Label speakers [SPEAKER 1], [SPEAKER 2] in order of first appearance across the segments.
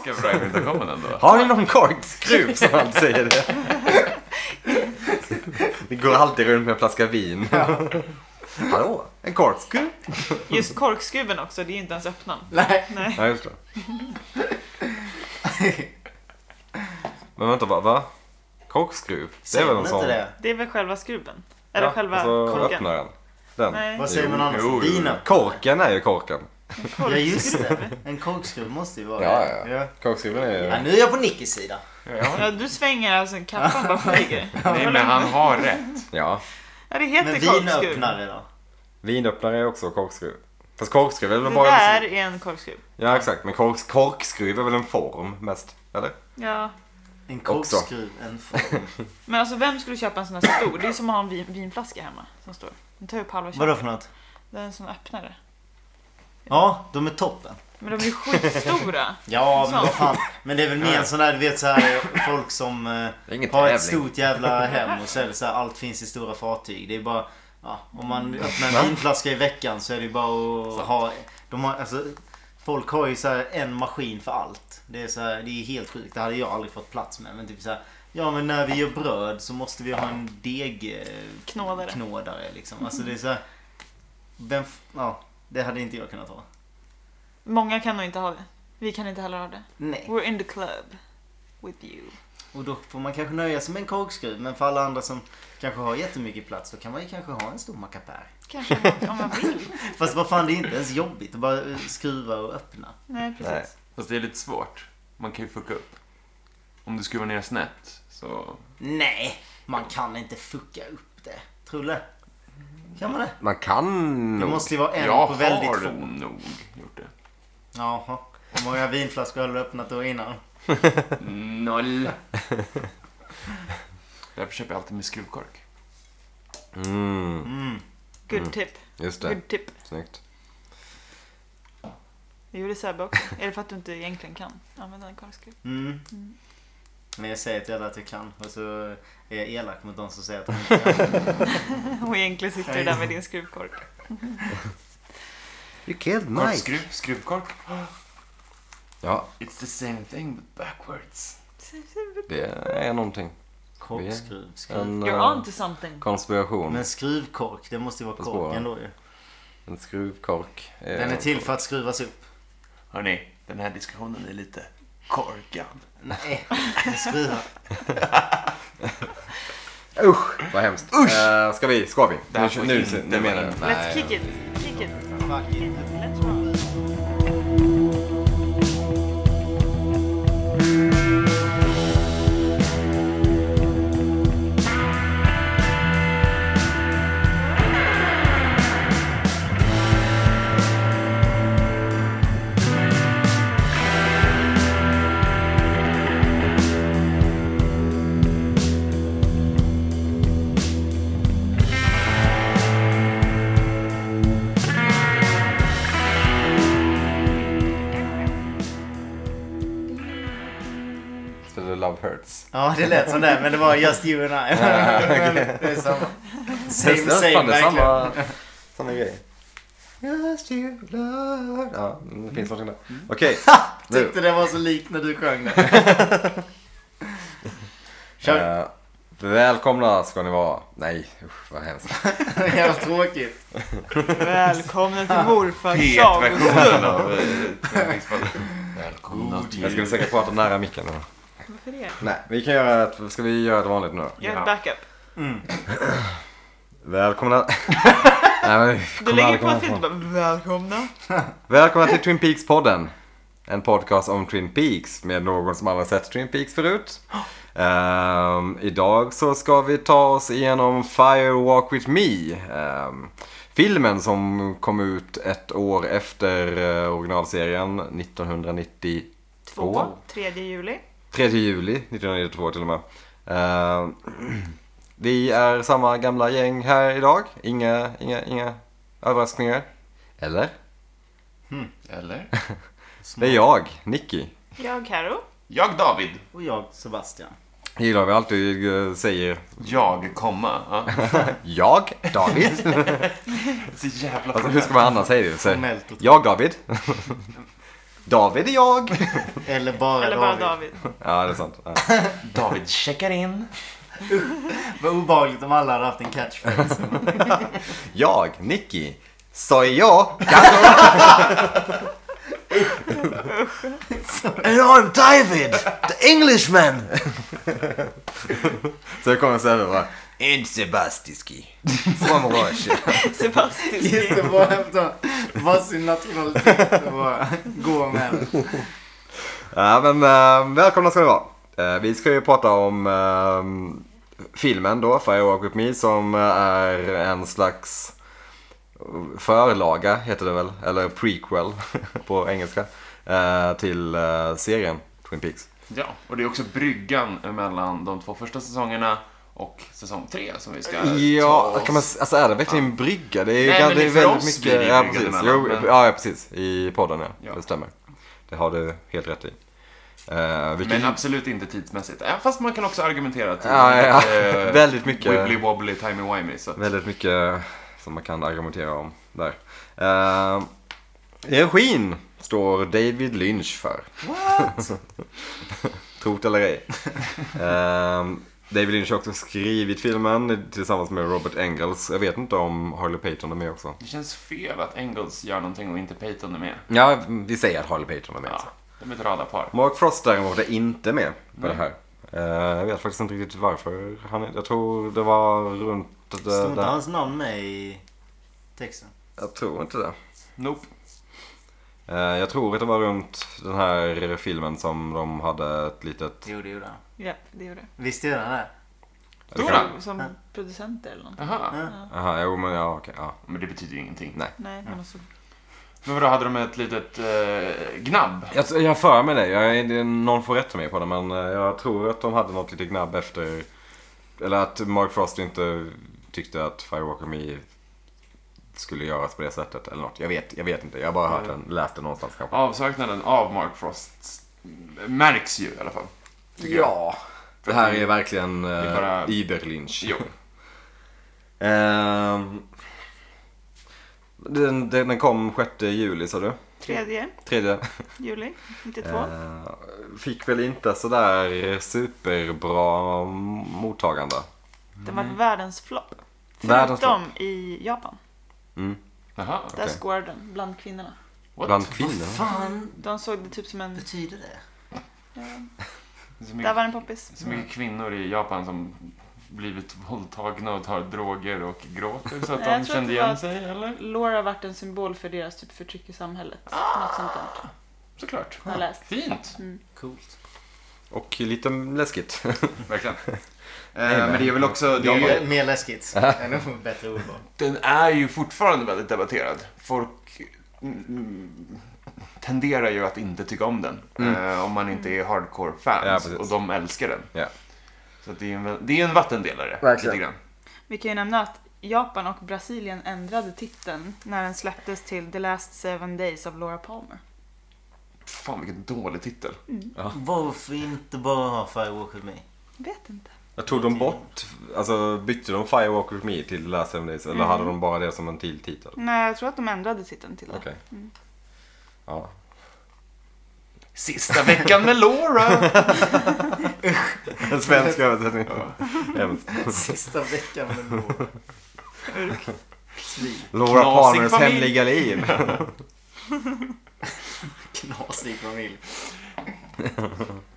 [SPEAKER 1] Ska vi bra imitation ändå?
[SPEAKER 2] Har ni någon korkskruv som han säger det? Vi går alltid runt med en flaska vin. Hallå, en korkskruv?
[SPEAKER 3] Just korkskruven också, det är ju inte ens öppnan.
[SPEAKER 4] Nej.
[SPEAKER 3] Nej.
[SPEAKER 2] Ja, just det. Men vänta bara, va? Korkskruv? Det är
[SPEAKER 4] Säger
[SPEAKER 2] väl
[SPEAKER 4] man
[SPEAKER 2] en
[SPEAKER 4] inte
[SPEAKER 2] sån?
[SPEAKER 4] det?
[SPEAKER 3] Det är väl själva skruven? Eller
[SPEAKER 2] Ja,
[SPEAKER 3] själva
[SPEAKER 2] alltså,
[SPEAKER 3] korken?
[SPEAKER 2] öppnar den. Den.
[SPEAKER 3] Nej.
[SPEAKER 4] Vad säger man annars?
[SPEAKER 1] Jo, jo, jo.
[SPEAKER 4] Vina?
[SPEAKER 2] Korken är ju korken.
[SPEAKER 4] Ja just det. En korkskruv måste ju vara
[SPEAKER 2] Ja,
[SPEAKER 4] det.
[SPEAKER 2] ja, ja. Korkskruven är ju...
[SPEAKER 4] Ja, nu är jag på Nickis sida.
[SPEAKER 3] Ja, du svänger alltså kappan bara flyger.
[SPEAKER 1] Nej, men han har rätt.
[SPEAKER 2] Ja.
[SPEAKER 3] Ja, det
[SPEAKER 4] Men
[SPEAKER 3] heter korkskruv.
[SPEAKER 4] vinöppnare då?
[SPEAKER 2] Vinöppnare är också korkskruv. Fast korkskruv är väl
[SPEAKER 3] Det
[SPEAKER 2] bara... liksom-
[SPEAKER 3] där är en korkskruv.
[SPEAKER 2] Ja, exakt. Men korks... korkskruv är väl en form mest? Eller?
[SPEAKER 3] Ja.
[SPEAKER 4] En
[SPEAKER 2] Också.
[SPEAKER 4] korkskruv, en form.
[SPEAKER 3] Men alltså vem skulle köpa en sån här stor? Det är som att ha en vin, vinflaska hemma som står. Den tar ju upp halva
[SPEAKER 4] Vadå
[SPEAKER 3] köpet.
[SPEAKER 4] för något?
[SPEAKER 3] Det är en sån öppnare.
[SPEAKER 4] Ja, de är toppen.
[SPEAKER 3] Men de är ju skitstora.
[SPEAKER 4] Ja, men
[SPEAKER 3] Så.
[SPEAKER 4] vad fan. Men det är väl mer en sån där, du vet så här folk som eh,
[SPEAKER 2] Det är ingen
[SPEAKER 4] har ett
[SPEAKER 2] tävling.
[SPEAKER 4] stort jävla hem och så är det så här, allt finns i stora fartyg. Det är bara, ja, om man öppnar en vinflaska i veckan så är det ju bara att ha, de har, alltså, folk har ju så här en maskin för allt. Det är så här, det är helt sjukt. Det hade jag aldrig fått plats med. Men typ så här, ja men när vi gör bröd så måste vi ha en deg... eh,
[SPEAKER 3] Knådare.
[SPEAKER 4] Knådare liksom. Alltså det är så här, vem, f- ja, det hade inte jag kunnat ha.
[SPEAKER 3] Många kan nog inte ha det. Vi kan inte heller ha det.
[SPEAKER 4] Nej.
[SPEAKER 3] We're in the club with you.
[SPEAKER 4] Och då får man kanske nöja sig med en korkskruv. Men för alla andra som kanske har jättemycket plats då kan man ju kanske ha en stor mackapär.
[SPEAKER 3] Kanske om man- om man vill.
[SPEAKER 4] Fast vad fan, det är inte ens jobbigt att bara eh, skruva och öppna.
[SPEAKER 3] Nej,
[SPEAKER 2] Nej.
[SPEAKER 3] precis.
[SPEAKER 1] Fast det är lite svårt. Man kan ju fucka upp. Om du skruvar ner snett så...
[SPEAKER 4] Nej, man kan inte fucka upp det. Trulle? Kan man det?
[SPEAKER 2] Man kan
[SPEAKER 4] Det
[SPEAKER 2] nog.
[SPEAKER 4] måste ju vara en
[SPEAKER 1] Jag
[SPEAKER 4] på väldigt
[SPEAKER 1] har
[SPEAKER 4] få.
[SPEAKER 1] nog gjort det.
[SPEAKER 4] Jaha. Hur många vinflaskor har du öppnat då innan?
[SPEAKER 1] Noll. Därför köper jag alltid med skruvkork.
[SPEAKER 2] Mm,
[SPEAKER 3] Good tip.
[SPEAKER 2] just det.
[SPEAKER 3] Good tip.
[SPEAKER 2] Snyggt.
[SPEAKER 3] Det gjorde Sebbe också. Är det för att du inte egentligen kan använda en korkskruv?
[SPEAKER 4] Mm. Men jag säger till alla att jag kan och så är jag elak mot de som säger att de inte kan.
[SPEAKER 3] Och egentligen sitter du där med din skruvkork.
[SPEAKER 2] You killed
[SPEAKER 1] Korkskruv, skruvkork.
[SPEAKER 2] Ja,
[SPEAKER 1] It's the same thing but backwards.
[SPEAKER 2] det är någonting.
[SPEAKER 4] Korkskruv, skruv.
[SPEAKER 2] En
[SPEAKER 3] You're
[SPEAKER 2] eh,
[SPEAKER 3] on to something.
[SPEAKER 2] konspiration.
[SPEAKER 4] Men skruvkork, det måste ju vara
[SPEAKER 2] På spåren.
[SPEAKER 4] korken då ju.
[SPEAKER 2] En skruvkork. Eh, är-
[SPEAKER 4] Den är till för att skruvas upp.
[SPEAKER 1] Hörni, den här diskussionen är lite korkad.
[SPEAKER 4] Nej, det skruvar.
[SPEAKER 2] Usch, vad hemskt. Usch! Eh, ska vi? Ska vi?
[SPEAKER 1] Det här får
[SPEAKER 2] nu,
[SPEAKER 1] inte
[SPEAKER 2] nu, nu menar jag.
[SPEAKER 1] vara
[SPEAKER 3] Let's kick it. Kick it.
[SPEAKER 4] Fuck it.
[SPEAKER 3] Let's roll.
[SPEAKER 2] Så det är Love Hurts.
[SPEAKER 4] Ja, det lät som det, men det var just you and I. det är samma. Same,
[SPEAKER 2] Det är fan
[SPEAKER 4] same,
[SPEAKER 2] det är
[SPEAKER 4] verkligen.
[SPEAKER 2] samma, samma grej. Just you love her. Ja, mm, det finns någonting där. Okej, nu.
[SPEAKER 4] Tyckte det var så likt när du sjöng det. Kör.
[SPEAKER 2] Eh, välkomna ska ni vara. Nej, usch vad hemskt.
[SPEAKER 4] Jävla tråkigt.
[SPEAKER 3] Välkomna till morfars sagostund.
[SPEAKER 1] P1-versionen av... eh, Välkomna
[SPEAKER 2] Jag skulle säkert prata nära micken. nu.
[SPEAKER 3] Varför det?
[SPEAKER 2] Nej, vi kan göra ett, ska vi göra det vanligt nu då?
[SPEAKER 3] Jag har
[SPEAKER 1] Ja.
[SPEAKER 3] ett backup.
[SPEAKER 2] Välkomna... Nej, men, vi
[SPEAKER 3] Du
[SPEAKER 2] kommer
[SPEAKER 3] lägger
[SPEAKER 2] aldrig
[SPEAKER 3] på
[SPEAKER 2] komma
[SPEAKER 3] att du inte
[SPEAKER 2] ifrån.
[SPEAKER 3] bara välkomna.
[SPEAKER 2] Välkomna till Twin Peaks-podden. En podcast om Twin Peaks med någon som aldrig sett Twin Peaks förut. Ehm, idag så ska vi ta oss igenom Fire Walk With Me. Ehm, filmen som kom ut ett år efter eh, originalserien 1990. Två.
[SPEAKER 3] Två. Tredje juli.
[SPEAKER 2] 3 juli 1992 till och med. Eh, vi är samma gamla gäng här idag. Inga, inga, inga överraskningar. Eller?
[SPEAKER 1] Eller?
[SPEAKER 2] Det är jag, Nicky.
[SPEAKER 3] Jag, Karo.
[SPEAKER 1] Jag David.
[SPEAKER 4] Och jag, Sebastian.
[SPEAKER 2] Jag Gillar vi alltid eh, säger
[SPEAKER 1] Jag, komma. Ja.
[SPEAKER 2] jag, David.
[SPEAKER 1] Så jävla
[SPEAKER 2] Alltså, hur ska man annars säga det?
[SPEAKER 4] Formellt
[SPEAKER 2] Så,
[SPEAKER 4] och-
[SPEAKER 2] jag, David. David är jag.
[SPEAKER 4] Eller bara
[SPEAKER 3] Eller bara
[SPEAKER 4] David.
[SPEAKER 3] David.
[SPEAKER 2] Ja, det är sant. Ja.
[SPEAKER 1] David checkar in.
[SPEAKER 4] Vad obehagligt om alla hade haft en catchphrase.
[SPEAKER 2] Jag, Nicky, soy yo. And I'm David, the Englishman. Så jag kommer så här och bara. En Sebastiski. Från Roche.
[SPEAKER 3] Sebastian.
[SPEAKER 4] Just det, bara hämta varsin nationalitet och bara gå med den.
[SPEAKER 2] Ja, men eh, välkomna ska ni vara. Eh, vi ska ju prata om eh, filmen då, Fire Walk With Me, som eh, är en slags förlaga, heter det väl, eller prequel på engelska, eh, till eh, serien Twin Peaks.
[SPEAKER 1] Ja, och det är också bryggan mellan de två första säsongerna och säsong tre som vi ska ta
[SPEAKER 2] Ja,
[SPEAKER 1] oss.
[SPEAKER 2] kan man, alltså är det verkligen en brygga? Det är,
[SPEAKER 1] Nej,
[SPEAKER 2] gan-
[SPEAKER 1] men
[SPEAKER 2] det är
[SPEAKER 1] för
[SPEAKER 2] väldigt
[SPEAKER 1] oss
[SPEAKER 2] mycket.
[SPEAKER 1] blir det
[SPEAKER 2] ja,
[SPEAKER 1] bryggan
[SPEAKER 2] precis.
[SPEAKER 1] emellan,
[SPEAKER 2] Jo,
[SPEAKER 1] men-
[SPEAKER 2] ja, ja, precis. I podden, ja.
[SPEAKER 1] Ja.
[SPEAKER 2] Det stämmer. Det har du helt rätt i. Eh, vilket-
[SPEAKER 1] Men absolut inte tidsmässigt. Även fast man kan också argumentera att
[SPEAKER 2] Ja, ja, ja.
[SPEAKER 1] eh,
[SPEAKER 2] Väldigt mycket.
[SPEAKER 1] Wibbly wobbly, timey wimey. Så. att-
[SPEAKER 2] Väldigt mycket som man kan argumentera om där. Uh, regin står David Lynch för.
[SPEAKER 4] What?
[SPEAKER 2] Trot eller ej. Ehm, David Lynch har också skrivit filmen tillsammans med Robert Engels. Jag vet inte om Harley Payton är med också.
[SPEAKER 1] Det känns fel att Engels gör någonting och inte Payton är med.
[SPEAKER 2] Ja, vi säger att Harley Payton är med.
[SPEAKER 1] Ja, de är ett radarpar.
[SPEAKER 2] Mark Frost däremot är inte med på
[SPEAKER 1] Nej.
[SPEAKER 2] det här. Eh, jag vet faktiskt inte riktigt varför. Han, är- jag tror det var runt... eh,
[SPEAKER 4] Stod inte
[SPEAKER 2] där.
[SPEAKER 4] hans namn med i texten?
[SPEAKER 2] Jag tror inte det.
[SPEAKER 1] Nope.
[SPEAKER 2] Eh, Jag tror att det var runt den här filmen som de hade ett litet...
[SPEAKER 4] Jo, det gjorde han.
[SPEAKER 3] Ja, det gjorde det.
[SPEAKER 4] Visst gjorde han det?
[SPEAKER 2] Det
[SPEAKER 1] Tror
[SPEAKER 2] kan-
[SPEAKER 1] du?
[SPEAKER 3] Stod som producenter eller något.
[SPEAKER 1] Aha.
[SPEAKER 4] Ja.
[SPEAKER 2] Aha, jo men ja okej. Ja.
[SPEAKER 1] Men det betyder ju ingenting.
[SPEAKER 2] Nej.
[SPEAKER 3] Nej, alltså, men också...
[SPEAKER 1] Men vadå, hade de ett litet eh, gnabb?
[SPEAKER 2] Jag, jag har för mig det. Jag, är- det är- någon får rätta mig på det men eh, jag tror att de hade något litet gnabb efter... Eller att Mark Frost inte tyckte att Firewalker Me skulle göras på det sättet eller något. Jag vet, jag vet inte. Jag har bara hört den, läst den någonstans kanske.
[SPEAKER 1] Avsaknaden av Mark Frost märks ju i alla fall. tycker jag.
[SPEAKER 2] Det här är verkligen
[SPEAKER 1] Det är bara-
[SPEAKER 2] eh, Uber Lynch.
[SPEAKER 1] Jo.
[SPEAKER 2] Ehm, den, den den kom 6 juli sa du?
[SPEAKER 3] Tredje
[SPEAKER 2] Tredje.
[SPEAKER 3] juli 92.
[SPEAKER 2] Eh, fick väl inte sådär superbra mottagande.
[SPEAKER 3] Den var världens flopp.
[SPEAKER 2] Världens
[SPEAKER 3] Förutom i Japan.
[SPEAKER 1] Jaha.
[SPEAKER 3] Där
[SPEAKER 2] Okej.
[SPEAKER 3] scorade den bland kvinnorna.
[SPEAKER 1] What?
[SPEAKER 2] Bland kvinnor.
[SPEAKER 4] Fan,
[SPEAKER 3] De såg det typ som en...
[SPEAKER 4] betyder det?
[SPEAKER 3] eh,
[SPEAKER 1] Så
[SPEAKER 3] där
[SPEAKER 1] mycket,
[SPEAKER 3] var en poppis.
[SPEAKER 1] så mycket kvinnor i Japan som blivit våldtagna och tar droger och gråter så att
[SPEAKER 3] Nej, jag
[SPEAKER 1] de
[SPEAKER 3] tror att
[SPEAKER 1] kände
[SPEAKER 3] det var
[SPEAKER 1] igen
[SPEAKER 3] att-
[SPEAKER 1] sig, eller?
[SPEAKER 3] Laura har varit en symbol för deras typ förtryck i samhället. Något sånt där. Mm.
[SPEAKER 1] Såklart.
[SPEAKER 3] Har jag läst.
[SPEAKER 1] Fint.
[SPEAKER 4] Coolt.
[SPEAKER 2] Och lite läskigt.
[SPEAKER 1] Verkligen. Eh, men det är väl också... Det är ju,
[SPEAKER 4] Mer, mer läskigt. Ännu bättre ordval.
[SPEAKER 1] den är ju fortfarande väldigt debatterad. Folk mm, tenderar ju att inte tycka om den. Eh, om man inte är
[SPEAKER 2] Mm. Ja,
[SPEAKER 1] hardcore-fans.
[SPEAKER 2] precis.
[SPEAKER 1] och de älskar den.
[SPEAKER 2] Ja.
[SPEAKER 1] Så att det, är en, vä- det är en vattendelare.
[SPEAKER 2] Verkligen.
[SPEAKER 1] Lite grann.
[SPEAKER 3] Vi kan ju nämna att Japan och Brasilien ändrade titeln när den släpptes till The Last Seven Days of Laura Palmer.
[SPEAKER 1] Fan vilken dålig titel.
[SPEAKER 3] Mm.
[SPEAKER 4] Varför inte bara ha Firewalk with me?
[SPEAKER 3] Vet inte.
[SPEAKER 2] Jag tog de bort, alltså bytte de Firewalk with me till Last Seven Days eller
[SPEAKER 1] Mm.
[SPEAKER 2] hade de bara det som en till titel?
[SPEAKER 3] Nej, jag tror att de ändrade titeln till det.
[SPEAKER 2] Okej.
[SPEAKER 1] Mm.
[SPEAKER 2] Ja.
[SPEAKER 1] Sista veckan med Laura!
[SPEAKER 2] En svensk översättning. Hemskt.
[SPEAKER 4] Sista veckan med Laura. Svin.
[SPEAKER 2] Laura
[SPEAKER 1] Knasig
[SPEAKER 2] Palmers
[SPEAKER 1] familj.
[SPEAKER 2] hemliga liv.
[SPEAKER 4] Knasig familj.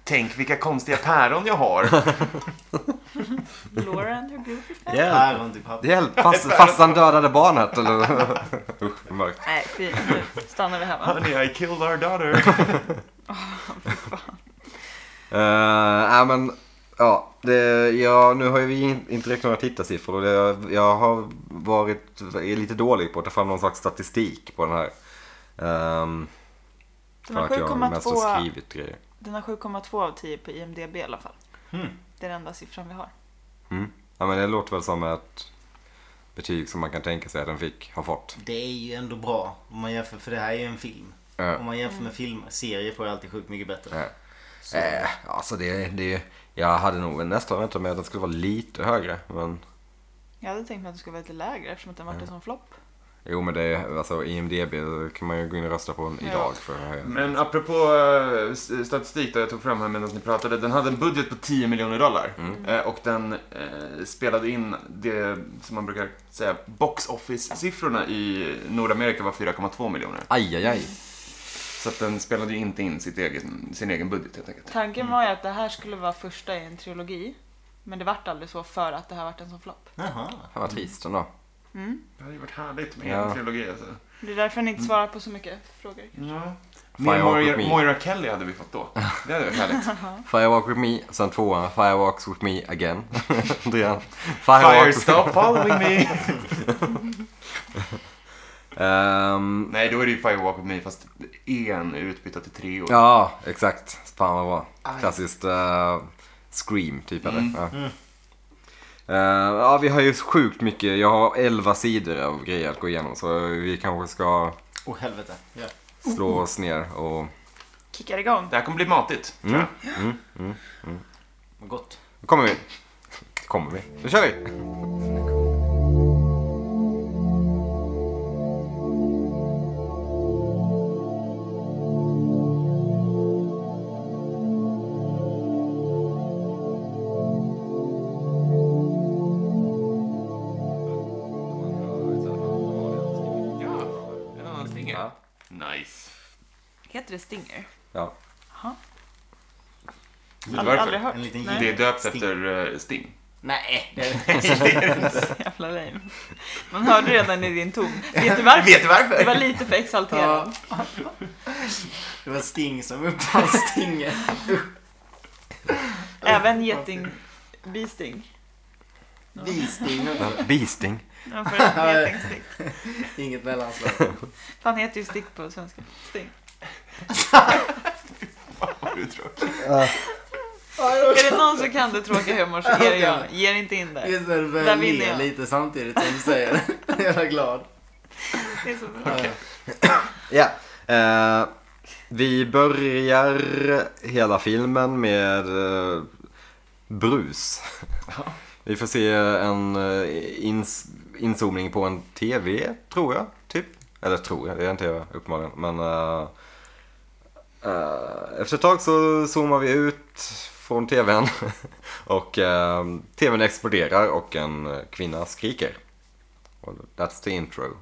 [SPEAKER 1] Tänk vilka konstiga päron jag har.
[SPEAKER 3] Laura and her beautiful family.
[SPEAKER 2] Hjälp.
[SPEAKER 4] Päron till pappa.
[SPEAKER 2] Hjälp, fast, fastan dödade barnet eller? Usch, vad mörkt.
[SPEAKER 3] Nej, fy. Nu stannar vi här va?
[SPEAKER 1] Honey, I killed our daughter.
[SPEAKER 2] Uh, nej men, ja, det, ja, nu har ju vi in, inte räknat några tittarsiffror och det, jag har varit är lite dålig på att ta fram någon slags statistik på den här. Ehm,
[SPEAKER 3] Den
[SPEAKER 2] för
[SPEAKER 3] har
[SPEAKER 2] att jag mest har
[SPEAKER 3] 7,2
[SPEAKER 2] skrivit grejer.
[SPEAKER 3] den har 7,2 av 10 på IMDB i alla fall. Det är den enda siffran vi har.
[SPEAKER 2] Ja, men det låter väl som ett betyg som man kan tänka sig att den fick, har fått.
[SPEAKER 4] Det är ju ändå bra. Om man jämför, för det här är ju en film.
[SPEAKER 2] Ja.
[SPEAKER 4] Om man jämför med film, serier får jag alltid sjukt mycket bättre.
[SPEAKER 2] Ja.
[SPEAKER 4] Så,
[SPEAKER 2] Eh, alltså det, det, jag hade nog nästan väntat mig att den skulle vara lite högre. Men
[SPEAKER 3] Jag hade tänkt mig att den skulle vara lite lägre eftersom att den vart en sån flopp.
[SPEAKER 2] Jo men det är alltså IMDB kan man ju gå in och rösta på
[SPEAKER 3] Ja.
[SPEAKER 2] idag för att höja.
[SPEAKER 1] Men apropå eh, s- statistik då jag tog fram här medan ni pratade. Den hade en budget på 10 miljoner dollar. Eh, och den eh, spelade in det som man brukar säga, box office-siffrorna i Nordamerika var 4,2 miljoner.
[SPEAKER 2] Aj, aj, aj.
[SPEAKER 1] Så att den spelade ju inte in sitt egen, sin egen budget helt enkelt.
[SPEAKER 3] Tanken var ju att det här skulle vara första i en trilogi. Men det vart aldrig så för att det här vart en sån flopp.
[SPEAKER 4] Jaha.
[SPEAKER 2] Fan vad trist ändå.
[SPEAKER 1] Det hade ju varit härligt med
[SPEAKER 2] Ja.
[SPEAKER 1] en trilogi alltså.
[SPEAKER 3] Det är därför han inte svarar på så mycket frågor.
[SPEAKER 1] Ja.
[SPEAKER 2] Fan,
[SPEAKER 1] Mer
[SPEAKER 2] jag åker
[SPEAKER 1] Moira,
[SPEAKER 2] med.
[SPEAKER 1] Moira Kelly hade vi fått då. Det hade varit härligt.
[SPEAKER 2] Firewalk with me, sen tvåan Firewalks with me again. Adrian.
[SPEAKER 1] Fire
[SPEAKER 2] Firewalks
[SPEAKER 1] stop following me!
[SPEAKER 2] Ehm,
[SPEAKER 1] Nej, då är det ju Firewalk with me fast en är utbytta till tre år.
[SPEAKER 2] ja, exakt. Fan vad bra.
[SPEAKER 1] Aj.
[SPEAKER 2] Klassiskt eh, Scream typ eller?
[SPEAKER 1] Mm.
[SPEAKER 2] Ja. Eh, ja, vi har ju sjukt mycket. Jag har 11 sidor av grejer att gå igenom så vi kanske ska
[SPEAKER 4] Åh helvete. Ja.
[SPEAKER 2] slå oss ner och...
[SPEAKER 3] Kickar igång.
[SPEAKER 1] Det här kommer bli matigt, tror jag.
[SPEAKER 4] Vad gott.
[SPEAKER 2] Nu kommer vi. kommer vi. Nu kör vi!
[SPEAKER 1] Ja, en annan stinger.
[SPEAKER 2] Ja.
[SPEAKER 1] Nice.
[SPEAKER 3] Heter det Stinger?
[SPEAKER 2] Ja.
[SPEAKER 3] Jaha.
[SPEAKER 1] Vet du
[SPEAKER 3] Aldrig,
[SPEAKER 1] varför?
[SPEAKER 3] aldrig hört.
[SPEAKER 4] En liten
[SPEAKER 1] Det
[SPEAKER 3] Nej,
[SPEAKER 1] är döpt
[SPEAKER 4] Sting.
[SPEAKER 1] efter eh, Sting.
[SPEAKER 4] Nej.
[SPEAKER 3] jävla lame. Man hörde redan i din ton. Vet du varför?
[SPEAKER 1] Vet du varför?
[SPEAKER 3] Det var lite för exalterad.
[SPEAKER 4] Det var Sting som uppfann Stinger.
[SPEAKER 3] Även geting... Bisting.
[SPEAKER 4] Vi-Sting.
[SPEAKER 2] Beasting.
[SPEAKER 3] Ja, för ett getingstick.
[SPEAKER 4] Inget mellanslag.
[SPEAKER 3] Fan heter ju stick på svenska. Sting.
[SPEAKER 1] Vad du tror.
[SPEAKER 3] Är det någon som kan det tråkiga humor så är det jag. Ger inte in där.
[SPEAKER 4] Just det, du
[SPEAKER 3] Där
[SPEAKER 4] börjar
[SPEAKER 3] vinner
[SPEAKER 4] le
[SPEAKER 3] jag.
[SPEAKER 4] lite samtidigt som du säger det. Jag är jävla glad.
[SPEAKER 3] Det är så bra.
[SPEAKER 2] Ja. Eh, vi börjar hela filmen med eh, brus. vi får se en eh, ins- inzoomning på en TV, tror jag. Typ. Eller tror jag, det är en TV uppenbarligen. Men eh, eh, efter ett tag så zoomar vi ut från TVn. och eh, TVn exploderar och en eh, kvinna skriker. Och that's the intro.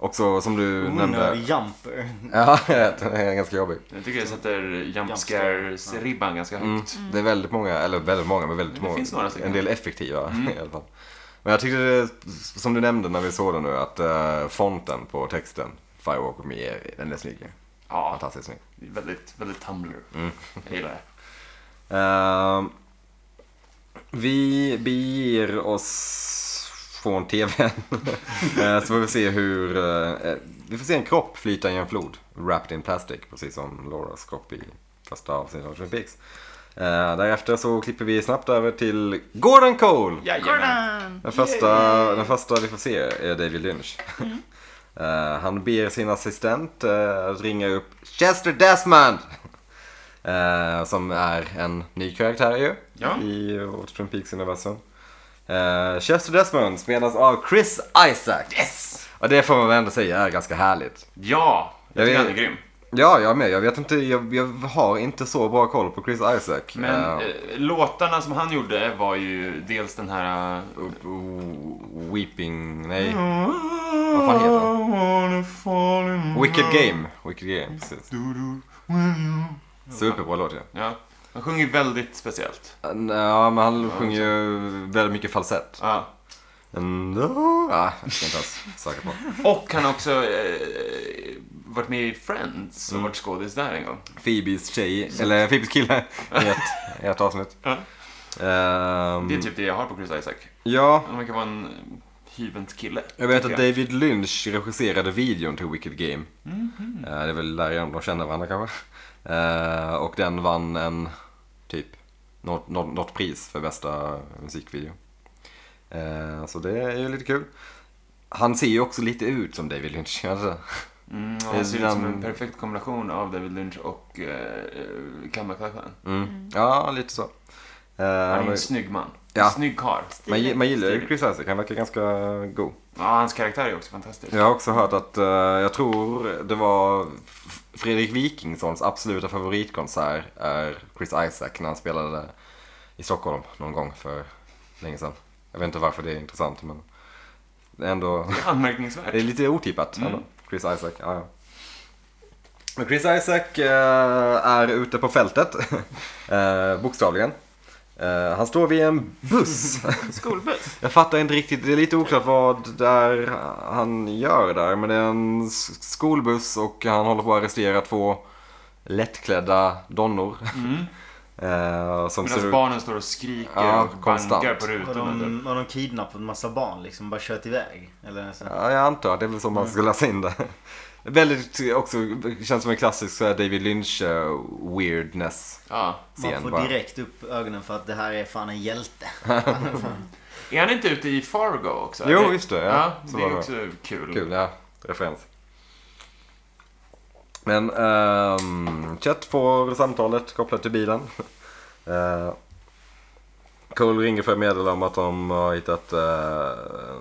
[SPEAKER 2] Också som du nämnde.
[SPEAKER 4] Winner jumper.
[SPEAKER 2] Ja, den är ganska jobbig.
[SPEAKER 1] Jag tycker jag sätter jump
[SPEAKER 4] Ja.
[SPEAKER 1] scares-ribban ganska
[SPEAKER 2] Mm.
[SPEAKER 1] högt.
[SPEAKER 2] Det är väldigt många, eller väldigt många, men väldigt
[SPEAKER 1] Det
[SPEAKER 2] många.
[SPEAKER 1] finns några stycken. Mm.
[SPEAKER 2] en del effektiva i alla fall. Men jag tyckte det, som du nämnde när vi såg den nu, att eh, fonten på texten, Firewalk with me, är, den är snygg.
[SPEAKER 1] Ja,
[SPEAKER 2] Fantastiskt snygg.
[SPEAKER 1] väldigt, väldigt Tumblr. Jag gillar det.
[SPEAKER 2] Ehm, vi beger oss från tvn. Eh, så får vi se hur... eh, vi får se en kropp flyta i en flod. Wrapped in plastic, precis som Lauras kropp i första avsnittet av Twin Peaks. Eh, därefter så klipper vi snabbt över till Gordon Cole!
[SPEAKER 1] Jajamän.
[SPEAKER 3] Gordon!
[SPEAKER 2] Den första, den första vi får se är David Lynch. Eh, han ber sin assistent eh, att ringa upp Chester Desmond. Eh, som är en ny karaktär ju.
[SPEAKER 1] Ja.
[SPEAKER 2] I eh, vårt Twin Peaks universum. Eh, Chester Desmond spelas av Chris Isaac. Yes! Och det får man väl ändå säga är ganska härligt.
[SPEAKER 1] Ja, jag tycker
[SPEAKER 2] Jag
[SPEAKER 1] han
[SPEAKER 2] vet-
[SPEAKER 1] är grym.
[SPEAKER 2] Ja, jag med. Jag vet inte, jag, jag har inte så bra koll på Chris Isaac.
[SPEAKER 1] Men
[SPEAKER 2] Eh,
[SPEAKER 1] eh, låtarna som han gjorde var ju dels den här... eh,
[SPEAKER 2] O- Weeping, nej. Vad fan heter han? Wicked Game. Wicked Game, precis. Superbra låt ja.
[SPEAKER 1] Ja, han sjunger väldigt speciellt.
[SPEAKER 2] Ja, men han sjunger ju väldigt mycket falsett.
[SPEAKER 1] Ja.
[SPEAKER 2] And, oh, ah, jag ska inte ens söka på.
[SPEAKER 1] Och han har också eh, varit med i Friends och
[SPEAKER 2] Mm.
[SPEAKER 1] varit skådis där en gång.
[SPEAKER 2] Phoebes tjej, eller Phoebes kille i ett, i ett avsnitt.
[SPEAKER 1] Ja.
[SPEAKER 2] Ehm,
[SPEAKER 1] Det är typ det jag har på Chris Isaac.
[SPEAKER 2] ja,
[SPEAKER 1] Han verkar vara en eh, hyvent kille.
[SPEAKER 2] jag vet att
[SPEAKER 1] tycker jag.
[SPEAKER 2] David Lynch regisserade videon till Wicked Game.
[SPEAKER 1] Mhm.
[SPEAKER 2] Eh, det är väl därigenom de känner varandra kanske. Eh, och den vann en, typ, något, något, något pris för bästa musikvideo. Eh, så det är ju lite kul. Han ser ju också lite ut som David Lynch, alltså. gör han inte det?
[SPEAKER 1] Mm, och han ser ut
[SPEAKER 2] Den-
[SPEAKER 1] som en perfekt kombination av David Lynch och eh, eh, Kammarklashen.
[SPEAKER 2] mm. Ja, lite så.
[SPEAKER 1] Han
[SPEAKER 2] Eh,
[SPEAKER 1] är ju
[SPEAKER 2] han
[SPEAKER 1] en
[SPEAKER 2] är,
[SPEAKER 1] snygg man.
[SPEAKER 2] Ja.
[SPEAKER 1] Snygg karl.
[SPEAKER 2] Man, man gillar ju
[SPEAKER 1] Stilig.
[SPEAKER 2] Chris Isaac, han verkar ganska god.
[SPEAKER 1] Ja, hans karaktär är ju också fantastisk.
[SPEAKER 2] Jag har också hört att, eh, jag tror det var F- Fredrik Wikingssons absoluta favoritkonsert är Chris Isaac när han spelade i Stockholm någon gång för länge sedan. Jag vet inte varför det är intressant men det är ändå,
[SPEAKER 1] Det är anmärkningsvärt.
[SPEAKER 2] det är lite otippat.
[SPEAKER 1] Mm.
[SPEAKER 2] ändå. Chris Isaac, ja, ja. Men Chris Isaac eh, är ute på fältet, eh, bokstavligen. Eh, han står vid en buss.
[SPEAKER 3] Skolbuss.
[SPEAKER 2] Jag fattar inte riktigt, det är lite oklart vad där han gör där. Men det är en s- skolbuss och han håller på att arrestera två lättklädda donnor.
[SPEAKER 1] Mm.
[SPEAKER 2] Eh, som ser
[SPEAKER 1] Medan
[SPEAKER 2] ut...
[SPEAKER 1] barnen står och skriker
[SPEAKER 2] Ja,
[SPEAKER 1] och
[SPEAKER 2] konstant.
[SPEAKER 1] bankar på typ.
[SPEAKER 4] Har
[SPEAKER 1] rutan.
[SPEAKER 4] de, har de kidnappat en massa barn liksom? Bara kört iväg? Eller så.
[SPEAKER 2] Ja, jag antar att det är väl så man ska läsa in det. Väldigt också, känns som en klassisk så här David Lynch eh, weirdness.
[SPEAKER 1] Ja.
[SPEAKER 4] Man
[SPEAKER 2] Scen
[SPEAKER 4] får
[SPEAKER 2] bara.
[SPEAKER 4] direkt upp ögonen för att det här är fan en hjälte.
[SPEAKER 1] Är han inte ute i Fargo också?
[SPEAKER 2] Jo,
[SPEAKER 1] Det-
[SPEAKER 2] just det, ja.
[SPEAKER 1] Ja,
[SPEAKER 2] Så
[SPEAKER 1] det
[SPEAKER 2] var
[SPEAKER 1] är
[SPEAKER 2] det.
[SPEAKER 1] också kul.
[SPEAKER 2] Kul, ja. Mm. Referens. Men um, Chet får samtalet kopplat till bilen. Eh, Cole ringer för att meddela om att de har hittat eh,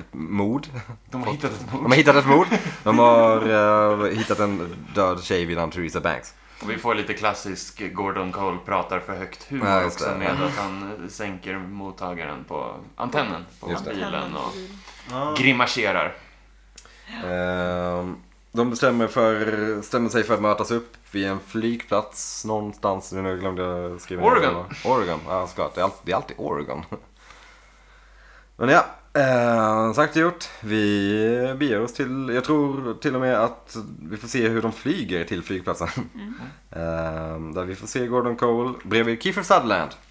[SPEAKER 2] ett mord.
[SPEAKER 1] De har hittat ett
[SPEAKER 2] De
[SPEAKER 1] mord.
[SPEAKER 2] har hittat ett mord. De har eh, hittat en död tjej vid namn Theresa Banks.
[SPEAKER 1] Och vi får lite klassisk Gordon Cole pratar för högt humor
[SPEAKER 2] Ja, just
[SPEAKER 1] också
[SPEAKER 2] det.
[SPEAKER 1] med att han sänker mottagaren på antennen på
[SPEAKER 2] Just det.
[SPEAKER 1] bilen och
[SPEAKER 3] Mm.
[SPEAKER 4] Ja.
[SPEAKER 1] grimaserar.
[SPEAKER 2] Ehm, de bestämmer, för, bestämmer sig för att mötas upp vid en flygplats någonstans. Nu glömde jag skriva ner
[SPEAKER 1] Oregon.
[SPEAKER 2] det. Oregon, ja såklart. Det är alltid, det är alltid Oregon. Men ja, eh, sagt och gjort. Vi beger oss till, jag tror till och med att vi får se hur de flyger till flygplatsen.
[SPEAKER 1] Mm.
[SPEAKER 2] Ehm, där vi får se Gordon Cole bredvid Kiefer Sutherland.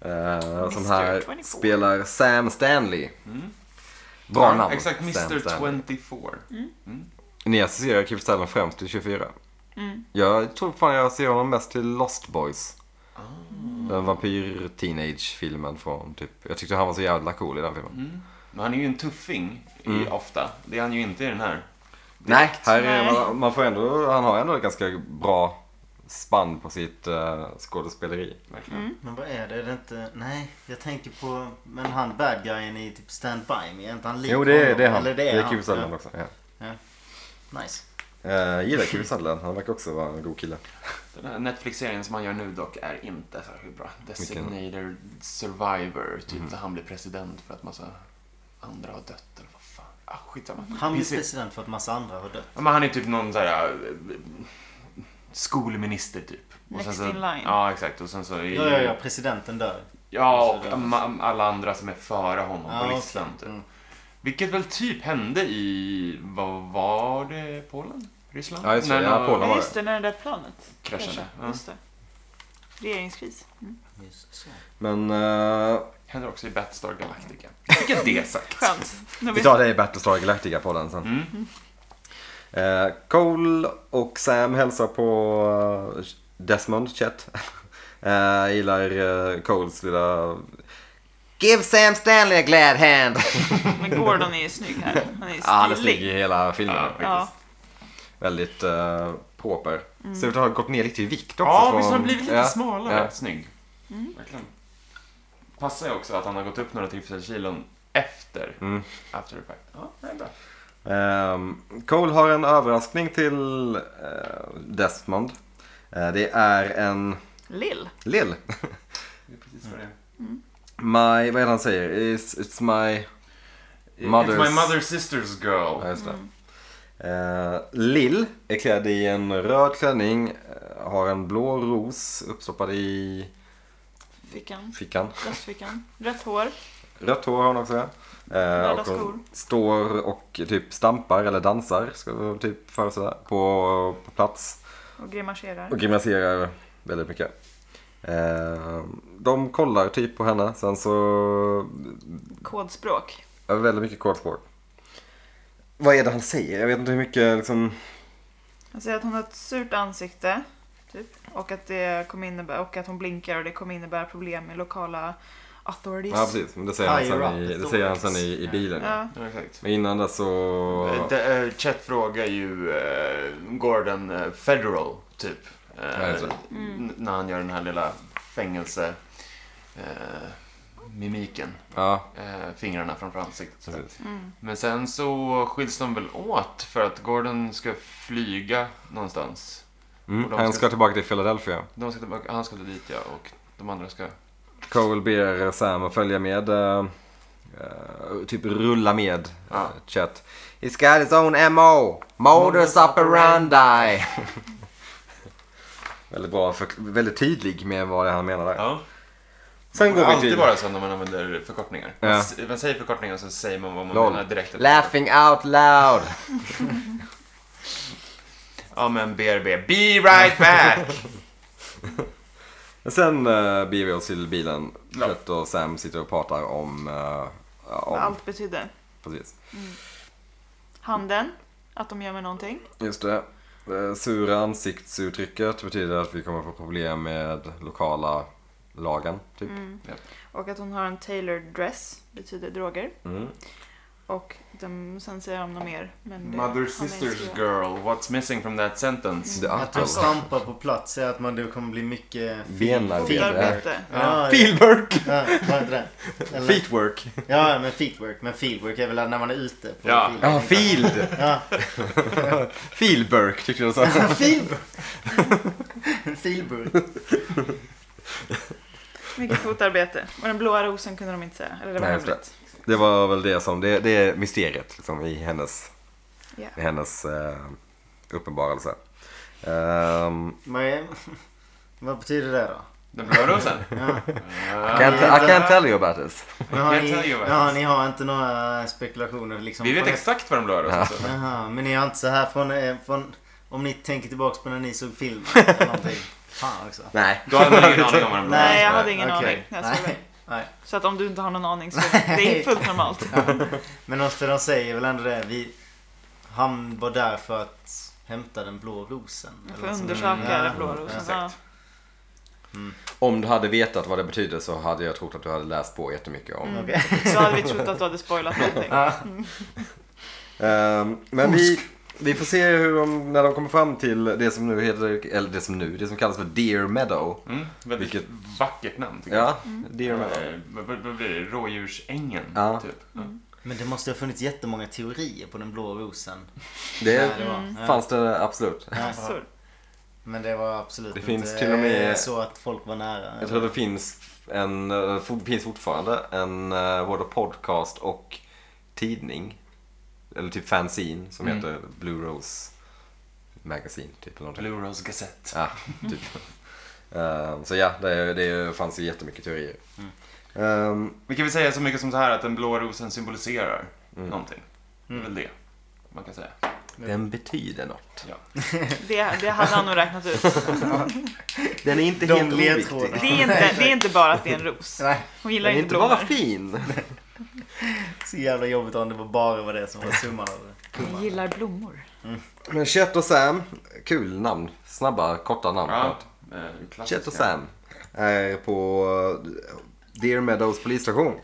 [SPEAKER 2] Eh, som
[SPEAKER 3] Mr.
[SPEAKER 2] här
[SPEAKER 3] 24.
[SPEAKER 2] spelar Sam Stanley. Bra
[SPEAKER 1] Mm. Ja,
[SPEAKER 2] namn.
[SPEAKER 1] Exakt, Mr.
[SPEAKER 2] Sam Stanley.
[SPEAKER 1] 24.
[SPEAKER 2] Ni associerar Kiefer Sutherland främst till 24. Jag tror fan jag ser honom mest till Lost Boys. Den vampyr-teenage-filmen från typ... Jag tyckte han var så jävla cool i den filmen.
[SPEAKER 1] Men han är ju en tuffing i,
[SPEAKER 2] Mm.
[SPEAKER 1] ofta. Det är han ju inte i den här.
[SPEAKER 2] Nej, här är,
[SPEAKER 3] Nej.
[SPEAKER 2] man- man får ändå, han har ändå ett ganska bra spann på sitt eh, skådespeleri.
[SPEAKER 1] Verkligen.
[SPEAKER 4] Men vad är det? Är det inte... Nej, jag tänker på... Men han bad guyen i typ Stand By Me. Är inte han lik
[SPEAKER 2] Jo, det är,
[SPEAKER 4] honom?
[SPEAKER 2] det är han.
[SPEAKER 4] Eller
[SPEAKER 2] Det är Kiefer
[SPEAKER 4] han.
[SPEAKER 2] Sutherland också. Ja.
[SPEAKER 4] Ja. Nice.
[SPEAKER 2] Eh, gillar Kiefer Sutherland, han verkar också vara en god kille.
[SPEAKER 1] Den här Netflix-serien som han gör nu dock är inte särskilt bra. Designated Survivor, typ
[SPEAKER 2] Mm.
[SPEAKER 1] där han blir president för att massa andra har dött eller vad fan. Ah, skitsamma.
[SPEAKER 4] Han blir
[SPEAKER 1] Pissigt.
[SPEAKER 4] president för att massa andra har dött.
[SPEAKER 1] Ja, men han är typ någon sån här eh, skolminister typ. Och
[SPEAKER 3] Next
[SPEAKER 1] sen så,
[SPEAKER 3] in line.
[SPEAKER 1] Ja, exakt. Och sen så är ju-
[SPEAKER 4] Ja, ja, ja. Presidenten dör.
[SPEAKER 1] Ja, och ma- alla andra som är före honom
[SPEAKER 4] Ja,
[SPEAKER 1] på
[SPEAKER 4] okej.
[SPEAKER 1] listan. Typ.
[SPEAKER 4] Mm.
[SPEAKER 1] Vilket väl typ hände i, vad var det, Polen? Ryssland?
[SPEAKER 2] Ja, just det.
[SPEAKER 1] När
[SPEAKER 2] Ja,
[SPEAKER 1] någon
[SPEAKER 2] Polen.
[SPEAKER 3] Ja, just det, när det där planet
[SPEAKER 1] kraschade.
[SPEAKER 3] kraschade.
[SPEAKER 1] Ja.
[SPEAKER 3] Just det. Regeringskris. Mm.
[SPEAKER 1] typ.
[SPEAKER 4] Just så.
[SPEAKER 2] Men eh,
[SPEAKER 1] Händer också i Battlestar Galactica. Vilket det sagt.
[SPEAKER 3] Skönt. Nu
[SPEAKER 2] vi
[SPEAKER 3] vet
[SPEAKER 2] tar det i Battlestar Galactica-podden sen.
[SPEAKER 1] Mm.
[SPEAKER 2] Eh, Cole och Sam hälsar på eh, Desmond Chet. Eh, gillar eh, Coles lilla... Give Sam Stanley a glad hand!
[SPEAKER 3] Men Gordon är ju snygg här. Han är ju
[SPEAKER 2] Ja, han är snygg
[SPEAKER 3] stilig.
[SPEAKER 2] i hela filmen
[SPEAKER 1] Ja,
[SPEAKER 2] faktiskt.
[SPEAKER 3] Ja,
[SPEAKER 2] Väldigt eh, proper. Ser ut att ha gått ner lite i vikt också.
[SPEAKER 1] Ja,
[SPEAKER 2] från-
[SPEAKER 1] visst har han blivit lite
[SPEAKER 2] Ja,
[SPEAKER 1] smalare.
[SPEAKER 2] ja.
[SPEAKER 1] Snygg.
[SPEAKER 3] Mm.
[SPEAKER 1] Verkligen. Passar ju också att han har gått upp några tillfällen kilon efter
[SPEAKER 2] Mm.
[SPEAKER 1] After Effect. Ja, det är bra.
[SPEAKER 2] Ehm, Cole har en överraskning till eh, Desmond. Eh, det är en
[SPEAKER 3] Lill.
[SPEAKER 2] lill.
[SPEAKER 1] Det är precis vad det är.
[SPEAKER 2] My, vad är det han säger? It's, it's my... Mother's-
[SPEAKER 1] It's my mother's sister's
[SPEAKER 2] Ja,
[SPEAKER 1] girl.
[SPEAKER 2] just det.
[SPEAKER 3] Mm.
[SPEAKER 2] Eh, Lill är klädd i en röd klänning, eh, har en blå ros uppstoppad i
[SPEAKER 3] Fickan.
[SPEAKER 2] fickan.
[SPEAKER 3] Bröstfickan. Rött hår.
[SPEAKER 2] Rött hår har hon också. Eh,
[SPEAKER 3] Röda
[SPEAKER 2] och
[SPEAKER 3] skor.
[SPEAKER 2] hon står och typ stampar eller dansar, ska vi typ föreställa, på, på plats.
[SPEAKER 3] Och grimaserar.
[SPEAKER 2] Och gymnaserar väldigt mycket. Eh, de kollar typ på henne, sen så
[SPEAKER 3] Kodspråk.
[SPEAKER 2] Ja, väldigt mycket kodspråk. Vad är det han säger? Jag vet inte hur mycket liksom...
[SPEAKER 3] Han säger att hon har ett surt ansikte. Typ. Och, att det kommer innebära, och att hon blinkar och det kommer innebära problem med lokala authorities.
[SPEAKER 2] Ja, precis. Men det säger han
[SPEAKER 4] Higher
[SPEAKER 2] sen
[SPEAKER 4] up
[SPEAKER 2] i,
[SPEAKER 4] the
[SPEAKER 2] det säger han sen
[SPEAKER 4] doors.
[SPEAKER 2] i, i bilen. ja.
[SPEAKER 3] Ja.
[SPEAKER 1] Ja, exakt.
[SPEAKER 2] Men innan dess så...
[SPEAKER 1] Eh, de- eh, Chet frågar ju eh, Gordon eh, Federal, typ. Eh,
[SPEAKER 2] Ja, alltså. just det.
[SPEAKER 1] n- När han gör den här lilla fängelse eh, mimiken.
[SPEAKER 2] Ja,
[SPEAKER 1] Eh, fingrarna framför ansiktet. sådär.
[SPEAKER 2] precis.
[SPEAKER 3] mm.
[SPEAKER 1] Men sen så skiljs de väl åt för att Gordon ska flyga någonstans.
[SPEAKER 2] Mm. Han ska tillbaka till Philadelphia.
[SPEAKER 1] De ska tillbaka, han ska dit ja och de andra ska...
[SPEAKER 2] Cole ber Sam att följa med. eh, eh, typ rulla med
[SPEAKER 1] Ja.
[SPEAKER 2] eh, Chet. He's got his own MO. Modus operandi. väldigt bra. För, väldigt tydlig med vad det är han menar där.
[SPEAKER 1] Ja.
[SPEAKER 2] Sen
[SPEAKER 1] Det går
[SPEAKER 2] går vi
[SPEAKER 1] alltid
[SPEAKER 2] till...
[SPEAKER 1] vara så när man använder förkortningar.
[SPEAKER 2] Ja.
[SPEAKER 1] Man, s- man säger förkortningar så säger man vad man
[SPEAKER 2] Lol.
[SPEAKER 1] menar direkt.
[SPEAKER 2] Laughing out loud.
[SPEAKER 1] Ja men BRB, be right back!
[SPEAKER 2] Sen uh, beger vi oss till bilen.
[SPEAKER 1] Ja.
[SPEAKER 2] Chet och Sam sitter och pratar om... eh, ja, om
[SPEAKER 3] Vad allt betyder.
[SPEAKER 2] Precis.
[SPEAKER 3] Handen, att de gör med någonting.
[SPEAKER 2] Just det. Det sura ansiktsuttrycket betyder att vi kommer få problem med lokala lagen. Typ.
[SPEAKER 3] Mm. Och att hon har en tailored dress, betyder droger.
[SPEAKER 2] Mm.
[SPEAKER 3] Och de, sen säger de något mer. Men det,
[SPEAKER 1] Mother
[SPEAKER 3] han är
[SPEAKER 1] sisters
[SPEAKER 3] så-
[SPEAKER 1] girl, what's missing from that sentence?
[SPEAKER 2] The
[SPEAKER 4] Att de
[SPEAKER 2] apple.
[SPEAKER 4] stampar på plats är att man, det kommer bli mycket...
[SPEAKER 2] Benarbete.
[SPEAKER 3] Fotarbete.
[SPEAKER 4] Ja,
[SPEAKER 2] Fieldwork!
[SPEAKER 4] ja, var inte det? Eller-
[SPEAKER 2] Feetwork!
[SPEAKER 4] Ja, men feetwork. Men fieldwork är väl när man är ute på
[SPEAKER 1] Ja.
[SPEAKER 4] field.
[SPEAKER 2] Ja, field!
[SPEAKER 4] Ja.
[SPEAKER 2] Fieldburk tyckte jag du sa.
[SPEAKER 4] Fieldwork. Fieldwork.
[SPEAKER 3] Mycket fotarbete. Och den blåa rosen kunde de inte säga. Eller det var
[SPEAKER 2] Nej, just det.
[SPEAKER 3] hemligt.
[SPEAKER 2] Det var väl det som, det, det är mysteriet liksom, i hennes,
[SPEAKER 3] Ja.
[SPEAKER 2] i hennes eh, uppenbarelse. Ehm,
[SPEAKER 4] Men, vad betyder det då?
[SPEAKER 1] Den blå rosen?
[SPEAKER 4] Ja.
[SPEAKER 2] I can't, I can't tell you about this.
[SPEAKER 4] Men har
[SPEAKER 1] Jag kan
[SPEAKER 4] ni,
[SPEAKER 1] ju vara-
[SPEAKER 4] ja, ni har inte några spekulationer liksom?
[SPEAKER 1] Vi vet
[SPEAKER 4] från-
[SPEAKER 1] exakt vad den blå rosen står för.
[SPEAKER 4] Jaha, men ni har inte så här från, eh, från... Om ni tänker tillbaks på när ni såg filmen eller någonting. Fan också.
[SPEAKER 2] Nej.
[SPEAKER 1] Då hade man ingen aning om vad den blå
[SPEAKER 3] Nej, jag
[SPEAKER 1] rosen
[SPEAKER 3] hade
[SPEAKER 1] är.
[SPEAKER 3] ingen
[SPEAKER 4] Okej.
[SPEAKER 3] aning. när Jag såg
[SPEAKER 4] Nej.
[SPEAKER 3] det.
[SPEAKER 4] Nej.
[SPEAKER 3] Så att om du inte har någon aning så det är fullt normalt.
[SPEAKER 4] Men de, för de säger väl ändå det. Vi, han var där för att hämta den blå rosen. eller
[SPEAKER 3] För
[SPEAKER 4] något
[SPEAKER 3] att
[SPEAKER 4] sånt.
[SPEAKER 3] undersöka
[SPEAKER 4] Ja,
[SPEAKER 3] den blå rosen. Ja.
[SPEAKER 1] exakt.
[SPEAKER 2] Om du hade vetat vad det betyder så hade jag trott att du hade läst på jättemycket om
[SPEAKER 3] Mm.
[SPEAKER 4] Okej.
[SPEAKER 3] Så hade vi trott att du hade spoilat någonting.
[SPEAKER 2] Ehm, men vi, vi får se hur de, när de kommer fram till det som nu heter, eller det som nu, det som kallas för Deer Meadow.
[SPEAKER 1] Mm, väldigt
[SPEAKER 2] Vilket-
[SPEAKER 1] vackert namn tycker jag.
[SPEAKER 2] Ja, Deer Meadow.
[SPEAKER 1] Eh, Vad vad- vad blir det? Rådjursängen?
[SPEAKER 2] Ja.
[SPEAKER 1] Typ. Ja.
[SPEAKER 3] Mm.
[SPEAKER 4] Men det måste ha funnits jättemånga teorier på den blå rosen.
[SPEAKER 2] Det
[SPEAKER 4] Nej, det var- nej.
[SPEAKER 2] fanns det absolut.
[SPEAKER 4] Ja,
[SPEAKER 3] Massor.
[SPEAKER 4] Men det var absolut
[SPEAKER 2] Det finns
[SPEAKER 4] inte eh,
[SPEAKER 2] till och med-
[SPEAKER 4] så att folk var nära.
[SPEAKER 2] Jag tror det finns, en, eh, for- finns fortfarande en eh, både podcast och tidning. Eller typ fanzine som
[SPEAKER 1] Mm.
[SPEAKER 2] heter Blue Rose Magazine. Typ, eller någonting.
[SPEAKER 1] Blue Rose Gazette.
[SPEAKER 2] Ja, typ. Ehm, så ja, det, det fanns ju jättemycket teorier. Ehm,
[SPEAKER 1] Vi kan väl säga så mycket som så här att den blå rosen symboliserar
[SPEAKER 2] Mm.
[SPEAKER 1] någonting. Det är
[SPEAKER 3] Mm.
[SPEAKER 1] väl det man kan säga.
[SPEAKER 2] den betyder något.
[SPEAKER 1] Ja.
[SPEAKER 3] Det, det hade han nog räknat ut.
[SPEAKER 2] Den är inte
[SPEAKER 4] De
[SPEAKER 2] helt
[SPEAKER 4] ledtrådarna.
[SPEAKER 2] oviktig.
[SPEAKER 3] Det är inte, det är inte bara att det är en ros.
[SPEAKER 4] Nej,
[SPEAKER 3] Hon gillar
[SPEAKER 2] Den är
[SPEAKER 3] inte
[SPEAKER 2] inte bara
[SPEAKER 3] blommor.
[SPEAKER 2] fin.
[SPEAKER 4] så jävla jobbigt om det var bara var det som var summan av det.
[SPEAKER 3] Hon gillar blommor.
[SPEAKER 2] Men Chet och Sam, kul namn. Snabba, korta namn.
[SPEAKER 1] Ja, eh,
[SPEAKER 2] Chet och Sam är på eh, Deer Meadows polisstation.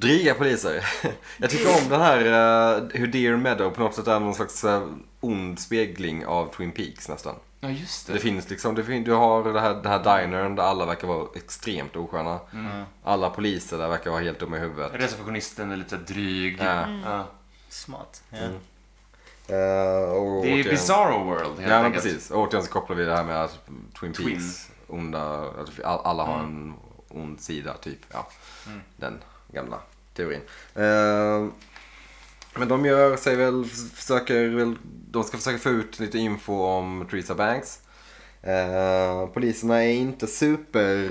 [SPEAKER 2] Dryga poliser. Jag tycker om den här eh, hur Deer Meadow på något sätt är någon slags eh, ond spegling av Twin Peaks nästan.
[SPEAKER 1] Ja, just
[SPEAKER 2] Det
[SPEAKER 1] det.
[SPEAKER 2] finns liksom, det fin- du har det här, det här dinern där alla verkar vara extremt osköna.
[SPEAKER 1] Mm.
[SPEAKER 2] Alla poliser där verkar vara helt dumma i huvudet.
[SPEAKER 1] Receptionisten är lite dryg.
[SPEAKER 2] Ja.
[SPEAKER 3] Mm.
[SPEAKER 1] Ja.
[SPEAKER 4] Smart. Ja.
[SPEAKER 2] Mm. Eh, och
[SPEAKER 1] Det är
[SPEAKER 2] återigen-
[SPEAKER 1] Bizarro World helt
[SPEAKER 2] Ja men
[SPEAKER 1] enkelt.
[SPEAKER 2] precis. Och Återigen så kopplar vi det här med att Twin
[SPEAKER 1] Twin. Mm.
[SPEAKER 2] Peaks onda, att all- alla har en ond sida typ. Ja. Den gamla teorin. Eh, men de gör sig väl, försöker väl, de ska försöka få ut lite info om Theresa Banks. Eh, poliserna är inte super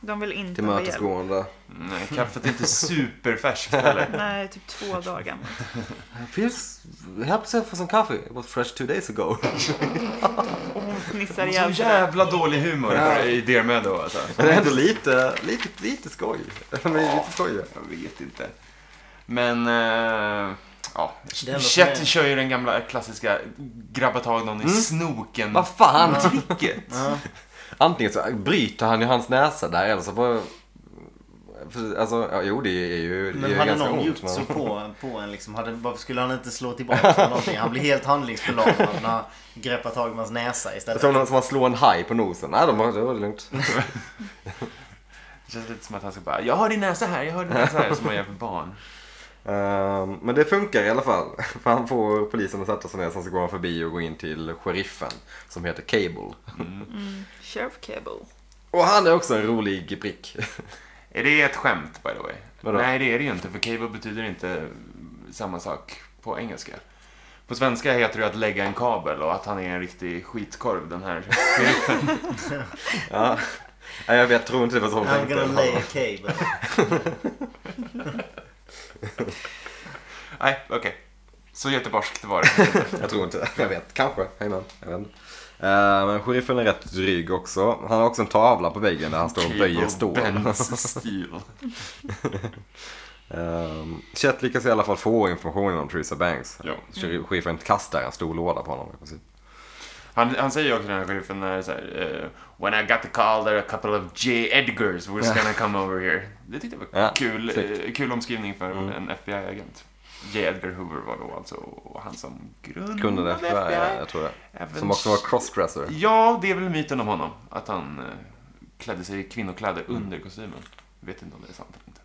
[SPEAKER 3] De vill inte ha hjälp.
[SPEAKER 2] tillmötesgående.
[SPEAKER 1] Mm, Nej, kaffet är inte superfärskt heller.
[SPEAKER 3] Nej, typ två dagar gammalt.
[SPEAKER 2] Feels, help yourself for some coffee. It was fresh two days ago.
[SPEAKER 3] Och hon fnissar
[SPEAKER 1] Så
[SPEAKER 3] ihjäl sig.
[SPEAKER 1] jävla dålig humor i Dear Meadow alltså.
[SPEAKER 2] Men ändå lite, lite, lite skoj. De är lite skojiga.
[SPEAKER 1] Jag vet inte. Men, eh, ja.
[SPEAKER 4] Det är ändå för
[SPEAKER 1] Chet
[SPEAKER 4] mig-
[SPEAKER 1] kör ju den gamla klassiska grabba tag någon i snoken.
[SPEAKER 2] Mm. Vad fan!
[SPEAKER 1] Vilket?
[SPEAKER 4] Ja.
[SPEAKER 2] Antingen så bryter han ju hans näsa där eller så bara... för- Alltså, ja, jo det är ju, det är
[SPEAKER 4] Men
[SPEAKER 2] ju
[SPEAKER 4] hade
[SPEAKER 2] ganska
[SPEAKER 4] någon
[SPEAKER 2] ont.
[SPEAKER 4] gjort så
[SPEAKER 2] Men...
[SPEAKER 4] på, på en liksom, hade, varför skulle han inte slå tillbaka på någonting? Han blir helt handlingsförlamad när han greppar tag i hans näsa istället.
[SPEAKER 2] Som någon som har slår en haj på nosen. Nej, de bara, det var lugnt.
[SPEAKER 1] Det känns lite som att han ska bara, jag har din näsa här, jag har din näsa här, som man gör för barn.
[SPEAKER 2] Ehm, men det funkar i alla fall. För han får polisen att sätta sig ner, sen så går han förbi och går in till sheriffen som heter Cable.
[SPEAKER 3] Sheriff Cable.
[SPEAKER 2] Och han är också en rolig prick.
[SPEAKER 1] Är det ett skämt, by the way?
[SPEAKER 2] Vadå?
[SPEAKER 1] Nej, det är det ju inte, för cable betyder inte samma sak på engelska. På svenska heter det att lägga en kabel och att han är en riktig skitkorv, den här sheriffen.
[SPEAKER 2] ja. Nej, jag vet, tror inte det var så hon
[SPEAKER 4] I'm gonna lay
[SPEAKER 2] tänkte.
[SPEAKER 4] a cable.
[SPEAKER 1] Nej, okej. Så göteborgskt var det.
[SPEAKER 2] Jag tror inte det. Jag vet, kanske. Amen. Jag vet inte. Ehm, men sheriffen är rätt dryg också. Han har också en tavla på väggen där han står och böjer stål.
[SPEAKER 1] Bends stil.
[SPEAKER 2] Ehm, Chet lyckas i alla fall få informationen om Theresa Banks.
[SPEAKER 1] Ja.
[SPEAKER 2] Sher- Sheriffen kastar en stor låda på honom i princip.
[SPEAKER 1] Han, han säger ju också den här sheriffen när så här, eh, When I got the call there a couple of J. Edgars was gonna come over here. Det tyckte jag var
[SPEAKER 2] Ja,
[SPEAKER 1] kul,
[SPEAKER 2] snyggt.
[SPEAKER 1] eh, kul omskrivning för
[SPEAKER 2] Mm.
[SPEAKER 1] en FBI-agent. J. Edgar Hoover var då alltså han som grundade
[SPEAKER 2] Kunde det,
[SPEAKER 1] FBI.
[SPEAKER 2] ja, jag tror det.
[SPEAKER 1] Även-
[SPEAKER 2] Som också var crossdresser.
[SPEAKER 1] Ja, det är väl myten om honom. Att han eh, klädde sig i kvinnokläder
[SPEAKER 2] Mm.
[SPEAKER 1] under kostymen. Vet inte om det är sant eller inte.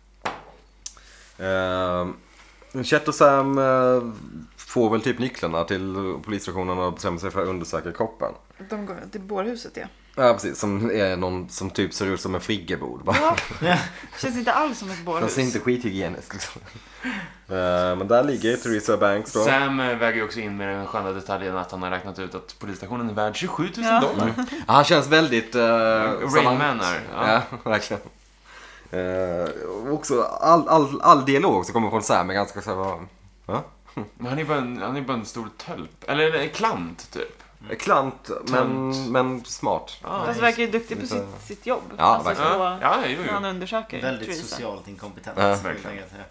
[SPEAKER 2] Ehm, Chet och Sam eh, får väl typ nycklarna till polisstationen och bestämmer sig för att undersöka kroppen.
[SPEAKER 3] De går till bårhuset ja.
[SPEAKER 2] Ja precis, som är någon som typ ser ut som en friggebod. bara.
[SPEAKER 3] ja. Känns inte alls som ett
[SPEAKER 2] Den
[SPEAKER 3] bårhus.
[SPEAKER 2] ser inte skithygieniskt liksom. Eh, Men där ligger Theresa Banks då.
[SPEAKER 1] Sam eh, väger ju också in med den sköna detaljen att han har räknat ut att polisstationen är värd 27 000
[SPEAKER 3] Ja.
[SPEAKER 1] dollar. Eh,
[SPEAKER 2] Ja, Han känns väldigt... Uh,
[SPEAKER 1] Rain Man är. Ja.
[SPEAKER 2] Ja, verkligen. Eh, och också all, all, all dialog som kommer från Sam är ganska så här, va? va?
[SPEAKER 1] Men han är bara en, han är bara en stor tölp. Eller en klant, typ.
[SPEAKER 2] Klant, men,
[SPEAKER 1] Tönt.
[SPEAKER 2] men smart.
[SPEAKER 1] Ja,
[SPEAKER 3] Fast verkar ju duktig på
[SPEAKER 2] Lite-
[SPEAKER 3] sitt, sitt jobb.
[SPEAKER 2] Liksom-
[SPEAKER 3] Alltså,
[SPEAKER 2] Ja, verkligen.
[SPEAKER 3] så,
[SPEAKER 1] ja, ja jo,
[SPEAKER 3] när han
[SPEAKER 1] jo.
[SPEAKER 3] undersöker
[SPEAKER 4] Väldigt
[SPEAKER 3] Theresa.
[SPEAKER 4] socialt inkompetent.
[SPEAKER 2] Ja,
[SPEAKER 4] skulle jag
[SPEAKER 1] verkligen.
[SPEAKER 4] säga.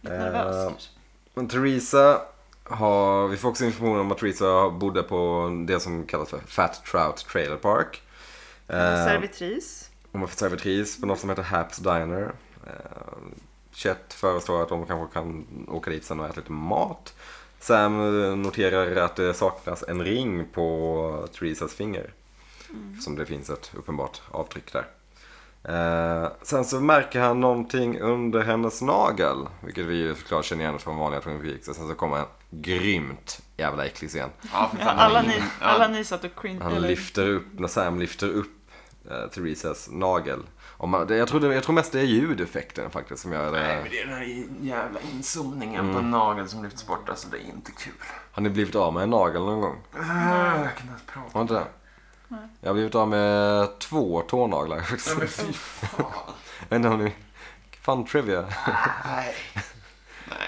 [SPEAKER 3] Lite nervös
[SPEAKER 2] Eh,
[SPEAKER 3] kanske.
[SPEAKER 2] Men Theresa har, vi får också information om att Theresa bodde på det som kallas för Fat Trout Trailer Park. Eh,
[SPEAKER 3] Servitris.
[SPEAKER 2] hon var servitris på något som heter Haps Diner. Eh, Chet föreslår att de kanske kan åka dit sen och äta lite mat. Sam eh, noterar att det saknas en ring på Theresas finger. Som det finns ett uppenbart avtryck där. Eh, sen så märker han någonting under hennes nagel. Vilket vi ju såklart känner igen från vanliga Twin Peaks. Och sen så kommer en grymt jävla äcklig scen.
[SPEAKER 1] Ja, för
[SPEAKER 3] Ja,
[SPEAKER 1] fan,
[SPEAKER 3] alla,
[SPEAKER 1] han är
[SPEAKER 3] ni,
[SPEAKER 1] ingen-
[SPEAKER 2] Eh.
[SPEAKER 1] ja.
[SPEAKER 3] alla ni satt och cringe.
[SPEAKER 2] Mm. Han lyfter upp, när Sam lyfter upp eh, Theresas nagel. Om man, det, jag, tror det, jag tror mest det är ljudeffekten faktiskt som gör
[SPEAKER 1] Nej,
[SPEAKER 2] det.
[SPEAKER 1] men det är den här jävla inzoomningen
[SPEAKER 2] Mm.
[SPEAKER 1] på en nagel som lyfts bort. Alltså, det är inte kul.
[SPEAKER 2] Har ni blivit av med en nagel någon gång?
[SPEAKER 1] Ah, jag kan inte prata.
[SPEAKER 2] Har ni inte det? Jag har blivit av med två tånaglar faktiskt.
[SPEAKER 1] Men fy fan.
[SPEAKER 2] Jag vet inte om ni... Fun trivia.
[SPEAKER 1] Nej.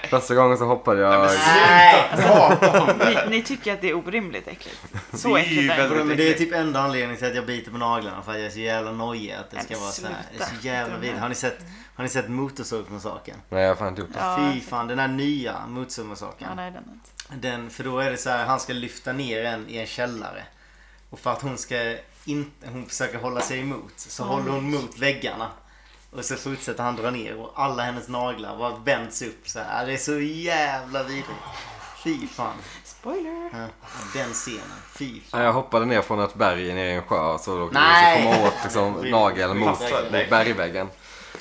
[SPEAKER 2] Första gången så hoppade jag...
[SPEAKER 4] Nej!
[SPEAKER 3] Ni, ni tycker att det är orimligt äckligt. Så
[SPEAKER 1] Det är
[SPEAKER 3] äckligt
[SPEAKER 1] ju
[SPEAKER 3] är det.
[SPEAKER 1] väldigt-
[SPEAKER 4] Men det är typ enda anledningen till att jag biter på naglarna för att jag är så jävla nojig att det
[SPEAKER 3] Nej,
[SPEAKER 4] ska
[SPEAKER 3] men
[SPEAKER 4] vara så här. Det är
[SPEAKER 3] sluta.
[SPEAKER 4] så jävla vidrigt. Har ni sett, har ni sett Motorsågsmassakern?
[SPEAKER 2] Nej, jag har fan inte gjort det.
[SPEAKER 3] Ja,
[SPEAKER 4] Fy fan, den här nya
[SPEAKER 3] Ja,
[SPEAKER 4] Motorsågsmassakern.
[SPEAKER 3] nej, den är inte.
[SPEAKER 4] Den, för då är det så här, han ska lyfta ner en i en källare. Och för att hon ska inte, hon försöker hålla sig emot så håller hon mot väggarna. Och så fortsätter han dra ner och alla hennes naglar bara vänds upp så här. Det är så jävla vidrigt. Fy fan.
[SPEAKER 3] Spoiler!
[SPEAKER 4] Ja, Den scenen. Fy fan.
[SPEAKER 2] Nej, Jag hoppade ner från ett berg ner i en sjö så då kunde jag
[SPEAKER 4] Nej!
[SPEAKER 2] liksom komma åt liksom, nageln mot,
[SPEAKER 1] Fast, nej.
[SPEAKER 2] mot bergväggen.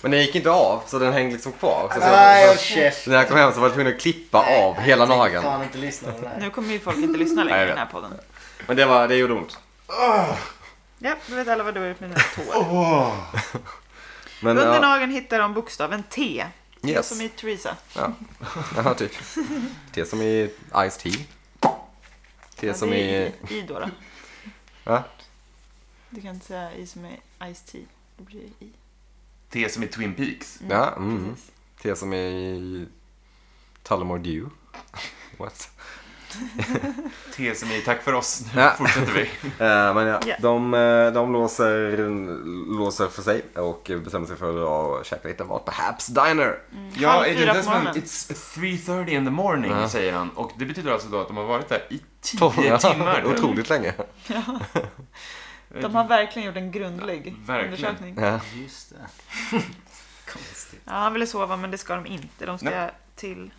[SPEAKER 2] Men den gick inte av så den hängde liksom kvar. Så, så,
[SPEAKER 4] Nej, och
[SPEAKER 2] så,
[SPEAKER 4] käft.
[SPEAKER 2] när jag kom hem så var jag tvungen att klippa av hela nageln.
[SPEAKER 4] Fan inte lyssna på det här.
[SPEAKER 3] Nu kommer ju folk inte lyssna längre
[SPEAKER 2] Nej, jag
[SPEAKER 3] i den
[SPEAKER 2] vet.
[SPEAKER 3] här podden.
[SPEAKER 2] Men det, var, det gjorde ont.
[SPEAKER 3] Ja, då vet alla vad du har gjort med mina tår.
[SPEAKER 2] Men,
[SPEAKER 3] Under
[SPEAKER 2] ja,
[SPEAKER 3] nageln hittar de bokstaven T. T
[SPEAKER 2] Yes.
[SPEAKER 3] som i Theresa.
[SPEAKER 2] ja, typ. Te som i Ice Tea. Te
[SPEAKER 3] Ja,
[SPEAKER 2] som
[SPEAKER 3] det är
[SPEAKER 2] i...
[SPEAKER 3] I då, då.
[SPEAKER 2] Va?
[SPEAKER 3] Du kan inte säga I som i Ice Tea. Då blir det I.
[SPEAKER 1] Det som är Twin Peaks.
[SPEAKER 2] Ja, mm.
[SPEAKER 3] Precis.
[SPEAKER 2] Te som i... Tullamore Dew. What?
[SPEAKER 1] T som är tack för oss. Nu
[SPEAKER 2] Ja.
[SPEAKER 1] fortsätter vi.
[SPEAKER 2] Eh, men ja,
[SPEAKER 3] Ja.
[SPEAKER 2] de, eh, de låser, låser för sig och bestämmer sig för att dra och käka lite mat på Haps Diner.
[SPEAKER 1] Ja,
[SPEAKER 3] Halv
[SPEAKER 1] är det
[SPEAKER 3] fyra
[SPEAKER 1] det
[SPEAKER 3] på
[SPEAKER 1] som en,
[SPEAKER 3] morgonen.
[SPEAKER 1] It's 3.30 in the morning,
[SPEAKER 2] Ja.
[SPEAKER 1] säger han. Och det betyder alltså då att de har varit där i 10
[SPEAKER 2] Tolv
[SPEAKER 1] timmar. typ.
[SPEAKER 2] Otroligt länge.
[SPEAKER 3] De har verkligen gjort en grundlig
[SPEAKER 1] Verkligen.
[SPEAKER 3] undersökning.
[SPEAKER 2] Ja.
[SPEAKER 4] Just det. Konstigt.
[SPEAKER 3] Ja, han ville sova men det ska de inte. De ska till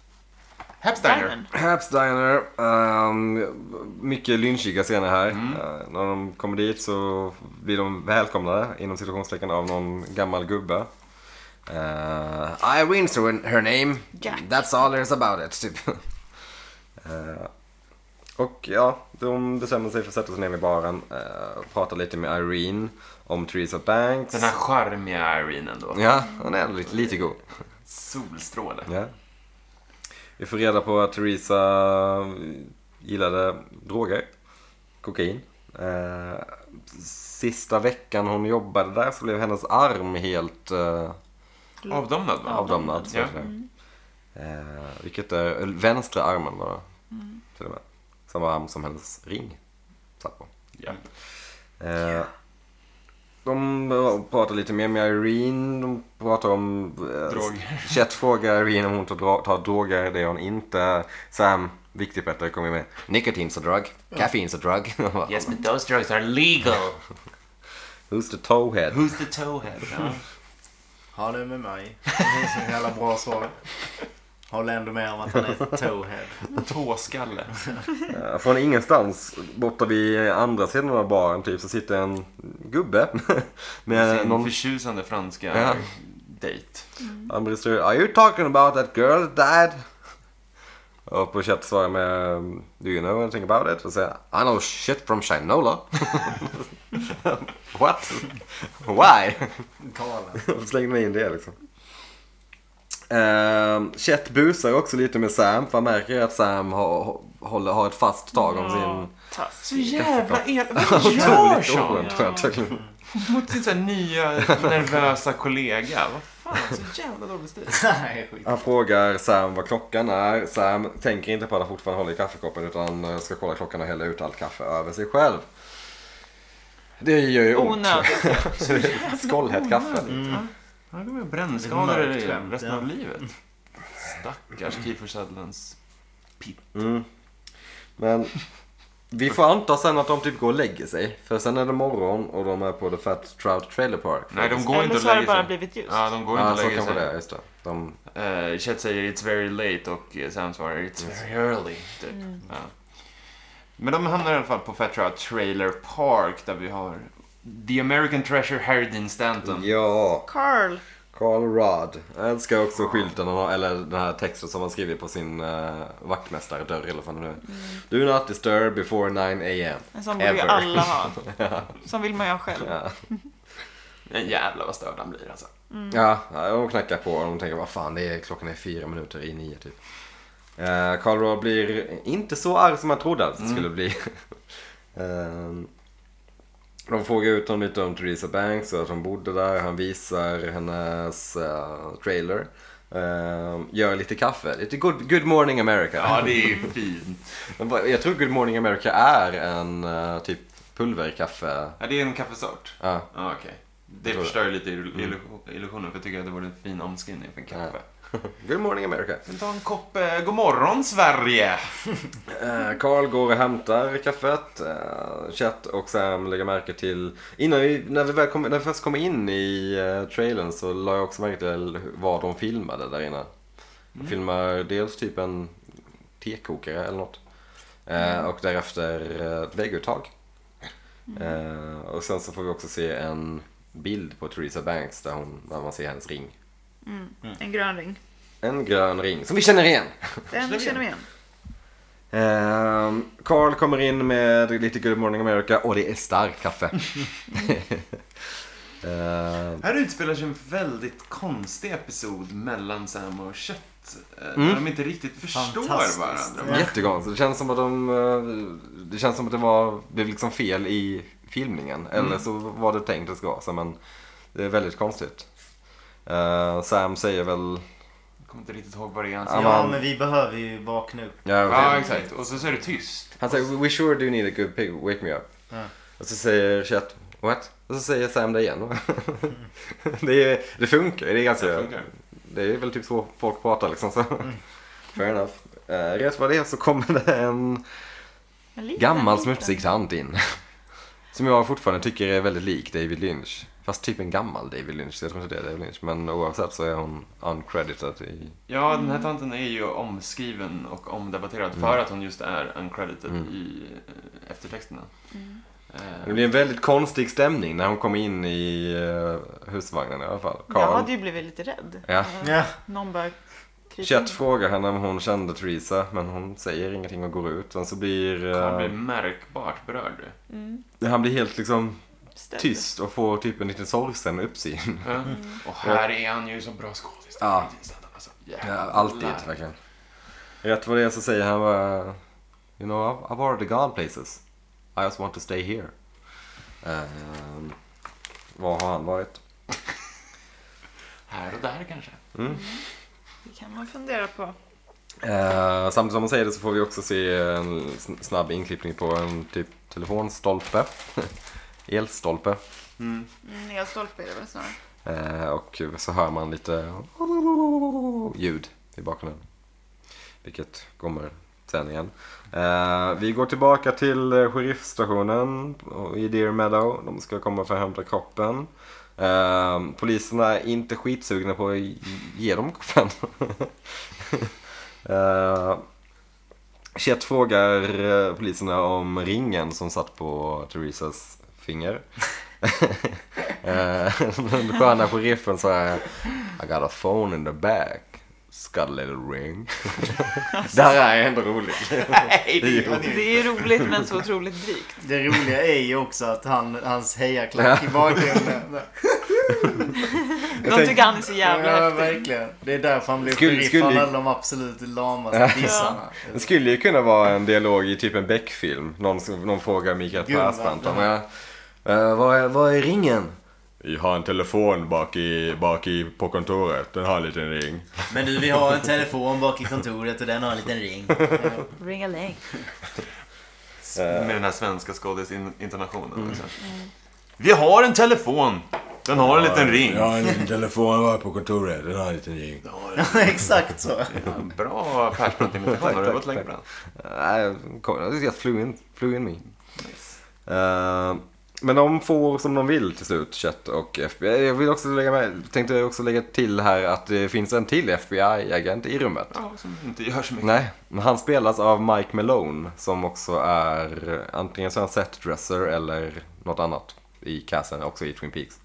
[SPEAKER 1] Hapsteiner.
[SPEAKER 2] Haps Diner. ehm, mycket lynchiga scener här.
[SPEAKER 1] Mm.
[SPEAKER 2] Eh, när de kommer dit så blir de välkomnade inom situationstecken av någon gammal gubbe. Uh, Irene's her- her name.
[SPEAKER 3] Jack.
[SPEAKER 2] That's all there's about it. Typ. Eh, och ja, de bestämmer sig för att sätta sig ner vid baren. Uh, prata lite med Irene om Theresa Banks.
[SPEAKER 1] Den här charmiga Irene ändå.
[SPEAKER 2] Ja, hon är lite, lite god.
[SPEAKER 1] Solstråle.
[SPEAKER 2] Ja. Vi får reda på att Theresa gillade droger, kokain. Eh, sista veckan hon jobbade där så blev hennes arm helt eh,
[SPEAKER 1] Avdomnad va?
[SPEAKER 2] avdomnad. Så
[SPEAKER 1] Ja.
[SPEAKER 2] att säga. Eh, vilket är eller vänstra armen var det. Till och med. Samma arm som hennes ring satt på.
[SPEAKER 1] Ja.
[SPEAKER 2] Eh, de pratar lite mer med Irene. De pratar om... Eh,
[SPEAKER 1] Droger.
[SPEAKER 2] Chet frågar Irene om hon tar, dra- tar droger. Det gör hon inte. Sam, viktig Petter, kommer med. Nicotine's a drug. Caffeine's a drug.
[SPEAKER 1] Yes, but those drugs are legal.
[SPEAKER 2] Who's the towhead?
[SPEAKER 1] Who's the towhead? Ja.
[SPEAKER 4] Ha det med mig. Det är så jävla bra svar. Håller ändå med om att han är towhead.
[SPEAKER 1] Tåskalle.
[SPEAKER 2] Eh, Från ingenstans, borta vid andra sidan av baren typ, så sitter en gubbe med
[SPEAKER 1] Sin
[SPEAKER 2] Eh, någon
[SPEAKER 1] förtjusande franska
[SPEAKER 2] Ja.
[SPEAKER 1] dejt.
[SPEAKER 2] Han blir sur. Are you talking about that girl that died? Oh, Och på chatt svarar med um, Do you know anything about it? Och säger I know shit from Shinola. What? Why?
[SPEAKER 4] Galen.
[SPEAKER 2] Och slänger man in det liksom. Um, Chet busar också lite med Sam för han märker att Sam har, håller, har ett fast tag om sin...
[SPEAKER 1] Så
[SPEAKER 3] Taskigt.
[SPEAKER 1] jävla el... Vad gör
[SPEAKER 2] Otroligt
[SPEAKER 1] sånt?
[SPEAKER 2] oskönt verkligen.
[SPEAKER 1] Mot sin så här nya nervösa kollega. Vad fan, så jävla dålig stil.
[SPEAKER 4] Nej, skit.
[SPEAKER 2] Han frågar Sam vad klockan är. Sam tänker inte på att han fortfarande håller i kaffekoppen utan eh, ska kolla klockan och hälla ut allt kaffe över sig själv. Det gör ju ont.
[SPEAKER 3] Onödigt.
[SPEAKER 2] Skållhett kaffe.
[SPEAKER 1] Han kommer att brännskador
[SPEAKER 4] Det är mörkt skämt,
[SPEAKER 1] resten
[SPEAKER 4] ja.
[SPEAKER 1] av livet. Stackars Kiefer Sutherlands pitt.
[SPEAKER 2] Men vi får anta sen att de typ går och lägger sig. För sen är det morgon och de är på The Fat Trout Trailer Park.
[SPEAKER 1] Nej, de går inte
[SPEAKER 3] Eller
[SPEAKER 1] att
[SPEAKER 3] så har det
[SPEAKER 1] lägga
[SPEAKER 3] bara
[SPEAKER 1] sig.
[SPEAKER 3] blivit ljust.
[SPEAKER 1] Ja, de går inte
[SPEAKER 2] Ja,
[SPEAKER 1] att
[SPEAKER 2] så
[SPEAKER 1] lägga
[SPEAKER 2] kanske det är.
[SPEAKER 1] sig.
[SPEAKER 2] Just det. De,
[SPEAKER 1] Eh, Chet säger it's very late och eh, Sam svarar it's very early. Typ.
[SPEAKER 3] Mm.
[SPEAKER 1] Ja. Men de hamnar i alla fall på Fat Trout Trailer Park där vi har The American Treasure Harry Dean Stanton.
[SPEAKER 2] ja,
[SPEAKER 3] Carl.
[SPEAKER 2] Carl Rudd. Jag älskar också skylten, han har- eller den här texten som han skrivit på sin uh, vaktmästardörr eller vad fan det
[SPEAKER 1] Mm.
[SPEAKER 2] nu är. Do not disturb before 9 am.
[SPEAKER 3] En sån borde ju
[SPEAKER 2] Ever.
[SPEAKER 3] alla ha. Som vill man ju ha själv.
[SPEAKER 2] Ja.
[SPEAKER 1] Men jävlar vad störd han blir alltså.
[SPEAKER 2] Ja, ja, de knackar på och de tänker vad fan det är, klockan är fyra minuter i nio typ. Eh, Karl Rohr blir inte så arg som man trodde att det
[SPEAKER 1] Mm.
[SPEAKER 2] skulle bli. Ehm, de frågar ut honom lite om Theresa Banks och att hon bodde där. Han visar hennes eh, trailer. Ehm, gör lite kaffe, lite good, good morning America.
[SPEAKER 1] Ja, det är ju fint.
[SPEAKER 2] Men vad- Jag tror Good morning America är en eh, typ pulverkaffe.
[SPEAKER 1] Ja, det är en kaffesort.
[SPEAKER 2] Ja.
[SPEAKER 1] Ja, okej. Det Mm.
[SPEAKER 2] Jag tror
[SPEAKER 1] förstör ju lite illu- illu- illusionen för jag tycker att det vore en fin omskrivning för en kaffe.
[SPEAKER 2] Good morning America.
[SPEAKER 1] Men ta en kopp eh, God morgon Sverige!
[SPEAKER 2] Eh, Carl går och hämtar kaffet. Eh, Chet och Sam lägger märke till... Innan vi, när, vi väl kom, när vi först kom in i eh, trailern så la jag också märke till vad de filmade där inne. De filmar dels typ en tekokare eller något. Eh, Och därefter eh, ett vägguttag. Eh, och sen så får vi också se en bild på Theresa Banks där, hon, där man ser hennes ring.
[SPEAKER 3] En grön ring.
[SPEAKER 2] En grön ring som vi känner igen.
[SPEAKER 3] Den känner vi igen.
[SPEAKER 2] Ehm, Carl kommer in med lite Good Morning America och det är starkt kaffe. Ehm,
[SPEAKER 1] Här utspelar sig en väldigt konstig episod mellan Sam och Kött. eh, Där de inte riktigt förstår
[SPEAKER 4] Fantastiskt.
[SPEAKER 1] varandra.
[SPEAKER 4] Ja.
[SPEAKER 2] Jättekonstigt. Det känns som att de... eh, Det känns som att det var... Det blev liksom fel i filmningen. Eller så var det tänkt att det ska vara så, men det är väldigt konstigt. Ehm, Sam säger väl...
[SPEAKER 1] Jag kommer inte riktigt ihåg vad det är han
[SPEAKER 2] Ja,
[SPEAKER 1] säger.
[SPEAKER 4] Ja,
[SPEAKER 2] man-
[SPEAKER 4] men vi behöver ju vakna upp.
[SPEAKER 2] Ja,
[SPEAKER 1] Ja, exakt. Och så, så är det tyst.
[SPEAKER 2] Han säger We sure do need a good pig, wake me up.
[SPEAKER 4] Ja.
[SPEAKER 2] Och så säger Chet What? Och så säger Sam det igen. det, är, det funkar, det är ganska...
[SPEAKER 1] Det funkar.
[SPEAKER 2] Det är väl typ så folk pratar liksom. Så. Fair enough. Eh, rätt vad det är så kommer det en
[SPEAKER 3] En liten,
[SPEAKER 2] gammal
[SPEAKER 3] liten.
[SPEAKER 2] smutsig tant in. Som jag fortfarande tycker är väldigt lik David Lynch. Fast typ en gammal David Lynch. Jag tror inte det är David Lynch. Men oavsett så är hon uncredited i...
[SPEAKER 1] Ja, den här tanten är ju omskriven och omdebatterad för
[SPEAKER 2] Mm.
[SPEAKER 1] att hon just är uncredited i eh, eftertexterna. Eh,
[SPEAKER 2] Det blir en väldigt konstig stämning när hon kommer in i eh, husvagnen i alla fall.
[SPEAKER 3] Jag
[SPEAKER 2] Carl.
[SPEAKER 3] hade ju blivit lite rädd.
[SPEAKER 2] Ja.
[SPEAKER 3] Eh,
[SPEAKER 4] Ja.
[SPEAKER 3] Någon bara kryper
[SPEAKER 2] Chet
[SPEAKER 3] in.
[SPEAKER 2] frågar henne om hon kände Theresa men hon säger ingenting och går ut. Sen så blir... eh,
[SPEAKER 1] Carl blir märkbart berörd.
[SPEAKER 3] Mm.
[SPEAKER 2] Han blir helt liksom
[SPEAKER 3] Ställd.
[SPEAKER 2] tyst och får typ en liten sorgsen uppsyn.
[SPEAKER 1] Ja. Och här är han ju så bra skådis.
[SPEAKER 2] Mm. Ja.
[SPEAKER 1] Alltså,
[SPEAKER 2] Ja,
[SPEAKER 1] jävlar.
[SPEAKER 2] alltid verkligen. Rätt vad det är så säger han bara... You know, I've, I've already gone places. I just want to stay here. Ehm, var har han varit?
[SPEAKER 1] Här och där kanske.
[SPEAKER 3] Det kan man fundera på.
[SPEAKER 2] Eh, samtidigt som hon säger det så får vi också se en sn- snabb inklippning på en typ telefonstolpe. Elstolpe.
[SPEAKER 3] Mm, Elstolpe är det väl snarare.
[SPEAKER 2] Eh, och så hör man lite ljud i bakgrunden. Vilket kommer sen igen. Eh, vi går tillbaka till eh, sheriffstationen i Deer Meadow. De ska komma för att hämta kroppen. Eh, poliserna är inte skitsugna på att ge dem kroppen. eh, Chet frågar eh, poliserna om ringen som satt på Theresas finger. Eh, Den sköna sheriffen sa I got a phone in the back. It's got a little ring. det här är ändå roligt.
[SPEAKER 3] Nej, det,
[SPEAKER 2] Jo.
[SPEAKER 3] är- det är ju roligt men så otroligt drygt.
[SPEAKER 4] Det roliga är ju också att han, hans hejaklack i bakgrunden.
[SPEAKER 3] De
[SPEAKER 2] tänk-
[SPEAKER 3] tycker han är så jävla
[SPEAKER 4] ja,
[SPEAKER 3] häftig.
[SPEAKER 4] verkligen. Det är därför han blev
[SPEAKER 2] Skulle-
[SPEAKER 4] sheriff.
[SPEAKER 2] skulle-
[SPEAKER 4] Han hade de absolut lamaste dissarna.
[SPEAKER 2] Det skulle ju kunna vara en dialog i typ en Beck-film. Någon, som- någon frågar Mikael
[SPEAKER 4] Gunnar.
[SPEAKER 2] Persbrandt om jag... eh, vad, är, vad är ringen? Vi har en telefon bak i, bak i, på kontoret. Den har en liten ring.
[SPEAKER 4] Men du, vi har en telefon bak i kontoret och den har en liten ring.
[SPEAKER 3] Ring a ling.
[SPEAKER 2] Eh,
[SPEAKER 1] Med den här svenska skådisintonationen. också. Vi har en telefon. Den har en liten ring.
[SPEAKER 5] Jag har en liten telefon bara på kontoret. Den har en liten ring.
[SPEAKER 4] Ja, Exakt så.
[SPEAKER 1] Bra Persbrandt-imitation. Har du
[SPEAKER 2] Tack,
[SPEAKER 1] gått
[SPEAKER 2] tack,
[SPEAKER 1] länge
[SPEAKER 2] tack.
[SPEAKER 1] Brandt?
[SPEAKER 2] Nej, det just flew in, flew in me. Eh, men de får som de vill till slut, Chet och FBI. Jag vill också lägga med, tänkte också lägga till här att det finns en till FBI-agent i rummet.
[SPEAKER 1] Ja, som inte gör så mycket.
[SPEAKER 2] Nej, men han spelas av Mike Malone som också är antingen så är han setdresser eller något annat i casten, också i Twin Peaks.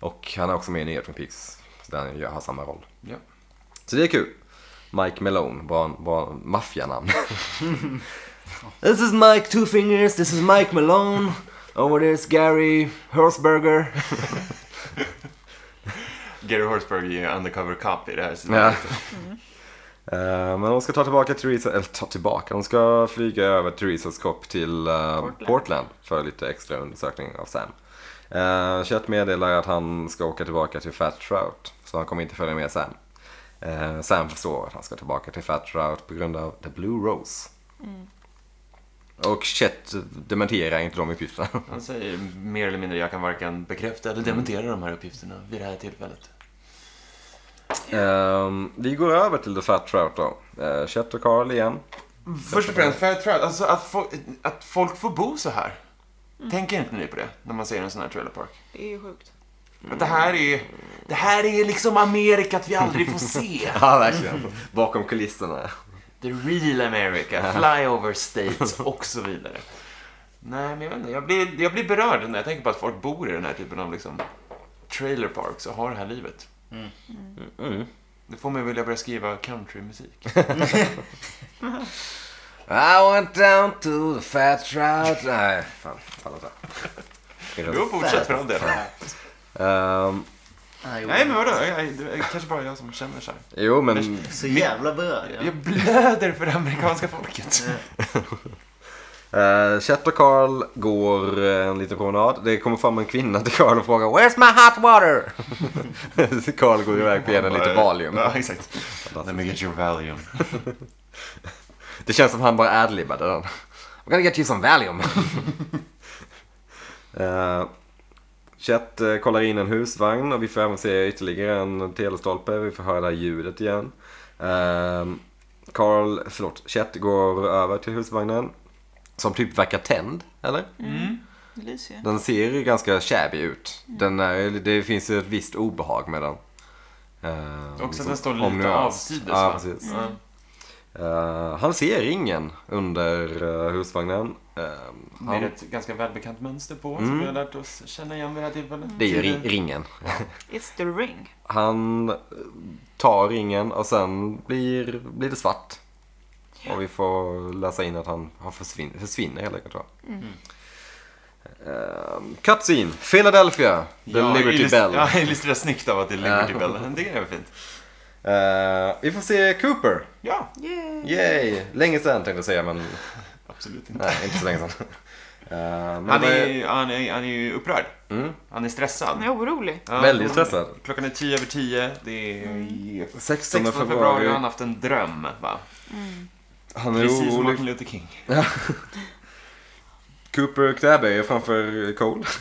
[SPEAKER 2] Och han är också med i nya Twin Peaks, så där han gör- har samma roll.
[SPEAKER 1] Ja.
[SPEAKER 2] Så det är kul. Mike Malone, bra, bra maffianamn. this is Mike Two Fingers, this is Mike Malone. Over there is Gary Hersberger.
[SPEAKER 1] Gary Horsberg är undercover cop i det här. Så
[SPEAKER 2] Ja. Eh, men de ska ta tillbaka Theresa, eller ta tillbaka, de ska flyga över Theresas kropp till eh,
[SPEAKER 3] Portland.
[SPEAKER 2] Portland. för lite extra undersökning av Sam. Uh, Chet meddelar att han ska åka tillbaka till Fat Trout, så han kommer inte följa med Sam. Eh, Sam förstår att han ska tillbaka till Fat Trout på grund av The Blue Rose. Och Chet dementerar inte de uppgifterna.
[SPEAKER 1] Han säger mer eller mindre jag kan varken bekräfta eller dementera de här uppgifterna vid det här tillfället.
[SPEAKER 2] Ehm, vi går över till The Fat Trout då. Uh, Chet och Carl igen.
[SPEAKER 1] Först och främst, fair trial. Alltså att, fo- att folk får bo så här. Tänker inte ni på det när man ser en sån här trailer park?
[SPEAKER 3] Det är ju sjukt.
[SPEAKER 1] Att det här är Det här är liksom Amerikat vi aldrig får se.
[SPEAKER 2] Ja, verkligen. Bakom kulisserna.
[SPEAKER 1] The real America, flyover states och så vidare. Nej, men jag vet inte. Jag blir, jag blir berörd när jag tänker på att folk bor i den här typen av liksom trailer parks och har det här livet.
[SPEAKER 2] Mm.
[SPEAKER 1] Det får mig vilja börja skriva countrymusik.
[SPEAKER 2] I went down to the fat trout. Nej, fan. fan vad
[SPEAKER 1] Jo, fortsätt för all del.
[SPEAKER 2] Ehm,
[SPEAKER 4] Nej,
[SPEAKER 1] Nej, men vadå? Jag, jag, det är kanske bara jag som känner så här.
[SPEAKER 2] jo, men
[SPEAKER 4] Så jävla berörd. Ja.
[SPEAKER 1] Jag blöder för det amerikanska folket.
[SPEAKER 2] uh, Chet och Carl går eh, en liten promenad. Det kommer fram en kvinna till Carl och frågar Where's my hot water? Så Carl går iväg på en lite Valium.
[SPEAKER 1] Ja, exakt. Let me get your Valium.
[SPEAKER 2] Det känns som han bara adlibbade den. I'm gonna get you some Valium. Eh, Chet eh, kollar in en husvagn och vi får även se ytterligare en telestolpe. Vi får höra det här ljudet igen. Ehm, Carl, förlåt, Chet går över till husvagnen. Som typ verkar tänd, eller?
[SPEAKER 3] Det lyser ju.
[SPEAKER 2] Den ser ju ganska shabby ut. Den är, det finns ju ett visst obehag med den. Eh,
[SPEAKER 1] Också
[SPEAKER 2] liksom,
[SPEAKER 1] att den står
[SPEAKER 2] om
[SPEAKER 1] lite
[SPEAKER 2] nuans.
[SPEAKER 1] avsides.
[SPEAKER 2] Ja,
[SPEAKER 1] va?
[SPEAKER 2] precis.
[SPEAKER 1] Ja.
[SPEAKER 2] Eh, han ser ringen under eh, husvagnen. Eh,
[SPEAKER 1] Med
[SPEAKER 2] han,
[SPEAKER 1] ett ganska välbekant mönster på
[SPEAKER 2] Mm.
[SPEAKER 1] som vi har lärt oss känna igen vid det här tillfället.
[SPEAKER 2] det är ju ri- ringen.
[SPEAKER 3] It's the ring.
[SPEAKER 2] Han eh, tar ringen och sen blir, blir det svart. Och vi får läsa in att han, han försvinner, försvinner helt enkelt. va?
[SPEAKER 1] Mm.
[SPEAKER 2] Eh, Cutscene, Philadelphia, The
[SPEAKER 1] Ja,
[SPEAKER 2] Liberty
[SPEAKER 1] illust-
[SPEAKER 2] Bell.
[SPEAKER 1] Ja, illustrerar snyggt av att det är Liberty
[SPEAKER 2] Ja.
[SPEAKER 1] Bell. Det är fint.
[SPEAKER 2] Eh, vi får se Cooper.
[SPEAKER 1] Ja,
[SPEAKER 3] Yay.
[SPEAKER 2] Yay! Länge sedan tänkte jag säga, men
[SPEAKER 1] absolut inte.
[SPEAKER 2] nej, inte så länge sedan. Eh, men
[SPEAKER 1] Han
[SPEAKER 2] det var ju-
[SPEAKER 1] är, han, är, han är ju upprörd.
[SPEAKER 2] Mm.
[SPEAKER 1] Han är
[SPEAKER 3] Han
[SPEAKER 1] stressad.
[SPEAKER 3] är orolig.
[SPEAKER 1] Ja,
[SPEAKER 2] Väldigt
[SPEAKER 1] och-
[SPEAKER 2] stressad.
[SPEAKER 1] Klockan är tio över tio. Det är
[SPEAKER 2] 16
[SPEAKER 1] 16 februari och han har haft en dröm, va?
[SPEAKER 2] Han är
[SPEAKER 1] Precis som
[SPEAKER 2] orolig.
[SPEAKER 1] Martin Luther King.
[SPEAKER 2] Cooper Knäberg framför Cole.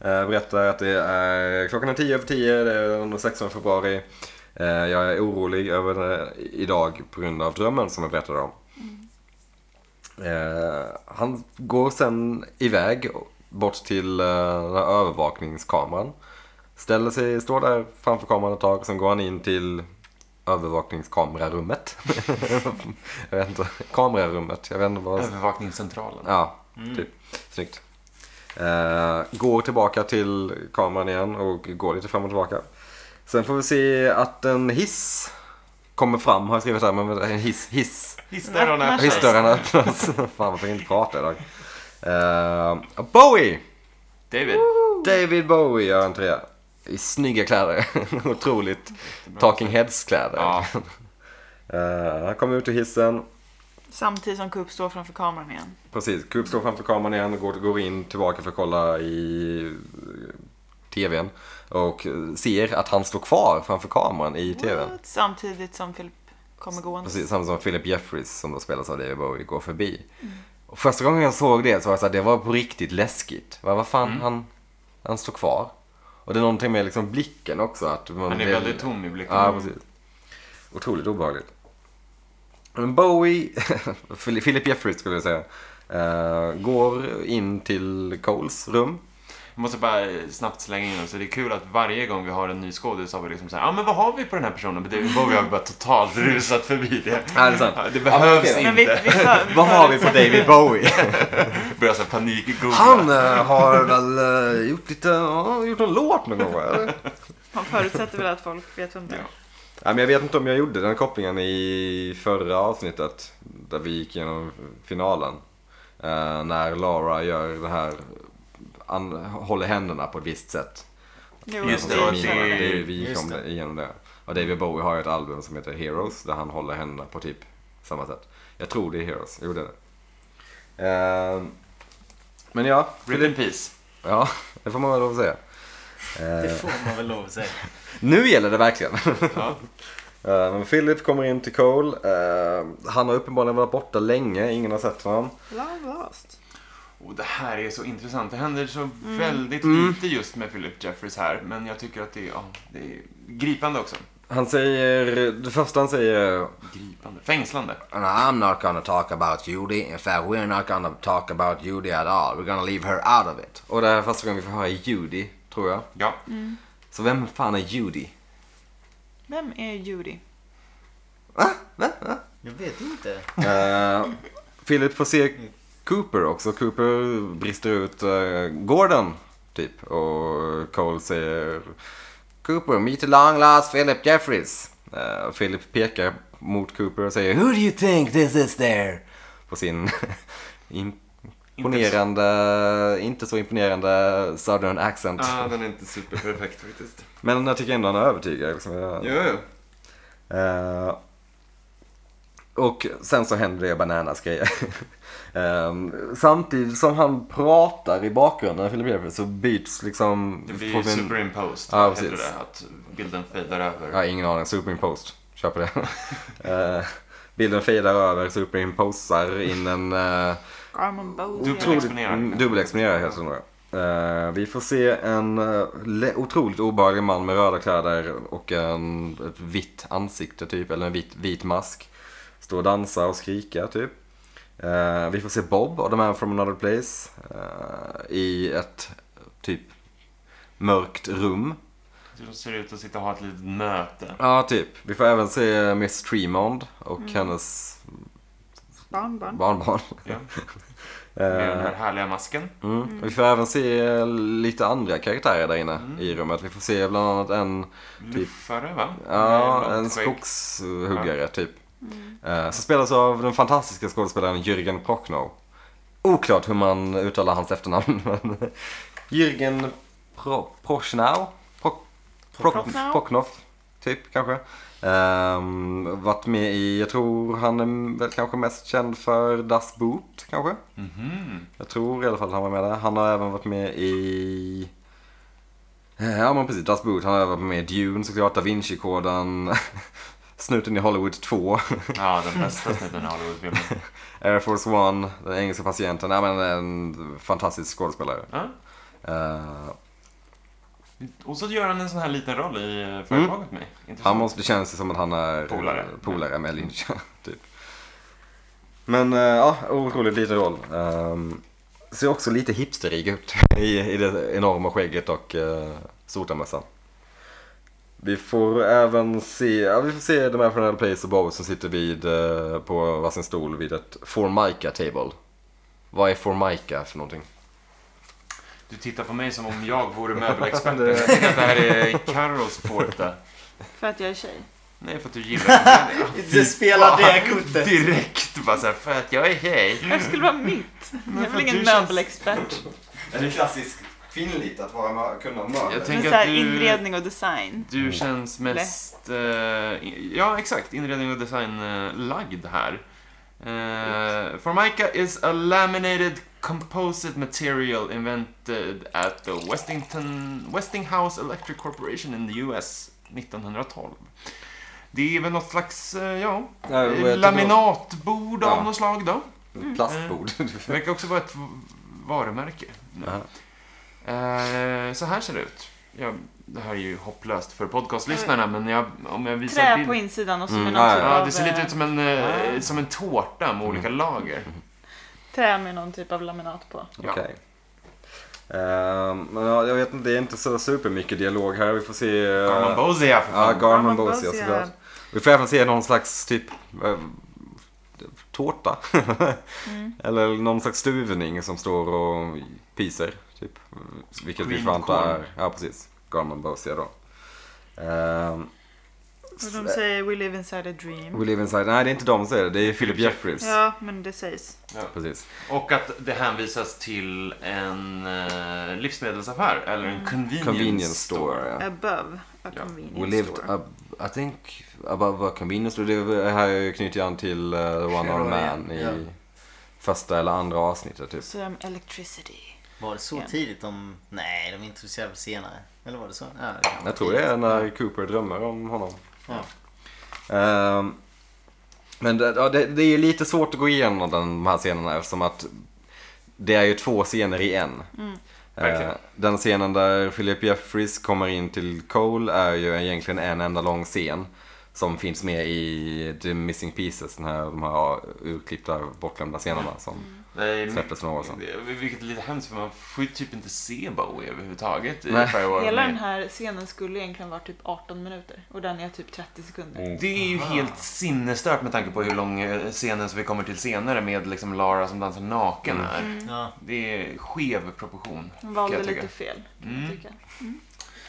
[SPEAKER 2] Eh, Berättar att det är klockan är 10 över 10, det är den 16 februari. Eh, Jag är orolig över det idag på grund av drömmen som jag berättade om. Eh, Han går sen iväg bort till eh, den här övervakningskameran. Ställer sig, står där framför kameran ett tag, sen går han in till övervakningskamerarummet. jag vet inte, kamerarummet, jag vet inte vad
[SPEAKER 1] Övervakningscentralen.
[SPEAKER 2] Ja, typ. Snyggt. Eh, går tillbaka till kameran igen och går lite fram och tillbaka. Sen får vi se att en hiss kommer fram har jag skrivit här, men en hiss, hiss.
[SPEAKER 1] Hissdörrarna
[SPEAKER 3] Nej,
[SPEAKER 1] öppnas.
[SPEAKER 2] Hissdörrarna öppnas. Fan varför kan jag inte prata idag? Eh, Bowie!
[SPEAKER 1] David.
[SPEAKER 2] David Bowie gör entré. I snygga kläder. Otroligt. Talking Heads kläder.
[SPEAKER 1] Ja.
[SPEAKER 2] Eh, han kommer ut ur hissen.
[SPEAKER 3] Samtidigt som Coop står framför kameran igen.
[SPEAKER 2] Precis, Coop står framför kameran igen och går, går in tillbaka för att kolla i eh, tvn. Och eh, ser att han står kvar framför kameran i tvn.
[SPEAKER 3] What? Samtidigt som Filip kommer gående.
[SPEAKER 2] Precis, samma som Philip Jeffries som då spelas av David Bowie går förbi. Och första gången jag såg det så var jag så här, det var på riktigt läskigt. Vad, vad fan,
[SPEAKER 1] Mm.
[SPEAKER 2] han, han står kvar. Och det är någonting med liksom blicken också. Att man
[SPEAKER 1] Han är
[SPEAKER 2] blir-
[SPEAKER 1] väldigt tom i blicken.
[SPEAKER 2] Ja, precis. Otroligt obehagligt. Men Bowie, Phil- Philip Jeffries skulle jag säga, eh, går in till Coles rum.
[SPEAKER 1] Jag måste bara eh, snabbt slänga in så det är kul att varje gång vi har en ny skådis så har vi liksom såhär, ja ah, men vad har vi på den här personen? Men David Bowie har vi bara totalt rusat förbi det.
[SPEAKER 2] Ja, det är sant.
[SPEAKER 1] Ja, Det
[SPEAKER 2] Ja, men
[SPEAKER 1] behövs
[SPEAKER 2] okej.
[SPEAKER 3] Men vi,
[SPEAKER 1] inte.
[SPEAKER 3] vi för, vi
[SPEAKER 2] Vad har vi på David Bowie?
[SPEAKER 1] Börjar såhär panikgoogla.
[SPEAKER 2] Han eh, har väl eh, gjort lite, ja, gjort någon låt någon gång va, eller?
[SPEAKER 3] Man förutsätter väl att folk vet vem det är.
[SPEAKER 2] Ja, men jag vet inte om jag gjorde den kopplingen i förra avsnittet där vi gick igenom finalen. Eh, när Laura gör det här, an, håller händerna på ett visst sätt.
[SPEAKER 3] Nu
[SPEAKER 1] Just
[SPEAKER 3] är
[SPEAKER 1] det, och
[SPEAKER 3] vi-
[SPEAKER 1] det-
[SPEAKER 2] det, är- vi gick
[SPEAKER 4] Just
[SPEAKER 2] om
[SPEAKER 4] det.
[SPEAKER 2] det, igenom det. Och David Bowie har ju ett album som heter Heroes där han håller händerna på typ samma sätt. Jag tror det är Heroes, jo det är det. Ehm, men ja,
[SPEAKER 1] Rip in peace.
[SPEAKER 2] ja, det får man väl lov att säga.
[SPEAKER 4] Det får man väl lov att säga.
[SPEAKER 2] Nu gäller det verkligen.
[SPEAKER 1] Ja.
[SPEAKER 2] Eh, Men Philip kommer in till Cole. Eh, Han har uppenbarligen varit borta länge, ingen har sett honom.
[SPEAKER 3] Love lost.
[SPEAKER 1] Och Oh, det här är så intressant. Det händer så väldigt
[SPEAKER 2] Mm.
[SPEAKER 1] lite just med Philip Jeffries här. Men jag tycker att det är, ja, det är gripande också.
[SPEAKER 2] Han säger, det första han säger
[SPEAKER 1] Gripande. Fängslande.
[SPEAKER 2] And I'm not gonna talk about Judy. In fact, we're not gonna talk about Judy at all. We're gonna leave her out of it. Och det här är första gången vi får höra Judy, tror jag.
[SPEAKER 1] Ja.
[SPEAKER 2] Så vem fan är Judy?
[SPEAKER 3] Vem är Judy?
[SPEAKER 4] Jag vet inte.
[SPEAKER 2] Eh, Philip får se Cooper också. Cooper brister ut eh, Gordon, typ. Och Cole säger Cooper, meet the long lost Philip Jeffries. Eh, Philip pekar mot Cooper och säger Who do you think this is there? På sin imponerande, inte så imponerande southern accent.
[SPEAKER 1] den är inte superperfekt faktiskt.
[SPEAKER 2] Men jag tycker ändå han övertygar. Liksom. Jag-
[SPEAKER 1] Jo, jo.
[SPEAKER 2] Eh, och sen så händer det Bananas grejer. Ehm, samtidigt som han pratar i bakgrunden, Philip Jeffries, så byts liksom...
[SPEAKER 1] Det blir
[SPEAKER 2] får
[SPEAKER 1] ju
[SPEAKER 2] vi en-
[SPEAKER 1] superimposed.
[SPEAKER 2] Ja,
[SPEAKER 1] heter
[SPEAKER 2] precis.
[SPEAKER 1] det. Att bilden fejdar över.
[SPEAKER 2] Ja, ingen aning. Superimposed. Kör på det. Eh, bilden fejdar över, superimposar in en... Uh,
[SPEAKER 3] Armand Bowie.
[SPEAKER 1] Du tror- Dubbelexponerar.
[SPEAKER 2] mm, Dubbelexponerar heter det nog. Eh, vi får se en eh, le- otroligt obehaglig man med röda kläder och en, ett vitt ansikte typ, eller en vit, vit mask. Stå och dansa och skrika typ. Eh, vi får se Bob och The Man From Another Place eh, i ett typ mörkt rum.
[SPEAKER 1] De ser ut att sitta och ha ett litet möte.
[SPEAKER 2] Ja, typ. Vi får även se Miss Tremond och hennes
[SPEAKER 3] Barnbarn.
[SPEAKER 2] barnbarn.
[SPEAKER 1] Ja. Med den
[SPEAKER 2] Eh,
[SPEAKER 1] här härliga masken.
[SPEAKER 2] mm. Vi får även se eh, lite andra karaktärer där inne i rummet. Vi får se bland annat en
[SPEAKER 1] Luffare, va? Med
[SPEAKER 2] typ- Ja,
[SPEAKER 1] långt
[SPEAKER 2] en
[SPEAKER 1] skägg.
[SPEAKER 2] skogshuggare typ. Eh, Som spelas av den fantastiska skådespelaren Jürgen Prochnow. Oklart hur man uttalar hans efternamn. Men Jürgen Pro- Prochnow? Pro- Pro-
[SPEAKER 3] Prochnow.
[SPEAKER 2] Prochnow, typ kanske. Ehm, varit med i, jag tror han är väl kanske mest känd för Das Boot kanske. Jag tror i alla fall att han var med där. Han har även varit med i... eh, Ja men precis, Das Boot. Han har även varit med i Dune såklart, Da Vinci-koden, Snuten i Hollywood 2,
[SPEAKER 1] Ja, den bästa snuten i Hollywoodfilmen.
[SPEAKER 2] Air Force One, Den engelska patienten. Ja men en fantastisk skådespelare.
[SPEAKER 1] Ja.
[SPEAKER 2] Eh,
[SPEAKER 1] Och så gör han en sån här liten roll i eh, företaget med. Intressant.
[SPEAKER 2] Mm. han måste, det känns som att han är eh,
[SPEAKER 1] Polare.
[SPEAKER 2] polare med Lynch. typ. Men eh, ja, otroligt liten roll. Um, ser också lite hipsterig ut i, i det enorma skägget och uh, sotarmössan. Vi får även se, ja, vi får se de här från Place och Bob som sitter vid, eh, på varsin stol vid ett Formica table. Vad är Formica för någonting?
[SPEAKER 1] Du tittar på mig som om jag vore möbelexperten. Jag tycker att det här är Carros porta.
[SPEAKER 3] För att jag är tjej.
[SPEAKER 1] Nej, för att du gillar den.
[SPEAKER 4] Det spelar det kortet.
[SPEAKER 1] Direkt bara så här, för att jag är tjej.
[SPEAKER 3] Jag skulle vara mitt. Jag är
[SPEAKER 1] för
[SPEAKER 3] väl ingen
[SPEAKER 1] du känns-
[SPEAKER 3] möbelexpert.
[SPEAKER 2] Är det klassiskt kvinnligt att vara, kunna ha
[SPEAKER 1] Jag
[SPEAKER 3] Men
[SPEAKER 1] tänker
[SPEAKER 3] så här,
[SPEAKER 1] att du,
[SPEAKER 3] inredning och design.
[SPEAKER 2] Mm.
[SPEAKER 1] du känns mest... eh, i- ja, exakt. Inredning och design eh, lagd här. Uh, Formica is a laminated composite material invented at the Westington, Westinghouse Electric Corporation in the US 1912. Det är väl något slags, eh, ja,
[SPEAKER 2] Ja, jag tror-
[SPEAKER 1] laminatbord av
[SPEAKER 2] Ja.
[SPEAKER 1] något slag då.
[SPEAKER 2] Mm. Plastbord.
[SPEAKER 1] Det verkar också vara ett varumärke.
[SPEAKER 2] Ja.
[SPEAKER 1] Eh, så här ser det ut. Ja, det här är ju hopplöst för podcastlyssnarna, men jag, om jag visar
[SPEAKER 3] Trä på
[SPEAKER 1] bild-
[SPEAKER 3] insidan och så med
[SPEAKER 2] Mm,
[SPEAKER 3] någon
[SPEAKER 2] ja,
[SPEAKER 3] typ
[SPEAKER 1] Ja,
[SPEAKER 3] av...
[SPEAKER 1] det ser lite ut
[SPEAKER 3] eh,
[SPEAKER 1] som en, eh, som en tårta
[SPEAKER 2] Mm.
[SPEAKER 1] med olika lager.
[SPEAKER 3] Trä med någon typ av laminat på.
[SPEAKER 1] Ja.
[SPEAKER 2] Okej. Ehm, men ja, jag vet inte, det är inte så supermycket dialog här. Vi får se... eh,
[SPEAKER 1] Armand Bozia, för
[SPEAKER 2] Ja,
[SPEAKER 1] fan.
[SPEAKER 2] Garman
[SPEAKER 3] Armand
[SPEAKER 2] Bosia
[SPEAKER 3] Bosia.
[SPEAKER 2] såklart. Vi får även se någon slags typ... eh, tårta. Eller någon slags stuvning som står och pyser. Typ. Vilket vi får anta
[SPEAKER 1] Greencorn.
[SPEAKER 2] är... Ja, precis. Garman Bosia då. Ehm,
[SPEAKER 3] Och de säger We live inside a dream.
[SPEAKER 2] We live inside... Nej, det är inte de som säger det. Det är Philip Jeffries.
[SPEAKER 3] Ja, men det sägs.
[SPEAKER 2] Precis.
[SPEAKER 1] Och att det hänvisas till en eh, livsmedelsaffär, eller
[SPEAKER 3] Mm.
[SPEAKER 1] en convenience,
[SPEAKER 2] Convenience
[SPEAKER 1] store.
[SPEAKER 2] store. ja.
[SPEAKER 3] Above a
[SPEAKER 1] Ja.
[SPEAKER 2] We
[SPEAKER 3] convenience
[SPEAKER 2] lived,
[SPEAKER 3] store.
[SPEAKER 2] ab I think, above a convenience store. Det här knyter jag an till uh, One Arm Man i
[SPEAKER 4] Ja.
[SPEAKER 2] första eller andra avsnittet. Typ.
[SPEAKER 3] Så um, electricity.
[SPEAKER 4] Var det så
[SPEAKER 3] Ja.
[SPEAKER 4] tidigt de... Nej, de introducerade väl senare. Eller var det så? Ja, det kan vara
[SPEAKER 2] Jag tror det är när Cooper drömmer om honom.
[SPEAKER 4] Ja.
[SPEAKER 2] Ehm, men det, ja, det, det är lite svårt att gå igenom den, de här scenerna eftersom att det är ju två scener i en.
[SPEAKER 1] Verkligen.
[SPEAKER 2] Eh, den scenen där Philip Jeffries kommer in till Cole är ju egentligen en enda lång scen. Som finns med i The Missing Pieces, den här, de här urklippta, bortglömda scenerna som
[SPEAKER 1] Nej,
[SPEAKER 2] släpptes för några år sedan.
[SPEAKER 1] vilket är lite hemskt, för man får ju typ inte se Bowie överhuvudtaget i
[SPEAKER 2] Nej.
[SPEAKER 1] Firework.
[SPEAKER 3] Hela den här scenen skulle egentligen vara typ 18 minuter och den är typ 30 sekunder.
[SPEAKER 2] Mm.
[SPEAKER 1] Det är ju helt sinnesstört med tanke på hur lång eh, scenen som vi kommer till senare med liksom Lara som dansar naken är.
[SPEAKER 4] Ja.
[SPEAKER 1] Det är skev proportion.
[SPEAKER 3] De
[SPEAKER 1] kan
[SPEAKER 3] Mm. valde
[SPEAKER 1] jag tycka.
[SPEAKER 3] lite fel, kan jag tycka.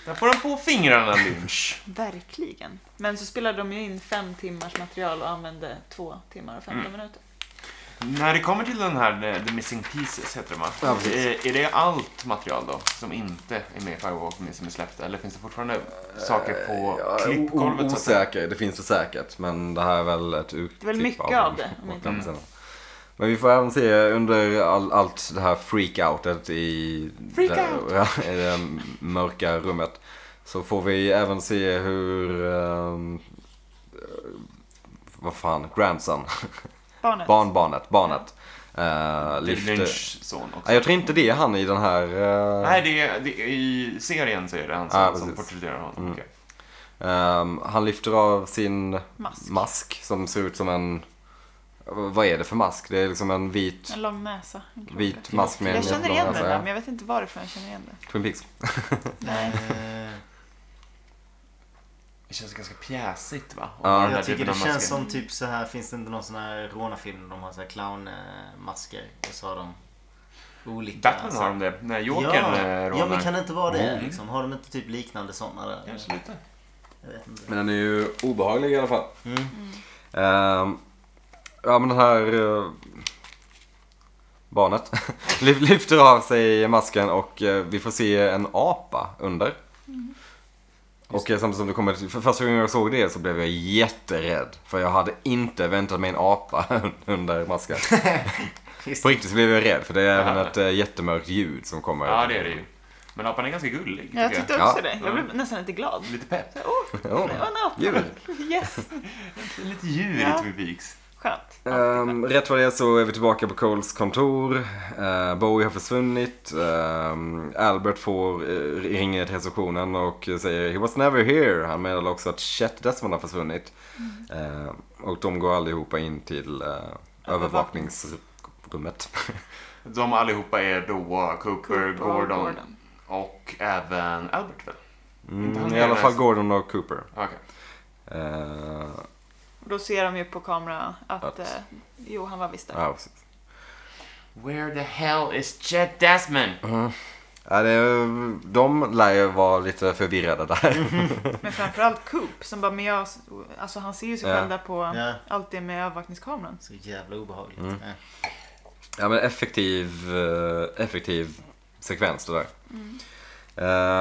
[SPEAKER 1] Där får han på fingrarna Lynch.
[SPEAKER 3] Verkligen. Men så spelade de ju in fem timmars material och använde två timmar och
[SPEAKER 2] Mm.
[SPEAKER 3] 15 minuter.
[SPEAKER 1] När det kommer till den här eh, The Missing Pieces heter den va?
[SPEAKER 2] Ja, precis.
[SPEAKER 1] Eh, är det allt material då som inte är med i Firewalk med som är släppta? Eller finns det fortfarande saker på
[SPEAKER 2] Eh, Ja,
[SPEAKER 1] klippgolvet?
[SPEAKER 2] o-
[SPEAKER 1] så att säga?
[SPEAKER 2] Osäker, det finns det säkert. Men det här är väl ett urklipp
[SPEAKER 3] Det är väl mycket av det, om inte
[SPEAKER 2] Mm. Men vi får även se under all, allt det här freakoutet i
[SPEAKER 3] Freak
[SPEAKER 2] det, i det mörka rummet. Så får vi även se hur... ehm, eh, vad fan, grandson.
[SPEAKER 3] Barnet.
[SPEAKER 2] Barnbarnet, barnet. eh,
[SPEAKER 1] Det är
[SPEAKER 2] lyfter...
[SPEAKER 1] Lynchs son också.
[SPEAKER 2] Nej, jag tror inte det är han i den här... eh,
[SPEAKER 1] Nej, det är, det är, i serien så är det han
[SPEAKER 2] Ja,
[SPEAKER 1] som, som
[SPEAKER 2] precis. Mm.
[SPEAKER 1] porträtterar honom. Okej.
[SPEAKER 2] Ehm, han lyfter av sin
[SPEAKER 3] Mask.
[SPEAKER 2] mask som ser ut som en vad är det för mask? Det är liksom en vit,
[SPEAKER 3] En lång näsa. En klocka.
[SPEAKER 2] vit mask med en
[SPEAKER 3] jag känner
[SPEAKER 2] lång
[SPEAKER 3] igen
[SPEAKER 2] näsa,
[SPEAKER 3] den
[SPEAKER 2] ja.
[SPEAKER 3] där, men jag vet inte varifrån jag känner igen den.
[SPEAKER 2] Twin Peaks.
[SPEAKER 3] Nej.
[SPEAKER 4] Eh,
[SPEAKER 1] Det känns ganska pjäsigt va? Om
[SPEAKER 2] Ja.
[SPEAKER 1] man har den där
[SPEAKER 4] jag tycker
[SPEAKER 1] typen
[SPEAKER 4] det
[SPEAKER 1] av masker.
[SPEAKER 4] känns som typ så här finns det inte någon sån här rånarfilm de har så här clownmasker och så har de olika.
[SPEAKER 1] Batman har de det. När Jokern eh,
[SPEAKER 4] ja, ja, men
[SPEAKER 1] rånar.
[SPEAKER 4] kan det inte vara det
[SPEAKER 2] Mm.
[SPEAKER 4] liksom? Har de inte typ liknande sådana där?
[SPEAKER 1] Kanske lite.
[SPEAKER 4] Jag vet inte.
[SPEAKER 2] Men den är ju obehaglig i alla fall.
[SPEAKER 4] Mm.
[SPEAKER 2] Ehm, ja men det här eh, barnet lyf- lyfter av sig masken och eh, vi får se en apa under.
[SPEAKER 1] Mm.
[SPEAKER 2] Och eh, samtidigt som det kommer, till- för första gången jag såg det så blev jag jätterädd. För jag hade inte väntat mig en apa under masken.
[SPEAKER 4] Just
[SPEAKER 2] På riktigt så blev jag rädd för det är även
[SPEAKER 1] Ja.
[SPEAKER 2] ett eh, jättemörkt ljud som kommer.
[SPEAKER 1] Ja, det är det ju. Men apan är ganska gullig. tycker
[SPEAKER 3] Jag tyckte
[SPEAKER 2] Ja. Mm.
[SPEAKER 3] också det. Jag blev nästan lite glad.
[SPEAKER 1] Lite pepp.
[SPEAKER 3] Så, Åh,
[SPEAKER 2] Ja.
[SPEAKER 3] det var en apa.
[SPEAKER 2] Djur.
[SPEAKER 3] Yes,
[SPEAKER 1] Lite djur
[SPEAKER 3] Ja.
[SPEAKER 1] i Twin Peaks.
[SPEAKER 3] skönt.
[SPEAKER 2] Ehm, rätt vad det är så är vi tillbaka på Coles kontor. Eh, Bowie har försvunnit. Ehm, Albert får eh, ringa till receptionen och säger “He was never here”. Han meddelar också att Chet Desmond har försvunnit.
[SPEAKER 1] Mm.
[SPEAKER 2] Ehm, och de går allihopa in till eh, övervakningsrummet.
[SPEAKER 1] De allihopa är då Cooper,
[SPEAKER 3] Cooper och
[SPEAKER 1] Gordon,
[SPEAKER 3] Gordon.
[SPEAKER 1] och även Albert väl? Inte han
[SPEAKER 2] Mm, I
[SPEAKER 1] spelar
[SPEAKER 2] alla fall
[SPEAKER 1] näst-
[SPEAKER 2] Gordon och Cooper.
[SPEAKER 1] Okej.
[SPEAKER 2] Ehm,
[SPEAKER 3] Och då ser de ju på kamera att,
[SPEAKER 2] Att-
[SPEAKER 3] Eh, jo, han var visst där.
[SPEAKER 2] ja, precis.
[SPEAKER 1] Where the hell is Chet Desmond?
[SPEAKER 2] Ja, det, är- de lär ju vara lite förvirrade
[SPEAKER 1] Mm-hmm.
[SPEAKER 2] där.
[SPEAKER 3] Men framförallt Coop som bara, men jag, alltså han ser ju sig
[SPEAKER 2] Ja.
[SPEAKER 3] själv där på
[SPEAKER 4] Ja.
[SPEAKER 3] allt det med övervakningskameran.
[SPEAKER 4] Så jävla obehagligt.
[SPEAKER 1] Mm.
[SPEAKER 4] Eh.
[SPEAKER 2] Ja men effektiv, eh, effektiv sekvens det där.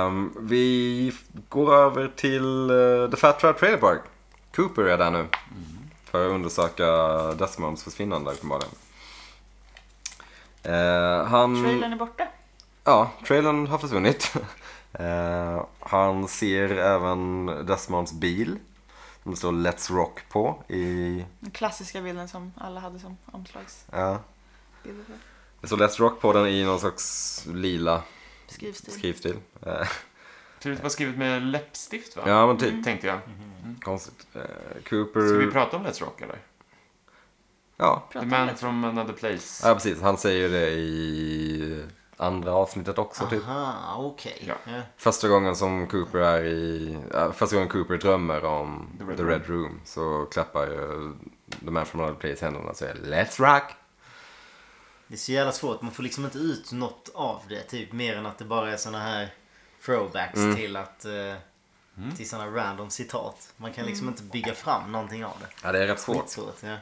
[SPEAKER 2] Ehm, vi f- går över till eh, The Fat Rat Trailer Park. Cooper är där nu. För att undersöka Desmonds försvinnande uppenbarligen. Eh, han...
[SPEAKER 3] Trailern är borta.
[SPEAKER 2] Ja, trailern har försvunnit. Eh, han ser även Desmonds bil. Som det står Let's Rock på i...
[SPEAKER 3] Den klassiska bilden som alla hade som omslagsbild.
[SPEAKER 2] ja.
[SPEAKER 3] för
[SPEAKER 2] det står Let's Rock på den i någon slags lila
[SPEAKER 3] Skrivstil.
[SPEAKER 2] skrivstil. Eh,
[SPEAKER 1] Tror du det var skrivet med läppstift va? Mm.
[SPEAKER 2] Ja, men typ.
[SPEAKER 1] Tänkte jag.
[SPEAKER 2] Konstigt. Eh,
[SPEAKER 1] Ska vi
[SPEAKER 2] Cooper...
[SPEAKER 1] prata om Let's Rock eller?
[SPEAKER 2] Ja.
[SPEAKER 1] The
[SPEAKER 3] Pratar om
[SPEAKER 1] man
[SPEAKER 3] det.
[SPEAKER 1] from another place.
[SPEAKER 2] ja, precis. Han säger ju det i andra avsnittet också, typ.
[SPEAKER 4] Aha, okej.
[SPEAKER 1] Ja.
[SPEAKER 4] Ja.
[SPEAKER 2] Första gången som Cooper är i... ja, första gången Cooper drömmer om
[SPEAKER 1] The Red
[SPEAKER 2] The Red Room så klappar ju The Man From Another Place händerna och säger Let's Rock!
[SPEAKER 4] Det är så jävla svårt. Man får liksom inte ut något av det. Typ mer än att det bara är såna här throwbacks
[SPEAKER 1] Mm.
[SPEAKER 4] till att... Eh, Till såna random citat. Man kan
[SPEAKER 1] Mm.
[SPEAKER 4] liksom inte bygga fram någonting av det.
[SPEAKER 2] Ja, det är rätt svårt.
[SPEAKER 4] Skitsvårt. Ja.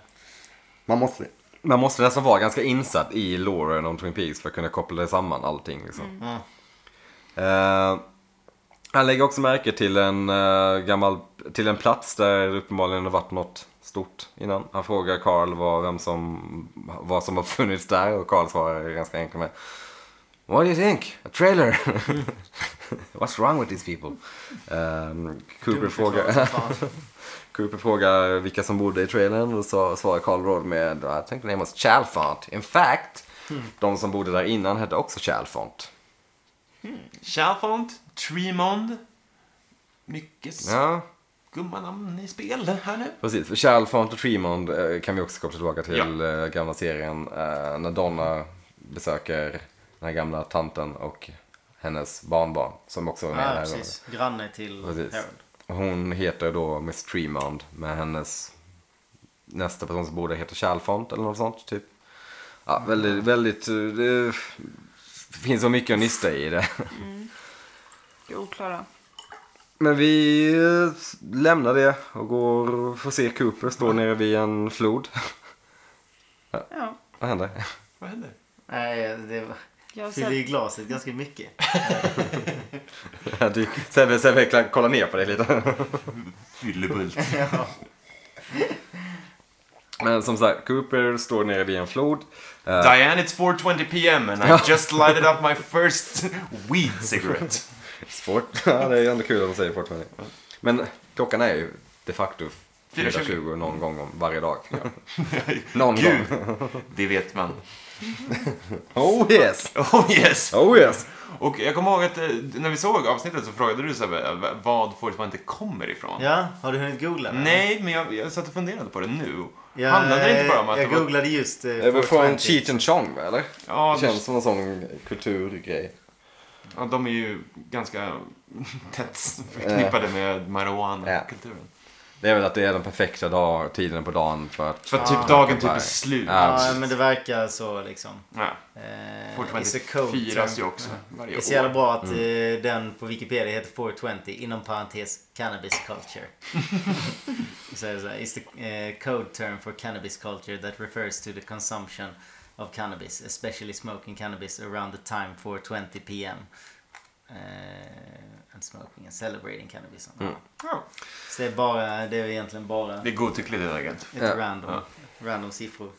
[SPEAKER 2] Man måste... Man måste nästan vara ganska insatt i loren om Twin Peaks för att kunna koppla samman allting liksom.
[SPEAKER 4] Ja. Mm.
[SPEAKER 2] Eh, han lägger också märke till en eh, gammal, till en plats där det uppenbarligen har varit något stort innan. Han frågar Carl vad, vem som, vad som har funnits där och Carl svarar ganska enkelt med What do you think? A trailer?
[SPEAKER 4] Mm.
[SPEAKER 2] What's wrong with these people? Eh, Cooper,
[SPEAKER 4] Dumt
[SPEAKER 2] frågar,
[SPEAKER 4] förklarat, fan.
[SPEAKER 2] Cooper frågar vilka som bodde i trailern och så svarar Carl Råd med I think the name was Chalfont. In fact, de som bodde där innan hette också Chalfont.
[SPEAKER 1] Chalfont, Tremond. Mycket
[SPEAKER 2] Ja.
[SPEAKER 1] skumma namn i spel här nu.
[SPEAKER 2] Precis, för Charles Font och Tremond eh, kan vi också koppla tillbaka till eh, gamla serien. eh, När Donna besöker den här gamla tanten och hennes barnbarn som också är med i den
[SPEAKER 4] Ja,
[SPEAKER 2] här
[SPEAKER 4] Ah, precis. Granne till
[SPEAKER 2] rollen. Precis.
[SPEAKER 4] Harold.
[SPEAKER 2] Hon heter då Miss Tremond men hennes nästa person som bor där heter Charles Font eller något sånt typ. Ja, väldigt, väldigt, eh, det finns så mycket att nysta i det.
[SPEAKER 3] Det är oklara.
[SPEAKER 2] Men vi eh, lämnar det och går och får se Cooper stå nere vid en flod.
[SPEAKER 3] Ja,
[SPEAKER 2] Vad händer?
[SPEAKER 1] Vad händer?
[SPEAKER 4] Nej, det var...
[SPEAKER 3] jag har
[SPEAKER 4] Fyllde i
[SPEAKER 3] sett.
[SPEAKER 4] glaset ganska mycket.
[SPEAKER 2] Ja, du- Sebbe, Sebbe kollar ner på dig lite.
[SPEAKER 1] Fyllebult.
[SPEAKER 2] Men som sagt, Cooper står nere vid en flod. Eh,
[SPEAKER 1] Diane, it's 4.20 p.m. and I just lighted up my first weed cigarette.
[SPEAKER 2] Svårt. Ja, det är ändå kul att de säger fortfarande. Men klockan är ju de facto 4.20 någon gång om varje dag. Någon
[SPEAKER 1] Gud,
[SPEAKER 2] gång.
[SPEAKER 1] det vet man.
[SPEAKER 2] Oh yes!
[SPEAKER 1] Oh yes!
[SPEAKER 2] Oh yes!
[SPEAKER 1] Och jag kommer ihåg att eh, när vi såg avsnittet så frågade du Sebbe eh, vad Forrest inte kommer ifrån.
[SPEAKER 4] Ja, har du hunnit googla? det?
[SPEAKER 1] Nej, men jag, jag satt och funderade på det nu.
[SPEAKER 4] Jag,
[SPEAKER 1] Handlade det inte bara om att
[SPEAKER 4] Jag
[SPEAKER 1] det var-
[SPEAKER 4] googlade just... eh,
[SPEAKER 2] Det är väl från
[SPEAKER 4] 420.
[SPEAKER 2] Cheech and Chong va, eller?
[SPEAKER 1] Ja,
[SPEAKER 2] Det känns som en sån kulturgrej.
[SPEAKER 1] ja, de är ju ganska tätt
[SPEAKER 2] Eh.
[SPEAKER 1] förknippade med marijuana-kulturen.
[SPEAKER 2] Det är väl att det är den perfekta dag, tiden på dagen för att...
[SPEAKER 1] För att typ
[SPEAKER 4] Ja.
[SPEAKER 1] dagen typ är
[SPEAKER 2] Nej.
[SPEAKER 1] slut.
[SPEAKER 2] Ja.
[SPEAKER 4] Ja,
[SPEAKER 2] precis.
[SPEAKER 4] men det verkar så liksom.
[SPEAKER 1] Ja.
[SPEAKER 4] Eh, it's a
[SPEAKER 1] Fortfarande
[SPEAKER 4] code
[SPEAKER 1] firas ju
[SPEAKER 4] term.
[SPEAKER 1] också varje
[SPEAKER 4] Det är så jävla
[SPEAKER 1] år.
[SPEAKER 4] bra att
[SPEAKER 1] Mm.
[SPEAKER 4] eh, den på Wikipedia heter 420 inom parentes cannabis culture. så är det så här, it's the eh, code term for cannabis culture that refers to the consumption of cannabis, especially smoking cannabis around the time 420 pm. Eh, and smoking and celebrating cannabis.
[SPEAKER 1] Ja.
[SPEAKER 4] Så det är bara, det är egentligen bara
[SPEAKER 1] Mm. Det är godtyckligt helt enkelt.
[SPEAKER 4] lite
[SPEAKER 2] Ja.
[SPEAKER 4] random,
[SPEAKER 1] Ja.
[SPEAKER 4] random siffror.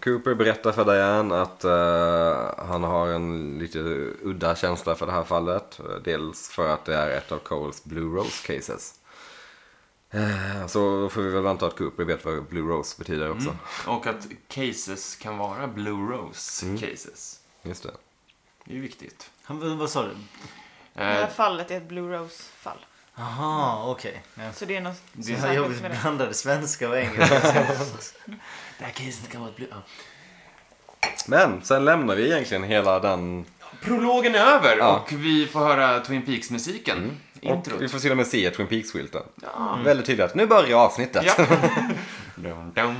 [SPEAKER 2] Cooper berättar för Diane att eh, han har en lite udda känsla för det här fallet. Eh, Dels för att det är ett av Coles Blue Rose cases. Eh, Så då får vi väl anta att Cooper vet vad Blue Rose betyder också.
[SPEAKER 1] Och att cases kan vara Blue Rose
[SPEAKER 2] Mm.
[SPEAKER 1] cases.
[SPEAKER 2] Just det.
[SPEAKER 1] Det är ju viktigt.
[SPEAKER 4] Han, vad sa du?
[SPEAKER 1] Eh,
[SPEAKER 3] Det här fallet är ett Blue Rose-fall.
[SPEAKER 4] Aha, okej. Ja.
[SPEAKER 3] Så det är något som
[SPEAKER 4] Det
[SPEAKER 3] det
[SPEAKER 4] här
[SPEAKER 3] särskilt
[SPEAKER 4] jobbet
[SPEAKER 3] med det.
[SPEAKER 4] blandade svenska och engelska. det här caset kan vara ett blue...
[SPEAKER 2] Men sen lämnar vi egentligen hela den...
[SPEAKER 1] Prologen är över
[SPEAKER 2] Ja. Mm.
[SPEAKER 1] och vi får höra Twin Peaks-musiken.
[SPEAKER 2] Och
[SPEAKER 1] Introt.
[SPEAKER 2] vi får till och med se Twin Peaks-skylten. Mm.
[SPEAKER 1] Ja.
[SPEAKER 2] Väldigt tydligt. Nu börjar avsnittet.
[SPEAKER 1] Ja. Dum, dum.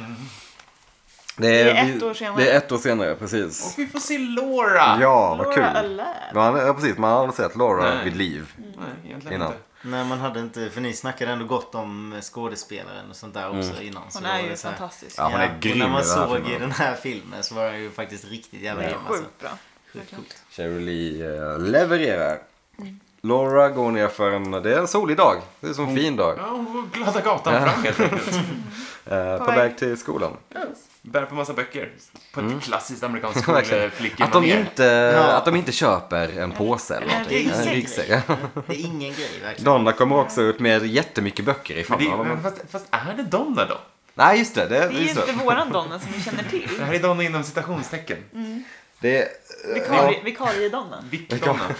[SPEAKER 2] Det
[SPEAKER 3] Det är ett år senare.
[SPEAKER 2] Det är ett år senare, precis.
[SPEAKER 1] Och vi får se Laura.
[SPEAKER 2] Ja, vad
[SPEAKER 3] Laura
[SPEAKER 2] kul.
[SPEAKER 3] Allaire.
[SPEAKER 2] Man, ja, precis. Man har aldrig sett Laura
[SPEAKER 1] Nej.
[SPEAKER 2] vid liv.
[SPEAKER 1] Nej, egentligen
[SPEAKER 2] Innan.
[SPEAKER 1] inte.
[SPEAKER 4] Nej, man hade inte... För ni snackade ändå gott om eh, skådespelaren och sånt där också innan.
[SPEAKER 3] Hon
[SPEAKER 4] då
[SPEAKER 3] är
[SPEAKER 4] var
[SPEAKER 3] ju
[SPEAKER 4] det så här-
[SPEAKER 3] fantastisk.
[SPEAKER 2] Mm. Ja, hon är grym
[SPEAKER 4] och när
[SPEAKER 2] i den här
[SPEAKER 4] man såg i
[SPEAKER 2] filmen.
[SPEAKER 4] den här filmen så var den ju faktiskt riktigt jävla
[SPEAKER 3] Det är
[SPEAKER 4] grym alltså.
[SPEAKER 3] sjukt bra. Verkligen.
[SPEAKER 2] Cheryl Lee eh, levererar. Laura går ner för en... Det är en solig dag. Det är som en fin dag.
[SPEAKER 1] Ja, hon går glada gatan fram helt enkelt.
[SPEAKER 2] Eh, på
[SPEAKER 3] väg.
[SPEAKER 2] väg till skolan.
[SPEAKER 1] Bär på massa böcker. På ett klassiskt amerikanskt
[SPEAKER 2] Mm. Verkligen. Att de,
[SPEAKER 1] skolflickemanér.
[SPEAKER 2] inte,
[SPEAKER 4] Ja.
[SPEAKER 2] att de inte köper en påse eller
[SPEAKER 3] eller en
[SPEAKER 2] någonting.
[SPEAKER 3] ryggsäck.
[SPEAKER 4] Det är ingen grej verkligen.
[SPEAKER 2] Donna kommer också ut med jättemycket böcker i
[SPEAKER 1] Men det,
[SPEAKER 2] famnen.
[SPEAKER 1] men fast, fast är det Donna då?
[SPEAKER 2] Nej, just det. Det,
[SPEAKER 3] Det är ju
[SPEAKER 2] just
[SPEAKER 3] inte
[SPEAKER 2] det.
[SPEAKER 3] våran Donna som vi känner
[SPEAKER 1] Det
[SPEAKER 3] till.
[SPEAKER 1] här är Donna inom citationstecken.
[SPEAKER 4] Mm.
[SPEAKER 2] det
[SPEAKER 3] Vikarie- Vikarie-Donna.
[SPEAKER 1] Vick-Donna.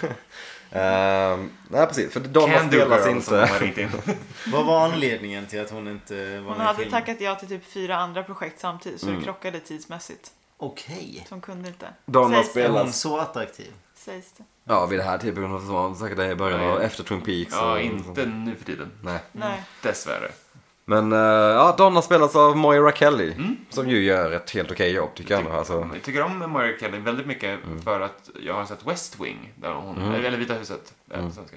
[SPEAKER 2] ehm, nej, precis. För Donna
[SPEAKER 1] Can do
[SPEAKER 2] spelas
[SPEAKER 1] girl som de
[SPEAKER 2] inte.
[SPEAKER 1] har ringt in.
[SPEAKER 4] Vad var anledningen till att hon inte var
[SPEAKER 3] Hon
[SPEAKER 4] med i
[SPEAKER 3] hade
[SPEAKER 4] filmen?
[SPEAKER 3] tackat ja till typ fyra andra projekt samtidigt så det krockade tidsmässigt.
[SPEAKER 4] Okej.
[SPEAKER 3] Så hon kunde inte.
[SPEAKER 2] Donna
[SPEAKER 3] Sägs det.
[SPEAKER 4] Är
[SPEAKER 2] spelar-
[SPEAKER 4] hon så attraktiv?
[SPEAKER 3] Sägs det.
[SPEAKER 2] Ja, vid det här tidpunkten som var säkert det i början av
[SPEAKER 1] Nej.
[SPEAKER 2] efter Twin Peaks.
[SPEAKER 1] Ja,
[SPEAKER 2] och-
[SPEAKER 1] inte nu för tiden.
[SPEAKER 2] Nej.
[SPEAKER 3] Nej.
[SPEAKER 1] Dessvärre.
[SPEAKER 2] Men eh, ja, Donna spelas av Moira Kelly.
[SPEAKER 1] Mm.
[SPEAKER 2] Som ju gör ett helt okej jobb tycker jag. nu, Alltså.
[SPEAKER 1] Jag tycker om Moira Kelly väldigt mycket för att jag har sett West Wing, där hon, eller Vita huset, eh, på svenska.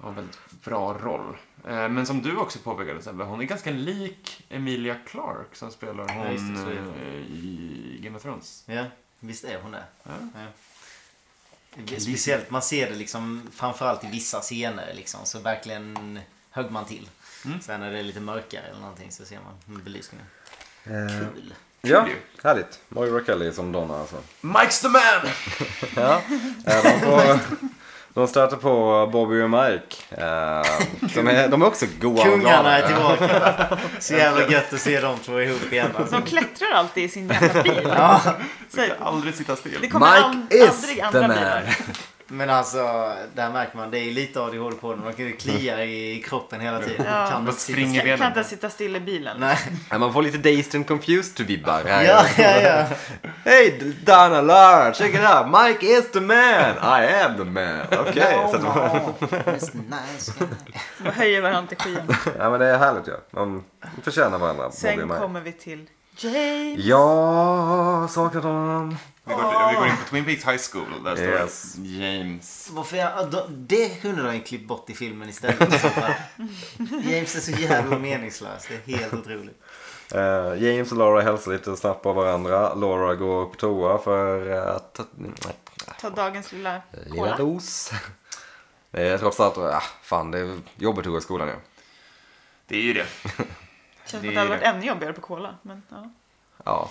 [SPEAKER 1] Har en väldigt bra roll. Eh, Men som du också påpekade, Sebbe, hon är ganska lik Emilia Clarke som spelar hon
[SPEAKER 4] Ja, just det, så är det.
[SPEAKER 1] eh, i Game of Thrones.
[SPEAKER 4] Ja, visst är hon det.
[SPEAKER 1] Ja.
[SPEAKER 4] Ja. Speciellt, man ser det liksom framförallt i vissa scener liksom, så verkligen högg man till.
[SPEAKER 1] Mm.
[SPEAKER 4] Sen när det är lite mörkare eller någonting så ser man belysningen.
[SPEAKER 1] Eh,
[SPEAKER 4] Kul.
[SPEAKER 2] Ja,
[SPEAKER 1] ju.
[SPEAKER 2] härligt. Moira Kelly som Donna alltså.
[SPEAKER 1] Mike's the man!
[SPEAKER 2] Ja. eh, de, får, de stöter på Bobby och Mike. eh, de, är, de är också goa och
[SPEAKER 4] Kungarna
[SPEAKER 2] glada. Eh,
[SPEAKER 4] är tillbaka. va? Så jävla gött att se de två ihop igen. Alltså.
[SPEAKER 3] De klättrar alltid i sin jävla bil. Så
[SPEAKER 1] Aldrig sitta still.
[SPEAKER 3] det kommer
[SPEAKER 2] Mike
[SPEAKER 3] Mike
[SPEAKER 2] is
[SPEAKER 3] aldrig
[SPEAKER 2] the
[SPEAKER 3] andra
[SPEAKER 2] man.
[SPEAKER 3] bilar.
[SPEAKER 4] Men alltså, där märker man, det är lite ADHD på dem. De kan ju klia i kroppen hela tiden.
[SPEAKER 3] Ja.
[SPEAKER 4] Kan
[SPEAKER 1] De
[SPEAKER 4] inte sitta
[SPEAKER 1] springer
[SPEAKER 4] still.
[SPEAKER 1] benen.
[SPEAKER 3] Kan inte sitta still i bilen.
[SPEAKER 4] Nej.
[SPEAKER 2] Ja, Man får lite dazed and confused vibbar här.
[SPEAKER 4] Ja, ja, ja.
[SPEAKER 2] Hey Donna Lars, check it out. Mike is the man. I am the man. Okej. så att-
[SPEAKER 4] Just nice.
[SPEAKER 3] De höjer varandra till skyn.
[SPEAKER 2] ja, men det är härligt ju. Ja. De förtjänar varandra. Bobby och
[SPEAKER 3] Sen
[SPEAKER 2] Mike.
[SPEAKER 3] kommer vi till James.
[SPEAKER 2] Ja, saknat honom.
[SPEAKER 1] Vi går, vi går in på Twin Peaks High School. Där står det
[SPEAKER 2] Yes.
[SPEAKER 1] James.
[SPEAKER 4] Varför jag, ja, de- det kunde de ju klippt bort i filmen istället. i så fall. James är så jävla meningslös. Det är helt otroligt.
[SPEAKER 2] Eh, James och Laura hälsar lite snabbt på varandra. Laura går på toa för eh, att
[SPEAKER 3] Ta dagens lilla
[SPEAKER 2] lilla
[SPEAKER 3] cola.
[SPEAKER 2] dos. Det är trots allt, ah, fan det är jobbigt att gå i skolan ju.
[SPEAKER 1] Det är ju det.
[SPEAKER 3] Känns som att det hade varit ännu jobbigare på cola. Men, ja.
[SPEAKER 2] Ja.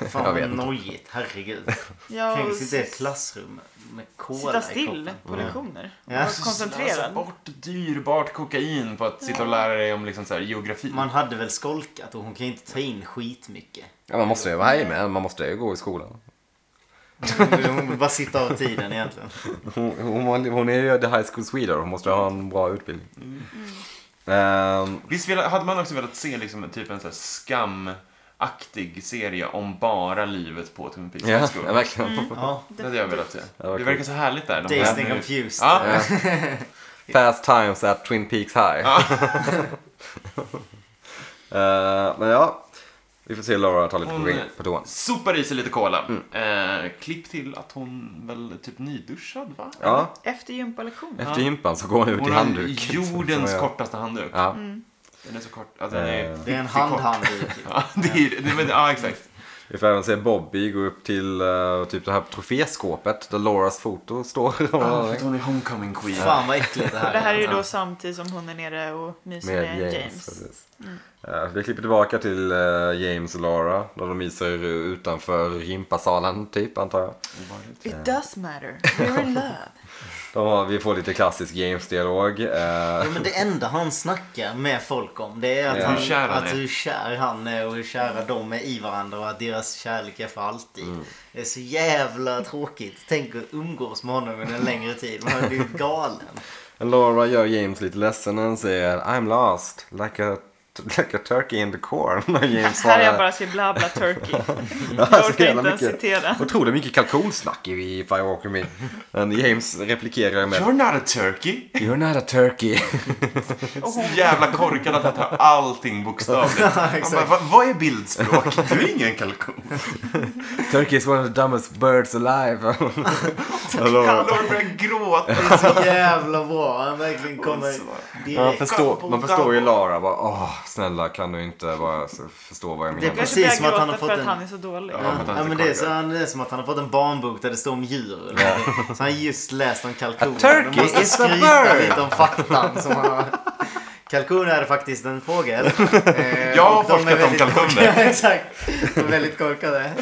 [SPEAKER 2] Jag
[SPEAKER 4] Fan
[SPEAKER 2] vet
[SPEAKER 4] vad
[SPEAKER 2] inte.
[SPEAKER 4] nojigt. Herregud.
[SPEAKER 3] Jag
[SPEAKER 4] Tänk att sitta i ett klassrum med cola
[SPEAKER 3] sitta
[SPEAKER 4] i
[SPEAKER 3] still
[SPEAKER 4] kroppen.
[SPEAKER 3] på lektioner.
[SPEAKER 4] Ja.
[SPEAKER 3] Var
[SPEAKER 1] Slösa
[SPEAKER 3] koncentrerad.
[SPEAKER 1] bort dyrbart kokain på att sitta och lära dig om liksom så här, geografi.
[SPEAKER 4] Man hade väl skolkat och hon kan ju inte ta in skitmycket.
[SPEAKER 2] ja, man måste ju vara här med, man måste ju gå i skolan.
[SPEAKER 4] Hon vill- Hon vill bara sitta av tiden egentligen.
[SPEAKER 2] Hon, hon, var- hon är ju the high school sweden, hon måste ha en bra utbildning. Eh, Ehm,
[SPEAKER 1] Visst vill- hade man också velat se liksom, en typ en så här skam aktig serie om bara livet på Twin Peaks
[SPEAKER 2] Ja,
[SPEAKER 1] High School.
[SPEAKER 2] verkligen.
[SPEAKER 4] Ja.
[SPEAKER 1] Det hade jag velat se.
[SPEAKER 2] Det var
[SPEAKER 1] Det
[SPEAKER 2] kul.
[SPEAKER 1] verkar så härligt där. De
[SPEAKER 4] Dazed and
[SPEAKER 1] här,
[SPEAKER 4] confused.
[SPEAKER 1] Ja.
[SPEAKER 2] Ja. Fast times at Twin Peaks High. Eh, men ja, vi får se Laura ta lite
[SPEAKER 1] Hon-
[SPEAKER 2] på- på toan.
[SPEAKER 1] sopar i sig lite cola.
[SPEAKER 2] Mm.
[SPEAKER 1] Eh, klipp till att hon väl är typ nyduschad, va?
[SPEAKER 2] Ja,
[SPEAKER 3] Efter gympalektionen.
[SPEAKER 2] efter
[SPEAKER 1] Ja.
[SPEAKER 2] gympan så går hon ut
[SPEAKER 1] Hon
[SPEAKER 2] i
[SPEAKER 1] har
[SPEAKER 2] handduk. liksom,
[SPEAKER 1] jordens
[SPEAKER 2] Som jag-
[SPEAKER 1] kortaste handduk.
[SPEAKER 2] Ja.
[SPEAKER 1] Den är så kort. Alltså, den är
[SPEAKER 2] Eh.
[SPEAKER 4] Det är en
[SPEAKER 1] skitkort.
[SPEAKER 4] handhandduk.
[SPEAKER 1] Ja, det är, det, men, ja, exakt.
[SPEAKER 2] Vi får även se Bobby gå upp till eh, typ det här troféskåpet där Lauras foto står.
[SPEAKER 1] Ja, för att Ah, hon är homecoming queen.
[SPEAKER 4] Fan vad äckligt det här
[SPEAKER 3] Det här är ju
[SPEAKER 1] Ja.
[SPEAKER 3] då samtidigt som hon är nere och myser med,
[SPEAKER 2] Med James.
[SPEAKER 3] James.
[SPEAKER 2] precis.
[SPEAKER 3] Mm.
[SPEAKER 2] Eh, vi klipper tillbaka till eh, James och Laura där de myser utanför gympasalen typ antar jag.
[SPEAKER 1] Obehagligt.
[SPEAKER 3] It does matter. We're in love.
[SPEAKER 2] De har, vi får lite klassisk James-dialog. eh,
[SPEAKER 4] Ja, men det enda han snackar med folk om det är att,
[SPEAKER 2] Ja.
[SPEAKER 4] han,
[SPEAKER 1] Hur kär han
[SPEAKER 4] att
[SPEAKER 1] är.
[SPEAKER 4] hur kär han är och hur kära de är i varandra och att deras kärlek är för alltid.
[SPEAKER 1] Mm.
[SPEAKER 4] Det är så jävla tråkigt. Tänk att umgås med honom under en längre tid. Man hade blivit galen.
[SPEAKER 2] Laura gör James lite ledsen när han säger I'm lost, like a, like a turkey in the corn. Och James
[SPEAKER 3] Här är jag bara så bla bla turkey.
[SPEAKER 2] Ja,
[SPEAKER 3] Jag
[SPEAKER 2] så
[SPEAKER 3] orkar
[SPEAKER 2] jävla
[SPEAKER 3] inte ens citera.
[SPEAKER 2] Otroligt mycket kalkonsnack i Fire Walk With Me. Men James replikerar med
[SPEAKER 1] You're not a turkey.
[SPEAKER 2] You're not a turkey.
[SPEAKER 3] Och
[SPEAKER 1] Så
[SPEAKER 3] hon,
[SPEAKER 1] jävla korkad att han tar allting bokstavligt. Han bara, "Va- vad är bildspråk? Du är ingen kalkon.
[SPEAKER 2] Turkey is one of the dumbest birds alive. Hallå.
[SPEAKER 1] Laura börjar gråta.
[SPEAKER 4] Det är så jävla bra. Han verkligen kommer
[SPEAKER 1] så.
[SPEAKER 2] Man
[SPEAKER 4] direkt.
[SPEAKER 2] förstår, man förstår ju Lara bara, åh snälla kan du inte bara så- förstå vad jag
[SPEAKER 4] Det är
[SPEAKER 2] menar?
[SPEAKER 3] jag
[SPEAKER 4] precis
[SPEAKER 3] börjar
[SPEAKER 4] som att
[SPEAKER 3] gråta
[SPEAKER 4] han har fått
[SPEAKER 3] för att
[SPEAKER 4] en-
[SPEAKER 3] han är så dålig.
[SPEAKER 1] Ja, men han är
[SPEAKER 4] Ja,
[SPEAKER 1] så
[SPEAKER 4] men det, är
[SPEAKER 1] korkad.
[SPEAKER 4] så, han- det är som att han har fått en barnbok där det står om djur. Så han har just läst om kalkoner.
[SPEAKER 2] A turkey
[SPEAKER 4] Man måste
[SPEAKER 2] is a
[SPEAKER 4] skryta
[SPEAKER 2] bird.
[SPEAKER 4] lite om faktan som han har. Kalkon är faktiskt en fågel. Eh,
[SPEAKER 1] Jag har
[SPEAKER 4] och de är
[SPEAKER 1] forskat om
[SPEAKER 4] väldigt
[SPEAKER 1] kalkoner.
[SPEAKER 4] korkade. Exakt. De är väldigt korkade.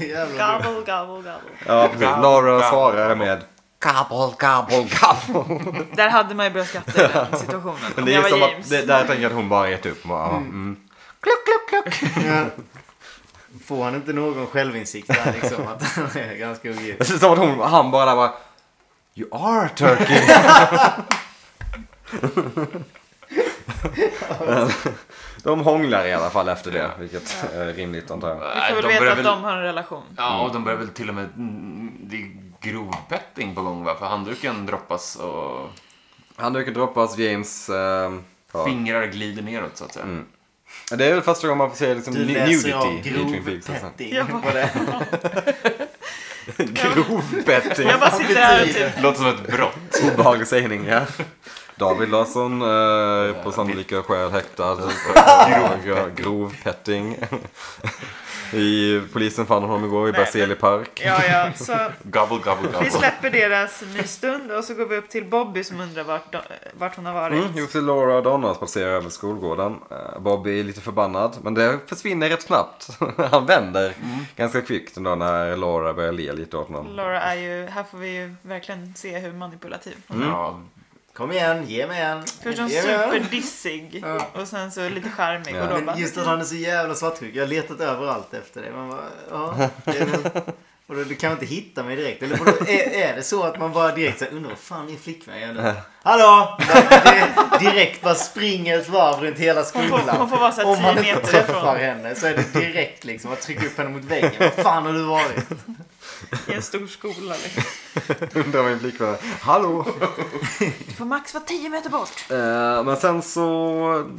[SPEAKER 4] Jävla bra.
[SPEAKER 3] Gobble, gobble, gobble.
[SPEAKER 2] Ja precis, Lara svarar med Gobble, gobble, gobble.
[SPEAKER 3] Där hade man ju börjat skratta i den situationen.
[SPEAKER 2] Men
[SPEAKER 3] Om
[SPEAKER 2] det
[SPEAKER 3] jag
[SPEAKER 2] är som
[SPEAKER 3] var
[SPEAKER 2] att,
[SPEAKER 3] James.
[SPEAKER 2] det, där tänker jag att hon bara gett upp. Bara, ja, mm. Kluck, kluck, kluck.
[SPEAKER 4] Ja. Får han inte någon självinsikt där liksom? Att han är ganska ogift.
[SPEAKER 2] Det är som att hon, han bara där bara You are a turkey. de hånglar i alla fall efter det, vilket är rimligt antar jag.
[SPEAKER 3] Vi får väl veta att de har en relation.
[SPEAKER 1] Ja, och de börjar väl till och med... mm, Det är grov betting på gång, va? För handduken droppas och
[SPEAKER 2] Handduken droppas, James... ehm, ja. Mm.
[SPEAKER 1] fingrar glider neråt, så att säga.
[SPEAKER 2] Det är väl första gången man får se liksom,
[SPEAKER 4] Du
[SPEAKER 2] nu-
[SPEAKER 4] läser
[SPEAKER 2] nudity
[SPEAKER 4] av
[SPEAKER 2] i Twin
[SPEAKER 4] grov
[SPEAKER 2] Peaks. alltså.
[SPEAKER 4] petting.
[SPEAKER 3] Jag bara,
[SPEAKER 2] Grov betting.
[SPEAKER 3] jag bara sitter här och typ
[SPEAKER 1] Låter som ett brott.
[SPEAKER 2] Obehaglig sägning, ja. David Larsson eh, på sannolika skäl häktad. grov, grov petting. I polisen fann honom igår i
[SPEAKER 3] Nej,
[SPEAKER 2] Berzelii park.
[SPEAKER 3] Ja, ja. Så
[SPEAKER 1] Gobble, gobble,
[SPEAKER 3] vi
[SPEAKER 1] gobble.
[SPEAKER 3] släpper deras mysstund och så går vi upp till Bobby som undrar vart, de, vart hon har varit.
[SPEAKER 2] Mm, vi får se Laura och Donna passera över skolgården. Eh, Bobby är lite förbannad, men det försvinner rätt snabbt. Han vänder ganska kvickt ändå när Laura börjar le lite åt honom.
[SPEAKER 3] Laura är ju, här får vi ju verkligen se hur manipulativ hon
[SPEAKER 2] Mm.
[SPEAKER 3] är.
[SPEAKER 1] Ja,
[SPEAKER 4] Kom igen, ge mig en.
[SPEAKER 3] Först är hon
[SPEAKER 4] Ge mig en.
[SPEAKER 3] superdissig och sen så lite charmig och
[SPEAKER 2] Ja.
[SPEAKER 3] då bara,
[SPEAKER 4] Men just att han är så jävla svartsjuk. Jag har letat överallt efter det. Man bara, ja, det är väl... Och då, du kan inte hitta mig direkt. Eller vadå, är, är det så att man bara direkt så här, undrar vad fan är flickvän jag nu? Hallå! Det, direkt bara springer ett varv runt hela
[SPEAKER 3] hon får,
[SPEAKER 4] skolan.
[SPEAKER 3] hon får vara så här
[SPEAKER 4] Om man
[SPEAKER 3] 10
[SPEAKER 4] inte
[SPEAKER 3] meter
[SPEAKER 4] träffar
[SPEAKER 3] ifrån
[SPEAKER 4] henne så är det direkt liksom att trycka upp henne mot väggen. Vad fan har du varit?
[SPEAKER 3] i en stor skola. Liksom.
[SPEAKER 2] Undrar vad min flickvän är. Hallå!
[SPEAKER 3] Du får max vara 10 meter bort.
[SPEAKER 2] Eh, men sen så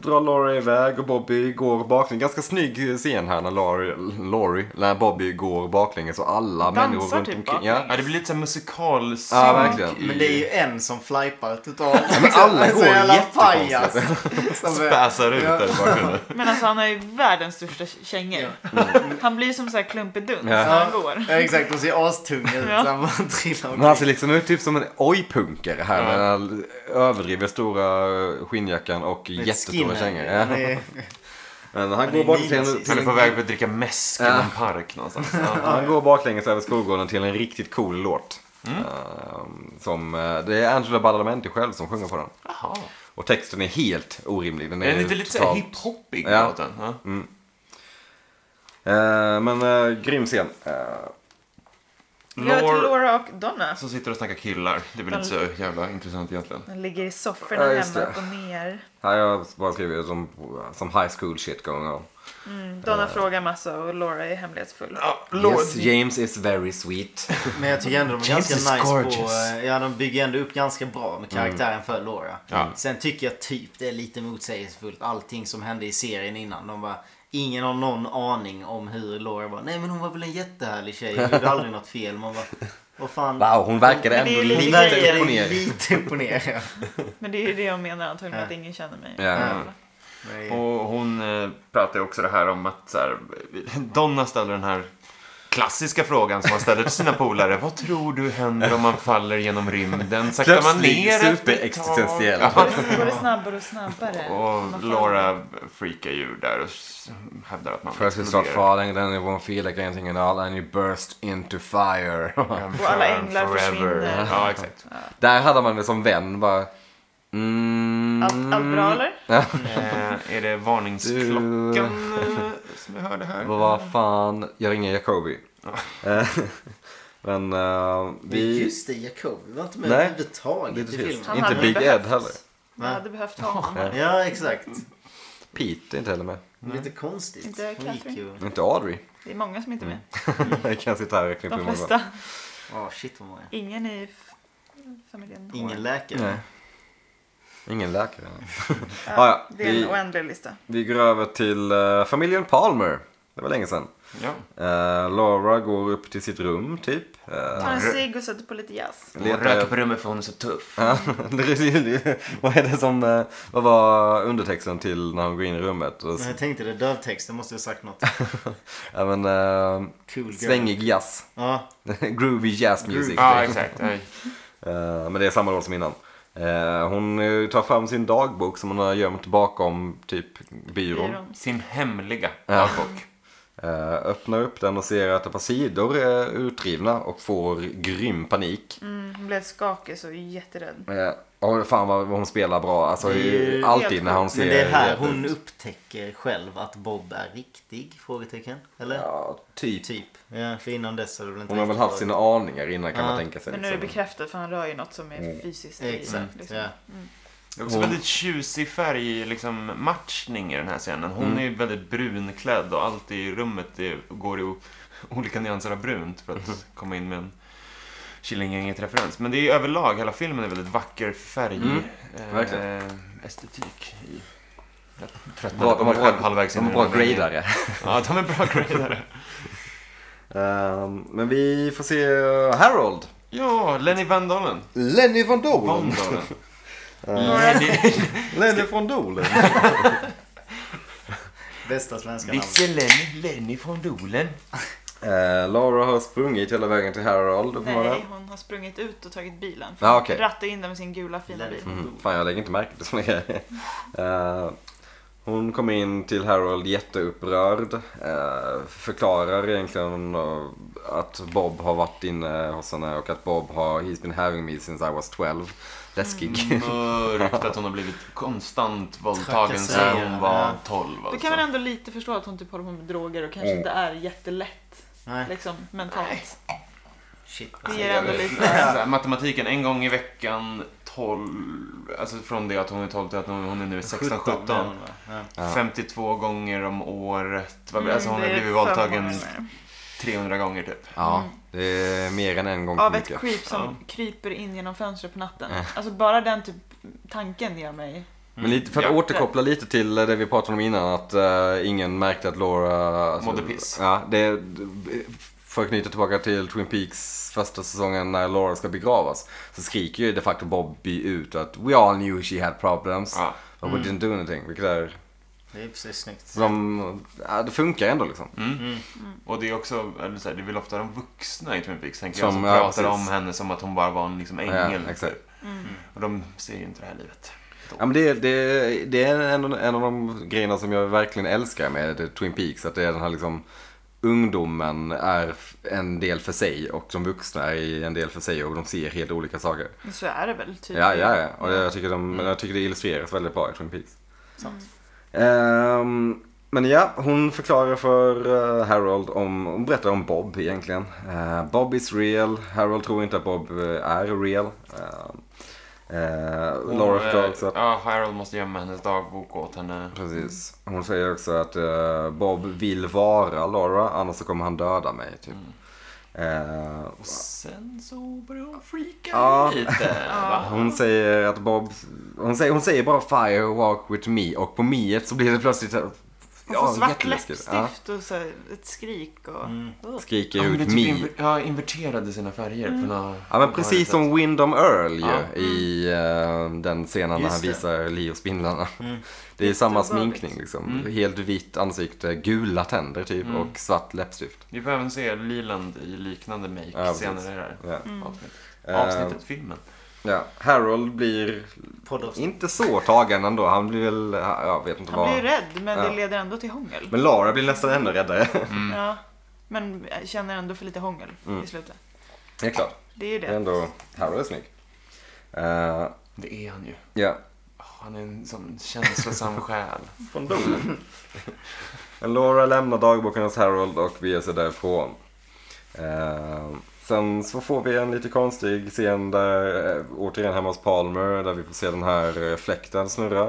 [SPEAKER 2] drar Laurie iväg och Bobby går baklänges. Ganska snygg scen här när Laurie, Laurie när Bobby går baklänges och alla
[SPEAKER 3] Dansar
[SPEAKER 2] människor runt
[SPEAKER 3] typ
[SPEAKER 2] omkring. Ja.
[SPEAKER 1] Ja, det blir lite så här musikalsynk
[SPEAKER 2] Ja, verkligen.
[SPEAKER 1] i-
[SPEAKER 4] Men det är ju en som flajpar totalt.
[SPEAKER 2] men alla
[SPEAKER 4] Så
[SPEAKER 2] går
[SPEAKER 4] jävla
[SPEAKER 2] jättekonstigt.
[SPEAKER 4] pajas. Som är-
[SPEAKER 1] Späsar ut där i bakgrunden.
[SPEAKER 3] Men alltså han har ju världens största kängor. Han blir som så här klumpedunk
[SPEAKER 2] Ja.
[SPEAKER 3] när han går.
[SPEAKER 4] Ja, exakt, de ser astunga ut.
[SPEAKER 3] Ja.
[SPEAKER 4] så här, Man trillar
[SPEAKER 2] Men han ser liksom ut typ som en oj-punker här
[SPEAKER 1] Ja.
[SPEAKER 2] med den här överdrivet stora skinnjackan och
[SPEAKER 4] Med
[SPEAKER 2] jättestora
[SPEAKER 4] skinhead.
[SPEAKER 2] kängor.
[SPEAKER 4] Han
[SPEAKER 2] Ja.
[SPEAKER 4] är-
[SPEAKER 2] Men
[SPEAKER 4] är
[SPEAKER 2] han går baklänges till en,
[SPEAKER 4] nynazist.
[SPEAKER 2] till
[SPEAKER 1] Han är
[SPEAKER 2] en
[SPEAKER 1] på väg för att dricka mäsk i
[SPEAKER 2] Ja.
[SPEAKER 1] någon park någonstans. Ja.
[SPEAKER 2] Han går baklänges över skolgården till en riktigt cool låt.
[SPEAKER 1] Mm.
[SPEAKER 2] Ehm, som, eh, det är Angela Badalamenti själv som sjunger på den.
[SPEAKER 1] Jaha.
[SPEAKER 2] Och texten är helt orimlig. Den är,
[SPEAKER 1] Den är inte lite så här
[SPEAKER 2] totalt-
[SPEAKER 1] hiphoppig,
[SPEAKER 2] Ja. Mm.
[SPEAKER 1] låten. Ja.
[SPEAKER 2] Eh, men eh, grym scen. Eh,
[SPEAKER 3] Vi har till
[SPEAKER 1] Lore
[SPEAKER 3] Laura och Donna.
[SPEAKER 1] som sitter och snackar killar. Det är väl inte så jävla intressant egentligen.
[SPEAKER 3] De ligger i sofforna
[SPEAKER 2] Ja, just
[SPEAKER 3] hemma
[SPEAKER 2] det.
[SPEAKER 3] upp och ner.
[SPEAKER 2] här har jag bara skrivit som, som high school shit going on.
[SPEAKER 3] Mm, Donna frågar massa och Laura är hemlighetsfull.
[SPEAKER 2] Yes, James is very sweet.
[SPEAKER 4] Men jag tycker ändå de är
[SPEAKER 2] Jesus
[SPEAKER 4] ganska nice på...
[SPEAKER 2] gorgeous.
[SPEAKER 4] eh, Ja, de bygger ändå upp ganska bra
[SPEAKER 2] Mm.
[SPEAKER 4] med karaktären för Laura.
[SPEAKER 1] Ja.
[SPEAKER 4] Sen tycker jag typ det är lite motsägelsefullt allting som hände i serien innan. De bara... Ingen har någon aning om hur Laura var. Nej men hon var väl en jättehärlig tjej. Hon gjorde aldrig något fel. Man bara... Vad fan.
[SPEAKER 2] Wow, hon verkade
[SPEAKER 3] Men det är
[SPEAKER 2] ändå
[SPEAKER 3] ju
[SPEAKER 4] Hon
[SPEAKER 2] lite
[SPEAKER 4] verkar
[SPEAKER 2] upp och ner.
[SPEAKER 4] Lite upp och ner. ja.
[SPEAKER 3] Men det är ju det jag menar antagligen
[SPEAKER 4] Ja.
[SPEAKER 3] att ingen känner mig.
[SPEAKER 2] Ja.
[SPEAKER 4] Nej.
[SPEAKER 1] Och hon eh, pratar ju också det här om att så här, Donna ställer den här klassiska frågan som man ställer till sina polare. Vad tror du händer om man faller genom rymden? Saktar man
[SPEAKER 2] Plötsligt
[SPEAKER 1] ner efter ett
[SPEAKER 2] superexistentiell.
[SPEAKER 1] tag?
[SPEAKER 3] Går det- Går det snabbare och snabbare? Man
[SPEAKER 1] Och
[SPEAKER 3] får-
[SPEAKER 1] Laura freakar ju ur där och s- hävdar att man
[SPEAKER 2] First you start
[SPEAKER 1] exploderar.
[SPEAKER 2] falling, then you won't feel like anything at all and you burst into fire.
[SPEAKER 1] I'm
[SPEAKER 3] Och alla
[SPEAKER 1] forever.
[SPEAKER 3] änglar försvinner.
[SPEAKER 1] Ja, exakt.
[SPEAKER 2] Där hade man det som vän bara. Mm,
[SPEAKER 3] Allt, allt bra eller?
[SPEAKER 1] Eh, är det varningsklockan eh, som jag hörde här?
[SPEAKER 2] Vad fan, jag ringer Jacobi. Eh, Men eh,
[SPEAKER 4] Men
[SPEAKER 2] vi...
[SPEAKER 4] Just det, Jacobi var inte med
[SPEAKER 2] Nej.
[SPEAKER 4] överhuvudtaget
[SPEAKER 2] Det är
[SPEAKER 4] i filmen.
[SPEAKER 2] trist.
[SPEAKER 3] Han
[SPEAKER 2] Inte
[SPEAKER 3] hade
[SPEAKER 2] Big Ed
[SPEAKER 3] behövts.
[SPEAKER 2] heller.
[SPEAKER 3] Jag hade behövt honom.
[SPEAKER 4] Ja, exakt.
[SPEAKER 2] Mm. Pete är inte heller med.
[SPEAKER 4] Lite konstigt.
[SPEAKER 3] Inte
[SPEAKER 4] Hon gick
[SPEAKER 3] Catherine.
[SPEAKER 4] ju...
[SPEAKER 2] Inte Audrey.
[SPEAKER 3] Det är många som inte är med.
[SPEAKER 2] Mm. Jag kan sitta här och klippa
[SPEAKER 3] De
[SPEAKER 2] ur mig
[SPEAKER 3] flesta.
[SPEAKER 4] Ja, shit vad många.
[SPEAKER 3] Ingen i f- familjen.
[SPEAKER 4] Ingen
[SPEAKER 2] bara. Nej.
[SPEAKER 4] läkare.
[SPEAKER 2] Ingen läkare. Ah, ja.
[SPEAKER 3] Ja, det är
[SPEAKER 2] Vi-
[SPEAKER 3] en oändlig lista.
[SPEAKER 2] Vi går över till eh, familjen Palmer. Det var länge sedan.
[SPEAKER 1] Ja.
[SPEAKER 2] Eh, Laura går upp till sitt rum typ. Eh,
[SPEAKER 3] Tar en cigg och sätter på lite jazz.
[SPEAKER 1] Hon röker på rummet för hon är så tuff.
[SPEAKER 2] Ja, det är- det är- vad är det som, eh, vad var undertexten till när hon går in i rummet? Och,
[SPEAKER 4] Men jag tänkte det, dövtexten måste jag ha sagt något.
[SPEAKER 2] även, uh,
[SPEAKER 4] Cool girl.
[SPEAKER 2] svängig jazz.
[SPEAKER 4] Ja,
[SPEAKER 2] Groovy jazz music.
[SPEAKER 1] Ja, exakt. Nej.
[SPEAKER 2] Eh, men det är samma roll som innan. Eh, hon eh, tar fram sin dagbok som hon har gömt bakom typ byrån.
[SPEAKER 3] Byrån.
[SPEAKER 1] Sin hemliga
[SPEAKER 2] Ja.
[SPEAKER 1] dagbok.
[SPEAKER 2] Eh, öppnar upp den och ser att ett par sidor är utrivna och får grym panik.
[SPEAKER 3] Mm, hon blev skakig så jätterädd.
[SPEAKER 2] Eh, och fan vad vad hon spelar bra. Alltså,
[SPEAKER 4] Det är ju
[SPEAKER 2] alltid
[SPEAKER 3] helt
[SPEAKER 2] när hon
[SPEAKER 3] sjukt.
[SPEAKER 2] ser
[SPEAKER 4] men det är här
[SPEAKER 2] rädd
[SPEAKER 4] hon
[SPEAKER 2] ut.
[SPEAKER 4] upptäcker själv att Bob är riktig? Frågetecken. Eller?
[SPEAKER 2] Ja, typ.
[SPEAKER 4] Typ. Ja, för innan dess har det väl inte
[SPEAKER 2] Hon har väl
[SPEAKER 4] riktigt
[SPEAKER 2] haft
[SPEAKER 4] varit-
[SPEAKER 2] sina aningar innan kan
[SPEAKER 4] Ja.
[SPEAKER 2] man tänka sig.
[SPEAKER 3] Men nu är det
[SPEAKER 2] liksom.
[SPEAKER 3] bekräftat för han rör ju något som är fysiskt. i-
[SPEAKER 4] Exakt,
[SPEAKER 2] Mm.
[SPEAKER 3] liksom.
[SPEAKER 4] ja.
[SPEAKER 1] Det är också väldigt tjusig färg, liksom matchning i den här scenen. Hon
[SPEAKER 2] Mm.
[SPEAKER 1] är ju väldigt brunklädd och allt i rummet är, går i o- olika nyanser av brunt för
[SPEAKER 2] Mm.
[SPEAKER 1] att komma in med en Killinggänget-referens. Men det är ju överlag, hela filmen är väldigt vacker färg,
[SPEAKER 2] Mm,
[SPEAKER 1] eh,
[SPEAKER 2] verkligen.
[SPEAKER 1] estetik. I, jag
[SPEAKER 2] Bra-
[SPEAKER 1] tröttnade
[SPEAKER 2] de
[SPEAKER 1] på
[SPEAKER 2] har
[SPEAKER 1] mig själv
[SPEAKER 2] bra-
[SPEAKER 1] halvvägs
[SPEAKER 2] De
[SPEAKER 1] in
[SPEAKER 2] är
[SPEAKER 1] i
[SPEAKER 2] Liksom, bra
[SPEAKER 1] den här
[SPEAKER 4] Mm.
[SPEAKER 1] meningen.
[SPEAKER 2] gradare.
[SPEAKER 1] Ja, de är bra gradare.
[SPEAKER 2] Ehm, men vi får se eh, Harold.
[SPEAKER 1] Ja, Lenny Van Dolen.
[SPEAKER 2] Lenny von
[SPEAKER 1] Van Mm.
[SPEAKER 2] Dolen.
[SPEAKER 1] Dolen.
[SPEAKER 3] Några-
[SPEAKER 2] Lenny von Dolen.
[SPEAKER 4] Bästa svenska namnet.
[SPEAKER 1] Visse Lenny, Lenny Van Dolen.
[SPEAKER 2] Eh, Laura har sprungit hela vägen till Harold. uppenbarligen.
[SPEAKER 3] Nej, hon har sprungit ut och tagit bilen.
[SPEAKER 2] Ja, okej.
[SPEAKER 3] Rattade in den med sin gula fina bil.
[SPEAKER 2] Mm, fan, jag lägger inte märke till såna grejer. Eh, hon kommer in till Harold jätteupprörd. eh, förklarar egentligen eh, att Bob har varit inne hos henne och att Bob har he's been having me since I was 12. Läskig.
[SPEAKER 1] Mm. Mörkt att hon har blivit konstant våldtagen sedan
[SPEAKER 4] Trakasserad,
[SPEAKER 1] hon var
[SPEAKER 4] ja.
[SPEAKER 1] 12.
[SPEAKER 3] Då
[SPEAKER 1] Alltså.
[SPEAKER 3] kan man ändå lite förstå att hon typ håller på med droger och kanske inte är jättelätt
[SPEAKER 4] Nej,
[SPEAKER 3] liksom, mentalt.
[SPEAKER 4] shit.
[SPEAKER 3] Det ger ändå lite...
[SPEAKER 1] Alltså, matematiken, en gång i veckan, 12, alltså från det att hon är 12 till att hon hon är nu 16, 17.
[SPEAKER 4] men, ja.
[SPEAKER 1] 52 gånger om året. Vad blir- Alltså hon har
[SPEAKER 3] Mm, det är
[SPEAKER 1] blivit
[SPEAKER 3] för
[SPEAKER 1] våldtagen
[SPEAKER 3] många gånger.
[SPEAKER 1] 300 gånger typ.
[SPEAKER 2] ja, det är mer än en gång
[SPEAKER 3] Av
[SPEAKER 2] för
[SPEAKER 3] ett
[SPEAKER 2] mycket.
[SPEAKER 3] creep som kryper in genom fönstret på natten. Alltså bara den typ tanken ger mig...
[SPEAKER 2] Men lite, för att
[SPEAKER 1] Mm. Ja.
[SPEAKER 2] återkoppla lite till det vi pratade om innan att eh, ingen märkte att Laura... Alltså,
[SPEAKER 1] Mådde piss.
[SPEAKER 2] Ja, det, för att knyta tillbaka till Twin Peaks första säsongen när Laura ska begravas. Så skriker ju de facto Bobby ut att We all knew she had problems.
[SPEAKER 1] Ja. Mm.
[SPEAKER 2] But we didn't do anything. Vilket är...
[SPEAKER 4] Det är precis snyggt.
[SPEAKER 2] så De, ja, det funkar ändå liksom.
[SPEAKER 1] Och det är också, eller så här, det är väl ofta de vuxna i Twin Peaks, tänker jag,
[SPEAKER 2] Som-
[SPEAKER 1] som
[SPEAKER 2] ja,
[SPEAKER 1] pratar
[SPEAKER 2] precis.
[SPEAKER 1] om henne som att hon bara var en liksom, ängel. Mm.
[SPEAKER 2] Ja, exakt.
[SPEAKER 1] Och de ser ju inte det här livet.
[SPEAKER 2] Ja, men det, det, det är en, en av de grejerna som jag verkligen älskar med Twin Peaks. Att det är den här liksom, ungdomen är f- en del för sig och de vuxna är i en del för sig och de ser helt olika saker.
[SPEAKER 3] Men Så är det väl typ.
[SPEAKER 2] Ja, ja, ja. Och jag tycker, de, jag tycker det illustreras väldigt bra i Twin Peaks.
[SPEAKER 4] Sant.
[SPEAKER 2] Ehm, men ja, hon förklarar för eh, Harold om, hon berättar om Bob egentligen. Eh, Bob is real, Harold tror inte att Bob eh, är real. Ehm, Eh,
[SPEAKER 1] Hon,
[SPEAKER 2] Laura
[SPEAKER 1] eh,
[SPEAKER 2] förklarar också att...
[SPEAKER 1] Ja, Harold måste gömma hennes dagbok åt henne.
[SPEAKER 2] Precis. Hon säger också att eh, Bob vill vara Laura, annars så kommer han döda mig. Typ. Eh,
[SPEAKER 1] Och sen så börjar hon freaka
[SPEAKER 2] Ja.
[SPEAKER 1] lite. va?
[SPEAKER 2] hon säger att Bob... Hon säger, hon säger bara fire walk with me och på meet så blir det plötsligt... eh, Ja,
[SPEAKER 3] Hon får svart typ.
[SPEAKER 2] jätteläskigt. Ja,
[SPEAKER 3] läppstift och så här, ett skrik och...
[SPEAKER 2] Mm.
[SPEAKER 3] Ugh.
[SPEAKER 2] skriker
[SPEAKER 1] Ja, men
[SPEAKER 2] ut
[SPEAKER 1] det är
[SPEAKER 2] me.
[SPEAKER 1] typ inver- ja, inverterade sina färger. För några,
[SPEAKER 2] Ja men precis som Windom Earl ju
[SPEAKER 1] Ja.
[SPEAKER 2] i eh, den scenen när
[SPEAKER 4] Just
[SPEAKER 2] han
[SPEAKER 4] det.
[SPEAKER 2] visar Lee och spindlarna. Det är samma
[SPEAKER 3] Jätteobehagligt.
[SPEAKER 2] sminkning liksom. Helt vitt ansikte, gula tänder typ och svart läppstift.
[SPEAKER 1] Vi får även se Leland i liknande make
[SPEAKER 2] Ja, precis.
[SPEAKER 1] senare i det här
[SPEAKER 2] Ja.
[SPEAKER 1] avsnittet.
[SPEAKER 2] Eh,
[SPEAKER 1] Avsnittet, filmen.
[SPEAKER 2] Ja. Harold blir
[SPEAKER 4] Poddavsnitt.
[SPEAKER 2] inte så tagen ändå. Han blir väl, jag vet inte
[SPEAKER 3] Han
[SPEAKER 2] vad.
[SPEAKER 3] blir ju rädd men
[SPEAKER 2] Ja. Mm.
[SPEAKER 3] det leder ändå till hångel.
[SPEAKER 2] Men Lara blir nästan ännu räddare.
[SPEAKER 3] Ja, men känner ändå för lite hångel i slutet.
[SPEAKER 2] det är klart.
[SPEAKER 3] Det är ju
[SPEAKER 2] Mm. Det är
[SPEAKER 3] det.
[SPEAKER 2] ändå, Harold är snygg. Eh,
[SPEAKER 1] Det är han ju.
[SPEAKER 2] Ja.
[SPEAKER 1] Åh, Han är en sån känslosam själ. Eh,
[SPEAKER 2] Från
[SPEAKER 4] Mm.
[SPEAKER 2] domen. Laura lämnar dagboken hos Harold och beger sig därifrån. Eh, sen så får vi en lite konstig scen där, eh, återigen hemma hos Palmer, där vi får se den här eh, fläkten snurra.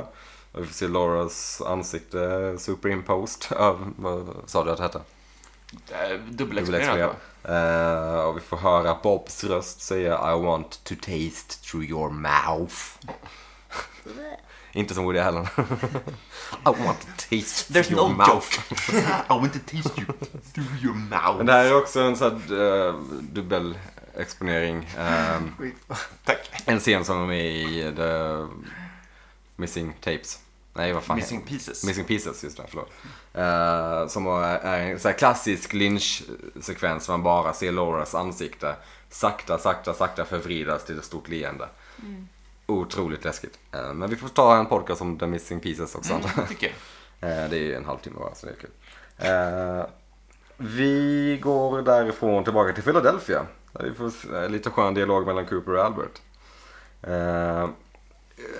[SPEAKER 2] Och vi får se Lauras ansikte superimposed. Ja, Vad sa du att det hette?
[SPEAKER 1] Eh,
[SPEAKER 2] Dubbelexponerat.
[SPEAKER 1] Dubbelexponerad.
[SPEAKER 2] Eh, och vi får höra Bobs röst säga I want to taste through your mouth. Inte som Woody Allen. I want to taste
[SPEAKER 1] There's
[SPEAKER 2] through your
[SPEAKER 1] no
[SPEAKER 2] mouth.
[SPEAKER 1] joke. I want to taste you through your mouth.
[SPEAKER 2] Men det här är också en sån här eh, dubbelexponering. Ehm,
[SPEAKER 1] Tack.
[SPEAKER 2] en scen som är med i The Missing Tapes. Nej, vad fan
[SPEAKER 1] Missing pieces.
[SPEAKER 2] Missing Pieces, just det, förlåt. Eh, som är är en så här klassisk lynch-sekvens, man bara ser Lauras ansikte sakta, sakta, sakta förvridas till ett stort leende. Otroligt läskigt. Eh, men vi får ta en podcast om The Missing Pieces också. antar jag.
[SPEAKER 1] Det tycker jag.
[SPEAKER 2] Eh, det är ju en halvtimme bara, så det är kul. Eh, vi går därifrån tillbaka till Philadelphia. Där vi får s- eh, lite skön dialog mellan Cooper och Albert. Eh,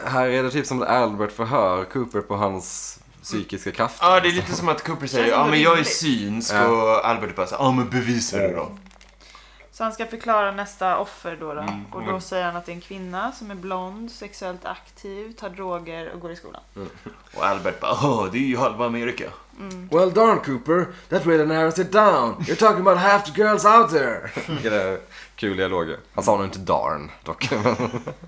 [SPEAKER 2] här är det typ som att Albert förhör Cooper på hans psykiska krafter.
[SPEAKER 5] Ah,
[SPEAKER 1] Ja, det är lite som att Cooper säger
[SPEAKER 3] Känns ändå
[SPEAKER 1] ja men jag är
[SPEAKER 3] rimligt.
[SPEAKER 1] synsk
[SPEAKER 2] Ja.
[SPEAKER 1] och Albert bara så här, ja men bevisa det då.
[SPEAKER 3] Så han ska förklara nästa offer då. då.
[SPEAKER 2] Mm.
[SPEAKER 3] och då
[SPEAKER 1] men-
[SPEAKER 3] säger han att det är en kvinna som är blond, sexuellt aktiv, tar droger och går i skolan.
[SPEAKER 1] Och Albert bara, åh det är ju halva Amerika.
[SPEAKER 5] Well, darn, Cooper. That really narrows it down. You're talking about half the girls out there.
[SPEAKER 2] Vilka det är kul dialoger. Han sa nog inte darn dock.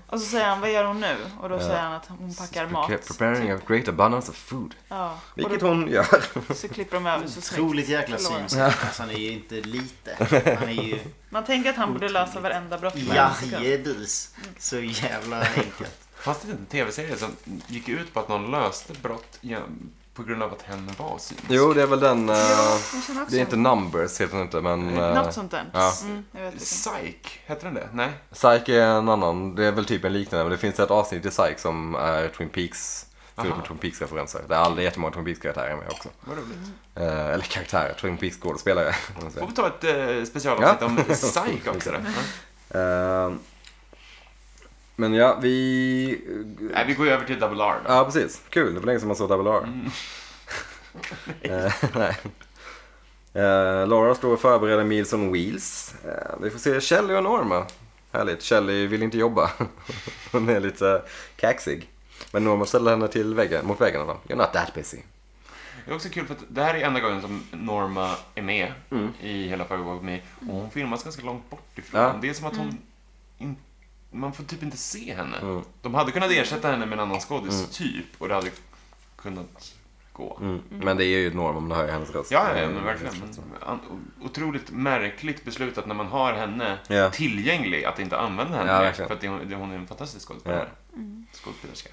[SPEAKER 3] Och så säger han, vad gör hon nu? Och då säger han att hon packar mat. Typ.
[SPEAKER 2] Preparing a great abundance of food.
[SPEAKER 3] Ja. Och
[SPEAKER 2] Vilket
[SPEAKER 3] då,
[SPEAKER 2] hon gör.
[SPEAKER 3] så klipper de över så
[SPEAKER 4] Otroligt
[SPEAKER 3] snyggt.
[SPEAKER 4] jäkla
[SPEAKER 3] Förlåt.
[SPEAKER 4] synsk. Alltså, han är ju inte lite. Han är ju
[SPEAKER 3] Man tänker att han borde lösa varenda brott på en sekund.
[SPEAKER 4] jajedus. Så jävla enkelt.
[SPEAKER 1] Fanns det inte en tv-serie som gick ut på att någon löste brott igen, på grund av att hen var synsk?
[SPEAKER 2] Jo, det är väl den... eh,
[SPEAKER 3] Jag känner också
[SPEAKER 2] det är inte numbers heter den inte, men... eh,
[SPEAKER 3] Något sånt där.
[SPEAKER 2] Ja.
[SPEAKER 3] Mm, jag vet inte.
[SPEAKER 1] Psych, hette den det? Nej?
[SPEAKER 2] Psyche är en annan, det är väl typ en liknande, men det finns ett avsnitt i Psyche som är Twin Peaks, fyllt med
[SPEAKER 1] Aha.
[SPEAKER 2] Twin Peaks-referenser. Det är aldrig jättemånga Twin Peaks-karaktärer med också.
[SPEAKER 1] Vad roligt.
[SPEAKER 2] Eh, eller karaktärer, Twin Peaks-skådespelare. om man
[SPEAKER 1] Får vi
[SPEAKER 2] säger.
[SPEAKER 1] ta ett eh, specialavsnitt
[SPEAKER 2] Ja.
[SPEAKER 1] om psych också då? Ja.
[SPEAKER 2] Eh, men ja, vi...
[SPEAKER 1] Nej, vi går ju över till Double R då.
[SPEAKER 2] Ja, precis. Kul, det var länge sedan man såg Double R.
[SPEAKER 1] Mm.
[SPEAKER 2] Eh, nej. Eh, Laura står och förbereder Meals on Wheels. Eh, vi får se Shelly och Norma. Härligt. Shelly vill inte jobba. Hon är lite eh, kaxig. Men Norma ställer henne till väggen, mot väggen. och bara, You're not that busy.
[SPEAKER 1] Det är också kul för att det här är enda gången som Norma är med
[SPEAKER 2] Mm.
[SPEAKER 1] i hela Firewalk With Me. Och hon filmas ganska långt bort ifrån.
[SPEAKER 2] Ja.
[SPEAKER 1] Det är som att hon...
[SPEAKER 3] Mm.
[SPEAKER 1] In, man får typ inte se henne.
[SPEAKER 2] Mm.
[SPEAKER 1] De hade kunnat ersätta henne med en annan skådis, typ. Och det hade kunnat gå.
[SPEAKER 2] Mm. Men det är ju Norma om du hör hennes röst.
[SPEAKER 1] Ja, ja, men verkligen. Men, an, otroligt märkligt beslut att när man har henne
[SPEAKER 2] Ja.
[SPEAKER 1] tillgänglig, att inte använda henne.
[SPEAKER 2] Ja,
[SPEAKER 1] mer,
[SPEAKER 2] verkligen.
[SPEAKER 1] för att det, hon- det, hon är en fantastisk skådespelare.
[SPEAKER 3] Mm.
[SPEAKER 1] Skådespelerska.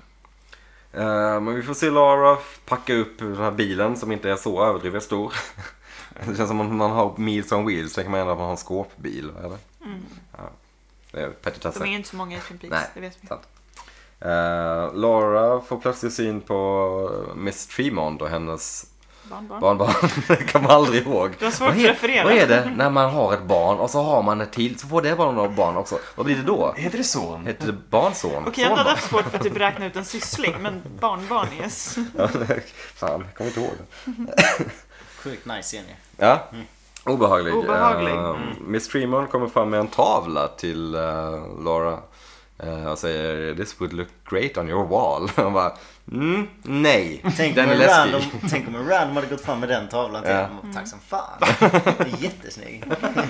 [SPEAKER 2] Eh, men vi får se Lara packa upp den här bilen som inte är så överdrivet stor. Det känns som om man har Meals on Wheels, tänker man ändå att man har en skåpbil, eller? Ja. Det är petitesser.
[SPEAKER 3] De Mm. är ju inte så många i Twin Peaks,
[SPEAKER 2] Nej.
[SPEAKER 3] det vet vi.
[SPEAKER 2] Sant. Eh, Laura får plötsligt syn på Miss Tremond och hennes
[SPEAKER 3] Barnbarn.
[SPEAKER 2] barnbarn. Det kommer man aldrig ihåg.
[SPEAKER 3] Det var svårt
[SPEAKER 2] Vad he-
[SPEAKER 3] att referera.
[SPEAKER 2] Vad är det när man har ett barn och så har man ett till, så får det barnet några barn också. Vad blir det då?
[SPEAKER 1] Heter det son?
[SPEAKER 2] Heter det barnson?
[SPEAKER 3] Okej, jag hade
[SPEAKER 2] Sonbarn?
[SPEAKER 3] haft svårt för att typ räkna ut en syssling, men barnbarn yes.
[SPEAKER 2] Ja, det- Fan, jag kommer inte ihåg. det.
[SPEAKER 4] Sjukt nice scen ju.
[SPEAKER 2] Ja. Mm. Obehaglig.
[SPEAKER 3] Obehaglig.
[SPEAKER 1] Mm.
[SPEAKER 2] Eh, Miss Tremond kommer fram med en tavla till eh, Laura. eh, och säger “This would look great on your wall”. Och bara mm, nej,
[SPEAKER 4] Tänk
[SPEAKER 2] den
[SPEAKER 4] om,
[SPEAKER 2] är
[SPEAKER 4] en
[SPEAKER 2] läskig.
[SPEAKER 4] random, tänk om en random hade gått fram med den tavlan till
[SPEAKER 2] Ja. Mm.
[SPEAKER 4] honom. Tack som fan. Den är Jättesnygg.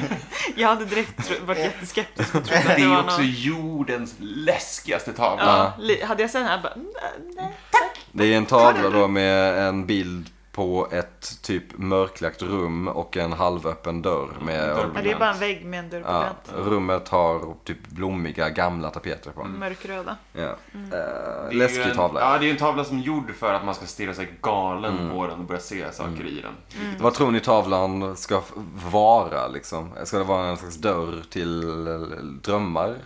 [SPEAKER 3] Jag hade direkt tro- varit jätteskeptisk och trott att
[SPEAKER 1] Det är
[SPEAKER 3] det
[SPEAKER 1] ju
[SPEAKER 3] var
[SPEAKER 1] också
[SPEAKER 3] någon...
[SPEAKER 1] jordens läskigaste tavla.
[SPEAKER 3] Ja, li- hade jag sett den här bara, "Nej, nej.
[SPEAKER 2] Det är en tavla då med en bild på ett typ mörklagt rum och en halvöppen dörr med
[SPEAKER 4] Mm.
[SPEAKER 1] Dörr.
[SPEAKER 3] Ja, det är bara en vägg med en dörr på
[SPEAKER 2] Ja,
[SPEAKER 3] glänt.
[SPEAKER 2] rummet har typ blommiga gamla tapeter på.
[SPEAKER 3] Mörkröda.
[SPEAKER 2] Ja. Eh,
[SPEAKER 1] Mm. Det är ju
[SPEAKER 2] läskig
[SPEAKER 1] en,
[SPEAKER 2] tavla. Mm.
[SPEAKER 1] Ja, det är ju en tavla som är gjord för att man ska stirra sig galen på den och börja se saker i den.
[SPEAKER 2] Vad tror ni tavlan ska f- vara liksom? Ska det vara en slags dörr till eh, drömmar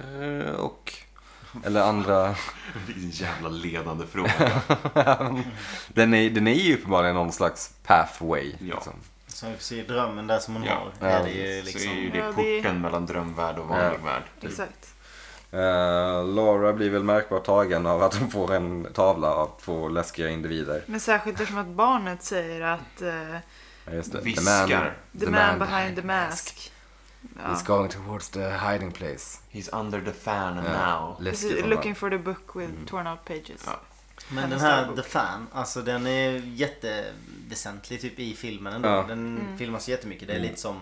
[SPEAKER 2] eh, och eller andra?
[SPEAKER 1] Vilken jävla ledande fråga.
[SPEAKER 2] Den är, den är ju uppenbarligen någon slags pathway.
[SPEAKER 1] Ja.
[SPEAKER 2] Liksom.
[SPEAKER 4] Som vi får se i drömmen där som hon
[SPEAKER 1] Ja.
[SPEAKER 4] har. Är det ju
[SPEAKER 1] Så är ju
[SPEAKER 4] liksom...
[SPEAKER 1] det
[SPEAKER 3] Ja, det är-
[SPEAKER 1] porten mellan drömvärld och vanlig
[SPEAKER 2] Ja.
[SPEAKER 1] värld.
[SPEAKER 3] Exakt.
[SPEAKER 2] Eh, Laura blir väl märkbart tagen av att hon får en tavla av två läskiga individer.
[SPEAKER 3] Men särskilt eftersom att barnet säger att eh,
[SPEAKER 2] Ja, Just det. The man,
[SPEAKER 1] Viskar.
[SPEAKER 3] the, man, behind the mask.
[SPEAKER 2] is going towards the hiding place.
[SPEAKER 1] He's under the fan
[SPEAKER 2] Ja,
[SPEAKER 1] now.
[SPEAKER 2] läskigt
[SPEAKER 3] Precis,
[SPEAKER 2] som
[SPEAKER 3] looking for the book with torn out pages.
[SPEAKER 1] Ja.
[SPEAKER 4] Men den
[SPEAKER 3] Hennes
[SPEAKER 4] här
[SPEAKER 3] dagbok.
[SPEAKER 4] The Fan, alltså den är jätteväsentlig typ i filmen ändå.
[SPEAKER 2] Ja. Mm.
[SPEAKER 4] Den
[SPEAKER 3] Mm.
[SPEAKER 4] filmas jättemycket. Det är lite som...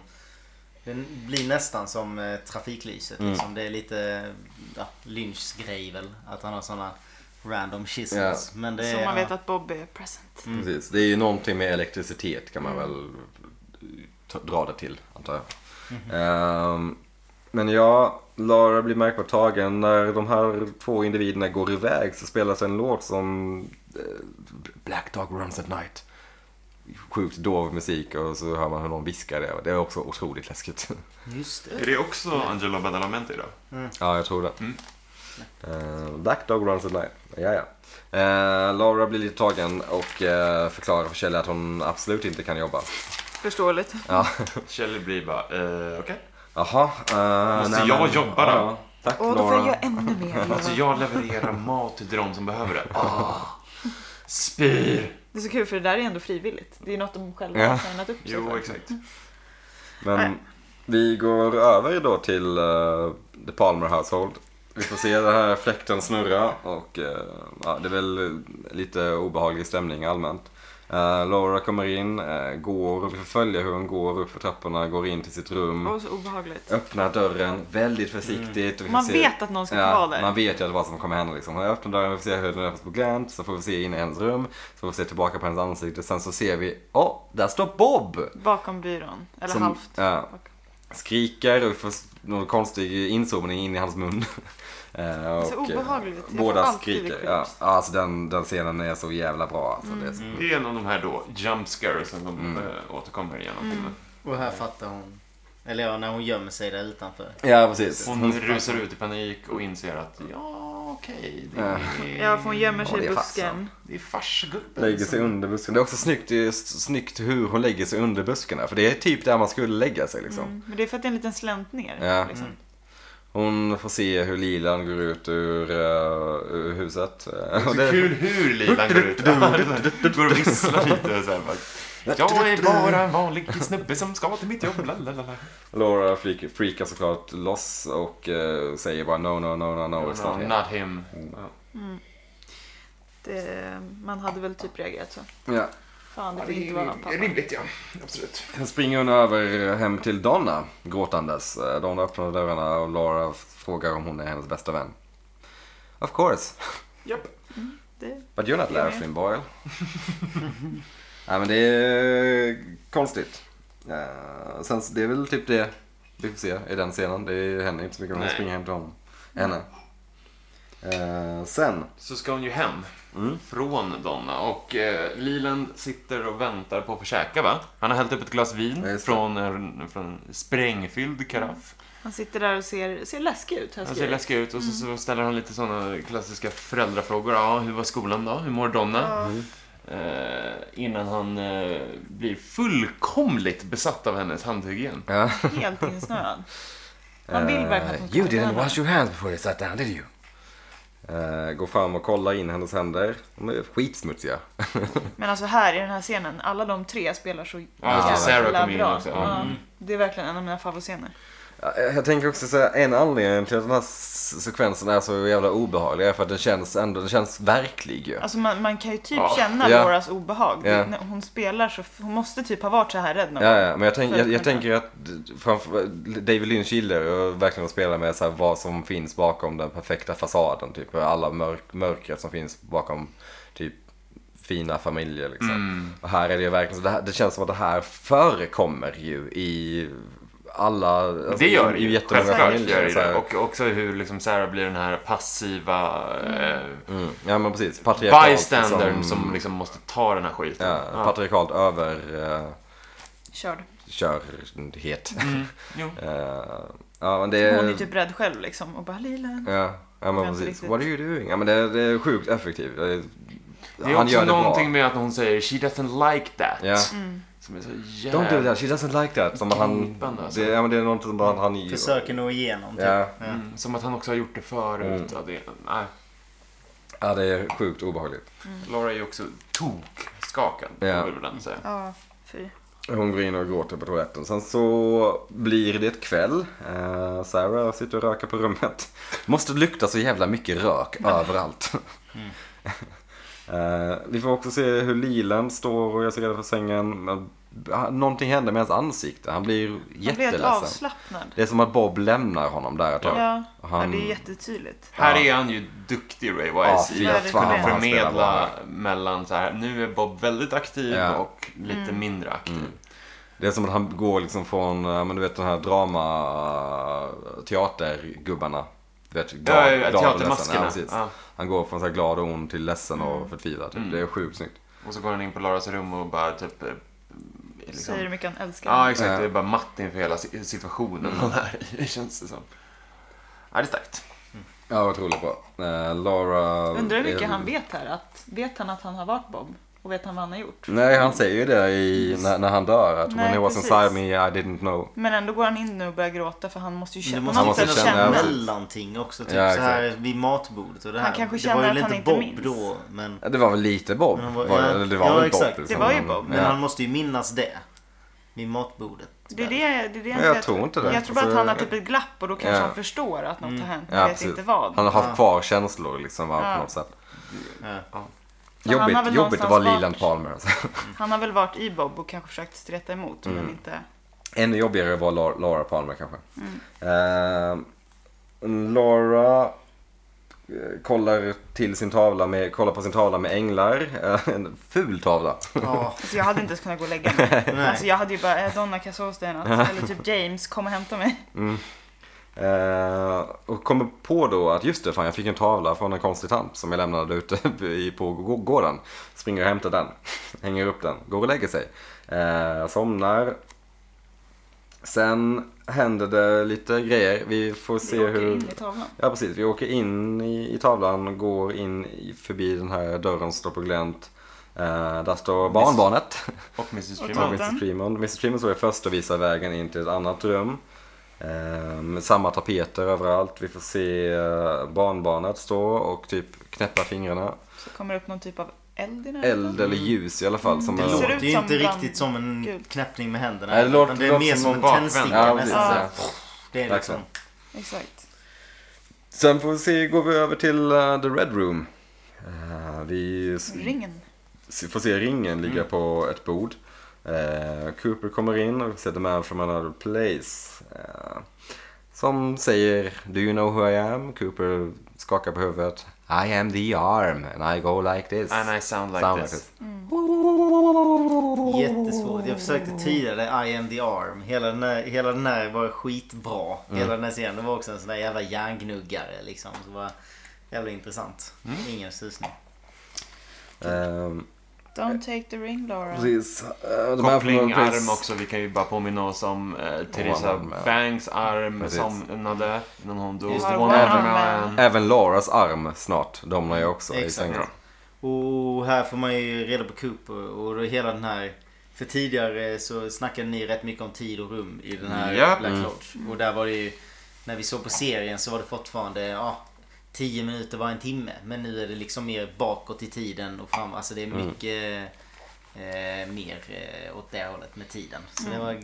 [SPEAKER 4] Den blir nästan som eh, trafiklyset
[SPEAKER 2] Mm.
[SPEAKER 4] liksom. Det är lite ja, Lynchs grej väl. Att han har såna random chisels.
[SPEAKER 2] Ja.
[SPEAKER 4] Men det
[SPEAKER 3] Så
[SPEAKER 4] är...
[SPEAKER 3] man vet att Bob är present.
[SPEAKER 2] Mm. Precis. Det är ju någonting med elektricitet kan man väl ta- dra det till, antar jag. Ehm, men ja, Lara blir märkbart tagen. När de här två individerna går iväg så spelas en låt som eh, Black Dog Runs At Night. Sjukt dov musik och så hör man hur någon viskar det. Det är också otroligt läskigt.
[SPEAKER 4] Just det.
[SPEAKER 1] Är det också Angelo Badalamenti då?
[SPEAKER 2] Ja, jag tror det. Eh, Black Dog Runs the Line. Ja, ja. Eh, Laura blir lite tagen och eh, förklarar för Kjell att hon absolut inte kan jobba.
[SPEAKER 3] Förståeligt.
[SPEAKER 2] Ja.
[SPEAKER 1] Kjell blir bara, eh, okej.
[SPEAKER 2] Jaha. eh,
[SPEAKER 1] Måste
[SPEAKER 2] nej,
[SPEAKER 1] jag
[SPEAKER 2] men-
[SPEAKER 1] jobba då?
[SPEAKER 2] Ja, ja. Tack
[SPEAKER 3] Och då får
[SPEAKER 2] Laura.
[SPEAKER 3] jag göra ännu mer.
[SPEAKER 1] Måste Alltså, jag leverera mat till de som behöver det? Ah. Spyr!
[SPEAKER 3] Det är så kul för det där är ändå frivilligt. Det är något de själva
[SPEAKER 2] Ja.
[SPEAKER 3] har signat upp sig
[SPEAKER 1] Jo,
[SPEAKER 3] för.
[SPEAKER 1] exakt.
[SPEAKER 2] Mm. Men vi går över då till eh, The Palmer Household. Vi får se den här fläkten snurra och eh, ja, det är väl lite obehaglig stämning allmänt. Eh, Laura kommer in, eh, går, vi får följa hur hon går upp för trapporna, går in till sitt rum.
[SPEAKER 3] Och så obehagligt.
[SPEAKER 2] öppnar dörren väldigt försiktigt. Och vi
[SPEAKER 3] Man
[SPEAKER 2] får
[SPEAKER 3] vet att någon ska
[SPEAKER 2] ja,
[SPEAKER 3] vara där.
[SPEAKER 2] Man vet ju att vad som kommer hända. Liksom. Jag öppnar dörren, vi får se hur den öppnas på glänt, så får vi se in i hennes rum, så får vi se tillbaka på hennes ansikte. Sen så ser vi, åh, där står Bob!
[SPEAKER 3] Bakom byrån. Eller
[SPEAKER 2] Som-
[SPEAKER 3] halvt.
[SPEAKER 2] ja.
[SPEAKER 3] bakom.
[SPEAKER 2] Skriker och vi får s- någon konstig inzoomning in i hans mun. Eh, och,
[SPEAKER 3] Så
[SPEAKER 2] eh,
[SPEAKER 3] obehagligt. Jag får
[SPEAKER 2] Båda
[SPEAKER 3] alltid det
[SPEAKER 2] skriker. Ja,
[SPEAKER 3] creeps.
[SPEAKER 2] alltså den, den scenen är så jävla bra. Alltså, det är
[SPEAKER 3] Mm.
[SPEAKER 2] så...
[SPEAKER 1] Det är en av de här då, jump scares som de
[SPEAKER 2] Mm.
[SPEAKER 1] eh, återkommer genom filmen.
[SPEAKER 4] Och här fattar hon. Eller ja, när hon gömmer sig där utanför.
[SPEAKER 2] Ja, precis.
[SPEAKER 1] Hon rusar ut i panik och inser att, ja, okej. det, är-
[SPEAKER 3] Ja, för hon gömmer
[SPEAKER 2] Ja,
[SPEAKER 3] sig
[SPEAKER 2] det
[SPEAKER 3] i
[SPEAKER 2] är alltså. farsan.
[SPEAKER 3] busken.
[SPEAKER 1] det är farsgubben
[SPEAKER 2] Lägger sig under busken. Det är också snyggt, det är s- snyggt hur hon lägger sig under buskarna. För det är typ där man skulle lägga sig liksom.
[SPEAKER 3] Mm. Men det är för att det är en liten slänt ner.
[SPEAKER 2] Ja. Mm.
[SPEAKER 3] Liksom.
[SPEAKER 2] Hon får se hur lilan går ut ur, eh, ur huset. Eh,
[SPEAKER 1] Det
[SPEAKER 2] och
[SPEAKER 1] är så
[SPEAKER 2] det-
[SPEAKER 1] kul hur lilan går ut. Går och visslar lite och så här bara. Jag är bara en vanlig snubbe som ska till mitt jobb. Lalalala.
[SPEAKER 2] Laura freak, freakar såklart loss och eh, säger bara no, no, no, no, no, it's
[SPEAKER 1] No,
[SPEAKER 2] not here.
[SPEAKER 1] not him.
[SPEAKER 3] Det, man hade väl typ reagerat så.
[SPEAKER 2] Ja.
[SPEAKER 3] Fan, det fick inte vara pappa.
[SPEAKER 1] Rimligt ja, absolut.
[SPEAKER 2] Sen springer hon över hem till Donna gråtandes. Eh, Donna öppnar dörrarna och Laura frågar om hon är hennes bästa vän. Of course,
[SPEAKER 1] Japp.
[SPEAKER 3] Det,
[SPEAKER 2] but you're not Larry
[SPEAKER 3] med.
[SPEAKER 2] Flynn Boyle. Nej men det är konstigt. Eh, sen, så- det är väl typ det vi får se i den scenen. Det händer inte så mycket om hon
[SPEAKER 1] Nej.
[SPEAKER 2] springer hem till honom. Henne. Eh, sen.
[SPEAKER 1] Så ska hon ju hem
[SPEAKER 2] Mm.
[SPEAKER 1] från Donna och eh, Liland sitter och väntar på att få käka va? Han har hällt upp ett glas vin
[SPEAKER 2] Ja, just det.
[SPEAKER 1] från en, från en sprängfylld karaff.
[SPEAKER 3] han sitter där och ser, ser läskig ut. Här
[SPEAKER 1] Han ser
[SPEAKER 3] skriver.
[SPEAKER 1] läskig ut och så,
[SPEAKER 2] Mm.
[SPEAKER 1] så ställer han lite sådana klassiska föräldrafrågor. Ja, hur var skolan då? Hur mår Donna?
[SPEAKER 2] Mm.
[SPEAKER 1] Eh, innan han eh, blir fullkomligt besatt av hennes handhygien.
[SPEAKER 2] Ja.
[SPEAKER 3] Helt insnöad. Han vill
[SPEAKER 2] Eh,
[SPEAKER 3] verkligen att hon ska
[SPEAKER 5] You
[SPEAKER 3] äta
[SPEAKER 5] didn't
[SPEAKER 3] henne.
[SPEAKER 5] wash your hands before you sat down, did you?
[SPEAKER 2] Eh, går fram och kollar in hennes händer. De är skitsmutsiga.
[SPEAKER 3] Men alltså här i den här scenen, alla de tre spelar så
[SPEAKER 1] Ja, just det. alltså, Sarah kom in också. Mm. Ja.
[SPEAKER 3] Ja, det är verkligen en av mina favoritscener.
[SPEAKER 2] Eh, Jag jag tänker också säga en anledning till att den här s- sekvensen är så jävla obehaglig är för att den känns ändå, den känns verklig ju.
[SPEAKER 3] Alltså man, man kan ju typ
[SPEAKER 1] Ja.
[SPEAKER 3] känna
[SPEAKER 2] Ja.
[SPEAKER 3] Lauras obehag. Det-
[SPEAKER 2] Ja.
[SPEAKER 3] när Hon spelar så, hon måste typ ha varit så här rädd någon
[SPEAKER 2] Ja,
[SPEAKER 3] gång.
[SPEAKER 2] ja, men jag, tänk, jag,
[SPEAKER 3] För att
[SPEAKER 2] jag
[SPEAKER 3] kunna-
[SPEAKER 2] tänker att d- framför, David Lynch gillar ju verkligen att spela med så här, vad som finns bakom den perfekta fasaden. Typ alla mörk, mörkret som finns bakom typ fina familjer liksom.
[SPEAKER 1] Mm.
[SPEAKER 2] Och här är det ju verkligen så, det, här, det känns som att det här förekommer ju i alla, alltså,
[SPEAKER 1] det gör
[SPEAKER 2] i,
[SPEAKER 1] det
[SPEAKER 2] i
[SPEAKER 1] ju.
[SPEAKER 2] jättemånga
[SPEAKER 1] Självklart
[SPEAKER 2] familjer.
[SPEAKER 1] gör det
[SPEAKER 2] så här.
[SPEAKER 1] det. Och också hur liksom Sarah blir den här passiva eh,
[SPEAKER 2] mm, ja men precis, patriarkalt.
[SPEAKER 1] bystandern
[SPEAKER 2] liksom-
[SPEAKER 1] som liksom måste ta den här skiten.
[SPEAKER 2] ja,
[SPEAKER 1] Ja.
[SPEAKER 2] patriarkalt över... eh,
[SPEAKER 3] Körd.
[SPEAKER 2] körhet.
[SPEAKER 1] Jo.
[SPEAKER 2] Eh, ja, men det
[SPEAKER 3] Hon
[SPEAKER 2] är...
[SPEAKER 3] är typ rädd själv liksom och bara Lila.
[SPEAKER 2] Ja, ja men
[SPEAKER 3] Ganska
[SPEAKER 2] precis.
[SPEAKER 3] riktigt.
[SPEAKER 2] What are you doing? Ja, men det, är- det är sjukt effektivt. Det är,
[SPEAKER 1] Det är också någonting med att hon säger “She doesn't like that”.
[SPEAKER 2] Ja.
[SPEAKER 1] Som är så
[SPEAKER 2] Don't do
[SPEAKER 1] jävla...
[SPEAKER 2] that, she doesn't like that. Som att han...
[SPEAKER 1] Gripande, alltså.
[SPEAKER 2] Det, ja, men det är någonting som han... han
[SPEAKER 4] Försöker nå igenom typ.
[SPEAKER 2] Ja.
[SPEAKER 1] Mm, som att han också har gjort det
[SPEAKER 2] Mm.
[SPEAKER 1] förut. Ja, det, nej.
[SPEAKER 2] ja, det är sjukt obehagligt.
[SPEAKER 1] Laura är ju också tokskakad,
[SPEAKER 2] Ja.
[SPEAKER 1] får vi väl ändå säga.
[SPEAKER 3] Ja, fy.
[SPEAKER 2] Hon går in och gråter på toaletten. Sen så blir det kväll. Eh, Sarah sitter och röker på rummet. Måste lukta så jävla mycket rök överallt.
[SPEAKER 1] Mm.
[SPEAKER 2] Eh, vi får också se hur Lilan står och gör sig redo för sängen. Men, ah, Någonting händer med hans ansikte. Han blir
[SPEAKER 3] Han blir helt
[SPEAKER 2] jätteledsen.
[SPEAKER 3] avslappnad.
[SPEAKER 2] Det är som att Bob lämnar honom där ett tag.
[SPEAKER 3] Ja,
[SPEAKER 2] Och han-
[SPEAKER 3] ja, det är jättetydligt.
[SPEAKER 1] Här är han ju duktig Ray
[SPEAKER 2] Ja,
[SPEAKER 1] Wise
[SPEAKER 2] fy
[SPEAKER 1] i att
[SPEAKER 3] fan,
[SPEAKER 1] kunna
[SPEAKER 3] han
[SPEAKER 2] spelar
[SPEAKER 1] förmedla
[SPEAKER 2] bra.
[SPEAKER 1] mellan så här, nu är Bob väldigt aktiv
[SPEAKER 2] Ja. Mm.
[SPEAKER 1] och lite
[SPEAKER 3] Mm.
[SPEAKER 1] mindre aktiv.
[SPEAKER 2] Det är som att han går liksom från, eh, men du vet den här drama teatergubbarna. Du vet, glad,
[SPEAKER 1] Ja, ja,
[SPEAKER 2] glad och
[SPEAKER 1] teatermaskerna.
[SPEAKER 2] ledsen. Ja, precis.
[SPEAKER 1] Ja.
[SPEAKER 2] Han går från så här glad och ond till ledsen
[SPEAKER 3] Mm.
[SPEAKER 2] och förtvivlad. Typ. Det är sjukt snyggt.
[SPEAKER 1] Och så går han in på Lauras rum och bara typ... eh, Liksom,
[SPEAKER 3] Säger hur mycket han älskar
[SPEAKER 1] Ja,
[SPEAKER 3] henne.
[SPEAKER 1] exakt.
[SPEAKER 2] Ja. Mm.
[SPEAKER 1] Det är bara matt inför hela si- situationen han är i, känns det som. Ja, det är starkt.
[SPEAKER 2] Ja, otroligt bra. Eh, Laura... Eh,
[SPEAKER 3] Undrar hur mycket
[SPEAKER 2] är-
[SPEAKER 3] han vet här. Att, vet han att han har varit Bob? Och vet han vad han har gjort?
[SPEAKER 2] Nej, han säger ju det i, när, när han dör. Att
[SPEAKER 3] Nej,
[SPEAKER 2] when he was
[SPEAKER 3] precis.
[SPEAKER 2] inside me I didn't know.
[SPEAKER 3] Men ändå går han in nu och börjar gråta för han måste ju
[SPEAKER 4] Men Det
[SPEAKER 3] känna.
[SPEAKER 4] måste
[SPEAKER 3] på
[SPEAKER 2] Han
[SPEAKER 4] ju
[SPEAKER 3] något
[SPEAKER 2] måste
[SPEAKER 3] sätt
[SPEAKER 2] känna-
[SPEAKER 4] finnas ett
[SPEAKER 2] ja, precis.
[SPEAKER 4] mellanting också. Typ
[SPEAKER 2] Ja,
[SPEAKER 4] så här vid matbordet och det här.
[SPEAKER 3] Han kanske
[SPEAKER 4] det
[SPEAKER 3] känner
[SPEAKER 4] var ju
[SPEAKER 3] att han
[SPEAKER 4] lite
[SPEAKER 3] inte
[SPEAKER 4] Bob
[SPEAKER 3] minns.
[SPEAKER 4] då. Men,
[SPEAKER 2] Ja, Det var väl lite Bob?
[SPEAKER 4] Men han var-
[SPEAKER 2] var,
[SPEAKER 4] ja.
[SPEAKER 2] eller det var
[SPEAKER 4] Ja,
[SPEAKER 2] väl
[SPEAKER 4] exakt.
[SPEAKER 2] Bob? liksom.
[SPEAKER 4] Det
[SPEAKER 3] var ju Bob.
[SPEAKER 2] Ja.
[SPEAKER 4] men han måste ju minnas det. Vid matbordet.
[SPEAKER 3] Det är det, det, är det
[SPEAKER 2] jag tror inte det.
[SPEAKER 3] Jag tror bara att
[SPEAKER 2] Alltså-
[SPEAKER 3] han har typ ett glapp och då kanske
[SPEAKER 2] Ja. Mm.
[SPEAKER 3] han förstår att något har hänt.
[SPEAKER 2] Ja,
[SPEAKER 3] men vet
[SPEAKER 2] precis.
[SPEAKER 3] inte vad.
[SPEAKER 2] Han har haft kvar känslor liksom va, på något sätt.
[SPEAKER 4] Ja.
[SPEAKER 3] För han har
[SPEAKER 2] Jobbigt,
[SPEAKER 3] väl
[SPEAKER 2] jobbigt att vara
[SPEAKER 3] någonstans
[SPEAKER 2] Leland
[SPEAKER 3] varit-
[SPEAKER 2] Palmer. Alltså.
[SPEAKER 3] Han har väl varit i Bob och kanske försökt streta emot
[SPEAKER 2] Mm.
[SPEAKER 3] men inte...
[SPEAKER 2] Ännu jobbigare var Laura, Laura Palmer kanske.
[SPEAKER 3] Mm.
[SPEAKER 2] Ehm, Laura eh, kollar, till sin tavla med, kollar på sin tavla med änglar. Eh, En ful tavla.
[SPEAKER 4] Ja,
[SPEAKER 3] Alltså jag hade inte ens kunnat gå och lägga mig. alltså jag hade ju bara, eh, Donna kan jag sova hos dig i natt. Eller typ James, kom och hämta mig.
[SPEAKER 2] Eh, och kommer på då att just det, fan jag fick en tavla från en konstig tant som jag lämnade ute i- på gå- gården. Springer och hämtar den, hänger upp den, går och lägger sig. Eh, somnar. Sen händer det lite grejer. Vi får se
[SPEAKER 3] Vi åker
[SPEAKER 2] hur...
[SPEAKER 3] in i tavlan.
[SPEAKER 2] Ja precis, vi åker in i, i tavlan, går in i, förbi den här dörren som står på glänt. Eh, där står barnbarnet,
[SPEAKER 1] Och Mrs.
[SPEAKER 3] Och
[SPEAKER 1] Freeman.
[SPEAKER 3] Tom.
[SPEAKER 2] Mr
[SPEAKER 3] Tomten.
[SPEAKER 2] Tremond. Mr Tremond står först och visar vägen in till ett annat rum. Eh, med samma tapeter överallt. Vi får se eh, barnbarnet stå och typ knäppa fingrarna.
[SPEAKER 3] Så kommer det upp någon typ av eld i närheten.
[SPEAKER 2] Eld eller ljus i alla fall. Som
[SPEAKER 4] Det
[SPEAKER 2] är-
[SPEAKER 3] Mm. ser
[SPEAKER 4] låter
[SPEAKER 3] ut
[SPEAKER 4] ju
[SPEAKER 3] som
[SPEAKER 4] inte
[SPEAKER 3] brand-
[SPEAKER 4] riktigt som en
[SPEAKER 3] Gud.
[SPEAKER 4] knäppning med händerna.
[SPEAKER 2] Nej, det låter-
[SPEAKER 4] utan det är
[SPEAKER 2] låter
[SPEAKER 4] mer
[SPEAKER 2] som
[SPEAKER 4] som
[SPEAKER 1] en
[SPEAKER 4] en
[SPEAKER 1] bakvänd.
[SPEAKER 4] tändsticka
[SPEAKER 2] ja, precis,
[SPEAKER 4] nästan.
[SPEAKER 2] ja.
[SPEAKER 4] Det är liksom...
[SPEAKER 2] Verkligen.
[SPEAKER 3] Exakt.
[SPEAKER 2] Sen får vi se, går vi över till eh, The Red Room. Eh, vi s-
[SPEAKER 3] Ringen.
[SPEAKER 2] se- får se ringen ligga
[SPEAKER 1] Mm.
[SPEAKER 2] på ett bord. Eh, Cooper kommer in och sätter man from another place. Eh, som säger Do you know who I am? Cooper skakar på huvudet. I am the arm and I go like this.
[SPEAKER 1] And I sound like
[SPEAKER 2] Sound
[SPEAKER 1] this.
[SPEAKER 4] Jättesvårt. Jag försökte tidigare I am the arm. Hela den här, hela den här var skitbra. Hela den här scenen det var också en sån där jävla hjärngnuggare liksom. Så var jävla intressant. Ingen susning.
[SPEAKER 2] Ehm,
[SPEAKER 3] Don't take the ring Laura.
[SPEAKER 2] precis. Eh, de här från
[SPEAKER 1] Koppling
[SPEAKER 2] another place-
[SPEAKER 1] arm också. Vi kan ju bara påminna oss om eh, Theresa
[SPEAKER 2] One arm man.
[SPEAKER 1] Banks arm
[SPEAKER 2] Precis.
[SPEAKER 1] somnade innan hon dog.
[SPEAKER 4] Just
[SPEAKER 3] det, one arm man.
[SPEAKER 2] Även Laras arm snart domnar ju också i
[SPEAKER 4] Exakt.
[SPEAKER 2] sängen.
[SPEAKER 4] Och här får man ju reda på Cooper och då hela den här... För tidigare så snackade ni rätt mycket om tid och rum i den här
[SPEAKER 1] Ja.
[SPEAKER 4] Black Lodge. Och där var det ju... När vi såg på serien så var det fortfarande... Ja, 10 minuter var en timme. Men nu är det liksom mer bakåt i tiden och fram. Alltså det är mycket eh, mer eh, åt det hållet med tiden. Så det var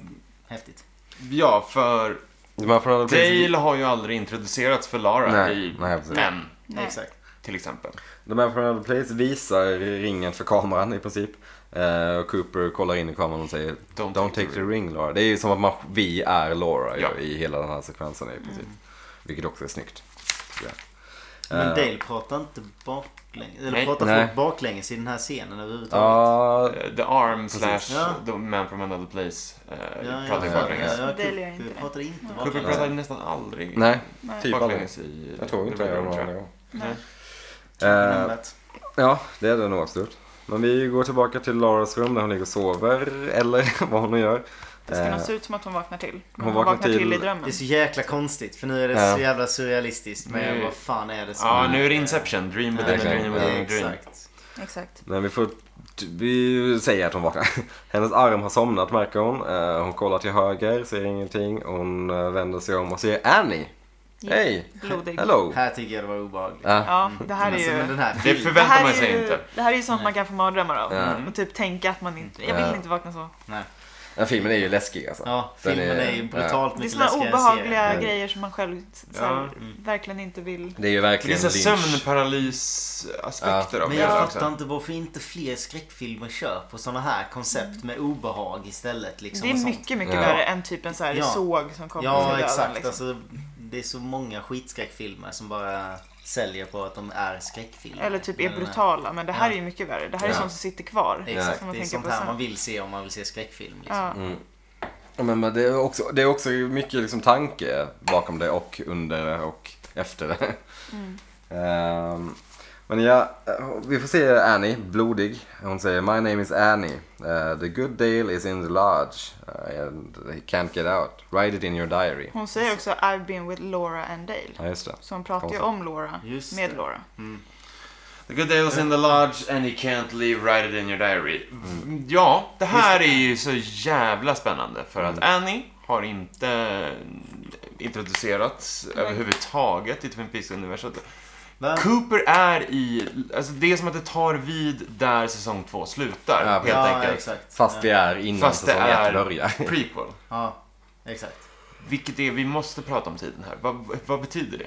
[SPEAKER 4] häftigt.
[SPEAKER 1] Ja, för
[SPEAKER 2] Man får aldrig bli-
[SPEAKER 1] Dale har ju aldrig introducerats för Lara
[SPEAKER 2] Nej,
[SPEAKER 1] i
[SPEAKER 2] nej, precis.
[SPEAKER 1] Men,
[SPEAKER 3] Nej.
[SPEAKER 4] Exakt.
[SPEAKER 1] till exempel.
[SPEAKER 2] De här från Another Place visar ringen för kameran i princip. Eh, och Cooper kollar in i kameran och säger Don't, take the ring Laura. Det är ju som att man, vi är Laura ju,
[SPEAKER 1] Ja.
[SPEAKER 2] i hela den här sekvensen i princip. Vilket också är snyggt. tycker jag.
[SPEAKER 4] Men
[SPEAKER 2] Eh,
[SPEAKER 4] Dale pratar inte baklänges. Eller
[SPEAKER 1] Nej.
[SPEAKER 4] pratar
[SPEAKER 2] Nej.
[SPEAKER 4] folk baklänges i den här scenen överhuvudtaget?
[SPEAKER 2] Ja,
[SPEAKER 1] Eh, The Arm slash
[SPEAKER 4] Ja.
[SPEAKER 1] The Man from Another Place eh,
[SPEAKER 4] Ja,
[SPEAKER 1] pratar ju
[SPEAKER 4] ja,
[SPEAKER 1] baklänges.
[SPEAKER 4] ja, ja,
[SPEAKER 3] Dale gör
[SPEAKER 4] Cooper
[SPEAKER 3] inte det.
[SPEAKER 4] pratar inte
[SPEAKER 1] Cooper
[SPEAKER 4] baklänges.
[SPEAKER 1] pratar nästan aldrig
[SPEAKER 2] nej,
[SPEAKER 3] Nej.
[SPEAKER 2] typ aldrig.
[SPEAKER 1] baklänges i...
[SPEAKER 2] Jag tror inte
[SPEAKER 1] The
[SPEAKER 2] jag gör
[SPEAKER 1] Room,
[SPEAKER 2] någon
[SPEAKER 1] tror
[SPEAKER 2] annan gång.
[SPEAKER 1] Nej.
[SPEAKER 2] Eh,
[SPEAKER 4] Nämnvärt.
[SPEAKER 2] Ja, det är det nog absolut. Men vi går tillbaka till Laras rum där hon ligger och sover, eller vad hon nu gör.
[SPEAKER 3] Det ska
[SPEAKER 2] Eh,
[SPEAKER 3] nog se ut som att hon vaknar till. Men
[SPEAKER 2] hon
[SPEAKER 3] hon
[SPEAKER 2] vaknar
[SPEAKER 3] vaknar, till,
[SPEAKER 2] till-
[SPEAKER 3] i drömmen.
[SPEAKER 4] Det är så jäkla konstigt för nu är det
[SPEAKER 2] Ja.
[SPEAKER 4] så jävla surrealistiskt men
[SPEAKER 1] Nej.
[SPEAKER 4] vad fan är det som...
[SPEAKER 1] Ja, nu är det Inception. Dream within a
[SPEAKER 2] Exakt.
[SPEAKER 1] dream
[SPEAKER 4] Ja,
[SPEAKER 1] within a dream.
[SPEAKER 4] Exakt.
[SPEAKER 3] Exakt.
[SPEAKER 2] Men vi får t- vi säger att hon vaknar. Hennes arm har somnat märker hon. Eh, Hon kollar till höger, ser ingenting. Hon eh, vänder sig om och ser Annie. Hej!
[SPEAKER 3] Blodig.
[SPEAKER 2] Hello!
[SPEAKER 4] Här tycker jag det var obehagligt.
[SPEAKER 2] Ja.
[SPEAKER 3] Ja, det här är
[SPEAKER 4] Alltså, men
[SPEAKER 3] ju...
[SPEAKER 4] den här
[SPEAKER 1] Det
[SPEAKER 4] filmen.
[SPEAKER 3] Det
[SPEAKER 1] förväntar
[SPEAKER 3] här
[SPEAKER 1] man
[SPEAKER 3] är
[SPEAKER 1] sig
[SPEAKER 3] ju,
[SPEAKER 1] inte.
[SPEAKER 3] det här är ju sånt man kan få mardrömmar av.
[SPEAKER 2] Ja.
[SPEAKER 3] Och typ tänka att man inte... Jag
[SPEAKER 2] Ja.
[SPEAKER 3] vill inte vakna så.
[SPEAKER 4] Nej.
[SPEAKER 2] Den filmen är ju läskig alltså.
[SPEAKER 4] Ja,
[SPEAKER 2] Den
[SPEAKER 4] filmen är ju brutalt
[SPEAKER 3] Det är
[SPEAKER 4] mycket
[SPEAKER 3] såna
[SPEAKER 4] läskigare än serien.
[SPEAKER 3] obehagliga
[SPEAKER 2] serien.
[SPEAKER 3] grejer som man själv så här,
[SPEAKER 1] Ja.
[SPEAKER 3] verkligen inte vill...
[SPEAKER 2] Det är ju
[SPEAKER 1] Det är
[SPEAKER 2] verkligen
[SPEAKER 1] så här
[SPEAKER 2] Lynch.
[SPEAKER 1] sömnparalys-aspekter av
[SPEAKER 4] Men
[SPEAKER 1] det
[SPEAKER 4] jag
[SPEAKER 1] hela
[SPEAKER 4] fattar
[SPEAKER 1] också.
[SPEAKER 4] inte varför inte fler skräckfilmer kör på såna här koncept med obehag istället. Liksom,
[SPEAKER 3] Det är
[SPEAKER 4] och sånt.
[SPEAKER 3] mycket, mycket
[SPEAKER 2] Ja.
[SPEAKER 3] värre än typ en så här
[SPEAKER 4] Ja.
[SPEAKER 3] såg som kommer till
[SPEAKER 4] Ja,
[SPEAKER 3] döden,
[SPEAKER 4] exakt.
[SPEAKER 3] liksom.
[SPEAKER 4] Alltså, det är så många skitskräckfilmer som bara säljer på att de är skräckfilmer.
[SPEAKER 3] Eller typ är
[SPEAKER 4] Men, eh,
[SPEAKER 3] brutala. Men det här
[SPEAKER 4] Ja.
[SPEAKER 3] är ju mycket värre. Det här är
[SPEAKER 2] Ja.
[SPEAKER 3] sånt som sitter kvar.
[SPEAKER 4] Exakt,
[SPEAKER 3] Som liksom, man
[SPEAKER 4] det är
[SPEAKER 3] tänker
[SPEAKER 4] sånt
[SPEAKER 3] på
[SPEAKER 4] här
[SPEAKER 3] sen.
[SPEAKER 4] man vill se om man vill se skräckfilm. Liksom.
[SPEAKER 3] Ja.
[SPEAKER 2] Mm. Ja, Men, men det, är också, det är också mycket liksom tanke bakom det och under det och efter det. Ehm, men ja, eh, vi får se Annie, blodig. Hon säger My name is Annie. Eh, the good Dale is in the lodge. eh, and he can't get out. Write it in your diary.
[SPEAKER 3] Hon säger också I've been with Laura and Dale.
[SPEAKER 2] Ja, just det.
[SPEAKER 3] Så hon pratar ju
[SPEAKER 2] Konstigt.
[SPEAKER 3] om Laura
[SPEAKER 4] Just
[SPEAKER 3] med
[SPEAKER 4] det.
[SPEAKER 3] Laura.
[SPEAKER 1] The good day was in the lodge and you can't leave, write it in your diary.
[SPEAKER 2] Mm.
[SPEAKER 1] Ja, det här är ju så jävla spännande för att
[SPEAKER 2] Mm.
[SPEAKER 1] Annie har inte introducerats
[SPEAKER 3] Nej.
[SPEAKER 1] överhuvudtaget i Twin Peaks-universet.
[SPEAKER 4] Va?
[SPEAKER 1] Cooper är i... Alltså det är som att det tar vid där säsong två slutar,
[SPEAKER 2] Ja,
[SPEAKER 1] helt
[SPEAKER 4] ja,
[SPEAKER 1] enkelt.
[SPEAKER 4] exakt.
[SPEAKER 2] Fast det
[SPEAKER 4] ja.
[SPEAKER 2] är innan
[SPEAKER 1] Fast det
[SPEAKER 2] säsong ett
[SPEAKER 1] är
[SPEAKER 2] börjar.
[SPEAKER 1] prequel.
[SPEAKER 4] Ja, exakt.
[SPEAKER 1] Vilket är, vi måste prata om tiden här. Vad, vad betyder det?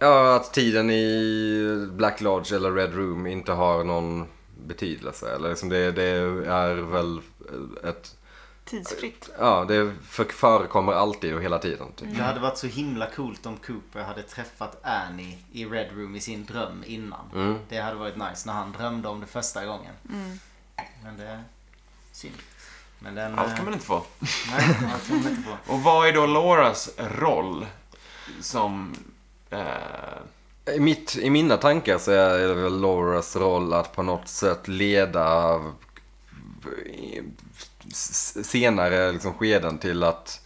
[SPEAKER 2] Ja, att tiden i Black Lodge eller Red Room inte har någon betydelse. Eller liksom det, det är väl ett
[SPEAKER 3] Tidsfritt.
[SPEAKER 2] Ja, det för- förekommer alltid och hela tiden. Typ.
[SPEAKER 4] Det hade varit så himla coolt om Cooper hade träffat Annie i Red Room i sin dröm innan.
[SPEAKER 2] Mm.
[SPEAKER 4] Det hade varit nice när han drömde om det första gången.
[SPEAKER 3] Mm.
[SPEAKER 4] Men det är synd. Men den... eh,
[SPEAKER 1] Allt kan man inte få.
[SPEAKER 4] Nej, allt kan man inte få.
[SPEAKER 1] Och vad är då Lauras roll som... Eh,
[SPEAKER 2] I, mitt, I mina tankar så är det väl Lauras roll att på något sätt leda s- senare liksom skeden till att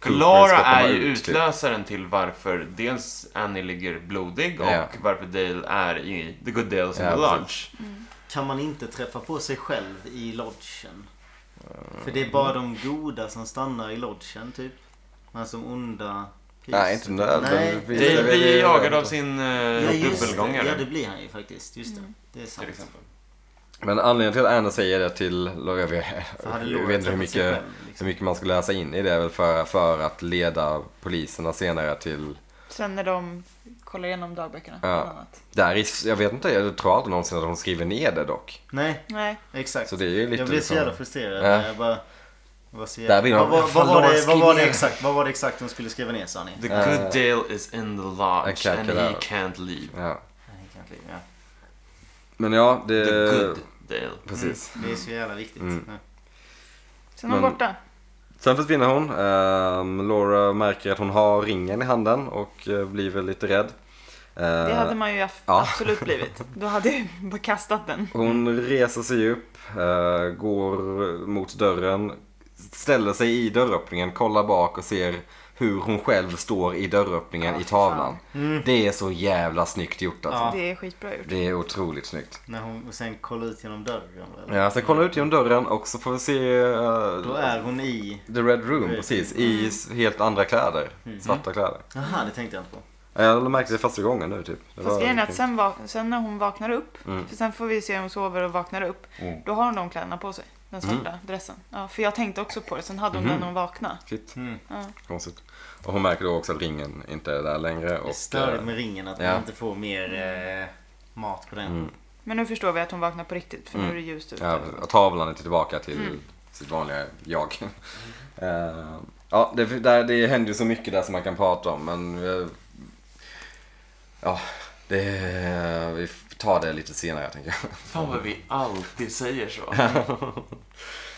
[SPEAKER 1] för
[SPEAKER 2] Cooper
[SPEAKER 1] Laura
[SPEAKER 2] ska komma
[SPEAKER 1] är ju
[SPEAKER 2] ut, typ.
[SPEAKER 1] utlösaren till varför dels Annie ligger blodig och
[SPEAKER 2] Ja.
[SPEAKER 1] varför Dale är i The Good Dales in
[SPEAKER 2] Ja,
[SPEAKER 1] the
[SPEAKER 2] precis.
[SPEAKER 1] Lodge.
[SPEAKER 4] Kan man inte träffa på sig själv i lodgen? För det är bara de goda som stannar i lodgen typ. Men som onda...
[SPEAKER 2] Nej, inte nödvändigtvis.
[SPEAKER 4] Nej.
[SPEAKER 2] Det
[SPEAKER 1] Dale
[SPEAKER 2] är
[SPEAKER 1] blir ju
[SPEAKER 2] väl-
[SPEAKER 1] jagad av sin eh,
[SPEAKER 4] Ja, just det.
[SPEAKER 1] dubbelgångare.
[SPEAKER 4] ja, det blir han ju faktiskt. Just det. Det är
[SPEAKER 1] Till
[SPEAKER 4] sant.
[SPEAKER 1] exempel.
[SPEAKER 2] Men anledningen till att Anna säger det till Laura, jag vet,
[SPEAKER 4] För hade
[SPEAKER 2] jag
[SPEAKER 4] Laura
[SPEAKER 2] vet inte hur
[SPEAKER 4] träffat sig
[SPEAKER 2] mycket,
[SPEAKER 4] själv, liksom.
[SPEAKER 2] hur mycket man ska läsa in i det, är väl för, för att leda poliserna senare till
[SPEAKER 3] Sen när de kollar igenom dagböckerna.
[SPEAKER 2] Ja.
[SPEAKER 3] bland annat.
[SPEAKER 2] där i, jag vet inte, jag tror aldrig någonsin att hon skriver ner det dock.
[SPEAKER 4] Nej,
[SPEAKER 3] Nej.
[SPEAKER 4] exakt.
[SPEAKER 2] Så det är ju lite
[SPEAKER 4] jag blev så
[SPEAKER 2] liksom-
[SPEAKER 4] jävla frustrerad.
[SPEAKER 2] Ja.
[SPEAKER 4] när Jag bara... jag var så
[SPEAKER 2] Där blir
[SPEAKER 4] jävla-
[SPEAKER 2] de-
[SPEAKER 4] Vad vad-
[SPEAKER 2] Fan,
[SPEAKER 4] vad var
[SPEAKER 2] Laura,
[SPEAKER 4] det- vad
[SPEAKER 2] skriv
[SPEAKER 4] var det
[SPEAKER 2] ner.
[SPEAKER 4] exakt? Vad var det exakt hon skulle skriva ner sa ni?
[SPEAKER 1] The Good Dale is in the
[SPEAKER 2] I
[SPEAKER 1] Lodge
[SPEAKER 2] can't
[SPEAKER 1] and
[SPEAKER 2] get
[SPEAKER 1] he
[SPEAKER 2] out.
[SPEAKER 1] can't leave.
[SPEAKER 2] Ja.
[SPEAKER 4] Nej, kanske, ja.
[SPEAKER 2] Men ja, det...
[SPEAKER 1] The Good Dale.
[SPEAKER 2] Precis.
[SPEAKER 4] Mm, Det är så jävla viktigt.
[SPEAKER 2] Mm.
[SPEAKER 4] Ja.
[SPEAKER 3] Sen är hon
[SPEAKER 2] Men-
[SPEAKER 3] borta.
[SPEAKER 2] Mm. Sen försvinner hon. Ehm, Laura märker att hon har ringen i handen och eh, blir väl lite rädd. Eh,
[SPEAKER 3] Det hade man ju af-
[SPEAKER 2] ja.
[SPEAKER 3] absolut blivit. Då hade jag ju bara kastat den.
[SPEAKER 2] Hon reser sig upp, eh, går mot dörren, ställer sig i dörröppningen, kollar bak och ser hur hon själv står i dörröppningen
[SPEAKER 3] Ah,
[SPEAKER 2] i tavlan.
[SPEAKER 3] Mm.
[SPEAKER 2] Det är så jävla snyggt gjort alltså.
[SPEAKER 4] Ja.
[SPEAKER 3] Det är skitbra gjort.
[SPEAKER 2] Det är otroligt snyggt.
[SPEAKER 4] När hon och sen kollar ut genom dörren. eller?
[SPEAKER 2] Ja, sen kollar ut genom dörren och så får vi se eh,
[SPEAKER 4] Då är Mm. hon i...
[SPEAKER 2] The Red Room, precis. I s- helt andra kläder.
[SPEAKER 4] Mhm.
[SPEAKER 2] Svarta kläder. Eh,
[SPEAKER 4] Jaha, det tänkte jag inte på.
[SPEAKER 2] Jag märkte det första gången nu typ. Det
[SPEAKER 3] Fast
[SPEAKER 2] var- Mm.
[SPEAKER 3] grejen är att sen, va- sen när hon vaknar upp, för sen får vi se om hon sover och vaknar upp, då har hon de kläderna på sig. Den
[SPEAKER 2] Mm.
[SPEAKER 3] svarta dressen. Ja, för jag tänkte också på det. Sen hade hon
[SPEAKER 2] Mm-hmm.
[SPEAKER 3] den när hon vaknade.
[SPEAKER 2] Shit,
[SPEAKER 4] Mm.
[SPEAKER 2] konstigt. Och hon märker då också att ringen inte är där längre. Och,
[SPEAKER 4] Störigt
[SPEAKER 2] eh,
[SPEAKER 4] med ringen att
[SPEAKER 2] ja.
[SPEAKER 4] man inte får mer eh, mat på den.
[SPEAKER 3] Men nu förstår vi att hon vaknar på riktigt. För
[SPEAKER 2] Mm.
[SPEAKER 3] nu är det ljust ute.
[SPEAKER 2] Ja, och tavlan är tillbaka till
[SPEAKER 3] Mm.
[SPEAKER 2] sitt vanliga jag.
[SPEAKER 4] Mm.
[SPEAKER 2] Eh, ja, det, där, det händer ju så mycket där som man kan prata om, men... eh, ja, det... vi tar det lite senare, tänker jag.
[SPEAKER 1] Fan vad vi alltid säger så.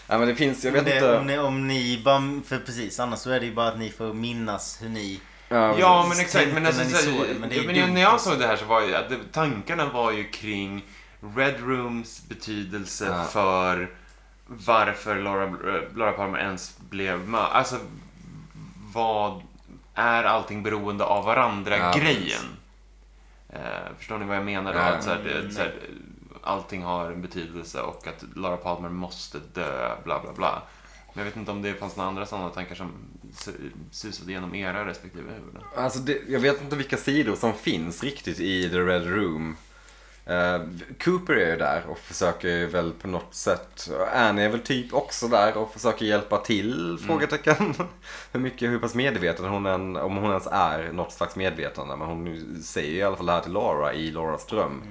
[SPEAKER 2] ja, men det finns, jag
[SPEAKER 4] Men
[SPEAKER 2] vet
[SPEAKER 4] det, om,
[SPEAKER 2] inte...
[SPEAKER 4] ni, om ni bara, för precis annars så är det ju bara att ni får minnas hur ni...
[SPEAKER 2] Ja,
[SPEAKER 1] Ja, men
[SPEAKER 4] precis.
[SPEAKER 1] exakt. Men,
[SPEAKER 4] Tänkte
[SPEAKER 1] alltså,
[SPEAKER 4] när
[SPEAKER 1] så,
[SPEAKER 4] ni såg det, men det är
[SPEAKER 1] ja,
[SPEAKER 4] ju
[SPEAKER 1] men ju
[SPEAKER 4] dumt
[SPEAKER 1] när jag
[SPEAKER 4] alltså.
[SPEAKER 1] såg det här så var ju att det, tankarna var ju kring Red Rooms betydelse
[SPEAKER 2] Ja.
[SPEAKER 1] för varför Laura, eh, Laura Palmer ens blev mördad. Alltså, vad är allting beroende av
[SPEAKER 2] Ja,
[SPEAKER 1] varandra-grejen?
[SPEAKER 2] precis.
[SPEAKER 1] Eh, förstår ni vad jag menar då?
[SPEAKER 2] Ja.
[SPEAKER 1] Att så här, det,
[SPEAKER 4] Mm.
[SPEAKER 1] så här, allting har en betydelse och att Laura Palmer måste dö, bla bla bla. Men jag vet inte om det fanns några andra sådana tankar som su- susade genom era respektive huvuden.
[SPEAKER 2] Alltså det, jag vet inte vilka sidor som finns riktigt i The Red Room. Eh, Cooper är ju där och försöker ju väl på något sätt. Annie är väl typ också där och försöker hjälpa till? Frågetecken. hur mycket, hur pass medveten hon än, om hon ens är något slags medvetande. Men hon säger i alla fall det här till Laura i Lauras dröm.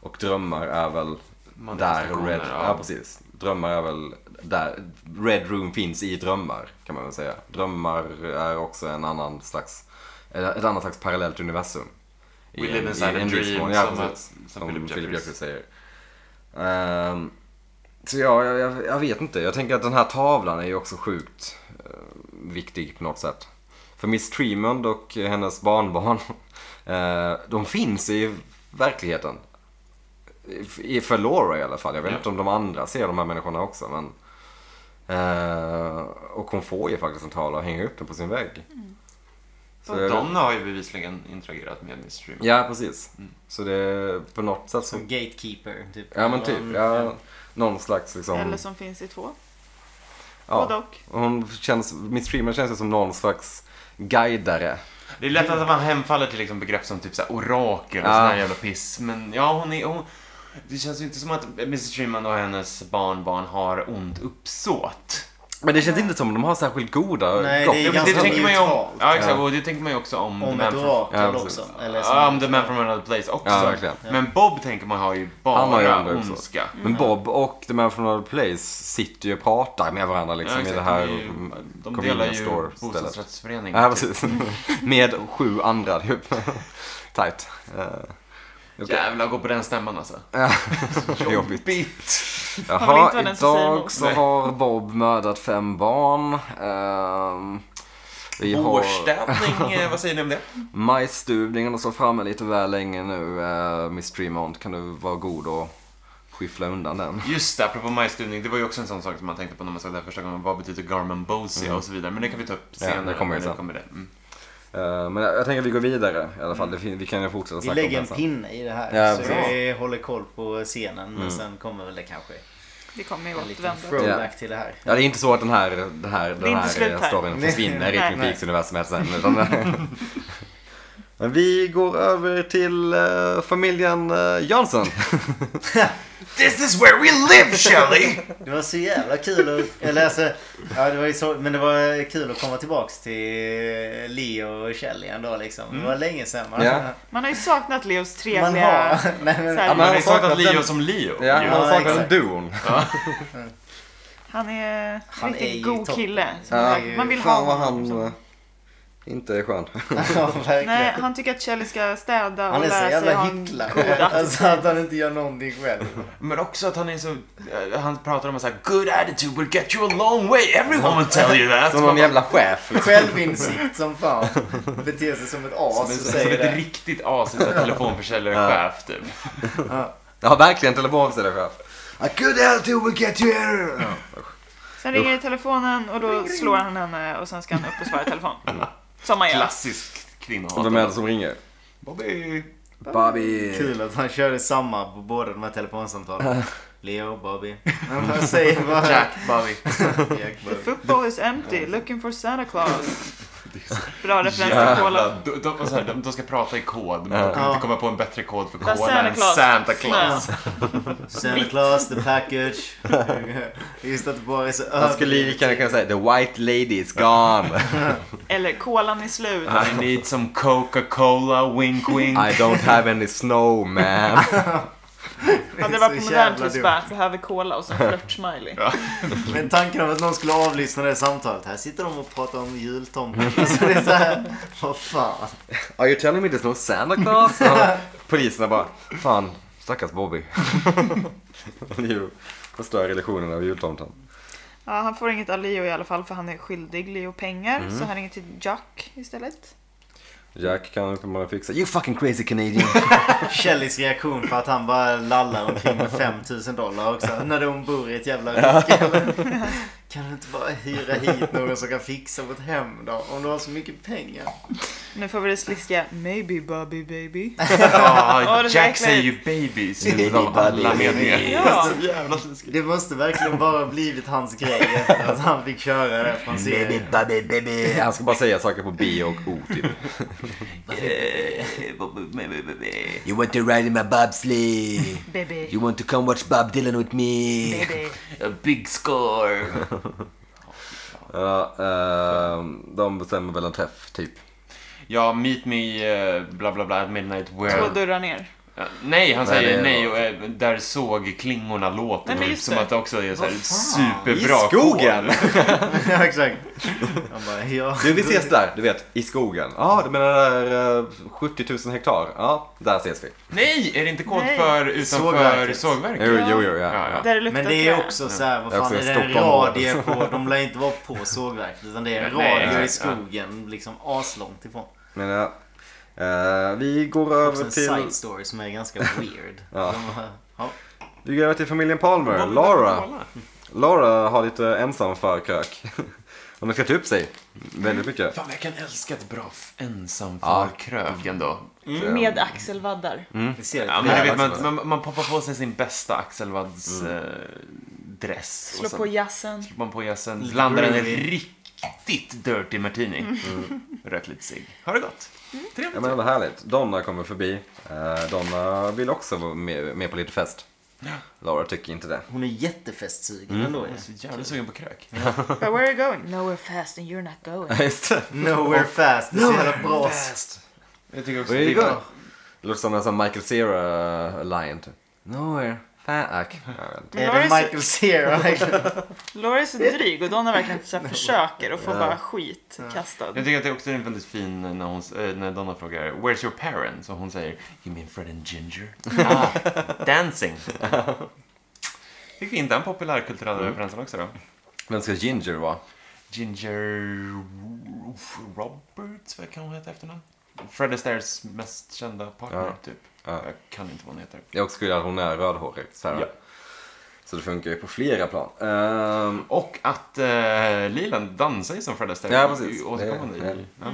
[SPEAKER 2] Och drömmar är väl där
[SPEAKER 1] Manifestationer
[SPEAKER 2] Red,
[SPEAKER 1] av-
[SPEAKER 2] ja, precis. Drömmar är väl där, Red Room finns i drömmar kan man väl säga. Drömmar är också en annan slags, ett annat slags parallellt universum.
[SPEAKER 1] We live
[SPEAKER 2] en-
[SPEAKER 1] inside a
[SPEAKER 2] en viss
[SPEAKER 1] dream,
[SPEAKER 2] mån,
[SPEAKER 1] som-
[SPEAKER 2] precis.
[SPEAKER 1] som
[SPEAKER 2] som
[SPEAKER 1] Philip
[SPEAKER 2] Philip Jeffries
[SPEAKER 1] Jeffries.
[SPEAKER 2] säger. Ehm, så ja, jag, jag, jag vet inte. Jag tänker att den här tavlan är ju också sjukt eh, viktig på något sätt. För Miss Tremond och hennes barnbarn, eh, de finns i verkligheten. I, för Laura i alla fall. Jag vet
[SPEAKER 1] Ja.
[SPEAKER 2] inte om de andra ser de här människorna också. Men, eh, och hon får ju faktiskt en tavla och hänger upp den på sin vägg. Så jag vet-
[SPEAKER 1] Donna har ju bevisligen interagerat med Miss Stream.
[SPEAKER 2] Ja, precis. Så det är Mm. på något sätt så
[SPEAKER 4] Som gatekeeper. Typ.
[SPEAKER 2] Ja men typ. Ja, någon slags
[SPEAKER 3] Eller
[SPEAKER 2] liksom.
[SPEAKER 3] som finns i två. Både
[SPEAKER 2] Ja.
[SPEAKER 3] och.
[SPEAKER 2] Och Hon känns, Miss Freeman känns ju som någon slags guidare.
[SPEAKER 1] Det är lätt att man hemfaller till liksom begrepp som typ så här orakel och
[SPEAKER 2] Ja.
[SPEAKER 1] sån här jävla piss. Men ja, hon är... Hon, det känns ju inte som att Mrs Streamman och hennes barnbarn har ont uppsåt.
[SPEAKER 2] Men det känns inte som de har särskilt goda
[SPEAKER 4] Nej,
[SPEAKER 2] gott.
[SPEAKER 4] det är
[SPEAKER 1] Ja, men
[SPEAKER 4] ganska
[SPEAKER 1] man ju om,
[SPEAKER 4] neutralt.
[SPEAKER 1] ja, exakt,
[SPEAKER 2] Ja.
[SPEAKER 1] och det tänker man ju också om...
[SPEAKER 4] Om
[SPEAKER 1] The Man
[SPEAKER 4] ett
[SPEAKER 1] from-
[SPEAKER 4] orakel
[SPEAKER 2] Ja, precis.
[SPEAKER 4] också. Eller som-
[SPEAKER 1] Ja, om The Man from Another Place också.
[SPEAKER 2] Ja, verkligen.
[SPEAKER 1] Men Bob tänker man har ju
[SPEAKER 2] Han har ju
[SPEAKER 1] bara
[SPEAKER 2] ändå uppsåt. Liksom
[SPEAKER 1] ondska.
[SPEAKER 2] Men Bob och The Man from Another Place sitter ju och pratar med varandra liksom i
[SPEAKER 1] exakt,
[SPEAKER 2] det här.
[SPEAKER 1] de är ju- de delar
[SPEAKER 2] convenience
[SPEAKER 1] ju
[SPEAKER 2] store-stället.
[SPEAKER 1] bostadsrättsförening.
[SPEAKER 2] Ja,
[SPEAKER 1] typ.
[SPEAKER 2] precis. med sju andra typ. Tight. Uh,
[SPEAKER 1] typ. Jävlar, gå på den stämman alltså.
[SPEAKER 2] Jobbigt.
[SPEAKER 3] Han vill inte
[SPEAKER 2] Jaha,
[SPEAKER 3] vara den som säger
[SPEAKER 2] idag
[SPEAKER 3] emot.
[SPEAKER 2] så
[SPEAKER 1] Nej.
[SPEAKER 2] har Bob mördat fem barn. Ehm, vi har...
[SPEAKER 1] Vårstädning, eh, vad säger ni om det?
[SPEAKER 2] Majsstuvningen har stått framme lite väl länge nu. eh, Miss Tremont, kan du vara god och skyffla undan den?
[SPEAKER 1] Just det, apropå majstuvning, det var ju också en sån sak som man tänkte på när man såg det här första gången. Vad betyder Garmin Bosia och så vidare. Men det kan vi ta upp
[SPEAKER 2] Ja,
[SPEAKER 1] senare.
[SPEAKER 2] det kommer ju
[SPEAKER 1] när
[SPEAKER 2] sen.
[SPEAKER 1] det. Mm.
[SPEAKER 2] Eh, Men jag, jag tänker att vi går vidare i alla fall. Det fin- Vi kan ju fortsätta
[SPEAKER 4] Vi
[SPEAKER 2] snacka om
[SPEAKER 4] lägger en
[SPEAKER 2] det sen.
[SPEAKER 4] pinne i det här.
[SPEAKER 2] Ja,
[SPEAKER 4] så
[SPEAKER 2] precis. Mm.
[SPEAKER 4] vi håller koll på scenen. Men sen kommer väl det kanske
[SPEAKER 3] Det kommer ju
[SPEAKER 4] en liten
[SPEAKER 3] återvända.
[SPEAKER 4] throwback till det här.
[SPEAKER 2] Ja, det är inte så att den här, den här,
[SPEAKER 3] är
[SPEAKER 2] den
[SPEAKER 3] inte
[SPEAKER 2] här
[SPEAKER 3] slut
[SPEAKER 2] eh,
[SPEAKER 3] här.
[SPEAKER 2] storyn försvinner i
[SPEAKER 3] Nej.
[SPEAKER 2] Twin Peaks-universumet sen. Utan, Men vi går över till eh, familjen eh, Johnson.
[SPEAKER 1] This is where we live, Shelley!
[SPEAKER 4] Det var så jävla kul att, eller alltså, ja, det var ju så, men det var kul att komma tillbaks till Leo och Kjell igen då liksom. Det
[SPEAKER 1] Mm.
[SPEAKER 4] var länge sedan. Man,
[SPEAKER 2] Ja.
[SPEAKER 3] Man har ju saknat Leos
[SPEAKER 4] man
[SPEAKER 3] trevliga...
[SPEAKER 4] har... Nej, men,
[SPEAKER 3] Så här-
[SPEAKER 2] Ja,
[SPEAKER 1] Man har ju
[SPEAKER 2] har
[SPEAKER 1] saknat
[SPEAKER 2] saknat
[SPEAKER 1] Leo
[SPEAKER 2] den-
[SPEAKER 1] som Leo.
[SPEAKER 2] Ja,
[SPEAKER 1] ju.
[SPEAKER 2] han har saknat den
[SPEAKER 4] exakt.
[SPEAKER 2] duon.
[SPEAKER 3] Han är
[SPEAKER 4] Han
[SPEAKER 3] en
[SPEAKER 4] är ju
[SPEAKER 3] riktigt god
[SPEAKER 4] toppen.
[SPEAKER 3] kille. som
[SPEAKER 2] Ja,
[SPEAKER 3] man- man vill
[SPEAKER 2] Fan
[SPEAKER 3] ha
[SPEAKER 2] vad
[SPEAKER 3] honom.
[SPEAKER 2] han eh,
[SPEAKER 3] som-
[SPEAKER 2] inte är skön.
[SPEAKER 4] ja, verkligen.
[SPEAKER 3] Nej, han tycker att Kjell ska städa och
[SPEAKER 4] han är så
[SPEAKER 3] lära sig
[SPEAKER 4] jävla
[SPEAKER 3] ha en god
[SPEAKER 4] hycklare.
[SPEAKER 3] attityd.
[SPEAKER 4] Alltså att han inte gör någonting själv.
[SPEAKER 1] Men också att han är så... eh, Han pratar om en sån här good attitude will get you a long way. Everyone will tell you that.
[SPEAKER 2] Som någon jävla chef. liksom.
[SPEAKER 4] Självinsikt som fan. Beter sig som ett
[SPEAKER 1] som,
[SPEAKER 4] as och
[SPEAKER 1] ett- som
[SPEAKER 4] säger
[SPEAKER 1] ett
[SPEAKER 4] det.
[SPEAKER 1] riktigt as, en sån här telefonförsäljarchef typ.
[SPEAKER 2] Ja, verkligen telefonförsäljningschef.
[SPEAKER 5] A good attitude will get you here.
[SPEAKER 3] Sen ringer det i telefonen och då slår han henne och sen ska han upp och svara i telefon.
[SPEAKER 2] Mm.
[SPEAKER 3] Som man gör.
[SPEAKER 1] Klassisk
[SPEAKER 2] Vem är det
[SPEAKER 1] kvinnohat.
[SPEAKER 2] som ringer?
[SPEAKER 1] Bobby.
[SPEAKER 5] Bobby.
[SPEAKER 4] Kul att han körde samma på båda de här telefonsamtalen. Leo, Bobby. Han säger bara...
[SPEAKER 1] Jack, Bobby.
[SPEAKER 4] Jack, Bobby.
[SPEAKER 3] Football is empty, looking for Santa Claus. Bra referens till
[SPEAKER 1] Jävla,
[SPEAKER 3] Cola.
[SPEAKER 1] de, de, och så här, de, de ska prata i kod, men
[SPEAKER 2] Ja.
[SPEAKER 1] de kan
[SPEAKER 4] Ja.
[SPEAKER 1] inte komma på en bättre kod för
[SPEAKER 3] Där
[SPEAKER 1] kola än Santa Claus.
[SPEAKER 3] snö.
[SPEAKER 4] Santa Claus, the package. Just att det bara är så
[SPEAKER 2] Han skulle lika gärna kunna säga The White Lady is gone.
[SPEAKER 3] Eller kolan är slut.
[SPEAKER 1] I need some Coca-Cola, wink wink.
[SPEAKER 2] I don't have any snow man.
[SPEAKER 3] Hade det varit
[SPEAKER 4] så
[SPEAKER 3] på
[SPEAKER 4] jävla
[SPEAKER 3] modernt hus
[SPEAKER 4] dumt.
[SPEAKER 3] bara, behöver kola och så en flört-smiley.
[SPEAKER 4] Men tanken om att någon skulle avlyssna det samtalet. Här sitter de och pratar om jultomten. Alltså det är så här, vad fan.
[SPEAKER 2] Are you telling me there's no Santa Claus? Och poliserna bara, fan stackars Bobby. Det är ju- Förstör relationen av jultomten.
[SPEAKER 3] Ja, han får inget av Leo i alla fall för han är skyldig Leo pengar.
[SPEAKER 1] Mm.
[SPEAKER 3] Så han ringer till Jack istället.
[SPEAKER 2] Jack kan uppenbarligen fixa, you fucking crazy Canadian.
[SPEAKER 4] Kellys reaktion på att han bara lallar omkring med 5000 dollar också. När de bor i ett jävla rike. eller? Kan du inte bara hyra hit någon som kan fixa vårt hem då? Om du har så mycket pengar.
[SPEAKER 3] Nu får vi det sliskiga Maybe Bobby baby.
[SPEAKER 1] Ah,
[SPEAKER 3] det är så
[SPEAKER 1] Jack
[SPEAKER 3] äckligt.
[SPEAKER 1] säger ju baby, så
[SPEAKER 2] Baby,
[SPEAKER 1] det var alla
[SPEAKER 2] baby.
[SPEAKER 1] med med.
[SPEAKER 3] Ja.
[SPEAKER 1] Så jävla sliskigt.
[SPEAKER 4] Det måste verkligen bara blivit hans grej efter att han fick köra det från serien.
[SPEAKER 2] baby, baby. Han ska bara säga saker på B och O typ. You want to ride in my bobsleigh?
[SPEAKER 3] Baby.
[SPEAKER 2] want to come watch Bob Dylan with me?
[SPEAKER 3] Baby.
[SPEAKER 1] A big score.
[SPEAKER 2] Ja, ehm, de bestämmer väl en träff typ.
[SPEAKER 1] Ja, meet me, eh, bla bla bla, at midnight
[SPEAKER 3] Två
[SPEAKER 1] where...
[SPEAKER 3] dörrar ner.
[SPEAKER 1] Ja, Nej, han
[SPEAKER 2] Nej,
[SPEAKER 1] säger
[SPEAKER 2] det är-
[SPEAKER 1] nej och eh, där såg klingorna
[SPEAKER 3] Nej,
[SPEAKER 1] låten
[SPEAKER 3] men
[SPEAKER 1] ut
[SPEAKER 3] just
[SPEAKER 1] som
[SPEAKER 3] det.
[SPEAKER 1] att det också är så här
[SPEAKER 4] Vad
[SPEAKER 1] superbra
[SPEAKER 2] I skogen!
[SPEAKER 1] kod.
[SPEAKER 4] Ja, exakt. Han bara, ja.
[SPEAKER 2] Du, vi ses där, du vet, i skogen. Ja, du menar där eh, 70 000 hektar? Ja, där ses vi.
[SPEAKER 1] Nej, är det inte kod
[SPEAKER 3] Nej.
[SPEAKER 1] för utanför
[SPEAKER 4] Sågverket.
[SPEAKER 1] sågverket?
[SPEAKER 2] Jo, jo, jo, ja.
[SPEAKER 1] Ja, ja.
[SPEAKER 3] Där det luktar
[SPEAKER 4] Men det är
[SPEAKER 3] trä.
[SPEAKER 4] också så här, vad
[SPEAKER 2] Det är
[SPEAKER 4] fan
[SPEAKER 2] också
[SPEAKER 4] är det
[SPEAKER 2] en
[SPEAKER 4] en
[SPEAKER 2] Stockholm-område.
[SPEAKER 4] radie på? De lär inte vara på sågverket utan det är en
[SPEAKER 1] Ja, nej,
[SPEAKER 4] radie i
[SPEAKER 1] exakt, ja.
[SPEAKER 4] skogen. Liksom aslångt ifrån.
[SPEAKER 2] Men, ja. Eh, vi går
[SPEAKER 4] Också
[SPEAKER 2] över
[SPEAKER 4] en
[SPEAKER 2] till...
[SPEAKER 4] side story som är ganska weird.
[SPEAKER 2] Ja.
[SPEAKER 4] De bara, ja.
[SPEAKER 2] Vi går över till familjen Palmer.
[SPEAKER 1] Vad-
[SPEAKER 2] Laura.
[SPEAKER 1] kolla.
[SPEAKER 2] Laura har lite ensam förkrök. Hon har klätt upp sig väldigt mycket.
[SPEAKER 1] Fan, jag kan älska ett bra f- ensam
[SPEAKER 2] Ja.
[SPEAKER 1] förkrök ändå.
[SPEAKER 3] Med axelvaddar.
[SPEAKER 1] Mm.
[SPEAKER 2] Mm.
[SPEAKER 4] Vi ser
[SPEAKER 1] Ja,
[SPEAKER 4] det.
[SPEAKER 1] men du vet,
[SPEAKER 2] Axelvadd.
[SPEAKER 1] man, man, man poppar på sig sin bästa axelvadds eh, dress.
[SPEAKER 3] Slå
[SPEAKER 1] och sen
[SPEAKER 3] på jazzen.
[SPEAKER 1] slår man på jazzen,
[SPEAKER 4] Lite
[SPEAKER 1] blandar den i
[SPEAKER 4] groovy.
[SPEAKER 1] riktigt dirty martini.
[SPEAKER 3] Mm.
[SPEAKER 1] Rök lite cigg. Har det gott.
[SPEAKER 2] Ja
[SPEAKER 1] Trevligt.
[SPEAKER 2] men vad härligt. Donna kommer förbi. Eh, Donna vill också vara med, med på lite fest. Laura tycker inte det.
[SPEAKER 4] Hon är jättefestsugen
[SPEAKER 2] Mm.
[SPEAKER 4] ändå.
[SPEAKER 1] Jag är så jävla sugen på krök.
[SPEAKER 3] But where are you going? Nowhere fast and you're not going.
[SPEAKER 2] Just det.
[SPEAKER 4] Nowhere fast. Det är så jävla bra.
[SPEAKER 1] Jag tycker också
[SPEAKER 2] Where you
[SPEAKER 1] det är
[SPEAKER 2] going?
[SPEAKER 1] bra.
[SPEAKER 2] Det låter som en sån Michael Cera-lion typ.
[SPEAKER 1] eh,
[SPEAKER 2] Nowhere. Fuck. Ja, jag vet inte.
[SPEAKER 4] Är det Michael Cera?
[SPEAKER 3] Laura är så dryg och Donna verkligen så här försöker och får bara skit kastad.
[SPEAKER 1] Jag tycker att det också är väldigt fin när, hon, eh, när Donna frågar Where's your parents? Och hon säger You mean Fred and Ginger? ah, dancing. Fick vi inte den populärkulturella referensen också då?
[SPEAKER 2] Vem ska Ginger vara?
[SPEAKER 1] Ginger Roberts, vad kan hon heta i efternamn? Fred Astaires mest kända partner,
[SPEAKER 2] Ja.
[SPEAKER 1] typ.
[SPEAKER 2] Ja.
[SPEAKER 1] Jag kan inte vad hon heter.
[SPEAKER 2] Jag också skulle att hon är rödhårig. Så, här.
[SPEAKER 1] Ja.
[SPEAKER 2] så det funkar ju på flera plan. Ehm,
[SPEAKER 1] Och att eh, Lilan dansar ju som Fred Astaire.
[SPEAKER 2] Ja, precis.
[SPEAKER 1] Återkommande.
[SPEAKER 2] Det-
[SPEAKER 1] i- Ja.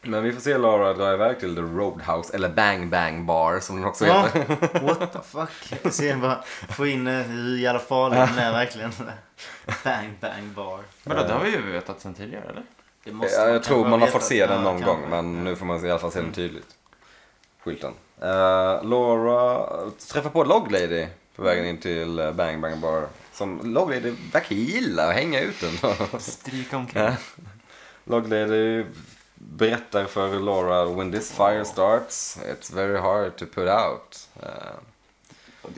[SPEAKER 2] men vi får se Laura dra iväg till The Roadhouse, eller Bang Bang Bar som den också
[SPEAKER 4] Ja.
[SPEAKER 2] heter.
[SPEAKER 4] What the fuck? Och sen bara få in eh, hur jävla farlig den är verkligen. Bang bang bar.
[SPEAKER 1] Vadå, det har vi
[SPEAKER 2] Eh.
[SPEAKER 1] ju vetat sen tidigare, eller?
[SPEAKER 4] Det
[SPEAKER 2] Jag, jag
[SPEAKER 4] kanske
[SPEAKER 2] tror man har
[SPEAKER 4] vetat.
[SPEAKER 2] fått se den
[SPEAKER 4] Ja, Mm.
[SPEAKER 2] någon
[SPEAKER 4] kanske.
[SPEAKER 2] gång, men nu får man i alla fall se den tydligt. Skylten. Eh, Laura träffar på Log Lady på vägen in till eh, Bang Bang Bar. Som Log Lady verkar gilla att hänga ut den.
[SPEAKER 1] Stryka omkring.
[SPEAKER 2] Ja. Log Lady berättar för Laura when this fire starts it's very hard to put out. Eh,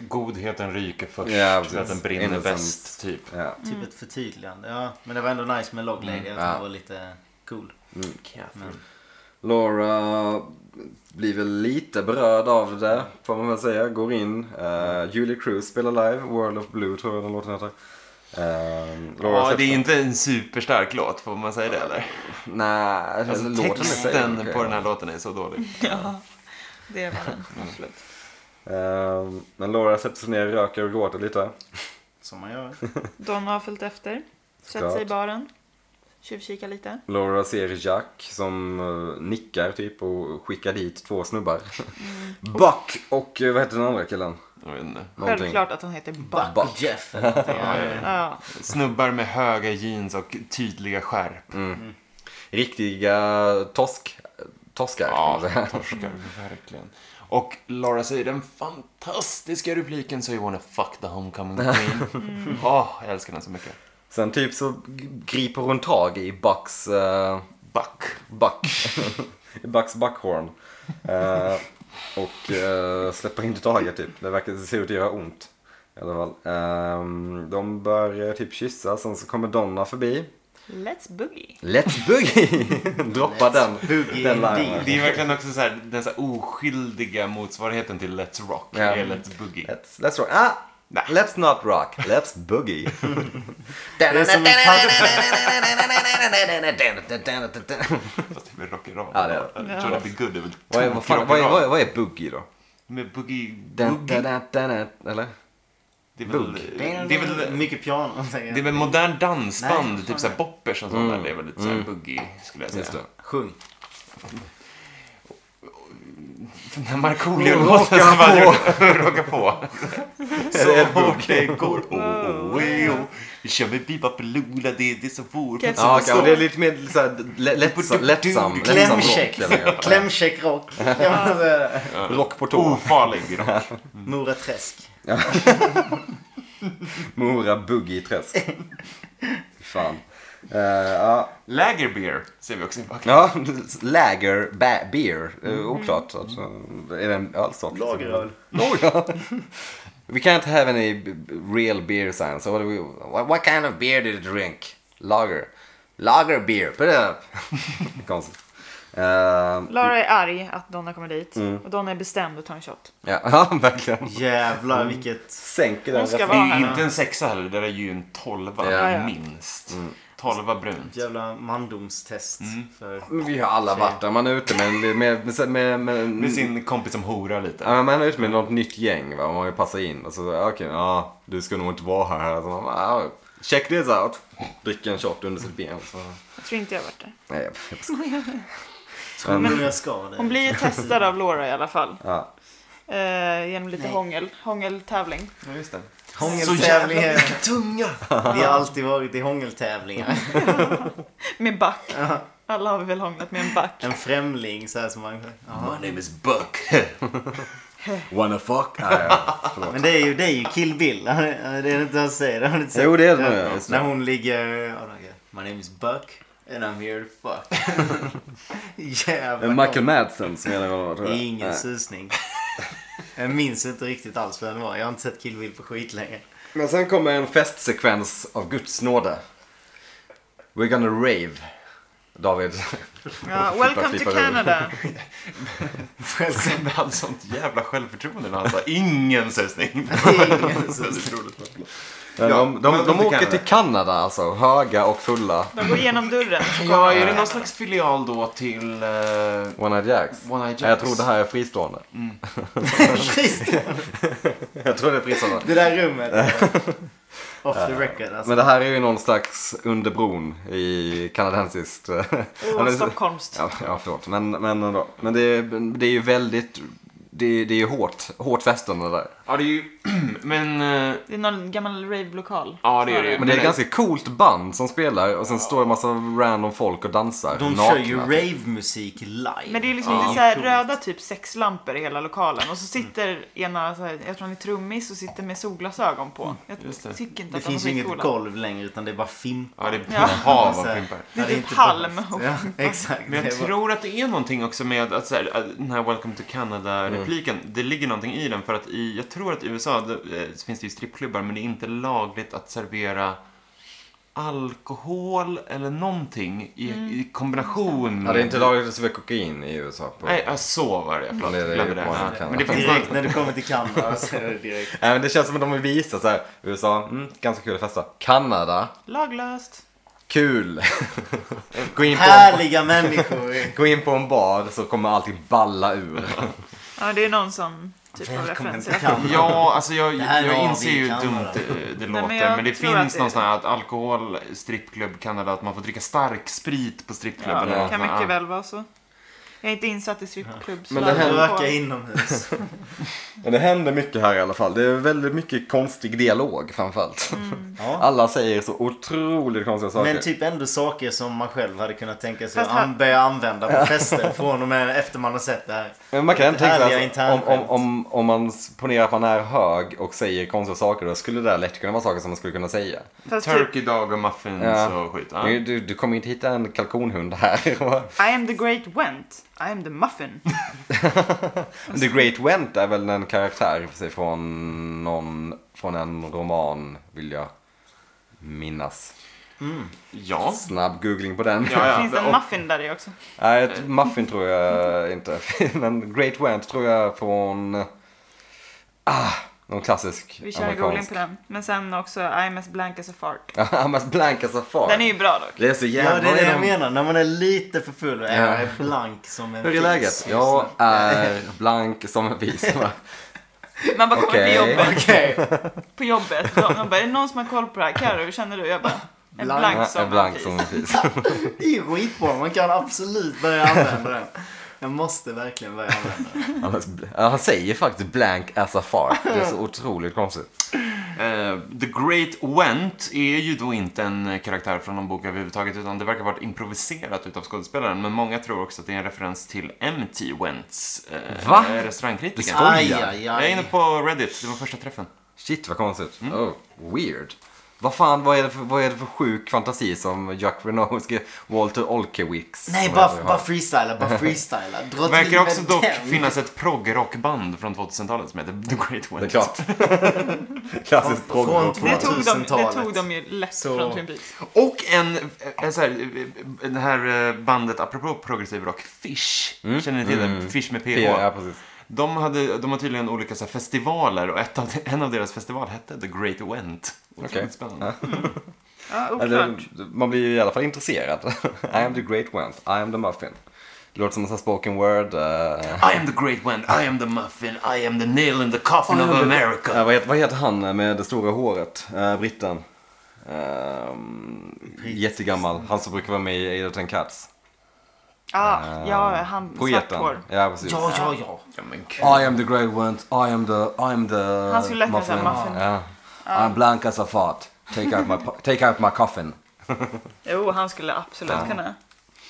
[SPEAKER 1] Godheten ryker först, för
[SPEAKER 2] Ja,
[SPEAKER 1] att den
[SPEAKER 2] precis.
[SPEAKER 1] brinner
[SPEAKER 2] Innocence.
[SPEAKER 1] bäst, typ.
[SPEAKER 2] ja.
[SPEAKER 4] Typ
[SPEAKER 3] Mm.
[SPEAKER 4] ett förtydligande. Ja, men det var ändå nice med Log Lady.
[SPEAKER 1] Mm.
[SPEAKER 4] Jag tyckte
[SPEAKER 2] Ja.
[SPEAKER 4] det var lite cool.
[SPEAKER 1] Catherine.
[SPEAKER 2] Laura blir väl lite berörd av det får man väl säga. Går in. Eh, Julie Cruz spelar live. World of Blue tror jag den låten heter. Eh, Laura
[SPEAKER 1] Ja,
[SPEAKER 2] släpps-
[SPEAKER 1] det är inte en superstark låt, får man säga det eller?
[SPEAKER 2] Nej,
[SPEAKER 1] Alltså,
[SPEAKER 2] låten i sig är
[SPEAKER 1] texten
[SPEAKER 2] okej.
[SPEAKER 1] på den här låten är så dålig.
[SPEAKER 3] Ja, det var den. Absolut.
[SPEAKER 2] Eh, men Laura sätter sig ner, röker och gråter lite.
[SPEAKER 4] Som man gör.
[SPEAKER 3] Donna har följt efter. Sätter
[SPEAKER 2] Såklart.
[SPEAKER 3] sig i baren. Tjuvkikar lite.
[SPEAKER 2] Laura ser Jack som eh, nickar typ och skickar dit två snubbar. Buck och eh, vad heter den andra killen?
[SPEAKER 1] Jag vet inte.
[SPEAKER 2] Någonting.
[SPEAKER 3] Självklart att han heter Buck.
[SPEAKER 4] Buck och Jeff eller någonting. Ja, ja, ja.
[SPEAKER 3] Ja,
[SPEAKER 1] Snubbar med höga jeans och tydliga skärp.
[SPEAKER 2] riktiga tosk, toskar.
[SPEAKER 1] Ja,
[SPEAKER 2] kan man säga.
[SPEAKER 1] torskar. Verkligen. Och Laura säger den fantastiska repliken So you wanna fuck the homecoming queen. Åh, jag älskar den så mycket.
[SPEAKER 2] Sen typ så g- griper hon tag i Bucks... eh,
[SPEAKER 1] Buck.
[SPEAKER 2] Buck. Bucks Buckhorn. Eh, och eh, släpper inte taget typ. Det verkar se ut att göra ont. I alla fall. Ehm, de börjar typ kyssa, sen så kommer Donna förbi.
[SPEAKER 3] Let's boogie.
[SPEAKER 2] Let's boogie! Droppa den.
[SPEAKER 4] Boogie
[SPEAKER 2] den
[SPEAKER 4] indeed.
[SPEAKER 2] linen.
[SPEAKER 1] Det är verkligen också så här, den så här oskyldiga motsvarigheten till Let's Rock.
[SPEAKER 2] Ja.
[SPEAKER 1] Det är Let's Boogie.
[SPEAKER 2] Let's, let's rock. Ah!
[SPEAKER 1] Nej.
[SPEAKER 2] Let's not rock, let's boogie.
[SPEAKER 4] Det är som en pad-
[SPEAKER 1] Fast det är väl rock'n'roll?
[SPEAKER 2] Ja, det är det.
[SPEAKER 1] Jag tror det blir good. Det är väl
[SPEAKER 2] vad, är, vad, fan, vad, är, vad, är,
[SPEAKER 1] tokrock'n'roll.
[SPEAKER 2] vad är boogie då?
[SPEAKER 1] Med boogie...
[SPEAKER 2] Den,
[SPEAKER 1] boogie.
[SPEAKER 2] den, den, den, den, eller?
[SPEAKER 1] Det är väl...
[SPEAKER 2] Boogie.
[SPEAKER 1] Det är väl...
[SPEAKER 4] mycket piano.
[SPEAKER 1] Det är väl modern dansband,
[SPEAKER 4] Nej, fan.
[SPEAKER 1] typ såhär boppers och sånt där. Det är väl lite såhär boogie, skulle jag säga.
[SPEAKER 2] Mm. Just det.
[SPEAKER 4] Sjung.
[SPEAKER 1] Den här Markoolio-låten som man råkar på. Så hårt det går, oh, oh, oh, oh. Vi kör med Biba Paloola, det, det är så vårt.
[SPEAKER 3] Kan jag
[SPEAKER 2] Ja, okej, och det är lite mer så här, lä- lättsam, lättsam,
[SPEAKER 1] liksom
[SPEAKER 2] lättsam rock.
[SPEAKER 4] Klämkäck.
[SPEAKER 2] eller hur?
[SPEAKER 4] Klämkäck rock. Ja, men eh, så är det.
[SPEAKER 2] Rock på
[SPEAKER 1] Oh.
[SPEAKER 2] tå.
[SPEAKER 1] Ofarlig rock.
[SPEAKER 4] Mora Träsk.
[SPEAKER 2] Mora boogie träsk. Fan. Eh, ja.
[SPEAKER 1] Lagerbeer ser vi också i bakgrunden.
[SPEAKER 2] ja, lager, ba- beer. Eh, oklart. Alltså, är det en ölsort?
[SPEAKER 4] Lageröl.
[SPEAKER 2] Oh, ja. We can't have any b- b- real beer sign. So what, do we, what, what kind of beer did you drink? Lager. Lager beer. Put it up. Konstigt. Ehm,
[SPEAKER 3] Lara är arg att Donna kommer dit och Donna är bestämd att ta en shot.
[SPEAKER 2] ja, ja, verkligen.
[SPEAKER 4] Jävlar
[SPEAKER 1] Mm.
[SPEAKER 4] vilket...
[SPEAKER 2] Sänker den
[SPEAKER 3] Hon ska
[SPEAKER 1] Det
[SPEAKER 3] vara
[SPEAKER 1] är
[SPEAKER 3] här
[SPEAKER 1] ju
[SPEAKER 3] nu.
[SPEAKER 1] inte en sexa heller, det där är ju en tolva
[SPEAKER 2] Ja,
[SPEAKER 3] ja.
[SPEAKER 1] minst. Tolva brunt.
[SPEAKER 4] Jävla mandomstest.
[SPEAKER 1] Mm.
[SPEAKER 4] För...
[SPEAKER 2] Men Vi har alla varit där. Man är ute med, med, med, med, med,
[SPEAKER 1] Med sin kompis som horar lite.
[SPEAKER 2] Ja, man är ute med något nytt gäng va. Man vill passa in. Och så, okej, ja, du ska nog inte vara här. Alltså, man, bara, ja, check this out. Dricker en shot under sitt ben. Så,
[SPEAKER 3] Jag tror inte jag har varit där.
[SPEAKER 2] nej, jag- jag
[SPEAKER 4] Tror du jag ska
[SPEAKER 3] Hon
[SPEAKER 4] det?
[SPEAKER 3] blir ju testad av Laura i alla fall.
[SPEAKER 2] Ja.
[SPEAKER 3] Eh, genom lite hångel. Hångeltävling.
[SPEAKER 1] Ja, just det.
[SPEAKER 4] Hångeltävlingar.
[SPEAKER 1] tunga!
[SPEAKER 4] Vi har alltid varit i hångeltävlingar.
[SPEAKER 3] Med back. Alla har vi väl hånglat med en back.
[SPEAKER 4] En främling så här som man... Ja.
[SPEAKER 1] My name is Buck.
[SPEAKER 2] Wanna fuck? Ah, ja. Förlåt.
[SPEAKER 4] Men det är ju, det är ju Kill Bill. Det är det inte han säger. Det har ni inte sett.
[SPEAKER 2] Jo, det är det nog, ja, just det.
[SPEAKER 4] När hon ligger... Oh, okay. My name is Buck and I'm here to fuck. Jävlar.
[SPEAKER 2] Michael Madsen som jag var tror jag.
[SPEAKER 4] Ingen
[SPEAKER 2] Nej.
[SPEAKER 4] susning. Jag minns inte riktigt alls vem det var. Jag har inte sett Kill Bill på skit länge.
[SPEAKER 2] Men sen kommer en festsekvens av Guds nåde. We're gonna rave. David.
[SPEAKER 3] Ja,
[SPEAKER 2] Flippa,
[SPEAKER 3] welcome to
[SPEAKER 2] flippa över.
[SPEAKER 3] Canada.
[SPEAKER 1] Sen hade sånt jävla självförtroende när han sa ingen susning.
[SPEAKER 4] Ingen
[SPEAKER 1] Väldigt roligt.
[SPEAKER 2] Men
[SPEAKER 1] Ja,
[SPEAKER 2] de de, de,
[SPEAKER 1] välkommen till
[SPEAKER 2] åker
[SPEAKER 1] Kanada.
[SPEAKER 2] till Kanada alltså. Höga och fulla.
[SPEAKER 3] De går igenom dörren.
[SPEAKER 1] Ja, är det någon slags filial då till eh,
[SPEAKER 2] One Night Jacks.
[SPEAKER 1] One Eye Jacks?
[SPEAKER 2] Nej, Jag tror det här är fristående.
[SPEAKER 4] Trist.
[SPEAKER 2] Jag tror det är fristående.
[SPEAKER 4] Det där rummet. Off the record alltså.
[SPEAKER 2] Men det här är ju någon slags under bron i kanadensiskt. Oh,
[SPEAKER 3] Oh, Stockholmskt.
[SPEAKER 2] Ja, ja, förlåt. Men, men, ändå. men det, är- det är ju väldigt, det, är- det är ju hårt, hårt festande där.
[SPEAKER 1] Ja, det är ju... Men... eh,
[SPEAKER 3] Det är någon gammal rave-lokal.
[SPEAKER 1] Ja, det är det ju.
[SPEAKER 2] Men det är ett ganska coolt band som spelar och sen står en massa random folk och dansar.
[SPEAKER 4] De
[SPEAKER 2] nakna. typ.
[SPEAKER 4] kör ju rave-musik live.
[SPEAKER 3] Men det är liksom
[SPEAKER 4] Ja.
[SPEAKER 3] inte så här röda typ sexlampor i hela lokalen och så sitter ena, så här, jag tror han är trummis och sitter med solglasögon på. Jag
[SPEAKER 1] just det.
[SPEAKER 3] tycker inte
[SPEAKER 4] Det
[SPEAKER 3] att de är
[SPEAKER 4] finns ju inget
[SPEAKER 3] skitcoola.
[SPEAKER 4] golv längre utan det är bara fimpar.
[SPEAKER 1] Ja, det är ett
[SPEAKER 3] Ja.
[SPEAKER 1] hav
[SPEAKER 4] Så
[SPEAKER 1] av
[SPEAKER 4] här.
[SPEAKER 1] pimpar.
[SPEAKER 4] Ja,
[SPEAKER 3] Det är typ
[SPEAKER 4] inte
[SPEAKER 3] palm
[SPEAKER 4] balls.
[SPEAKER 3] och
[SPEAKER 4] Ja, exakt.
[SPEAKER 1] Men
[SPEAKER 4] Det
[SPEAKER 1] jag
[SPEAKER 4] är bara-
[SPEAKER 1] tror att det är någonting också med att, så här, att den här Welcome to Canada-repliken.
[SPEAKER 4] Mm.
[SPEAKER 1] Det ligger någonting i den för att i, jag tror att i USA det, eh, så finns det ju strippklubbar men det är inte lagligt att servera alkohol eller någonting i,
[SPEAKER 4] Mm.
[SPEAKER 1] i kombination med...
[SPEAKER 2] Ja, det är inte lagligt att servera kokain i USA. På.
[SPEAKER 1] Nej, ja, så var det. Förlåt,
[SPEAKER 2] Det är det
[SPEAKER 1] glömde
[SPEAKER 2] ju
[SPEAKER 1] det.
[SPEAKER 2] på
[SPEAKER 1] Ja.
[SPEAKER 2] Canada.
[SPEAKER 1] Men det finns
[SPEAKER 4] Direkt
[SPEAKER 1] något...
[SPEAKER 4] när du kommer till Kanada så är det direkt.
[SPEAKER 2] Nej, men det känns som att de vill visa så här, USA, mm, ganska kul att festa. Kanada,
[SPEAKER 3] Laglöst.
[SPEAKER 2] kul. gå, in på en,
[SPEAKER 4] Härliga människor.
[SPEAKER 2] gå in på en bar så kommer allting balla ur.
[SPEAKER 3] Ja, det är någon sån typ av
[SPEAKER 4] Välkommen
[SPEAKER 3] referens.
[SPEAKER 4] till Kanada.
[SPEAKER 1] Ja, alltså jag,
[SPEAKER 4] här
[SPEAKER 1] jag
[SPEAKER 4] var
[SPEAKER 1] inser
[SPEAKER 4] vi i
[SPEAKER 1] ju hur
[SPEAKER 4] Kanada.
[SPEAKER 1] dumt det, det låter.
[SPEAKER 3] men
[SPEAKER 1] Men,
[SPEAKER 3] jag
[SPEAKER 1] det
[SPEAKER 3] tror att
[SPEAKER 1] finns
[SPEAKER 3] det-
[SPEAKER 1] någon sån här att alkohol, strippklubb, Kanada, att man får dricka stark sprit på strippklubben.
[SPEAKER 3] Ja,
[SPEAKER 2] eller
[SPEAKER 3] det
[SPEAKER 1] något
[SPEAKER 3] kan
[SPEAKER 1] sånt.
[SPEAKER 3] mycket väl vara så. Jag är inte insatt i strippklubb. så
[SPEAKER 2] Men det
[SPEAKER 3] där-
[SPEAKER 2] händer-
[SPEAKER 4] Röka inomhus.
[SPEAKER 2] Men det händer mycket här i alla fall. Det är väldigt mycket konstig dialog framförallt.
[SPEAKER 4] Ja.
[SPEAKER 2] Alla säger så otroligt konstiga saker.
[SPEAKER 4] Men typ ändå saker som man själv hade kunnat tänka sig
[SPEAKER 3] Fast
[SPEAKER 4] att
[SPEAKER 3] här-
[SPEAKER 4] an- börja använda på fester från och med efter man har sett det här.
[SPEAKER 2] Men man kan tänka sig
[SPEAKER 4] Härliga
[SPEAKER 2] alltså, om, om,
[SPEAKER 4] internskämt.
[SPEAKER 2] om, om man ponerar att man är hög och säger konstiga saker då skulle det där lätt kunna vara saker som man skulle kunna säga.
[SPEAKER 3] Fast typ,
[SPEAKER 1] Turkey dog och muffins
[SPEAKER 2] Ja.
[SPEAKER 1] och skit. Ja.
[SPEAKER 2] Men Du, du kommer inte hitta en kalkonhund här.
[SPEAKER 3] typ, I am the great went. I am the muffin.
[SPEAKER 2] The Great Went är väl en karaktär i och för sig från någon, från en roman vill jag minnas.
[SPEAKER 1] ja.
[SPEAKER 2] Snabb googling på den.
[SPEAKER 1] Ja, ja.
[SPEAKER 3] Finns det en
[SPEAKER 1] och,
[SPEAKER 3] muffin där i också?
[SPEAKER 2] Nej, ett Muffin tror jag inte. Men Great Went tror jag från... Ah, någon klassisk
[SPEAKER 3] Vi kör googling på den. Men sen också I'm as blank as a fart.
[SPEAKER 2] Amas Blanca Safari.
[SPEAKER 3] Den är ju bra dock.
[SPEAKER 2] Det är så jävla...
[SPEAKER 4] Ja, det är det jag
[SPEAKER 2] Vad är
[SPEAKER 4] menar. När man är lite för full och
[SPEAKER 2] Ja.
[SPEAKER 4] är blank som en
[SPEAKER 2] Hur är
[SPEAKER 4] fis.
[SPEAKER 2] läget? Jag är blank som en vis. va?
[SPEAKER 3] Man bara kommer
[SPEAKER 2] Okej.
[SPEAKER 3] till jobbet.
[SPEAKER 4] Okej.
[SPEAKER 3] På jobbet. De de bara, är det någon som har koll på det här? Carro, hur känner du? Jag bara, en
[SPEAKER 4] Blank.
[SPEAKER 3] blank
[SPEAKER 2] Jag
[SPEAKER 3] som
[SPEAKER 2] är
[SPEAKER 3] en
[SPEAKER 2] blank
[SPEAKER 3] fis."
[SPEAKER 2] som en vis.
[SPEAKER 4] Det är ju skitbra. Man kan absolut börja använda den. Jag måste verkligen börja använda den.
[SPEAKER 2] Annars- ja, Han säger faktiskt blank as a fart. Det är så otroligt konstigt.
[SPEAKER 1] eh, The Great Went är ju då inte en karaktär från någon bok överhuvudtaget utan det verkar ha varit improviserat utav skådespelaren. Men många tror också att det är en referens till M.T. Wents, eh,
[SPEAKER 2] Va?
[SPEAKER 1] restaurangkritiker.
[SPEAKER 2] Det ska- Oj,
[SPEAKER 4] Aj,
[SPEAKER 2] ja.
[SPEAKER 4] aj,
[SPEAKER 1] Jag är
[SPEAKER 4] aj.
[SPEAKER 1] inne på Reddit, det var första träffen.
[SPEAKER 2] Shit vad konstigt.
[SPEAKER 4] Mm.
[SPEAKER 2] Oh, weird. Vad fan, vad är, det för, vad är det för sjuk fantasi som Jack Renault skrev? Walter Olkewicz.
[SPEAKER 4] Nej,
[SPEAKER 2] som
[SPEAKER 4] bara,
[SPEAKER 2] jag-
[SPEAKER 4] bara freestyla. Bara freestyla. Dra till
[SPEAKER 1] Verkar
[SPEAKER 4] med
[SPEAKER 1] också dock
[SPEAKER 4] den.
[SPEAKER 1] finnas ett proggrockband från 2000-talet som heter The Great Went.
[SPEAKER 2] Det är klart. Klassiskt
[SPEAKER 4] Från- från
[SPEAKER 2] proggrock.
[SPEAKER 3] Det tog, de, det
[SPEAKER 4] 2000-talet.
[SPEAKER 3] tog de ju lätt
[SPEAKER 4] Så-
[SPEAKER 3] från Twin Peaks.
[SPEAKER 1] Och en, en så här, eh, det här eh, bandet, apropå progressiv rock, Fish.
[SPEAKER 2] Mm.
[SPEAKER 1] Känner ni till det? Fish med PH.
[SPEAKER 2] Ja, precis.
[SPEAKER 1] De, hade, de har tydligen olika så här, festivaler och ett av, de- en av deras festival hette The Great Went. Otroligt
[SPEAKER 2] Okej.
[SPEAKER 1] spännande.
[SPEAKER 3] Ja,
[SPEAKER 2] Eller,
[SPEAKER 3] oklart.
[SPEAKER 2] man blir ju i alla fall intresserad. I am the great went, I am the muffin. Det låter som en sån här spoken word. eh.
[SPEAKER 1] I am the Great Went, I am the Muffin, I am the nail in the coffin of America.
[SPEAKER 2] Eh, vad, heter, vad heter han med det stora håret? Uh, britten. Ehm, jättegammal. Han som brukar vara med i Edgerton Cats.
[SPEAKER 3] Ah, ja, han svart hår.
[SPEAKER 2] Ja, precis.
[SPEAKER 4] Ja, ja, ja.
[SPEAKER 1] Ja, men gud.
[SPEAKER 2] I am the great went, I am the, I am the
[SPEAKER 3] Han skulle lätt kunna säga muffin.
[SPEAKER 2] Ja. I'm blank as a fart. Take out my, po- take out my coffin.
[SPEAKER 3] Jo, han skulle absolut kunna.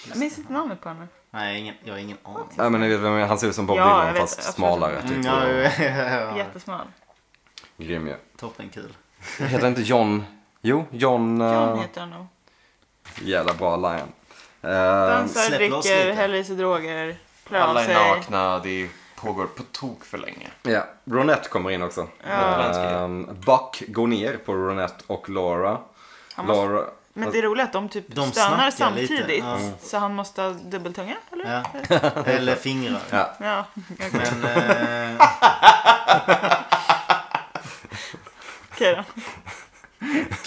[SPEAKER 3] Jag minns inte namnet på honom.
[SPEAKER 4] Nej, ingen, jag har ingen aning.
[SPEAKER 2] Ja, men ni vet vem jag menar. han ser ut som Bob
[SPEAKER 3] Ja, jag
[SPEAKER 2] Dylan
[SPEAKER 3] vet,
[SPEAKER 2] fast
[SPEAKER 3] absolut.
[SPEAKER 2] smalare. Typ.
[SPEAKER 4] Mm, ja, ja, ja, ja.
[SPEAKER 3] Jättesmal.
[SPEAKER 2] Grym ju.
[SPEAKER 4] Toppenkul.
[SPEAKER 2] Heter inte John? Jo, John... eh,
[SPEAKER 3] John heter han nog.
[SPEAKER 2] jävla bra lion. Eh,
[SPEAKER 3] Dansar,
[SPEAKER 4] släpp loss
[SPEAKER 3] dricker,
[SPEAKER 4] lite.
[SPEAKER 3] häller i sig droger, klär av
[SPEAKER 1] Alla
[SPEAKER 3] sig.
[SPEAKER 1] är nakna, det pågår på tok för länge.
[SPEAKER 2] ja, Ronette kommer in också. Eh, Buck går ner på Ronette och Laura.
[SPEAKER 3] Han måste-
[SPEAKER 2] Laura...
[SPEAKER 3] Men det är roligt att de typ
[SPEAKER 4] De
[SPEAKER 3] stönar
[SPEAKER 4] snackar lite, Ah.
[SPEAKER 3] samtidigt.
[SPEAKER 4] ja.
[SPEAKER 3] Så han måste ha dubbeltunga, eller?
[SPEAKER 4] Ja. Eller fingrar.
[SPEAKER 2] Ja,
[SPEAKER 3] Ja.
[SPEAKER 4] Men, eh,
[SPEAKER 3] Okej då.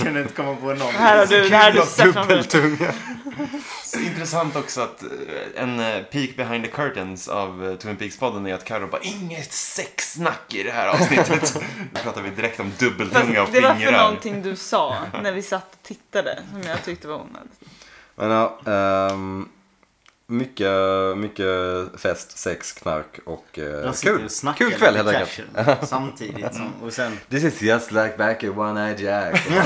[SPEAKER 4] kunde inte komma på någon.
[SPEAKER 3] Det här har du, det här har du sett framför dig.
[SPEAKER 2] dubbeltunga.
[SPEAKER 1] Så intressant också att eh, en eh, peek behind the curtains av eh, Twin Peaks-podden är att Carro bara inget sexsnack i det här avsnittet. Nu pratar vi direkt om
[SPEAKER 3] Fast
[SPEAKER 1] dubbeltunga och
[SPEAKER 3] det var för
[SPEAKER 1] fingrar.
[SPEAKER 3] någonting du sa när vi satt och tittade som jag tyckte var onödigt.
[SPEAKER 2] Men ja, ehm, mycket, mycket fest, sex, knark och eh,
[SPEAKER 4] Jag sitter
[SPEAKER 2] kul.
[SPEAKER 4] och snackar
[SPEAKER 2] Kul kväll helt
[SPEAKER 4] lite
[SPEAKER 2] enkelt. Mm.
[SPEAKER 4] casual Samtidigt som, och sen,
[SPEAKER 2] This is just like back at one eye jack.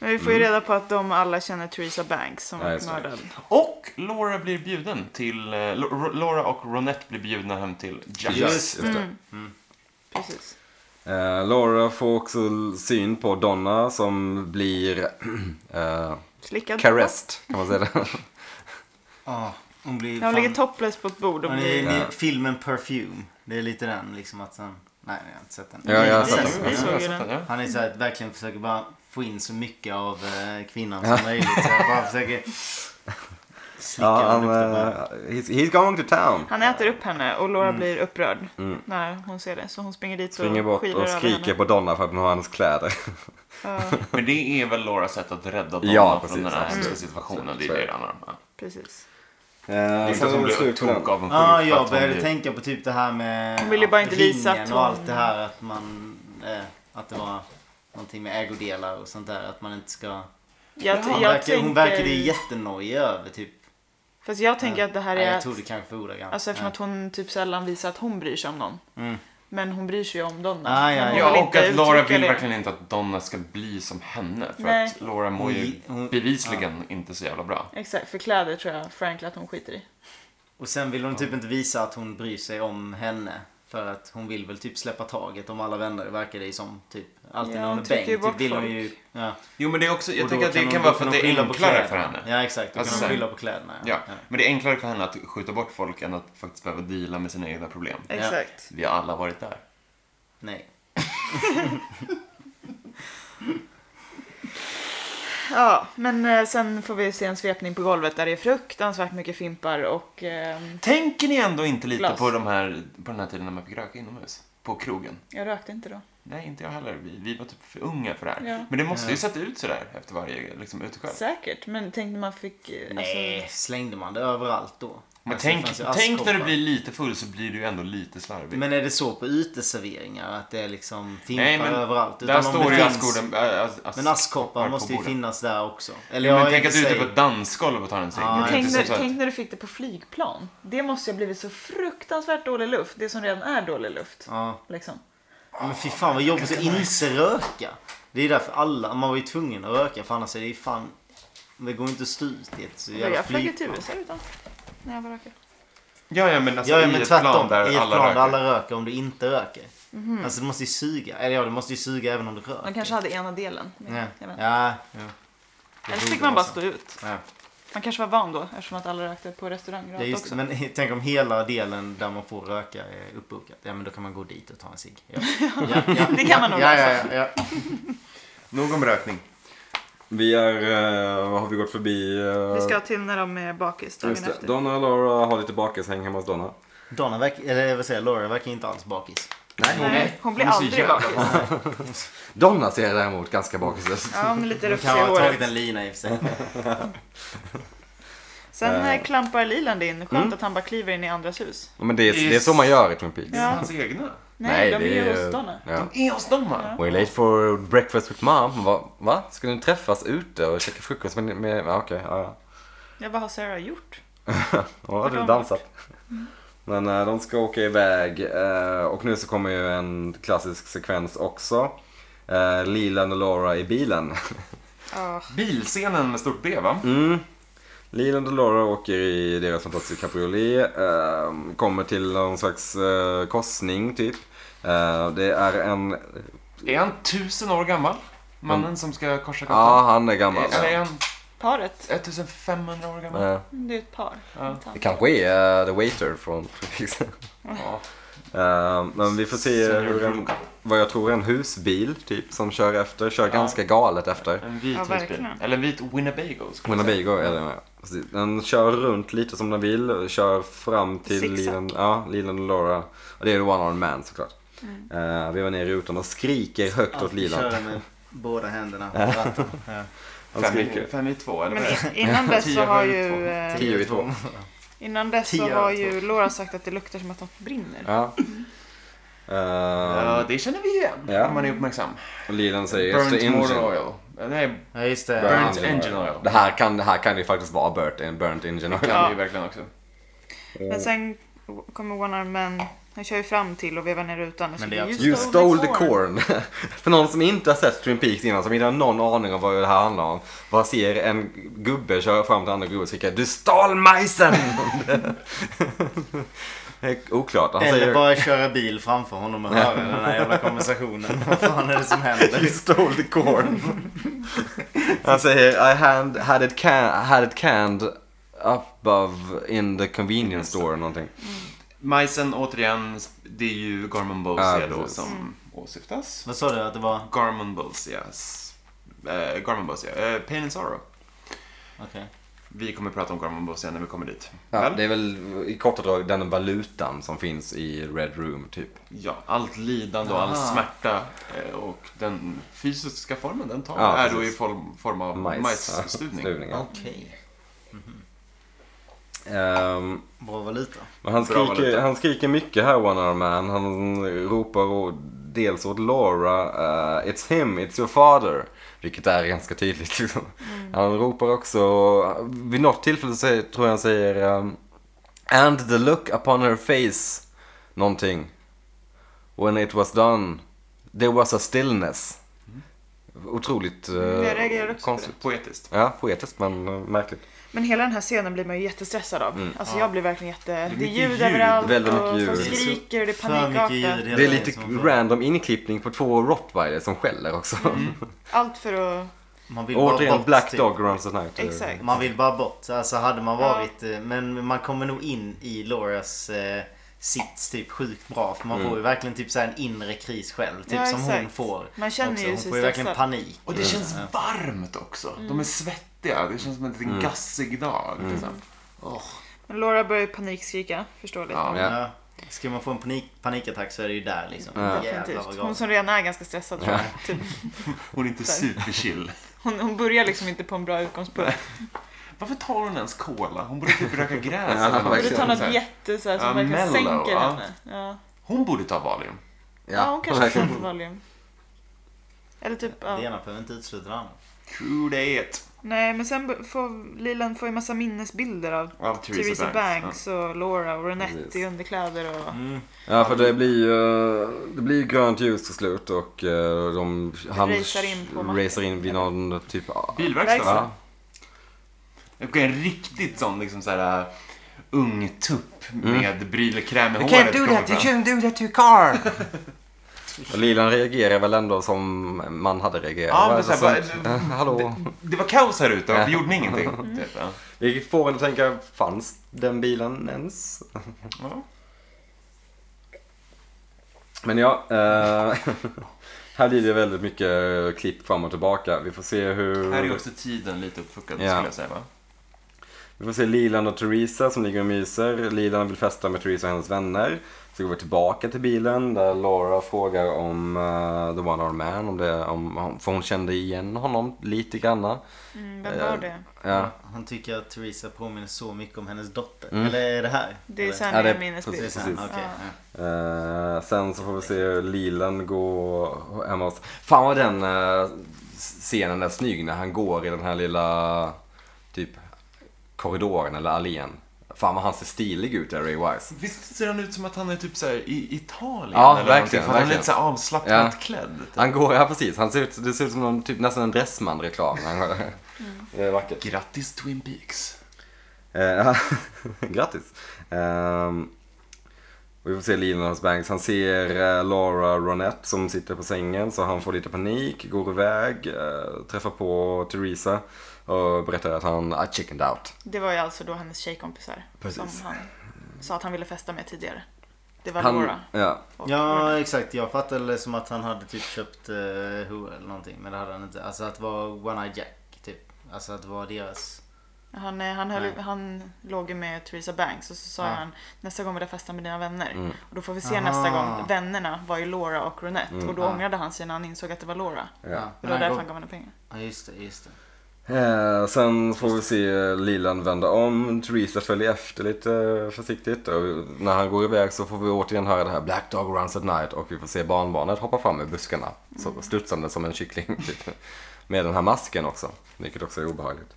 [SPEAKER 3] Men vi får ju reda på att de alla känner Theresa Banks som
[SPEAKER 2] Ja,
[SPEAKER 3] var
[SPEAKER 2] just det.
[SPEAKER 3] mördad.
[SPEAKER 1] Och Laura blir bjuden till... eh, Lo- Ro- Laura och Ronette blir bjudna hem till Jack.
[SPEAKER 4] Just
[SPEAKER 2] Just
[SPEAKER 3] Mm.
[SPEAKER 2] det.
[SPEAKER 3] Precis.
[SPEAKER 2] Eh, Laura får också syn på Donna som blir eh,
[SPEAKER 3] Slickad.
[SPEAKER 2] caressed kan man säga det.
[SPEAKER 4] ah, hon blir
[SPEAKER 3] När hon ligger
[SPEAKER 4] fan,
[SPEAKER 3] topless på ett bord och
[SPEAKER 4] hon är,
[SPEAKER 3] blir...
[SPEAKER 4] ni, filmen Perfume. Det är lite den liksom att han, nej jag har inte sett den.
[SPEAKER 2] Ja, jag har
[SPEAKER 4] Inte
[SPEAKER 2] sett
[SPEAKER 4] sett
[SPEAKER 2] den.
[SPEAKER 3] Vi såg ju
[SPEAKER 1] Ja,
[SPEAKER 3] den.
[SPEAKER 1] ja.
[SPEAKER 4] Han är så här, verkligen försöker bara få in så mycket av eh, kvinnan som möjligt. Så jag bara försöker slicka
[SPEAKER 2] ja, han,
[SPEAKER 4] henne upp det bara.
[SPEAKER 2] eh, he's, he's going to town.
[SPEAKER 3] Han äter upp henne och Laura blir upprörd när hon ser det. Så hon springer dit
[SPEAKER 2] Springer
[SPEAKER 3] och
[SPEAKER 2] bort
[SPEAKER 3] skyler
[SPEAKER 2] och
[SPEAKER 3] över
[SPEAKER 2] skriker
[SPEAKER 3] henne.
[SPEAKER 2] på Donna för att hon har hans kläder.
[SPEAKER 1] Men det är väl Lauras sätt att rädda Donna
[SPEAKER 2] Ja,
[SPEAKER 1] från
[SPEAKER 2] precis,
[SPEAKER 1] den här
[SPEAKER 2] absolut.
[SPEAKER 1] hemska situationen. Det
[SPEAKER 2] Så
[SPEAKER 1] är
[SPEAKER 2] är
[SPEAKER 1] det
[SPEAKER 2] det.
[SPEAKER 1] det handlar om. ja.
[SPEAKER 3] Precis.
[SPEAKER 2] Eh,
[SPEAKER 1] Det
[SPEAKER 2] Liksom
[SPEAKER 1] är inte att hon blev tokavundsjuk.
[SPEAKER 4] Ah, Ja,
[SPEAKER 1] för
[SPEAKER 4] jag
[SPEAKER 1] att hon
[SPEAKER 4] började
[SPEAKER 1] blir-
[SPEAKER 4] tänka på typ det här med
[SPEAKER 3] Hon ville bara inte visa
[SPEAKER 4] ringen
[SPEAKER 3] att
[SPEAKER 4] och
[SPEAKER 3] hon-
[SPEAKER 4] allt det här att man, eh, att det var någonting med ägodelar och sånt där att man inte ska
[SPEAKER 3] Jag,
[SPEAKER 4] Hon,
[SPEAKER 3] jag
[SPEAKER 4] verkar,
[SPEAKER 3] tänker...
[SPEAKER 4] hon verkade ju jättenojig över typ
[SPEAKER 3] Fast jag tänker att det här
[SPEAKER 4] Nej,
[SPEAKER 3] är
[SPEAKER 4] jag
[SPEAKER 3] att,
[SPEAKER 4] tror det kanske var ordagrant.
[SPEAKER 3] alltså eftersom
[SPEAKER 4] Ja.
[SPEAKER 3] att hon typ sällan visar att hon bryr sig om någon.
[SPEAKER 4] Mm.
[SPEAKER 3] Men hon bryr sig ju om Donna.
[SPEAKER 4] Ah, ja,
[SPEAKER 3] Men hon
[SPEAKER 4] ja.
[SPEAKER 3] vill
[SPEAKER 1] Ja, och
[SPEAKER 3] inte
[SPEAKER 1] att Laura
[SPEAKER 3] uttrycka
[SPEAKER 1] vill
[SPEAKER 3] det.
[SPEAKER 1] verkligen inte att Donna ska bli som henne. För
[SPEAKER 3] Nej.
[SPEAKER 1] att Laura mår ju
[SPEAKER 4] Hon- hon-
[SPEAKER 1] bevisligen inte så jävla bra.
[SPEAKER 3] Exakt, för kläder tror jag Franklin att hon skiter i.
[SPEAKER 4] Och sen vill hon typ inte visa att hon bryr sig om henne. För att hon vill väl typ släppa taget om alla vänner verkar det ju som. Typ. Alltid
[SPEAKER 3] Ja,
[SPEAKER 4] när hon
[SPEAKER 3] hon
[SPEAKER 4] är
[SPEAKER 3] trycker
[SPEAKER 4] bänk.
[SPEAKER 3] ju
[SPEAKER 4] Typ
[SPEAKER 3] bort
[SPEAKER 4] vill hon
[SPEAKER 3] folk.
[SPEAKER 4] ju... Ja.
[SPEAKER 1] Jo, men det är också, jag
[SPEAKER 4] Och då
[SPEAKER 1] tänker att det
[SPEAKER 4] hon-
[SPEAKER 1] kan
[SPEAKER 4] då
[SPEAKER 1] vara för att
[SPEAKER 4] hon
[SPEAKER 1] det är
[SPEAKER 4] skylla på
[SPEAKER 1] enklare för
[SPEAKER 4] kläderna.
[SPEAKER 1] henne.
[SPEAKER 4] Ja exakt, då
[SPEAKER 1] Alltså,
[SPEAKER 4] kan hon skylla på kläderna.
[SPEAKER 1] Ja, men det är enklare för henne att skjuta bort folk än att faktiskt behöva deala med sina egna problem.
[SPEAKER 3] Exakt.
[SPEAKER 1] Vi har alla varit där.
[SPEAKER 4] Nej.
[SPEAKER 3] Ja, men eh, sen får vi se en svepning på golvet där det är fruktansvärt mycket fimpar och... ehm,
[SPEAKER 1] Tänker ni ändå inte lite
[SPEAKER 3] Glas.
[SPEAKER 1] på, de här, på den här tiden när man fick röka inomhus? På krogen?
[SPEAKER 3] jag rökte inte då.
[SPEAKER 1] Nej, inte jag heller. Vi, vi var typ för unga för det här.
[SPEAKER 3] Ja.
[SPEAKER 1] Men det måste ju
[SPEAKER 4] Ja.
[SPEAKER 1] sätta ut sådär efter varje liksom, utekväll.
[SPEAKER 3] Säkert, men tänkte man fick... eh,
[SPEAKER 4] Nej, slängde man det överallt då?
[SPEAKER 1] Men
[SPEAKER 4] Alltså, det
[SPEAKER 1] tänk,
[SPEAKER 4] fanns ju
[SPEAKER 1] tänk när du
[SPEAKER 4] askkoppar.
[SPEAKER 1] blir lite full så blir du ju ändå lite slarvig.
[SPEAKER 4] Men är det så på uteserveringar? Att det är liksom fimpar
[SPEAKER 1] Nej, men
[SPEAKER 4] överallt?
[SPEAKER 1] Där
[SPEAKER 4] om
[SPEAKER 1] står
[SPEAKER 4] det
[SPEAKER 1] ju
[SPEAKER 4] finns-
[SPEAKER 1] askorden. äh, ask-
[SPEAKER 4] Men
[SPEAKER 1] askkoppar
[SPEAKER 4] askkoppar
[SPEAKER 1] på
[SPEAKER 4] måste ju
[SPEAKER 1] bordet.
[SPEAKER 4] finnas där också. Eller
[SPEAKER 1] Ja,
[SPEAKER 4] ja,
[SPEAKER 1] men
[SPEAKER 4] i
[SPEAKER 1] tänk
[SPEAKER 4] och
[SPEAKER 1] att
[SPEAKER 4] för
[SPEAKER 1] du är ute
[SPEAKER 4] sig.
[SPEAKER 1] på ett dansgolv och tar en cigg.
[SPEAKER 4] Ja,
[SPEAKER 1] Det är
[SPEAKER 3] Men
[SPEAKER 4] nej,
[SPEAKER 3] tänk,
[SPEAKER 1] inte
[SPEAKER 3] när,
[SPEAKER 1] så att-
[SPEAKER 3] tänk när du fick det på flygplan. Det måste ju ha blivit så fruktansvärt dålig luft. Det som redan är dålig luft.
[SPEAKER 4] Ja.
[SPEAKER 3] Liksom.
[SPEAKER 4] Men fy fan vad jobbigt att inte röka. Det är därför alla, man var ju tvungen att röka för annars är det ju fan, det går inte att stå ut i ett så jävla
[SPEAKER 3] Jag flög
[SPEAKER 4] flyg.
[SPEAKER 3] till USA utan. När jag var rökare.
[SPEAKER 1] Ja, ja, men alltså
[SPEAKER 4] Ja, ja,
[SPEAKER 1] i
[SPEAKER 4] men
[SPEAKER 1] ett plan
[SPEAKER 4] tvärtom.
[SPEAKER 1] där
[SPEAKER 4] I ett
[SPEAKER 1] alla
[SPEAKER 4] plan
[SPEAKER 1] röker.
[SPEAKER 4] där alla röker om du inte röker. Alltså det måste ju suga. Eller ja, det måste ju suga även om du röker.
[SPEAKER 3] Mhm. Man kanske hade ena delen. men
[SPEAKER 4] Ja.
[SPEAKER 3] jag vet inte.
[SPEAKER 4] Ja. ja. Det
[SPEAKER 3] Eller så
[SPEAKER 4] borde
[SPEAKER 3] fick man bara
[SPEAKER 4] vara
[SPEAKER 3] stå ut.
[SPEAKER 4] så. Ja.
[SPEAKER 3] Man kanske var van då eftersom att alla rökte på restaurang
[SPEAKER 4] Ja, just,
[SPEAKER 3] också.
[SPEAKER 4] det. men tänk om hela delen där man får röka är uppbokad. Ja, men då kan man gå dit och ta en cigg. Ja. Ja, ja,
[SPEAKER 3] Det kan man nog
[SPEAKER 4] ja, ja,
[SPEAKER 3] lösa.
[SPEAKER 4] ja, ja.
[SPEAKER 1] Nog om rökning.
[SPEAKER 2] Vi är, eh, vad har vi gått förbi? eh,
[SPEAKER 3] Vi ska till när de är bakis dagen
[SPEAKER 2] just det.
[SPEAKER 3] efter.
[SPEAKER 2] Donna och Laura har lite bakishäng hemma hos Donna.
[SPEAKER 4] Donna verkar, eller vad säger jag, Laura verkar inte alls bakis.
[SPEAKER 3] Nej, hon blir
[SPEAKER 1] Hon är så
[SPEAKER 3] aldrig
[SPEAKER 1] jävla
[SPEAKER 3] bakis.
[SPEAKER 2] Donna ser däremot ganska bakis ut.
[SPEAKER 3] Ja, hon är lite
[SPEAKER 4] Hon
[SPEAKER 3] rufsig
[SPEAKER 4] kan
[SPEAKER 3] i
[SPEAKER 4] ha tagit
[SPEAKER 3] håret.
[SPEAKER 4] en lina i och för sig.
[SPEAKER 3] Sen
[SPEAKER 2] Eh.
[SPEAKER 3] eh, klampar Liland in. Skönt
[SPEAKER 2] Mm.
[SPEAKER 3] att han bara kliver in i andras hus.
[SPEAKER 2] Men det är, det är så man gör i Twin Peaks.
[SPEAKER 3] Ja.
[SPEAKER 1] Hans egna.
[SPEAKER 3] Nej, de är ju hos Donna.
[SPEAKER 2] Ja.
[SPEAKER 1] De är hos dem va?
[SPEAKER 2] We're late for breakfast with mom. Va? Va? Ska ni träffas ute och käka frukost med... med ja, Okej, ja, ja.
[SPEAKER 3] Ja, vad har Sarah gjort?
[SPEAKER 2] Hon hade
[SPEAKER 3] Vart har de
[SPEAKER 2] dansat. Men eh, de ska åka iväg eh, och nu så kommer ju en klassisk sekvens också. Eh, Leland och Laura i bilen.
[SPEAKER 3] Ja,
[SPEAKER 1] Bilscenen med stort B va?
[SPEAKER 2] Mm. Leland och Laura åker i deras fantastiska cabriolet. Eh, kommer till någon slags eh, korsning typ. Eh, det är en...
[SPEAKER 1] Är han tusen år gammal? Mannen som ska korsa
[SPEAKER 2] Mm. Ja,
[SPEAKER 1] gatan?
[SPEAKER 2] ah, han är gammal.
[SPEAKER 1] Eller är han
[SPEAKER 3] paret.
[SPEAKER 1] 1500 år gammal?
[SPEAKER 2] Eh,
[SPEAKER 3] Det är ett par.
[SPEAKER 1] Ja.
[SPEAKER 2] det kanske är eh, The Waiter från Twin Peaks.
[SPEAKER 1] Ja.
[SPEAKER 2] Eh, men vi får se
[SPEAKER 1] Senior
[SPEAKER 2] hur en,
[SPEAKER 1] Brooke.
[SPEAKER 2] vad jag tror är en husbil typ som kör efter, kör ganska galet efter.
[SPEAKER 1] En vit
[SPEAKER 3] Ja,
[SPEAKER 1] husbil.
[SPEAKER 3] verkligen.
[SPEAKER 1] Eller en vit Winnebago. skulle jag
[SPEAKER 2] Winnebago är det med. Precis. Den kör runt lite som den vill, kör fram till
[SPEAKER 3] Zigzag.
[SPEAKER 2] Leland, ja, Leland och Laura. Och det är One Armed Man såklart.
[SPEAKER 1] Mm.
[SPEAKER 2] Eh, vi var nere i rutan och skriker högt åt
[SPEAKER 4] Alltid
[SPEAKER 2] Leland.
[SPEAKER 4] köra med båda händerna på ratten. Ja.
[SPEAKER 1] säga.
[SPEAKER 2] Han
[SPEAKER 1] Fem i-
[SPEAKER 2] skriker.
[SPEAKER 1] Fem i två, eller
[SPEAKER 3] Men
[SPEAKER 1] vad är det?
[SPEAKER 3] i- innan dess så
[SPEAKER 1] Tio
[SPEAKER 3] har
[SPEAKER 1] över
[SPEAKER 3] ju...
[SPEAKER 1] två.
[SPEAKER 3] eh,
[SPEAKER 2] Tio i
[SPEAKER 1] Mm.
[SPEAKER 2] två.
[SPEAKER 3] Innan dess så
[SPEAKER 4] Tio
[SPEAKER 3] har
[SPEAKER 4] över två.
[SPEAKER 3] ju Laura sagt att det luktar som att något brinner.
[SPEAKER 2] Ja.
[SPEAKER 1] Ja,
[SPEAKER 2] Uh,
[SPEAKER 1] det känner vi igen.
[SPEAKER 2] Ja.
[SPEAKER 1] Om man är uppmärksam.
[SPEAKER 2] och Leland säger "It's the
[SPEAKER 1] Burnt motor
[SPEAKER 2] engine.
[SPEAKER 1] oil. Eh, Nej,
[SPEAKER 4] Ja, just det.
[SPEAKER 2] Burnt
[SPEAKER 1] burnt engine oil.
[SPEAKER 2] Det här kan, det här kan ju faktiskt vara burnt, burnt engine.
[SPEAKER 1] Det
[SPEAKER 2] oil. Mm.
[SPEAKER 1] kan
[SPEAKER 3] Ja.
[SPEAKER 1] vi ju verkligen också.
[SPEAKER 3] Men sen kommer One Arm Man, han kör ju fram till och vevar ner rutan och
[SPEAKER 4] Men det
[SPEAKER 3] skriker
[SPEAKER 4] är
[SPEAKER 2] You stole the corn. För någon som inte har sett Twin Peaks innan, som inte har någon aning om vad det här handlar om. Vad ser en gubbe köra fram till andra gubben och skrika Du stal majsen! det är oklart. Han
[SPEAKER 4] Eller
[SPEAKER 2] säger
[SPEAKER 4] bara köra bil framför honom och höra den här jävla konversationen. Vad fan är det som
[SPEAKER 2] You
[SPEAKER 4] händer?
[SPEAKER 2] stole the corn. han säger I hand, had, it can, had it canned above in the convenience store eller någonting.
[SPEAKER 1] Majsen, återigen, det är ju Garmon
[SPEAKER 2] Ja,
[SPEAKER 1] Bosia då
[SPEAKER 2] precis.
[SPEAKER 1] som åsyftas.
[SPEAKER 4] Vad sa du att det var?
[SPEAKER 1] Garmon Bosias... Eh, Garmon Bosia. Eh, Pain and Sorrow.
[SPEAKER 4] Okej.
[SPEAKER 1] Vi kommer prata om Garmon Bosia när vi kommer dit.
[SPEAKER 2] Ja,
[SPEAKER 1] Väl?
[SPEAKER 2] det är väl i korta drag den valutan som finns i Red Room typ.
[SPEAKER 1] Ja, allt lidande och all
[SPEAKER 4] Aha.
[SPEAKER 1] smärta eh, och den fysiska formen den tar
[SPEAKER 2] Ja,
[SPEAKER 1] är då i
[SPEAKER 2] precis.
[SPEAKER 1] form, form av
[SPEAKER 2] Majs.
[SPEAKER 1] majsstuvning.
[SPEAKER 2] Stuvning, ja.
[SPEAKER 4] Okej.
[SPEAKER 2] Ehm,
[SPEAKER 4] Bra valuta.
[SPEAKER 2] Men han
[SPEAKER 1] Bra valuta.
[SPEAKER 2] skriker, han skriker mycket här One Arm Man. Han ropar och dels åt Laura eh, It's him, it's your father. Vilket är ganska tydligt liksom.
[SPEAKER 3] Mm.
[SPEAKER 2] Han ropar också, vid något tillfälle så säger- tror jag han säger ehm, And the look upon her face någonting. When it was done, there was a stillness. Otroligt eh,
[SPEAKER 3] Mm. jag reagerade också på
[SPEAKER 2] konstigt.
[SPEAKER 1] Poetiskt.
[SPEAKER 2] Ja, poetiskt men eh, märkligt.
[SPEAKER 3] Men hela den här scenen blir man ju jättestressad av. Alltså jag blir verkligen jätte... Det är,
[SPEAKER 1] mycket
[SPEAKER 3] ljud,
[SPEAKER 1] ljud.
[SPEAKER 3] överallt.
[SPEAKER 2] Mm. Väldigt mycket
[SPEAKER 3] och
[SPEAKER 2] ljud.
[SPEAKER 3] folk
[SPEAKER 2] Det är
[SPEAKER 4] så-
[SPEAKER 3] skriker och det är
[SPEAKER 4] För mycket ljud.
[SPEAKER 3] panikartat.
[SPEAKER 4] hela
[SPEAKER 2] Det är
[SPEAKER 4] tiden
[SPEAKER 2] lite
[SPEAKER 4] som-
[SPEAKER 2] random inklippning på två rottweiler som skäller också.
[SPEAKER 1] Mm.
[SPEAKER 3] Allt för att...
[SPEAKER 4] Man vill bara
[SPEAKER 2] Återigen,
[SPEAKER 4] bort,
[SPEAKER 2] Black
[SPEAKER 4] typ.
[SPEAKER 2] Dog runs at night.
[SPEAKER 3] Exakt.
[SPEAKER 4] Man vill bara bort. Alltså hade man
[SPEAKER 3] Ja.
[SPEAKER 4] varit... eh, Men man kommer nog in i Lauras eh, sits typ sjukt bra. För man får ju verkligen typ så här en inre kris själv. Typ
[SPEAKER 3] Ja,
[SPEAKER 4] som hon
[SPEAKER 3] exakt.
[SPEAKER 4] får.
[SPEAKER 3] Man känner
[SPEAKER 4] också.
[SPEAKER 3] ju
[SPEAKER 4] Hon
[SPEAKER 3] sig
[SPEAKER 4] får ju verkligen
[SPEAKER 3] stressad.
[SPEAKER 4] panik. Mm.
[SPEAKER 1] Och det
[SPEAKER 2] Mm.
[SPEAKER 1] känns varmt också. De är svettiga. Det känns som en liten
[SPEAKER 2] Mm.
[SPEAKER 1] gassig dag. Liksom. Åh.
[SPEAKER 3] Men Laura börjar ju panikskrika, förståeligt.
[SPEAKER 1] Ja,
[SPEAKER 2] Ja.
[SPEAKER 4] Ja. Ska man få en panik, panikattack så är det ju där liksom. Jävlar vad
[SPEAKER 3] Definitivt. Hon
[SPEAKER 4] galet.
[SPEAKER 3] som redan är ganska stressad tror jag. Typ.
[SPEAKER 1] Hon är inte superchill.
[SPEAKER 3] Hon, hon börjar liksom inte på en bra utgångspunkt.
[SPEAKER 1] Varför tar hon ens cola? Hon borde typ röka gräs
[SPEAKER 2] Ja,
[SPEAKER 1] eller
[SPEAKER 3] Borde ta
[SPEAKER 1] Så här.
[SPEAKER 3] något jätte så här, som
[SPEAKER 1] Ja,
[SPEAKER 3] verkligen
[SPEAKER 1] mellow,
[SPEAKER 3] sänker
[SPEAKER 1] ja.
[SPEAKER 3] henne. Ja.
[SPEAKER 1] Hon borde ta Valium.
[SPEAKER 2] Ja,
[SPEAKER 3] ja, hon kanske får
[SPEAKER 2] verkligen.
[SPEAKER 3] en Valium. Eller typ,
[SPEAKER 4] Det
[SPEAKER 3] ja.
[SPEAKER 4] ena behöver inte utesluta det andra.
[SPEAKER 1] True det.
[SPEAKER 3] Nej, men sen b- får Lilan får ju massa minnesbilder av
[SPEAKER 1] Av Theresa,
[SPEAKER 3] Theresa
[SPEAKER 1] Banks.
[SPEAKER 3] Banks och Laura och
[SPEAKER 2] Precis.
[SPEAKER 3] Renette i underkläder och...
[SPEAKER 2] Ja, för det blir ju eh, det blir ju grönt ljus till slut och eh, de...
[SPEAKER 3] Racear in på marken.
[SPEAKER 2] racear in vid någon typ...
[SPEAKER 1] Ja. Bilverkstad.
[SPEAKER 3] Verkstad.
[SPEAKER 1] va? Okej, en riktigt sån liksom så här äh, ung tupp
[SPEAKER 2] Mm.
[SPEAKER 1] med brylkräm i håret. kommer fram.
[SPEAKER 2] can't do that to your car! Och Lilan reagerar väl ändå som man hade reagerat.
[SPEAKER 1] Ja,
[SPEAKER 2] va?
[SPEAKER 1] men så här,
[SPEAKER 2] Alltså,
[SPEAKER 1] bara,
[SPEAKER 2] eh, Hallå?
[SPEAKER 1] Det var kaos här ute och
[SPEAKER 2] Ja.
[SPEAKER 1] vi gjorde ingenting. Typ, ja.
[SPEAKER 2] Vilket får en att tänka, fanns den bilen ens?
[SPEAKER 1] Ja.
[SPEAKER 2] Men ja, eh, här blir det väldigt mycket klipp fram och tillbaka. Vi får se hur...
[SPEAKER 1] Här är också tiden lite uppfuckad
[SPEAKER 2] Ja.
[SPEAKER 1] skulle jag säga va?
[SPEAKER 2] Vi får se Lilan och Theresa som ligger och myser. Lilan vill festa med Theresa och hennes vänner. Så går vi tillbaka till bilen där Laura frågar om eh, The One Armed Man. Om det, om, för hon kände igen honom lite granna.
[SPEAKER 3] Mm, vem var
[SPEAKER 2] Eh,
[SPEAKER 3] det?
[SPEAKER 2] Ja,
[SPEAKER 4] Han tycker att Theresa påminner så mycket om hennes dotter.
[SPEAKER 2] Mm.
[SPEAKER 4] Eller är det här?
[SPEAKER 3] Det är
[SPEAKER 4] Eller?
[SPEAKER 3] sen
[SPEAKER 2] Ja, det-
[SPEAKER 3] jag minnesbild.
[SPEAKER 4] Det är
[SPEAKER 2] precis.
[SPEAKER 4] sen, okej.
[SPEAKER 3] Ja.
[SPEAKER 4] ja.
[SPEAKER 2] Eh, sen så får vi se hur Lilan gå hemma hos... Fan vad den eh, scenen är snygg när han går i den här lilla typ korridoren eller allén. Fan vad han ser stilig ut där Ray Wise.
[SPEAKER 1] Visst ser han ut som att han är typ så här i Italien?
[SPEAKER 2] Ja,
[SPEAKER 1] eller någonting?
[SPEAKER 2] verkligen,
[SPEAKER 1] För att han är
[SPEAKER 2] verkligen.
[SPEAKER 1] lite så här avslappnat
[SPEAKER 2] Ja.
[SPEAKER 1] klädd. Typ.
[SPEAKER 2] Han går, ja precis. Han ser ut, det ser ut som någon, typ, nästan en Dressman-reklam. Han går- Det är vackert.
[SPEAKER 1] Grattis Twin Peaks.
[SPEAKER 2] Eh, ja, Grattis. Ehm, och vi får se Linus Banks. Han ser eh, Laura Ronette som sitter på sängen så han får lite panik, går iväg, eh, träffar på Theresa och berättar att han I chickened out.
[SPEAKER 3] Det var ju alltså då hennes tjejkompisar
[SPEAKER 2] Precis.
[SPEAKER 3] som han sa att han ville festa med tidigare. Det var
[SPEAKER 2] Han,
[SPEAKER 3] Laura.
[SPEAKER 2] ja,
[SPEAKER 3] och Renette.
[SPEAKER 4] Ja exakt, jag fattade det som att han hade typ köpt eh, hora eller någonting. Men det hade han inte. Alltså att det var One Eye Jack typ. Alltså att det var deras...
[SPEAKER 3] Han, eh, han, höll,
[SPEAKER 4] Nej.
[SPEAKER 3] han låg ju med Theresa Banks och så sa
[SPEAKER 4] Ja.
[SPEAKER 3] han nästa gång vill jag festa med dina vänner.
[SPEAKER 2] Mm.
[SPEAKER 3] Och då får vi se
[SPEAKER 4] Aha.
[SPEAKER 3] nästa gång. Vännerna var ju Laura och Ronette
[SPEAKER 2] Mm.
[SPEAKER 3] och då
[SPEAKER 4] Ja.
[SPEAKER 3] ångrade han sig när han insåg att det var Laura.
[SPEAKER 2] ja.
[SPEAKER 3] Det var
[SPEAKER 4] han
[SPEAKER 3] därför han
[SPEAKER 4] gav-
[SPEAKER 3] gav henne pengar.
[SPEAKER 4] Ja just det, just det.
[SPEAKER 2] Eh, sen får vi se Lilan vända om. Theresa följer efter lite försiktigt. Och när han går iväg så får vi återigen höra det här Black Dog Runs at Night. Och vi får se barnbarnet hoppa fram ur buskarna. Så studsande som en kyckling. Typ. Med den här masken också. Vilket också är obehagligt.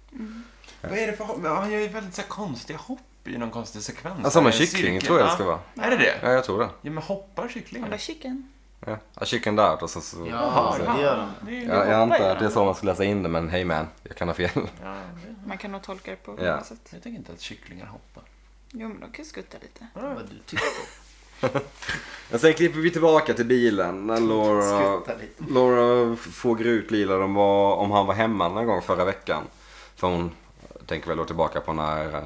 [SPEAKER 1] Vad är det för hopp? Ja, Han gör ju väldigt så här konstiga hopp i någon konstig sekvens.
[SPEAKER 2] Ja, som en
[SPEAKER 1] Här i
[SPEAKER 2] Alltså, kyckling
[SPEAKER 1] cirkeln.
[SPEAKER 2] tror jag det
[SPEAKER 1] Ja.
[SPEAKER 2] ska vara.
[SPEAKER 1] Är det det?
[SPEAKER 2] Ja, jag tror det.
[SPEAKER 1] Ja, men hoppar
[SPEAKER 3] Han
[SPEAKER 1] kycklingar?
[SPEAKER 3] bara chicken.
[SPEAKER 2] Ja. A chicken out. Och så, så,
[SPEAKER 4] Ja,
[SPEAKER 2] så,
[SPEAKER 4] det gör de.
[SPEAKER 1] Det är ju-
[SPEAKER 2] Ja, jag
[SPEAKER 3] hoppar
[SPEAKER 2] antar
[SPEAKER 3] gör
[SPEAKER 2] att det är så man skulle läsa in det, men hey man, jag kan ha fel.
[SPEAKER 1] Ja, det- alltså,
[SPEAKER 3] Man kan nog tolka det på
[SPEAKER 2] Ja.
[SPEAKER 3] olika sätt.
[SPEAKER 1] jag tänker inte att kycklingar hoppar.
[SPEAKER 3] Jo men de kan ju skutta lite.
[SPEAKER 4] Vad du tycker.
[SPEAKER 2] Och sen klipper vi tillbaka till bilen när Laura,
[SPEAKER 4] Skutta lite.
[SPEAKER 2] Laura f- frågar ut Lila om, var, om han var hemma någon gång förra veckan. För hon tänker väl då tillbaka på när... eh,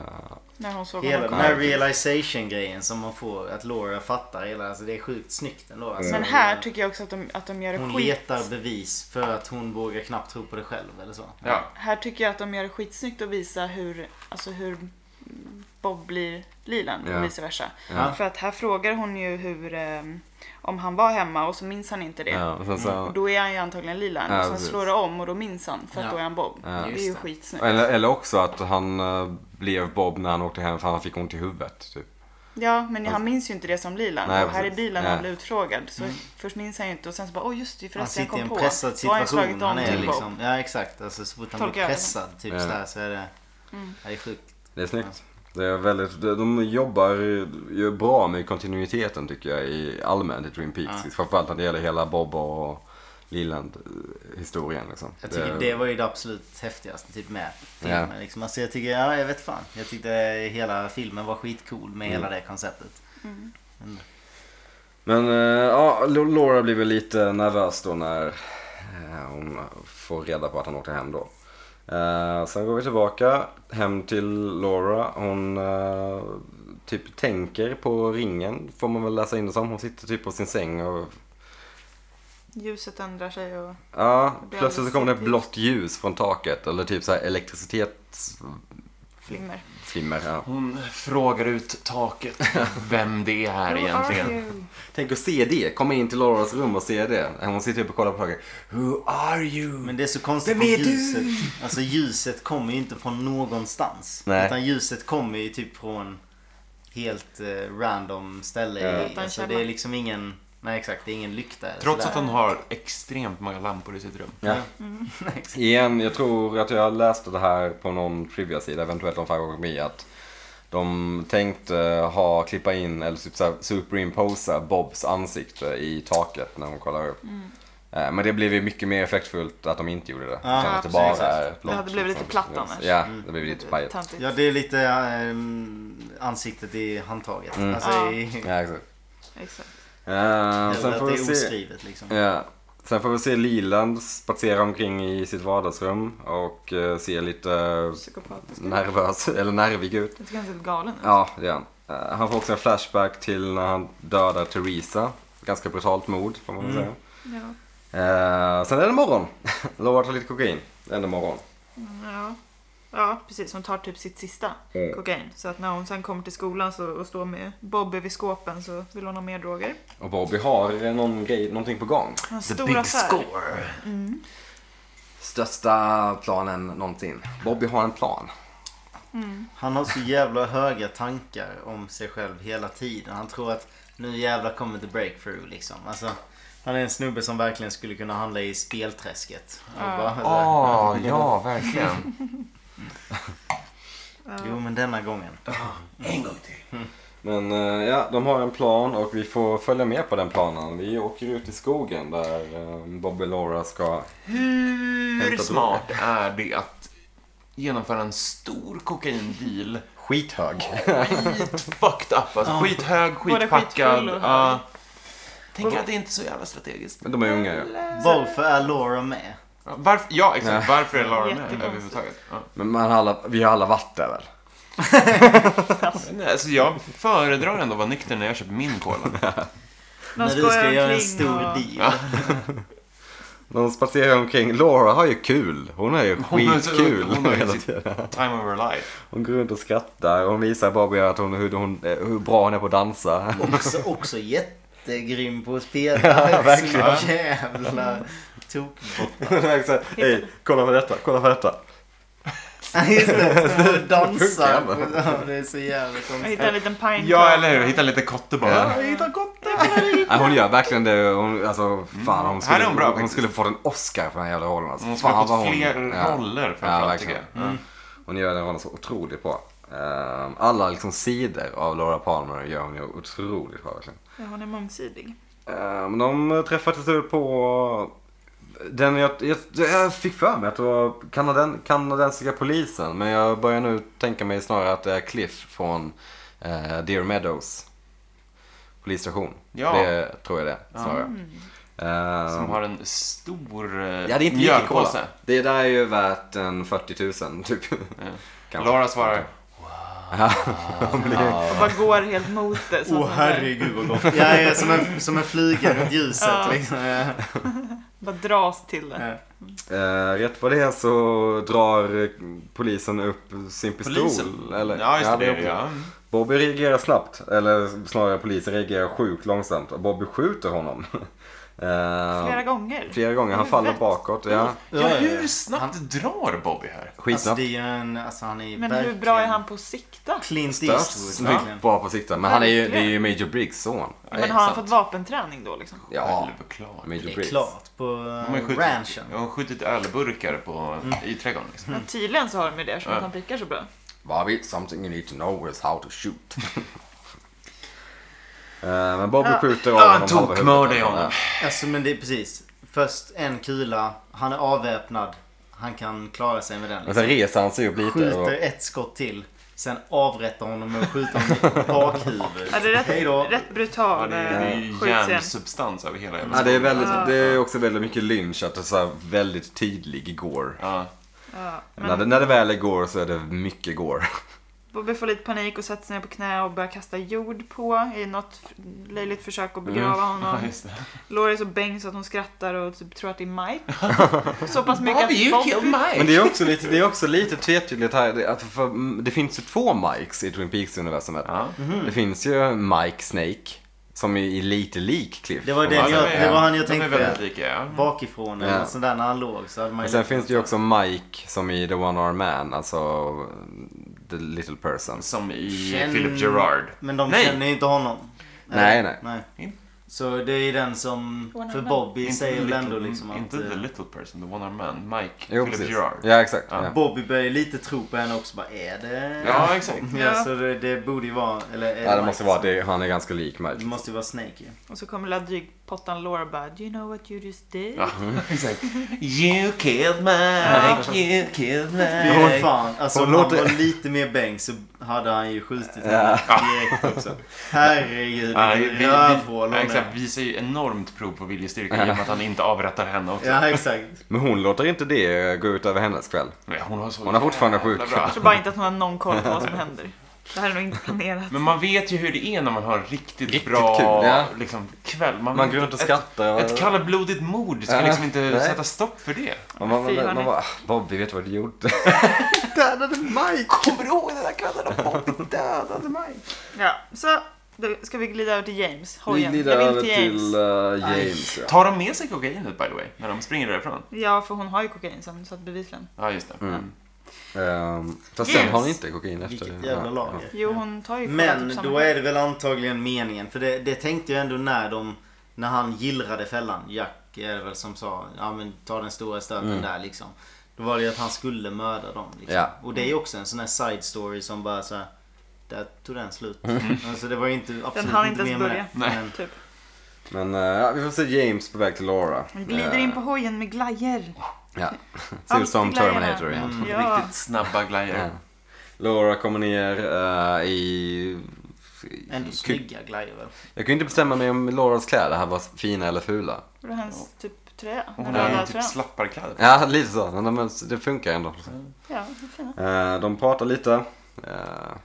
[SPEAKER 3] När hon såg
[SPEAKER 4] Hela
[SPEAKER 3] honom
[SPEAKER 4] den
[SPEAKER 3] komma.
[SPEAKER 4] här realization grejen som man får, att Laura fattar hela, alltså det är sjukt snyggt ändå. Alltså,
[SPEAKER 3] Men här tycker jag också att de, att de gör det
[SPEAKER 4] Hon
[SPEAKER 3] skit...
[SPEAKER 4] letar bevis för att hon vågar knappt tro på det själv eller så.
[SPEAKER 1] Ja.
[SPEAKER 3] Här tycker jag att de gör det skitsnyggt att visa hur, alltså hur Bob blir Lilan
[SPEAKER 2] Ja.
[SPEAKER 3] och vice versa.
[SPEAKER 4] Ja.
[SPEAKER 3] För att här frågar hon ju hur, eh, om han var hemma och så minns han inte det.
[SPEAKER 2] Ja, och eh, sen
[SPEAKER 3] Och
[SPEAKER 2] så,
[SPEAKER 3] Då är han ju antagligen Lilan
[SPEAKER 2] Ja,
[SPEAKER 3] och sen
[SPEAKER 2] precis.
[SPEAKER 3] slår det om och då minns han för att
[SPEAKER 4] Ja.
[SPEAKER 3] då är han Bob.
[SPEAKER 2] Ja.
[SPEAKER 3] Det är ju
[SPEAKER 4] Just det.
[SPEAKER 3] skitsnyggt.
[SPEAKER 2] eller, eller också att han eh, blev Bob när han åkte hem för han fick ont i huvudet. Typ.
[SPEAKER 3] Ja, men han minns ju inte det som Lilan.
[SPEAKER 2] Nej,
[SPEAKER 3] och här i
[SPEAKER 2] precis.
[SPEAKER 3] bilen
[SPEAKER 2] Ja.
[SPEAKER 3] när han blev utfrågad. Så först minns han ju inte och sen så bara, åh just det,
[SPEAKER 4] Mm. Han
[SPEAKER 3] förresten jag
[SPEAKER 4] sitter
[SPEAKER 3] kom
[SPEAKER 4] i en
[SPEAKER 3] på.
[SPEAKER 4] pressad
[SPEAKER 3] Så har han slagit
[SPEAKER 4] situation.
[SPEAKER 3] om
[SPEAKER 4] Han är
[SPEAKER 3] till
[SPEAKER 4] liksom, ja exakt. Alltså så fort han
[SPEAKER 3] Tolkar
[SPEAKER 4] blir
[SPEAKER 3] jag det. Mm.
[SPEAKER 4] pressad typ
[SPEAKER 2] Ja.
[SPEAKER 4] sådär så är det... Det är sjukt.
[SPEAKER 2] Det är snyggt. Det är väldigt, de- de jobbar ju bra med kontinuiteten tycker jag i allmänt i Twin Peaks.
[SPEAKER 4] Ja.
[SPEAKER 2] Framförallt när det gäller hela Bob och Liland eh, historien liksom.
[SPEAKER 4] Jag tycker det var ju det absolut häftigaste typ med filmen.
[SPEAKER 2] Ja.
[SPEAKER 4] Liksom. Alltså jag tycker, ja jag vet fan. Jag tyckte hela filmen var skitcool med
[SPEAKER 2] Mm.
[SPEAKER 4] hela det konceptet.
[SPEAKER 2] Men eh, ja, Lo- Laura blir väl lite nervös då när eh, hon får reda på att han åkte hem då. Eh, sen går vi tillbaka hem till Laura. Hon eh, typ tänker på ringen, får man väl läsa in det som. Hon sitter typ på sin säng och
[SPEAKER 3] Ljuset ändrar sig och...
[SPEAKER 2] Ja,
[SPEAKER 3] Det blir
[SPEAKER 2] plötsligt så kommer det
[SPEAKER 3] alldeles
[SPEAKER 2] blått ljus från taket eller typ så här elektricitetsflimmer.
[SPEAKER 3] flimmer.
[SPEAKER 2] Ja.
[SPEAKER 1] Hon frågar ut taket vem det är
[SPEAKER 3] Who are
[SPEAKER 1] egentligen.
[SPEAKER 3] you?
[SPEAKER 2] Tänk att se det, komma in till Lauras rum och se det. Hon sitter uppe och kollar på taket. Who are you?
[SPEAKER 4] Men det är så konstigt
[SPEAKER 2] Vem
[SPEAKER 4] med
[SPEAKER 2] är du?
[SPEAKER 4] ljuset. Alltså ljuset kommer ju inte från någonstans.
[SPEAKER 2] Nej.
[SPEAKER 4] Utan ljuset kommer ju typ från helt eh, random ställe. I,
[SPEAKER 3] Utan
[SPEAKER 4] alltså, det
[SPEAKER 3] källa.
[SPEAKER 4] är liksom ingen... Nej exakt, det är ingen lykta. eller
[SPEAKER 1] Trots att
[SPEAKER 4] sådär.
[SPEAKER 1] hon har extremt många lampor i sitt rum.
[SPEAKER 2] Ja.
[SPEAKER 4] Nej, exakt.
[SPEAKER 2] Igen, jag tror att jag läste det här på någon trivia-sida, eventuellt om Five Walk With Me, att de tänkte ha, klippa in eller typ så här superimposa Bobs ansikte i taket när hon kollar upp.
[SPEAKER 3] Mm.
[SPEAKER 2] Eh, Men det blev ju mycket mer effektfullt att de inte gjorde det. Utan
[SPEAKER 4] Ja,
[SPEAKER 2] att det
[SPEAKER 3] absolut.
[SPEAKER 2] bara
[SPEAKER 4] Exakt.
[SPEAKER 2] är
[SPEAKER 3] Det hade
[SPEAKER 2] blått,
[SPEAKER 3] blivit
[SPEAKER 2] liksom.
[SPEAKER 3] lite platt annars.
[SPEAKER 2] Ja,
[SPEAKER 4] Mm.
[SPEAKER 2] det blev lite pajigt.
[SPEAKER 3] Tantigt.
[SPEAKER 4] Ja, det är lite ehm, ansiktet i handtaget. Alltså,
[SPEAKER 3] Ja.
[SPEAKER 4] i,
[SPEAKER 2] Mm. Ja, exakt.
[SPEAKER 3] Exakt.
[SPEAKER 2] Eh,
[SPEAKER 4] eller
[SPEAKER 2] sen
[SPEAKER 4] att
[SPEAKER 2] får
[SPEAKER 4] det
[SPEAKER 2] vi
[SPEAKER 4] är
[SPEAKER 2] se.
[SPEAKER 4] oskrivet liksom.
[SPEAKER 2] Ja. Sen får vi se Liland spatsera omkring i sitt vardagsrum och eh, se lite eh,
[SPEAKER 3] Psykopatisk.
[SPEAKER 2] nervös, eller nervig ut.
[SPEAKER 3] Jag tycker han ser lite galen ut.
[SPEAKER 2] Ja, det är han. Eh, Han får också en flashback till när han dödar Teresa. Ganska brutalt mord, får man väl
[SPEAKER 1] Mm.
[SPEAKER 2] säga.
[SPEAKER 3] Ja.
[SPEAKER 2] Eh, sen är det morgon. Lovar tar lite kokain. Det är ändå morgon.
[SPEAKER 3] Mm, Ja. ja, precis. Hon tar typ sitt sista
[SPEAKER 2] Mm.
[SPEAKER 3] kokain. Så att när hon sen kommer till skolan så, och står med Bobby vid skåpen så vill hon ha mer droger.
[SPEAKER 2] Och Bobby har någon grej, någonting på gång.
[SPEAKER 3] Han har
[SPEAKER 1] The
[SPEAKER 3] stor
[SPEAKER 1] big
[SPEAKER 3] affär.
[SPEAKER 1] score.
[SPEAKER 2] Största planen någonsin. Bobby har en plan.
[SPEAKER 4] Han har så jävla höga tankar om sig själv hela tiden. Han tror att nu jävlar kommer the breakthrough liksom. Alltså, han är en snubbe som verkligen skulle kunna handla i spelträsket. Och bara,
[SPEAKER 1] Ah, ja, verkligen.
[SPEAKER 4] Jo men denna gången.
[SPEAKER 2] Men eh, ja, de har en plan och vi får följa med på den planen. Vi åker ut i skogen där eh, Bobby och Laura ska...
[SPEAKER 1] Hur
[SPEAKER 2] Hämta
[SPEAKER 1] smart är det att genomföra en stor kokaindeal?
[SPEAKER 2] Skithög.
[SPEAKER 1] Skit fucked up. Alltså, skithög,
[SPEAKER 3] Både
[SPEAKER 1] skitpackad.
[SPEAKER 3] skitfull och-
[SPEAKER 1] ja. Tänker att det är inte är så jävla strategiskt.
[SPEAKER 2] De är unga ju.
[SPEAKER 4] Varför är Laura med?
[SPEAKER 1] Ja, Varför, ja, exakt. Varför är Laura med
[SPEAKER 3] Jättekonstigt.
[SPEAKER 1] överhuvudtaget? Ja.
[SPEAKER 2] Men man har alla, vi har alla varit där väl?
[SPEAKER 1] Nej, Alltså, jag föredrar ändå att vara nykter när jag köper min cola.
[SPEAKER 3] De
[SPEAKER 4] När du ska
[SPEAKER 3] skojar
[SPEAKER 4] göra en
[SPEAKER 3] omkring
[SPEAKER 4] stor
[SPEAKER 3] och-
[SPEAKER 4] deal.
[SPEAKER 2] De spatserar omkring. Laura har ju kul. Hon har ju
[SPEAKER 1] Hon har-
[SPEAKER 2] skitkul.
[SPEAKER 1] hon har ju
[SPEAKER 2] hela
[SPEAKER 1] sitt-
[SPEAKER 2] tiden.
[SPEAKER 1] Time of her life.
[SPEAKER 2] hon går runt och skrattar. Hon visar Bobby att hon, hur, hon, hur bra hon är på att dansa.
[SPEAKER 4] Också, också jättegrym på att spela. ja, verkligen. Så jävla tokbock.
[SPEAKER 2] Det är så här, Hej, kolla på detta, kolla på detta.
[SPEAKER 4] Just det, står och dansar.
[SPEAKER 2] Det funkar
[SPEAKER 4] Ja, Det är så jävla
[SPEAKER 3] Jag
[SPEAKER 4] konstigt.
[SPEAKER 3] hittade en liten pine
[SPEAKER 1] Ja,
[SPEAKER 3] cone.
[SPEAKER 1] eller hur? Hitta lite kotte bara.
[SPEAKER 2] Nej, hon gör verkligen det. Hon, alltså, fan, hon skulle,
[SPEAKER 1] Här är hon bra,
[SPEAKER 2] hon
[SPEAKER 1] faktiskt.
[SPEAKER 2] skulle fått en Oscar för den här jävla rollen. Alltså.
[SPEAKER 1] Hon skulle
[SPEAKER 2] Fan,
[SPEAKER 1] ha
[SPEAKER 2] vad
[SPEAKER 1] fått fler
[SPEAKER 2] Ja.
[SPEAKER 1] roller
[SPEAKER 2] Ja,
[SPEAKER 1] framförallt, tycker
[SPEAKER 2] verkligen.
[SPEAKER 1] jag.
[SPEAKER 2] Mm. Hon gör den rollen så otroligt bra. Ehm, Alla liksom sidor av Laura Palmer gör hon ju otroligt bra verkligen.
[SPEAKER 3] Ja, hon är mångsidig.
[SPEAKER 2] Ehm, De träffar till slut på den jag, jag, jag fick för mig att det var kanaden, kanadensiska polisen. Men jag börjar nu tänka mig snarare att det är Cliff från eh, Deer Meadows polisstation.
[SPEAKER 1] Ja.
[SPEAKER 2] Det tror jag det är, snarare. Ehm,
[SPEAKER 1] Som har en stor eh,
[SPEAKER 2] Ja, det är inte mycket cola.
[SPEAKER 1] mjölpåse.
[SPEAKER 2] Det där är ju värt en 40 000 typ. Kanske.
[SPEAKER 1] Laura svarar,
[SPEAKER 3] Och bara går helt mot det. så att
[SPEAKER 4] Åh
[SPEAKER 3] man-
[SPEAKER 4] herregud vad gott. Jag är som en, som en fluga runt ljuset.
[SPEAKER 3] Ja.
[SPEAKER 4] Liksom. Ja.
[SPEAKER 3] Bara dras till det.
[SPEAKER 4] Ja.
[SPEAKER 2] Eh, rätt vad det är så drar eh, polisen upp sin pistol.
[SPEAKER 1] polisen.
[SPEAKER 2] Eller,
[SPEAKER 1] ja, just det. det
[SPEAKER 2] är
[SPEAKER 1] är det, ja.
[SPEAKER 2] Bobby reagerar snabbt, eller snarare polisen reagerar sjukt långsamt och Bobby skjuter honom. Eh,
[SPEAKER 3] Flera gånger. Mm.
[SPEAKER 2] flera gånger. Han faller bakåt. Ja.
[SPEAKER 1] Ja, hur snabbt drar Bobby här?
[SPEAKER 4] Alltså
[SPEAKER 2] Skitsnabbt.
[SPEAKER 4] det är ju en, alltså han är ju
[SPEAKER 3] Men hur
[SPEAKER 4] verkligen-
[SPEAKER 3] bra är han på att sikta?
[SPEAKER 4] Clint
[SPEAKER 2] Störs.
[SPEAKER 4] Eastwood verkligen.
[SPEAKER 2] Snyggt bra på sikten. Men han är ju, det är ju
[SPEAKER 3] Verkligen.
[SPEAKER 2] Major Briggs son.
[SPEAKER 3] Men har han fått vapenträning då liksom?
[SPEAKER 2] Ja,
[SPEAKER 1] Självklart.
[SPEAKER 2] Major
[SPEAKER 4] Det är
[SPEAKER 2] Briggs.
[SPEAKER 4] klart. På
[SPEAKER 1] De har ju skjutit-
[SPEAKER 4] ranchen. Mm.
[SPEAKER 1] Jag har skjutit ölburkar på, i trädgården. Liksom.
[SPEAKER 3] Men tydligen så har de ju det, som
[SPEAKER 1] Ja.
[SPEAKER 3] att han prickar så bra.
[SPEAKER 2] Bobby, something you need to know is how to shoot. Eh, Men Bobby skjuter av
[SPEAKER 1] Ja,
[SPEAKER 2] honom.
[SPEAKER 1] han
[SPEAKER 2] halva huvudet.
[SPEAKER 1] tokmördar ju honom.
[SPEAKER 4] Alltså men det är precis. Först en kula. Han är avväpnad. Han kan klara sig med den.
[SPEAKER 2] Men
[SPEAKER 4] Liksom.
[SPEAKER 2] sen reser han sig upp Alltså, lite. Och,
[SPEAKER 4] Skjuter ett skott till. Sen avrättar honom med att skjuta honom i bakhuvudet.
[SPEAKER 3] Ja, det är
[SPEAKER 4] Hej då.
[SPEAKER 3] rätt, rätt
[SPEAKER 1] Ja,
[SPEAKER 3] brutal
[SPEAKER 1] det, är, det är
[SPEAKER 3] eh,
[SPEAKER 1] ju
[SPEAKER 3] skjutscen.
[SPEAKER 1] järnsubstans över hela jävla
[SPEAKER 2] ja, det, är
[SPEAKER 1] skogen.
[SPEAKER 2] väldigt, det är också väldigt mycket lynch. Att det är så här väldigt tydlig gore.
[SPEAKER 1] Ja.
[SPEAKER 3] Ja,
[SPEAKER 2] När,
[SPEAKER 3] men
[SPEAKER 2] det, när det väl är gore så är det mycket gore.
[SPEAKER 3] Bobby får lite panik och sätter sig ner på knä och börjar kasta jord på i något f- löjligt försök att begrava
[SPEAKER 1] Ja,
[SPEAKER 3] honom.
[SPEAKER 1] just det.
[SPEAKER 3] Lori är så bäng så att hon skrattar och typ tror att det är Mike. så pass mycket
[SPEAKER 1] Bobby,
[SPEAKER 3] att
[SPEAKER 1] you killed
[SPEAKER 3] Bobby...
[SPEAKER 1] Mike!
[SPEAKER 2] Men det är också lite, det är också lite tvetydigt här. Det, att för, mm, det finns ju två Mikes i Twin Peaks-universumet.
[SPEAKER 1] Ja.
[SPEAKER 4] Mm.
[SPEAKER 2] Det finns ju Mike Snake, som är lite lik Cliff.
[SPEAKER 4] Det var
[SPEAKER 2] om
[SPEAKER 4] den
[SPEAKER 2] man
[SPEAKER 1] Ja,
[SPEAKER 4] jag-
[SPEAKER 2] säger.
[SPEAKER 1] de är-
[SPEAKER 4] det var han jag
[SPEAKER 1] de är
[SPEAKER 4] tänkte.
[SPEAKER 1] väldigt lika, ja.
[SPEAKER 4] Bakifrån eller
[SPEAKER 2] Ja.
[SPEAKER 4] något sånt där när han låg så hade man
[SPEAKER 2] Men
[SPEAKER 4] ju...
[SPEAKER 2] sen finns det ju också Mike, som i The One Arm Man, alltså eh, The Little Person.
[SPEAKER 1] Som i
[SPEAKER 4] Känn-
[SPEAKER 1] Philip Gerard.
[SPEAKER 4] Men de
[SPEAKER 1] Nej.
[SPEAKER 4] känner ju inte honom.
[SPEAKER 2] Nej, nej.
[SPEAKER 4] nej.
[SPEAKER 1] In-
[SPEAKER 4] Så det är ju den som...
[SPEAKER 3] One
[SPEAKER 4] För
[SPEAKER 3] man.
[SPEAKER 4] Bobby säger väl
[SPEAKER 1] little,
[SPEAKER 4] ändå liksom att...
[SPEAKER 1] inte the
[SPEAKER 4] eh,
[SPEAKER 1] little person, the one arm man. Mike,
[SPEAKER 2] Jo,
[SPEAKER 1] Philip
[SPEAKER 2] precis.
[SPEAKER 1] Gerard.
[SPEAKER 2] Ja, exakt.
[SPEAKER 1] Ja.
[SPEAKER 2] Ja.
[SPEAKER 4] Bobby börjar ju lite tro på henne också. Bara, är det...
[SPEAKER 1] Ja, exakt.
[SPEAKER 4] Ja, så det, det borde ju vara... Eller är
[SPEAKER 2] Ja, det
[SPEAKER 4] Mike?
[SPEAKER 2] måste vara det. Han är ganska lik
[SPEAKER 4] Det
[SPEAKER 2] Mike.
[SPEAKER 4] måste ju vara Snake ju.
[SPEAKER 3] Och så kommer lilla drygpottan Laura och bara Do you know what you just did?
[SPEAKER 1] Ja, exakt. You killed Mike, you killed
[SPEAKER 4] Fy
[SPEAKER 1] Mike.
[SPEAKER 2] Hon-
[SPEAKER 4] fan. Alltså
[SPEAKER 2] hon
[SPEAKER 4] om han
[SPEAKER 2] låter-
[SPEAKER 4] var lite mer bäng så hade han ju skjutit
[SPEAKER 2] Ja.
[SPEAKER 4] henne direkt också. Herregud
[SPEAKER 1] Ja, vi,
[SPEAKER 4] vilket
[SPEAKER 1] vi,
[SPEAKER 4] rövhål
[SPEAKER 1] ja,
[SPEAKER 4] hon är.
[SPEAKER 1] exakt, visar ju enormt prov på viljestyrka i och med att han inte avrättar henne också.
[SPEAKER 4] Ja, exakt.
[SPEAKER 2] Men hon låter inte det gå ut över hennes kväll.
[SPEAKER 1] Nej, Hon, har så
[SPEAKER 2] Hon har fortfarande
[SPEAKER 1] jävla
[SPEAKER 2] sjuk.
[SPEAKER 1] bra.
[SPEAKER 3] Jag tror bara inte att hon har någon koll på vad som händer. Det här är nog inte planerat.
[SPEAKER 1] Men man vet ju hur det är när man har en riktigt,
[SPEAKER 2] Riktigt
[SPEAKER 1] bra
[SPEAKER 2] kul, ja.
[SPEAKER 1] liksom, kväll. Man,
[SPEAKER 2] Man går runt och
[SPEAKER 1] ett-
[SPEAKER 2] skrattar. och-
[SPEAKER 1] Ett kallblodigt mord ska
[SPEAKER 2] Ja,
[SPEAKER 1] liksom inte
[SPEAKER 2] nej.
[SPEAKER 1] sätta stopp för det.
[SPEAKER 2] Man, man,
[SPEAKER 3] Fy,
[SPEAKER 2] man,
[SPEAKER 3] hörni.
[SPEAKER 2] man bara, "Ah, Bobby vet du vad du gjorde? dödade Mike! Kommer du ihåg den där kvällen då Bobby dödade Mike?
[SPEAKER 3] Ja, så då ska vi glida över till James.
[SPEAKER 2] Vi
[SPEAKER 3] Hojen.
[SPEAKER 2] glider
[SPEAKER 3] jag
[SPEAKER 2] över
[SPEAKER 3] vill till James.
[SPEAKER 2] till eh, James. Ja.
[SPEAKER 1] Tar de med sig kokainet by the way, när de springer därifrån?
[SPEAKER 3] Ja, för hon har ju kokain sen, så att bevisligen.
[SPEAKER 1] Ja, just det.
[SPEAKER 2] Mm. Ehm, fast sen
[SPEAKER 3] James.
[SPEAKER 2] har han inte kokain efter
[SPEAKER 4] Vilket
[SPEAKER 2] det.
[SPEAKER 4] jävla
[SPEAKER 2] Ja, ja.
[SPEAKER 4] lager.
[SPEAKER 3] Jo, hon tar ju kokain
[SPEAKER 4] Men
[SPEAKER 3] typ samma
[SPEAKER 4] då
[SPEAKER 3] dag.
[SPEAKER 4] är det väl antagligen meningen. För det, det tänkte jag ändå när de... När han gillrade fällan. Jack är det väl som sa ja men ta den stora stöten där liksom. Då var det ju att han skulle mörda dem. Liksom.
[SPEAKER 2] Mm. Ja.
[SPEAKER 4] Och det är ju också en sån här side story som bara så här, Där tog den slut.
[SPEAKER 2] Mm.
[SPEAKER 4] Alltså det var ju inte absolut
[SPEAKER 3] Den hann inte
[SPEAKER 4] mer
[SPEAKER 3] ens
[SPEAKER 4] med
[SPEAKER 3] börja.
[SPEAKER 4] det. Men-
[SPEAKER 3] Typ.
[SPEAKER 2] Men eh, ja, vi får se James på väg till Laura.
[SPEAKER 3] Hon glider
[SPEAKER 2] Eh,
[SPEAKER 3] in på hojen med glajer.
[SPEAKER 2] Ja. Ser
[SPEAKER 3] Alltid
[SPEAKER 2] ut som
[SPEAKER 3] glajjorna.
[SPEAKER 2] Terminator igen.
[SPEAKER 4] Mm.
[SPEAKER 3] Ja.
[SPEAKER 1] Riktigt snabba glajjor.
[SPEAKER 2] Ja. Laura kommer ner eh, i...
[SPEAKER 4] Ändå snygga glajjor väl?
[SPEAKER 2] Jag kunde inte bestämma mig om Lauras kläder här var fina eller fula.
[SPEAKER 3] Och det är hans typ tröja.
[SPEAKER 1] Och
[SPEAKER 3] Den
[SPEAKER 1] Hon har
[SPEAKER 3] röda
[SPEAKER 1] ju typ
[SPEAKER 3] tröjan.
[SPEAKER 1] slapparkläder.
[SPEAKER 2] Ja, lite så. Men de- det funkar ändå.
[SPEAKER 1] Mm.
[SPEAKER 3] Ja, det är fina.
[SPEAKER 2] Eh, de pratar lite. Eh,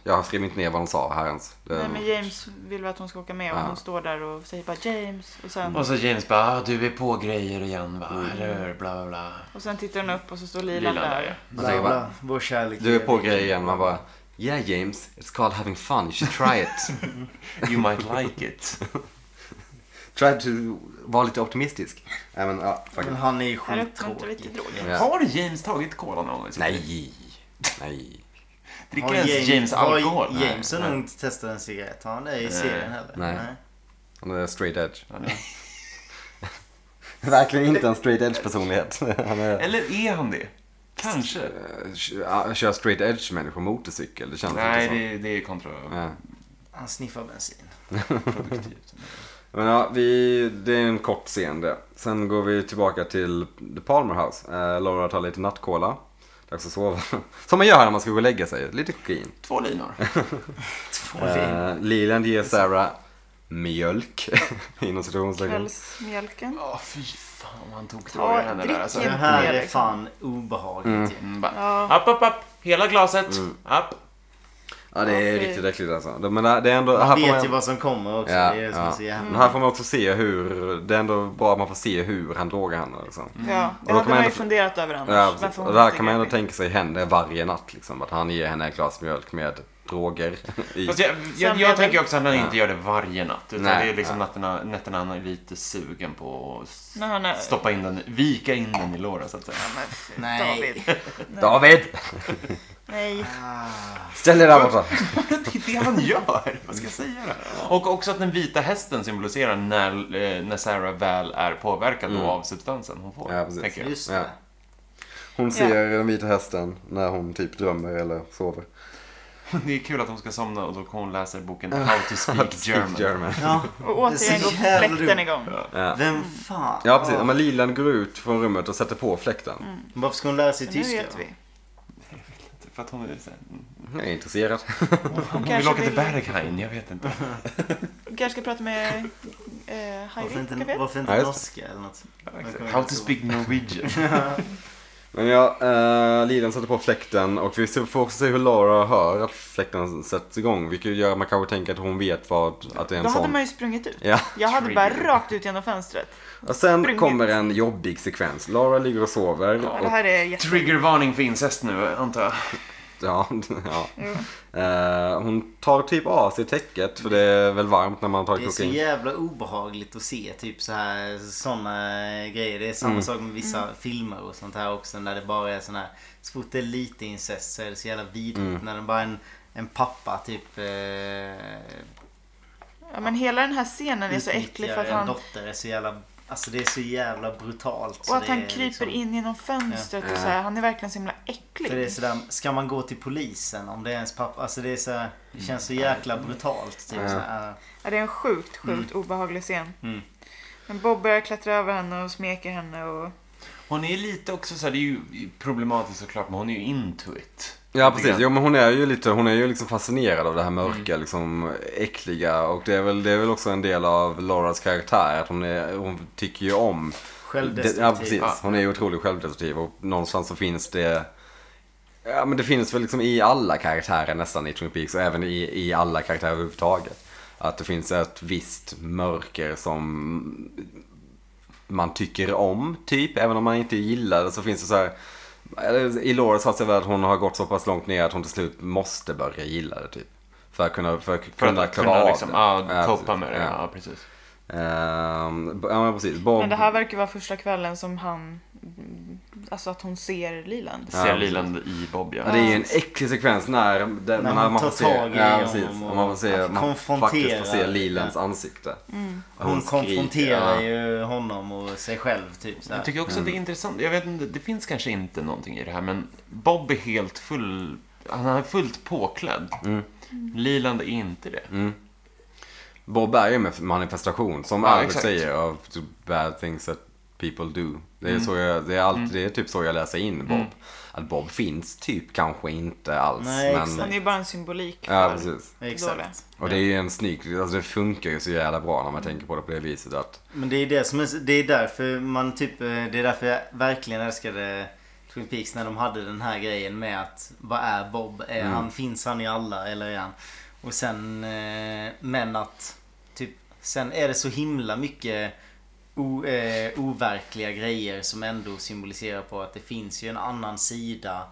[SPEAKER 2] jag har skrivit ner vad de sa här ens. Det-
[SPEAKER 3] Nej, men James vill väl att hon ska åka med och
[SPEAKER 2] Ja.
[SPEAKER 3] hon står där och säger bara James. Och sen,
[SPEAKER 1] Och så James bara, ah, du är på grejer igen va,
[SPEAKER 2] Mm.
[SPEAKER 1] eller hur? Bla bla bla.
[SPEAKER 3] och sen tittar hon upp och så står
[SPEAKER 1] Lila
[SPEAKER 3] Lilan
[SPEAKER 1] där
[SPEAKER 3] där.
[SPEAKER 1] ja.
[SPEAKER 2] Man tänker
[SPEAKER 4] Bla,
[SPEAKER 2] bara,
[SPEAKER 4] bla, vår kärlek.
[SPEAKER 2] du är på grejer igen. Man bara, yeah James, it's called having fun, you should try it.
[SPEAKER 1] You might like it.
[SPEAKER 2] try to vara lite optimistisk. Nej men ja, fuck it.
[SPEAKER 4] Men han är ju
[SPEAKER 3] Här uppmuntrar vi
[SPEAKER 4] skittråkig.
[SPEAKER 3] till droger.
[SPEAKER 2] Ja.
[SPEAKER 1] Har James tagit cola någon gång? i sitt liv?
[SPEAKER 2] Nej, nej,
[SPEAKER 1] Dricker ens James
[SPEAKER 4] har
[SPEAKER 1] alkohol?
[SPEAKER 4] James har
[SPEAKER 1] Nej.
[SPEAKER 4] nog inte testat en cigarett. Har han det i
[SPEAKER 1] Nej.
[SPEAKER 4] serien heller?
[SPEAKER 2] Nej. han är straight edge.
[SPEAKER 1] Han är-
[SPEAKER 2] Verkligen inte en straight edge personlighet. Han är,
[SPEAKER 1] Eller är han det? Kanske.
[SPEAKER 2] eh, kö- ja, kör straight edge människor på motorcykel, det känns
[SPEAKER 1] Nej,
[SPEAKER 2] inte så.
[SPEAKER 1] det, det är
[SPEAKER 2] Ja.
[SPEAKER 4] Han sniffar bensin.
[SPEAKER 1] kontraproduktivt.
[SPEAKER 2] Men ja, vi, det är en kort scen det. Sen går vi tillbaka till The Palmer House. Eh, Laura tar lite nattkola. Dags att sova. Som man gör när man ska gå och lägga sig. Lite kokain.
[SPEAKER 1] Två linor.
[SPEAKER 4] Två vin.
[SPEAKER 2] Eh, Leland ger Sarah mjölk. Inom situationstecken.
[SPEAKER 3] Kvällsmjälken.
[SPEAKER 1] Ja, fy fan vad han tog
[SPEAKER 3] Ta-
[SPEAKER 1] tag i henne
[SPEAKER 3] drick
[SPEAKER 1] där. Alltså.
[SPEAKER 4] Det
[SPEAKER 3] en-
[SPEAKER 4] här
[SPEAKER 3] Mm.
[SPEAKER 4] är fan obehagligt ju.
[SPEAKER 1] Mm, bara,
[SPEAKER 3] Ja.
[SPEAKER 2] Mm.
[SPEAKER 1] app, app, app. Hela glaset. App.
[SPEAKER 2] Ja, det är
[SPEAKER 3] Ja, fy.
[SPEAKER 2] riktigt äckligt alltså. Det- Men det är ändå...
[SPEAKER 4] Man
[SPEAKER 2] här får
[SPEAKER 4] vet
[SPEAKER 2] man-
[SPEAKER 4] ju vad som kommer också.
[SPEAKER 2] Ja,
[SPEAKER 4] det är det som är
[SPEAKER 2] ja.
[SPEAKER 4] så jävla...
[SPEAKER 2] Men här får man också se hur... Det är ändå bra att man får se hur han drogar henne liksom.
[SPEAKER 3] Ja, det
[SPEAKER 2] då kan
[SPEAKER 3] hade
[SPEAKER 2] man
[SPEAKER 3] man ju
[SPEAKER 2] ändå-
[SPEAKER 3] funderat över annars.
[SPEAKER 2] Ja,
[SPEAKER 3] Varför
[SPEAKER 2] precis.
[SPEAKER 3] hon
[SPEAKER 2] och det här
[SPEAKER 3] inte
[SPEAKER 2] kan man ändå
[SPEAKER 3] grep in.
[SPEAKER 2] tänka sig händer varje natt liksom. Att han ger henne ett glas mjölk med droger i.
[SPEAKER 1] Fast jag, jag,
[SPEAKER 3] blev det-
[SPEAKER 1] jag tänker också att han inte gör det varje natt. Utan
[SPEAKER 2] Nej,
[SPEAKER 1] det är liksom
[SPEAKER 2] nej.
[SPEAKER 1] nätterna, nätterna han är lite sugen på att s-
[SPEAKER 3] Nej, nej.
[SPEAKER 1] stoppa in den, vika in den i låren så att säga.
[SPEAKER 3] Men fy,
[SPEAKER 4] Nej.
[SPEAKER 3] David.
[SPEAKER 2] David!
[SPEAKER 3] Nej.
[SPEAKER 2] Mm.
[SPEAKER 4] Ah,
[SPEAKER 2] Ställ dig där borta!
[SPEAKER 1] Det är det han gör! Vad ska jag säga då? Och också att den vita hästen symboliserar när, eh, när Sarah väl är påverkad då av substansen hon får.
[SPEAKER 2] Ja, precis.
[SPEAKER 1] tänker jag.
[SPEAKER 4] Just
[SPEAKER 2] Ja.
[SPEAKER 4] det.
[SPEAKER 2] Hon ser den vita hästen när hon typ drömmer eller sover.
[SPEAKER 1] Det är kul att hon ska somna och då kommer hon läsa boken How to speak German.
[SPEAKER 2] German.
[SPEAKER 4] Ja.
[SPEAKER 3] Och
[SPEAKER 4] Det är så
[SPEAKER 3] återigen går
[SPEAKER 4] jävla
[SPEAKER 3] fläkten
[SPEAKER 4] dumt.
[SPEAKER 3] igång.
[SPEAKER 2] Ja.
[SPEAKER 4] Vem fan?
[SPEAKER 2] Ja precis, ja. men Lilan går ut från rummet och sätter på fläkten.
[SPEAKER 3] Mm.
[SPEAKER 4] Varför ska hon lära sig
[SPEAKER 3] Så nu
[SPEAKER 4] tyska?
[SPEAKER 3] vet vi.
[SPEAKER 1] För att hon är så här, mm.
[SPEAKER 2] Jag är intresserad.
[SPEAKER 3] Hon
[SPEAKER 1] hon vill
[SPEAKER 3] kanske
[SPEAKER 1] åka till
[SPEAKER 3] vill-
[SPEAKER 1] Berghain, jag vet inte.
[SPEAKER 3] hon kanske ska prata med eh, Heidi,
[SPEAKER 4] Varför inte,
[SPEAKER 3] kanske?
[SPEAKER 4] varför
[SPEAKER 2] Ja,
[SPEAKER 4] inte
[SPEAKER 2] just det.
[SPEAKER 4] norska eller något?
[SPEAKER 1] How to speak Norwegian.
[SPEAKER 2] Men ja, eh, Lilan sätter på fläkten och vi ser- får också se hur Laura hör att fläkten sätts igång. Vilket gör att man kanske tänker att hon vet vad, att det är
[SPEAKER 3] Då
[SPEAKER 2] en
[SPEAKER 3] hade
[SPEAKER 2] sån.
[SPEAKER 3] man ju sprungit ut.
[SPEAKER 2] Ja.
[SPEAKER 3] Jag hade bara
[SPEAKER 1] Trigger.
[SPEAKER 3] rakt ut genom fönstret.
[SPEAKER 2] Och sen
[SPEAKER 3] Sprungit.
[SPEAKER 2] kommer en jobbig sekvens. Laura ligger och sover.
[SPEAKER 3] Ja,
[SPEAKER 2] och
[SPEAKER 3] det här är jätte...
[SPEAKER 1] Triggervarning för incest nu, antar jag.
[SPEAKER 2] Ja, ja.
[SPEAKER 3] Mm.
[SPEAKER 2] Eh, hon tar typ av sig täcket för det är väl varmt när man tar
[SPEAKER 4] Det är så
[SPEAKER 2] kokain.
[SPEAKER 4] jävla obehagligt att se typ så här sådana grejer. Det är samma
[SPEAKER 2] Mm.
[SPEAKER 4] sak med vissa
[SPEAKER 3] Mm.
[SPEAKER 4] filmer och sånt här också. När det bara är sån här. Så fort det är lite incest så är det så jävla vidrigt.
[SPEAKER 2] Mm.
[SPEAKER 4] När det bara är en, en pappa typ. Eh,
[SPEAKER 3] Ja, men hela den här scenen är så
[SPEAKER 4] utnyttjar
[SPEAKER 3] äcklig för att
[SPEAKER 4] en
[SPEAKER 3] han...
[SPEAKER 4] dotter. är så jävla. Alltså det är så jävla brutalt. så
[SPEAKER 3] Och att
[SPEAKER 4] det
[SPEAKER 3] han
[SPEAKER 4] är
[SPEAKER 3] kryper
[SPEAKER 4] liksom-
[SPEAKER 3] in genom fönstret och så här. Han är verkligen så himla äcklig.
[SPEAKER 4] För det är sådär, ska man gå till polisen om det är ens pappa? Alltså det är så här, det känns så jäkla brutalt. Typ, så här,
[SPEAKER 3] Ja, det är en sjukt,
[SPEAKER 4] Mm.
[SPEAKER 3] sjukt obehaglig scen. Men Bob börjar klättra över henne och smeker henne och...
[SPEAKER 1] Hon är lite också så här, det är ju problematiskt såklart, men hon är ju into it.
[SPEAKER 2] Ja precis, jo, men hon är ju lite, hon är ju liksom fascinerad av det här mörka, liksom äckliga och det är, väl, det är väl också en del av Lauras karaktär att hon, är, hon tycker ju om det,
[SPEAKER 4] Självdestruktiv.
[SPEAKER 2] Ja precis,
[SPEAKER 1] Ja.
[SPEAKER 2] hon är ju otroligt självdestruktiv och någonstans så finns det Ja men det finns väl liksom i alla karaktärer nästan i Twin Peaks och även i, i alla karaktärer överhuvudtaget. Att det finns ett visst mörker som man tycker om typ, även om man inte gillar det så finns det så här eller, I Laura sa sig väl att hon har gått så pass långt ner att hon till slut måste börja gilla det typ. För att kunna, för att
[SPEAKER 1] För
[SPEAKER 2] kunna
[SPEAKER 1] att
[SPEAKER 2] klara
[SPEAKER 1] kunna
[SPEAKER 2] av
[SPEAKER 1] liksom,
[SPEAKER 2] det.
[SPEAKER 1] ja, copa
[SPEAKER 2] precis.
[SPEAKER 1] med det.
[SPEAKER 2] Ja,
[SPEAKER 1] Ja, precis.
[SPEAKER 2] Ehm, ja men precis. Bob,
[SPEAKER 3] Men det här verkar vara första kvällen som han... mm, Alltså att hon ser Liland.
[SPEAKER 1] Ser
[SPEAKER 2] Ja,
[SPEAKER 1] Liland i Bob, ja.
[SPEAKER 2] Ja, det är ju en äcklig sekvens när, där, när,
[SPEAKER 4] hon
[SPEAKER 2] man
[SPEAKER 4] tar
[SPEAKER 2] får se,
[SPEAKER 4] tag i
[SPEAKER 2] ja,
[SPEAKER 4] honom
[SPEAKER 2] precis,
[SPEAKER 4] och
[SPEAKER 2] och man får se, man
[SPEAKER 4] konfronterar.
[SPEAKER 2] faktiskt får se Lilans ansikte.
[SPEAKER 3] Mm.
[SPEAKER 4] Hon konfronterar
[SPEAKER 2] ju.
[SPEAKER 4] ju honom och sig själv typ så
[SPEAKER 1] Jag
[SPEAKER 4] här.
[SPEAKER 1] tycker också att
[SPEAKER 2] Mm.
[SPEAKER 1] det är intressant, jag vet inte, det finns kanske inte någonting i det här, men Bob är helt full, han är fullt påklädd.
[SPEAKER 2] Mm.
[SPEAKER 1] Liland är inte det.
[SPEAKER 2] Bob är ju en manifestation, som
[SPEAKER 1] Ja,
[SPEAKER 2] Albert
[SPEAKER 1] exakt.
[SPEAKER 2] säger, av the bad things that people do. Det är, så jag, det, är allt, det är typ så jag läser in Bob. Att Bob finns typ kanske inte alls.
[SPEAKER 4] Nej,
[SPEAKER 2] men,
[SPEAKER 3] Han är ju bara en symbolik för...
[SPEAKER 2] ja, precis.
[SPEAKER 3] dåliga.
[SPEAKER 4] Exakt.
[SPEAKER 2] Och det är ju en snygg, alltså det funkar ju så jävla bra när man tänker på det på det viset att
[SPEAKER 4] Men det är det som är, det är därför man typ, eh, det är därför jag verkligen älskade Twin Peaks när de hade den här grejen med att vad är Bob? Är
[SPEAKER 2] Mm.
[SPEAKER 4] han, finns han i alla eller är han? Och sen, eh, men att typ, sen är det så himla mycket o, eh, overkliga grejer som ändå symboliserar på att det finns ju en annan sida,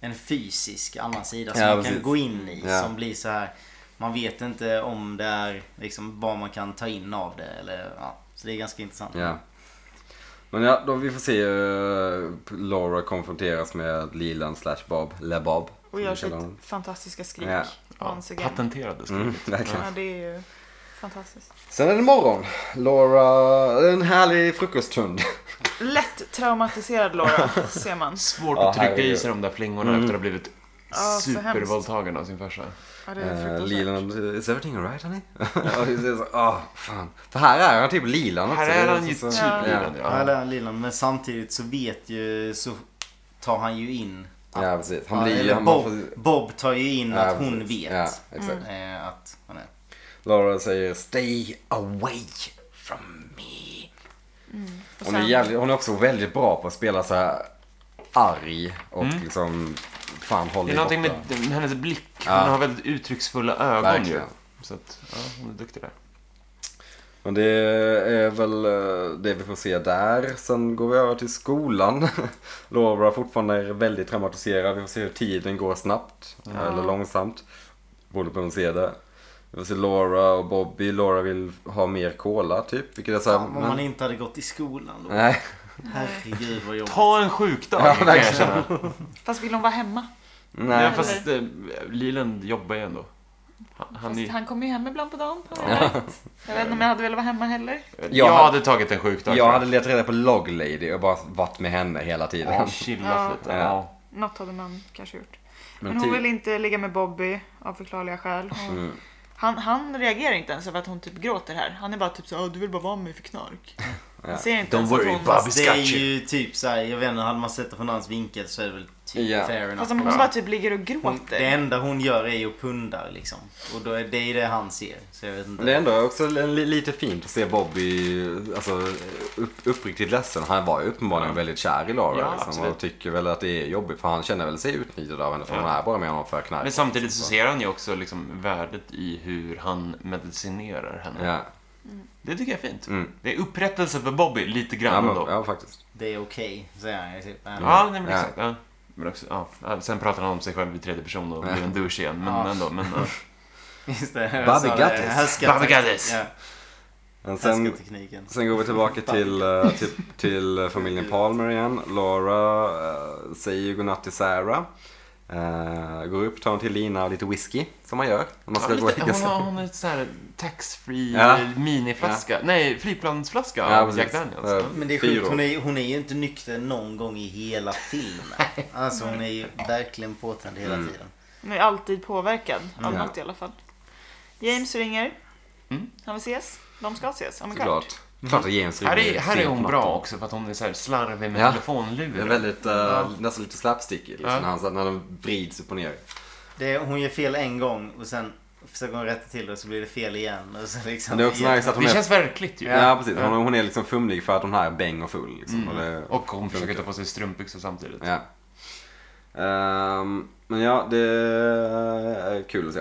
[SPEAKER 4] en fysisk annan sida som
[SPEAKER 2] Ja,
[SPEAKER 4] man kan
[SPEAKER 2] precis.
[SPEAKER 4] gå in i
[SPEAKER 2] Ja.
[SPEAKER 4] som blir så här man vet inte om det är liksom vad man kan ta in av det eller ja. Så det är ganska intressant.
[SPEAKER 2] Ja. Men ja, då vi får se eh, Laura konfronteras med Lilan slash Bob, LeBob.
[SPEAKER 3] Och gör sitt
[SPEAKER 2] Mm,
[SPEAKER 3] fantastiska skrik.
[SPEAKER 2] Ja.
[SPEAKER 1] Ja,
[SPEAKER 3] Once again.
[SPEAKER 1] patenterade skrivet.
[SPEAKER 2] Mm, verkligen.
[SPEAKER 3] Ja, det är ju fantastiskt.
[SPEAKER 2] Sen är det morgon. Laura, en härlig frukoststund.
[SPEAKER 3] Lätt traumatiserad Laura, ser man.
[SPEAKER 1] Svårt
[SPEAKER 2] Ja,
[SPEAKER 1] att trycka i
[SPEAKER 2] herregud. Mm.
[SPEAKER 1] sig de där flingorna efter att ha blivit
[SPEAKER 3] Ja, så hemskt.
[SPEAKER 1] supervåldtagen av sin farsa.
[SPEAKER 3] Ja, det är
[SPEAKER 2] Eh,
[SPEAKER 3] fruktansvärt.
[SPEAKER 2] Lilan, is everything alright honey? Och det är så, ah, fan. För här är han typ Lilan också.
[SPEAKER 1] Här
[SPEAKER 2] Det
[SPEAKER 1] är han ju
[SPEAKER 2] så-
[SPEAKER 1] typ
[SPEAKER 2] så-
[SPEAKER 3] Ja.
[SPEAKER 1] Liland,
[SPEAKER 4] Ja,
[SPEAKER 1] ja.
[SPEAKER 4] eller Lilan. Men samtidigt så vet ju så tar han ju in.
[SPEAKER 2] Ja, ja precis. Han
[SPEAKER 4] Ja,
[SPEAKER 2] blir ju...
[SPEAKER 4] eller
[SPEAKER 2] han- man
[SPEAKER 4] Bob,
[SPEAKER 2] får-
[SPEAKER 4] Bob tar ju in
[SPEAKER 2] Ja,
[SPEAKER 4] att hon
[SPEAKER 2] precis.
[SPEAKER 4] vet.
[SPEAKER 2] Ja, exakt.
[SPEAKER 4] Eh, att hon är.
[SPEAKER 2] Laura säger stay away from me.
[SPEAKER 3] Och
[SPEAKER 2] Hon är,
[SPEAKER 3] sen-
[SPEAKER 2] jävligt, hon är också väldigt bra på att spela så här arg och liksom Fan, håll
[SPEAKER 1] Mm. Det
[SPEAKER 2] dig
[SPEAKER 1] är någonting med
[SPEAKER 2] borta.
[SPEAKER 1] hennes blick. Hon
[SPEAKER 2] Ja.
[SPEAKER 1] har väldigt uttrycksfulla ögon ju.
[SPEAKER 2] Verkligen.
[SPEAKER 1] Så att, ja, hon är duktig där.
[SPEAKER 2] Men det är väl eh, det vi får se där. Sen går vi över till skolan. Laura fortfarande är väldigt traumatiserad. Vi får se hur tiden går snabbt. Eller långsamt. Beroende på hur hon ser det. Vi får se Laura och Bobby. Laura vill ha mer cola typ. Vilket är såhär...
[SPEAKER 4] Om man inte hade gått i skolan då.
[SPEAKER 2] Nej.
[SPEAKER 4] Herregud vad jobbigt.
[SPEAKER 1] Ta en sjukdag
[SPEAKER 2] Ja,
[SPEAKER 1] kan jag
[SPEAKER 2] verkligen.
[SPEAKER 1] känna.
[SPEAKER 3] Fast vill hon vara hemma?
[SPEAKER 1] Ja,
[SPEAKER 2] Nej.
[SPEAKER 1] fast eh, Leland jobbar ju ändå. Han, han,
[SPEAKER 3] Fast
[SPEAKER 1] är-
[SPEAKER 3] han kommer ju hem ibland på dagen. har jag märkt. Jag vet inte om jag hade velat vara hemma heller.
[SPEAKER 1] jag
[SPEAKER 2] hade-
[SPEAKER 1] hade tagit en sjukdag. tror
[SPEAKER 2] Jag hade letat reda på Log Lady och bara varit med henne hela tiden.
[SPEAKER 1] Ja, chillat
[SPEAKER 3] Ja.
[SPEAKER 1] lite.
[SPEAKER 2] Ja.
[SPEAKER 1] Ja.
[SPEAKER 3] Något hade man kanske gjort.
[SPEAKER 2] Men typ-
[SPEAKER 3] Men, hon
[SPEAKER 2] ty-
[SPEAKER 3] vill inte ligga med Bobby av förklarliga skäl.
[SPEAKER 2] Mm.
[SPEAKER 3] Hon, han, han reagerar inte ens över att hon typ gråter här. Han är bara typ så "Åh, du vill bara vara med mig för knark. Han ser inte
[SPEAKER 1] Don't
[SPEAKER 3] ens
[SPEAKER 1] worry,
[SPEAKER 3] att hon...
[SPEAKER 1] Bobby.
[SPEAKER 4] Det är ju typ såhär, jag vet inte, hade man sett det från hans vinkel så är det väl typ
[SPEAKER 2] Ja.
[SPEAKER 4] fair enough.
[SPEAKER 3] Fast om hon bara typ ligger och
[SPEAKER 4] Hon,
[SPEAKER 3] gråter.
[SPEAKER 4] det enda hon gör är ju att punda liksom. Och då är det är ju det han ser. Så jag vet inte.
[SPEAKER 2] Men det är ändå också li- li- lite fint att se Bobby alltså, upp, uppriktigt ledsen. Han var ju uppenbarligen väldigt kär i Laura.
[SPEAKER 1] Ja,
[SPEAKER 2] liksom,
[SPEAKER 1] absolut.
[SPEAKER 2] och tycker väl att det är jobbigt för han känner väl sig utnyttjad av henne för
[SPEAKER 1] Ja.
[SPEAKER 2] hon är bara med honom för knark.
[SPEAKER 1] Men samtidigt så ser han ju också liksom värdet i hur han medicinerar henne.
[SPEAKER 2] Ja,
[SPEAKER 1] Det tycker jag är fint.
[SPEAKER 2] Mm.
[SPEAKER 1] Det är upprättelse för Bobby, lite
[SPEAKER 2] ja,
[SPEAKER 1] grann
[SPEAKER 2] men,
[SPEAKER 1] då.
[SPEAKER 2] ja faktiskt.
[SPEAKER 4] Det är okej, säger han. Jag typ, äh.
[SPEAKER 1] Ja, nej, men
[SPEAKER 2] Ja.
[SPEAKER 1] exakt. Ja. Men också, ja. Ja, Sen pratar han om sig själv i tredje person och
[SPEAKER 2] Ja.
[SPEAKER 1] blir en douche igen. Men
[SPEAKER 4] Ja.
[SPEAKER 1] ändå. Men, ja.
[SPEAKER 4] Just det. jag
[SPEAKER 2] Bobby
[SPEAKER 4] sa det.
[SPEAKER 2] got this.
[SPEAKER 4] Härskartek-
[SPEAKER 1] Bobby got this.
[SPEAKER 4] Ja,
[SPEAKER 2] Men sen,
[SPEAKER 4] härskartekniken.
[SPEAKER 2] sen går vi tillbaka till, eh, till, till eh, familjen Palmer igen. Laura eh, säger godnatt till Sarah. Eh, går upp, tar en till lina och lite whisky. Som man gör. När man ska
[SPEAKER 1] Ja,
[SPEAKER 2] gå och
[SPEAKER 1] lite,
[SPEAKER 2] lägga
[SPEAKER 1] hon,
[SPEAKER 2] sig.
[SPEAKER 1] har, hon har ett sån här tax-free
[SPEAKER 2] Ja.
[SPEAKER 1] miniflaska. Nej, flygplansflaska
[SPEAKER 2] Ja,
[SPEAKER 1] av Jack
[SPEAKER 2] precis.
[SPEAKER 1] Daniels.
[SPEAKER 2] Ja.
[SPEAKER 4] Men det är
[SPEAKER 2] Fyra.
[SPEAKER 4] sjukt, hon är, hon är ju inte nykter någon gång i hela filmen. Alltså hon är ju verkligen påtänd hela
[SPEAKER 2] Mm.
[SPEAKER 4] tiden.
[SPEAKER 3] Hon är alltid påverkad av
[SPEAKER 2] Ja.
[SPEAKER 3] något i alla fall. James ringer.
[SPEAKER 1] Mm.
[SPEAKER 3] Han vill ses. De ska ses om en kvart.
[SPEAKER 2] Såklart. Klart att James
[SPEAKER 1] Här
[SPEAKER 2] ringer
[SPEAKER 1] är, här är
[SPEAKER 2] sent på
[SPEAKER 1] hon
[SPEAKER 2] natten.
[SPEAKER 1] bra också för att hon är så här slarvig med
[SPEAKER 2] Ja. Det är
[SPEAKER 1] telefonluren.
[SPEAKER 2] väldigt, eh, nästan lite slapsticky liksom,
[SPEAKER 1] Ja.
[SPEAKER 2] när, han, när de vrids upp och ner.
[SPEAKER 4] Det, hon gör fel en gång och sen försöker hon rätta till det och så blir det fel igen. Och så liksom,
[SPEAKER 2] Men det är också nice att hon
[SPEAKER 1] Det
[SPEAKER 2] är...
[SPEAKER 1] känns verkligt ju.
[SPEAKER 2] Ja, precis. Hon, hon är liksom fumlig för att hon här är bäng och full. Liksom. Och det,
[SPEAKER 1] Mm. Och hon försöker ta på sig strumpbyxor samtidigt.
[SPEAKER 2] ja. Ehm, men ja, det är kul att se.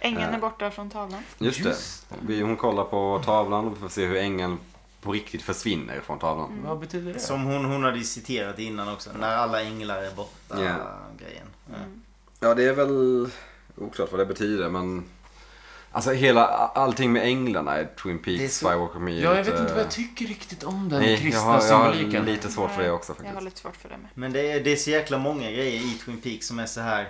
[SPEAKER 3] Ängen
[SPEAKER 2] Ja.
[SPEAKER 3] är borta från tavlan.
[SPEAKER 2] Just,
[SPEAKER 1] Just
[SPEAKER 2] det. Vi, hon kollar på tavlan och vi får se hur ängeln på riktigt försvinner från tavlan.
[SPEAKER 1] Vad betyder det?
[SPEAKER 4] Som hon, hon hade ju citerat innan också. När alla änglar är borta.
[SPEAKER 2] Ja. Mm.
[SPEAKER 4] Grejen.
[SPEAKER 2] Ja, det är väl oklart vad det betyder, men... Alltså hela, allting med änglarna i Twin
[SPEAKER 4] Det är
[SPEAKER 2] Peaks,
[SPEAKER 4] så-
[SPEAKER 2] Firewalker Me.
[SPEAKER 1] Ja, jag vet inte vad jag tycker riktigt om den
[SPEAKER 2] Nej, jag
[SPEAKER 1] kristna
[SPEAKER 2] har, jag har
[SPEAKER 1] symboliken.
[SPEAKER 2] lite svårt för det också
[SPEAKER 3] Jag har
[SPEAKER 2] faktiskt.
[SPEAKER 3] lite svårt för det med.
[SPEAKER 4] Men det är, det är så jäkla många grejer i Twin Peaks som är så här.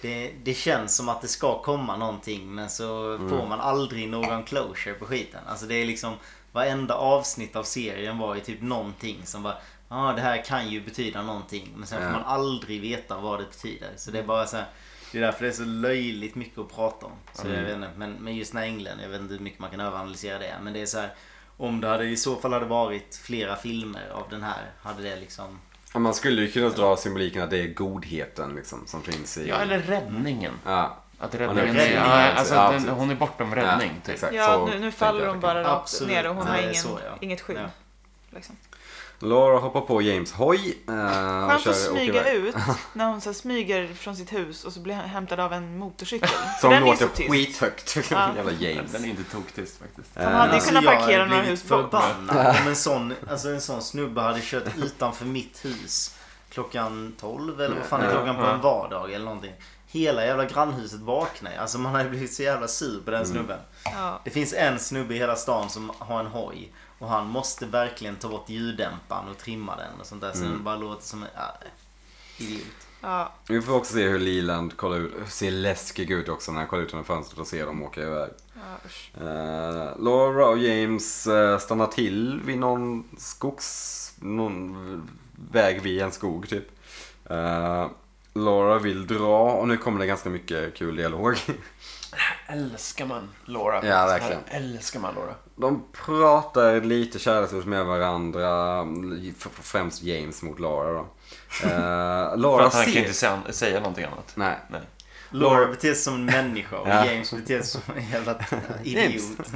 [SPEAKER 4] Det, det känns som att det ska komma någonting men så får man aldrig någon closure på skiten. Alltså det är liksom varenda avsnitt av serien var ju typ någonting som bara Ja ah, det här kan ju betyda någonting men sen
[SPEAKER 2] Ja.
[SPEAKER 4] får man aldrig veta vad det betyder. Så det är bara så här, Det är därför det är så löjligt mycket att prata om. Så jag vet inte, men, men just den här änglen, jag vet inte hur mycket man kan överanalysera det. Men det är så här, Om det hade i så fall hade varit flera filmer av den här hade det liksom
[SPEAKER 2] Ja, Man skulle ju kunna dra symboliken att det är godheten liksom, som finns i...
[SPEAKER 1] Ja, eller räddningen.
[SPEAKER 2] Ja,
[SPEAKER 1] Att
[SPEAKER 2] Hon är
[SPEAKER 1] räddningen...
[SPEAKER 4] räddning,
[SPEAKER 1] Ja,
[SPEAKER 2] alltså.
[SPEAKER 1] alltså,
[SPEAKER 2] Ja,
[SPEAKER 1] att den,
[SPEAKER 2] precis.
[SPEAKER 1] hon är bortom räddning.
[SPEAKER 2] ja,
[SPEAKER 1] typ.
[SPEAKER 2] exakt.
[SPEAKER 3] Ja, nu,
[SPEAKER 2] Så
[SPEAKER 3] nu
[SPEAKER 2] tänkte
[SPEAKER 3] faller
[SPEAKER 2] jag
[SPEAKER 3] hon
[SPEAKER 2] att det
[SPEAKER 3] bara rakt
[SPEAKER 4] Absolut.
[SPEAKER 3] ner och hon
[SPEAKER 4] Ja,
[SPEAKER 3] har
[SPEAKER 4] det är
[SPEAKER 3] ingen,
[SPEAKER 4] så, ja.
[SPEAKER 3] inget skydd.
[SPEAKER 4] Ja.
[SPEAKER 3] Liksom.
[SPEAKER 2] kan. Laura hoppar på James hoj. Eh, och
[SPEAKER 3] Skönt
[SPEAKER 2] kör,
[SPEAKER 3] att smyga
[SPEAKER 2] åker iväg.
[SPEAKER 3] ut när hon så här, smyger från sitt hus och så blir hon hämtad av en motorcykel.
[SPEAKER 2] Som
[SPEAKER 3] Den är
[SPEAKER 2] låter
[SPEAKER 3] så tyst.
[SPEAKER 2] skithögt.
[SPEAKER 3] Ja.
[SPEAKER 2] Jävla James.
[SPEAKER 1] Den är inte toktyst faktiskt.
[SPEAKER 3] De hade ju
[SPEAKER 4] Alltså,
[SPEAKER 3] kunnat
[SPEAKER 4] jag
[SPEAKER 3] parkera
[SPEAKER 4] hade
[SPEAKER 3] några
[SPEAKER 4] blivit
[SPEAKER 3] hus bort.
[SPEAKER 4] förbannad om en sån, alltså en sån snubbe hade kört utanför mitt hus klockan 12 eller vad fan är klockan på en vardag eller någonting. Hela jävla grannhuset vaknar ju. Alltså man hade blivit så jävla sur på den snubben.
[SPEAKER 3] Ja.
[SPEAKER 4] Det finns en snubbe i hela stan som har en hoj. Och han måste verkligen ta bort ljuddämparen och trimma den och sånt där. Så den bara låter som en ja, idiot.
[SPEAKER 3] Ja.
[SPEAKER 2] Vi får också se hur Leland kollar ut. Ser läskig ut också när han kollar ut genom fönstret och ser dem åka iväg.
[SPEAKER 3] Ja, usch.
[SPEAKER 2] Eh, Laura och James eh, stannar till vid någon skogs... Någon väg vid en skog typ. Eh, Laura vill dra och nu kommer det ganska mycket kul dialog.
[SPEAKER 1] Älskar man Laura.
[SPEAKER 2] Ja, verkligen.
[SPEAKER 1] Här Älskar man Laura.
[SPEAKER 2] De pratar lite kärleksfullt med varandra. f- f- Främst James mot Laura då. Eh,
[SPEAKER 1] För
[SPEAKER 2] Laura
[SPEAKER 1] att han kan
[SPEAKER 2] ser...
[SPEAKER 1] inte säga, säga någonting annat.
[SPEAKER 2] Nej.
[SPEAKER 1] Nej.
[SPEAKER 4] Laura beter sig som en människa och
[SPEAKER 2] Ja.
[SPEAKER 4] James beter sig som en jävla
[SPEAKER 2] James.
[SPEAKER 4] idiot.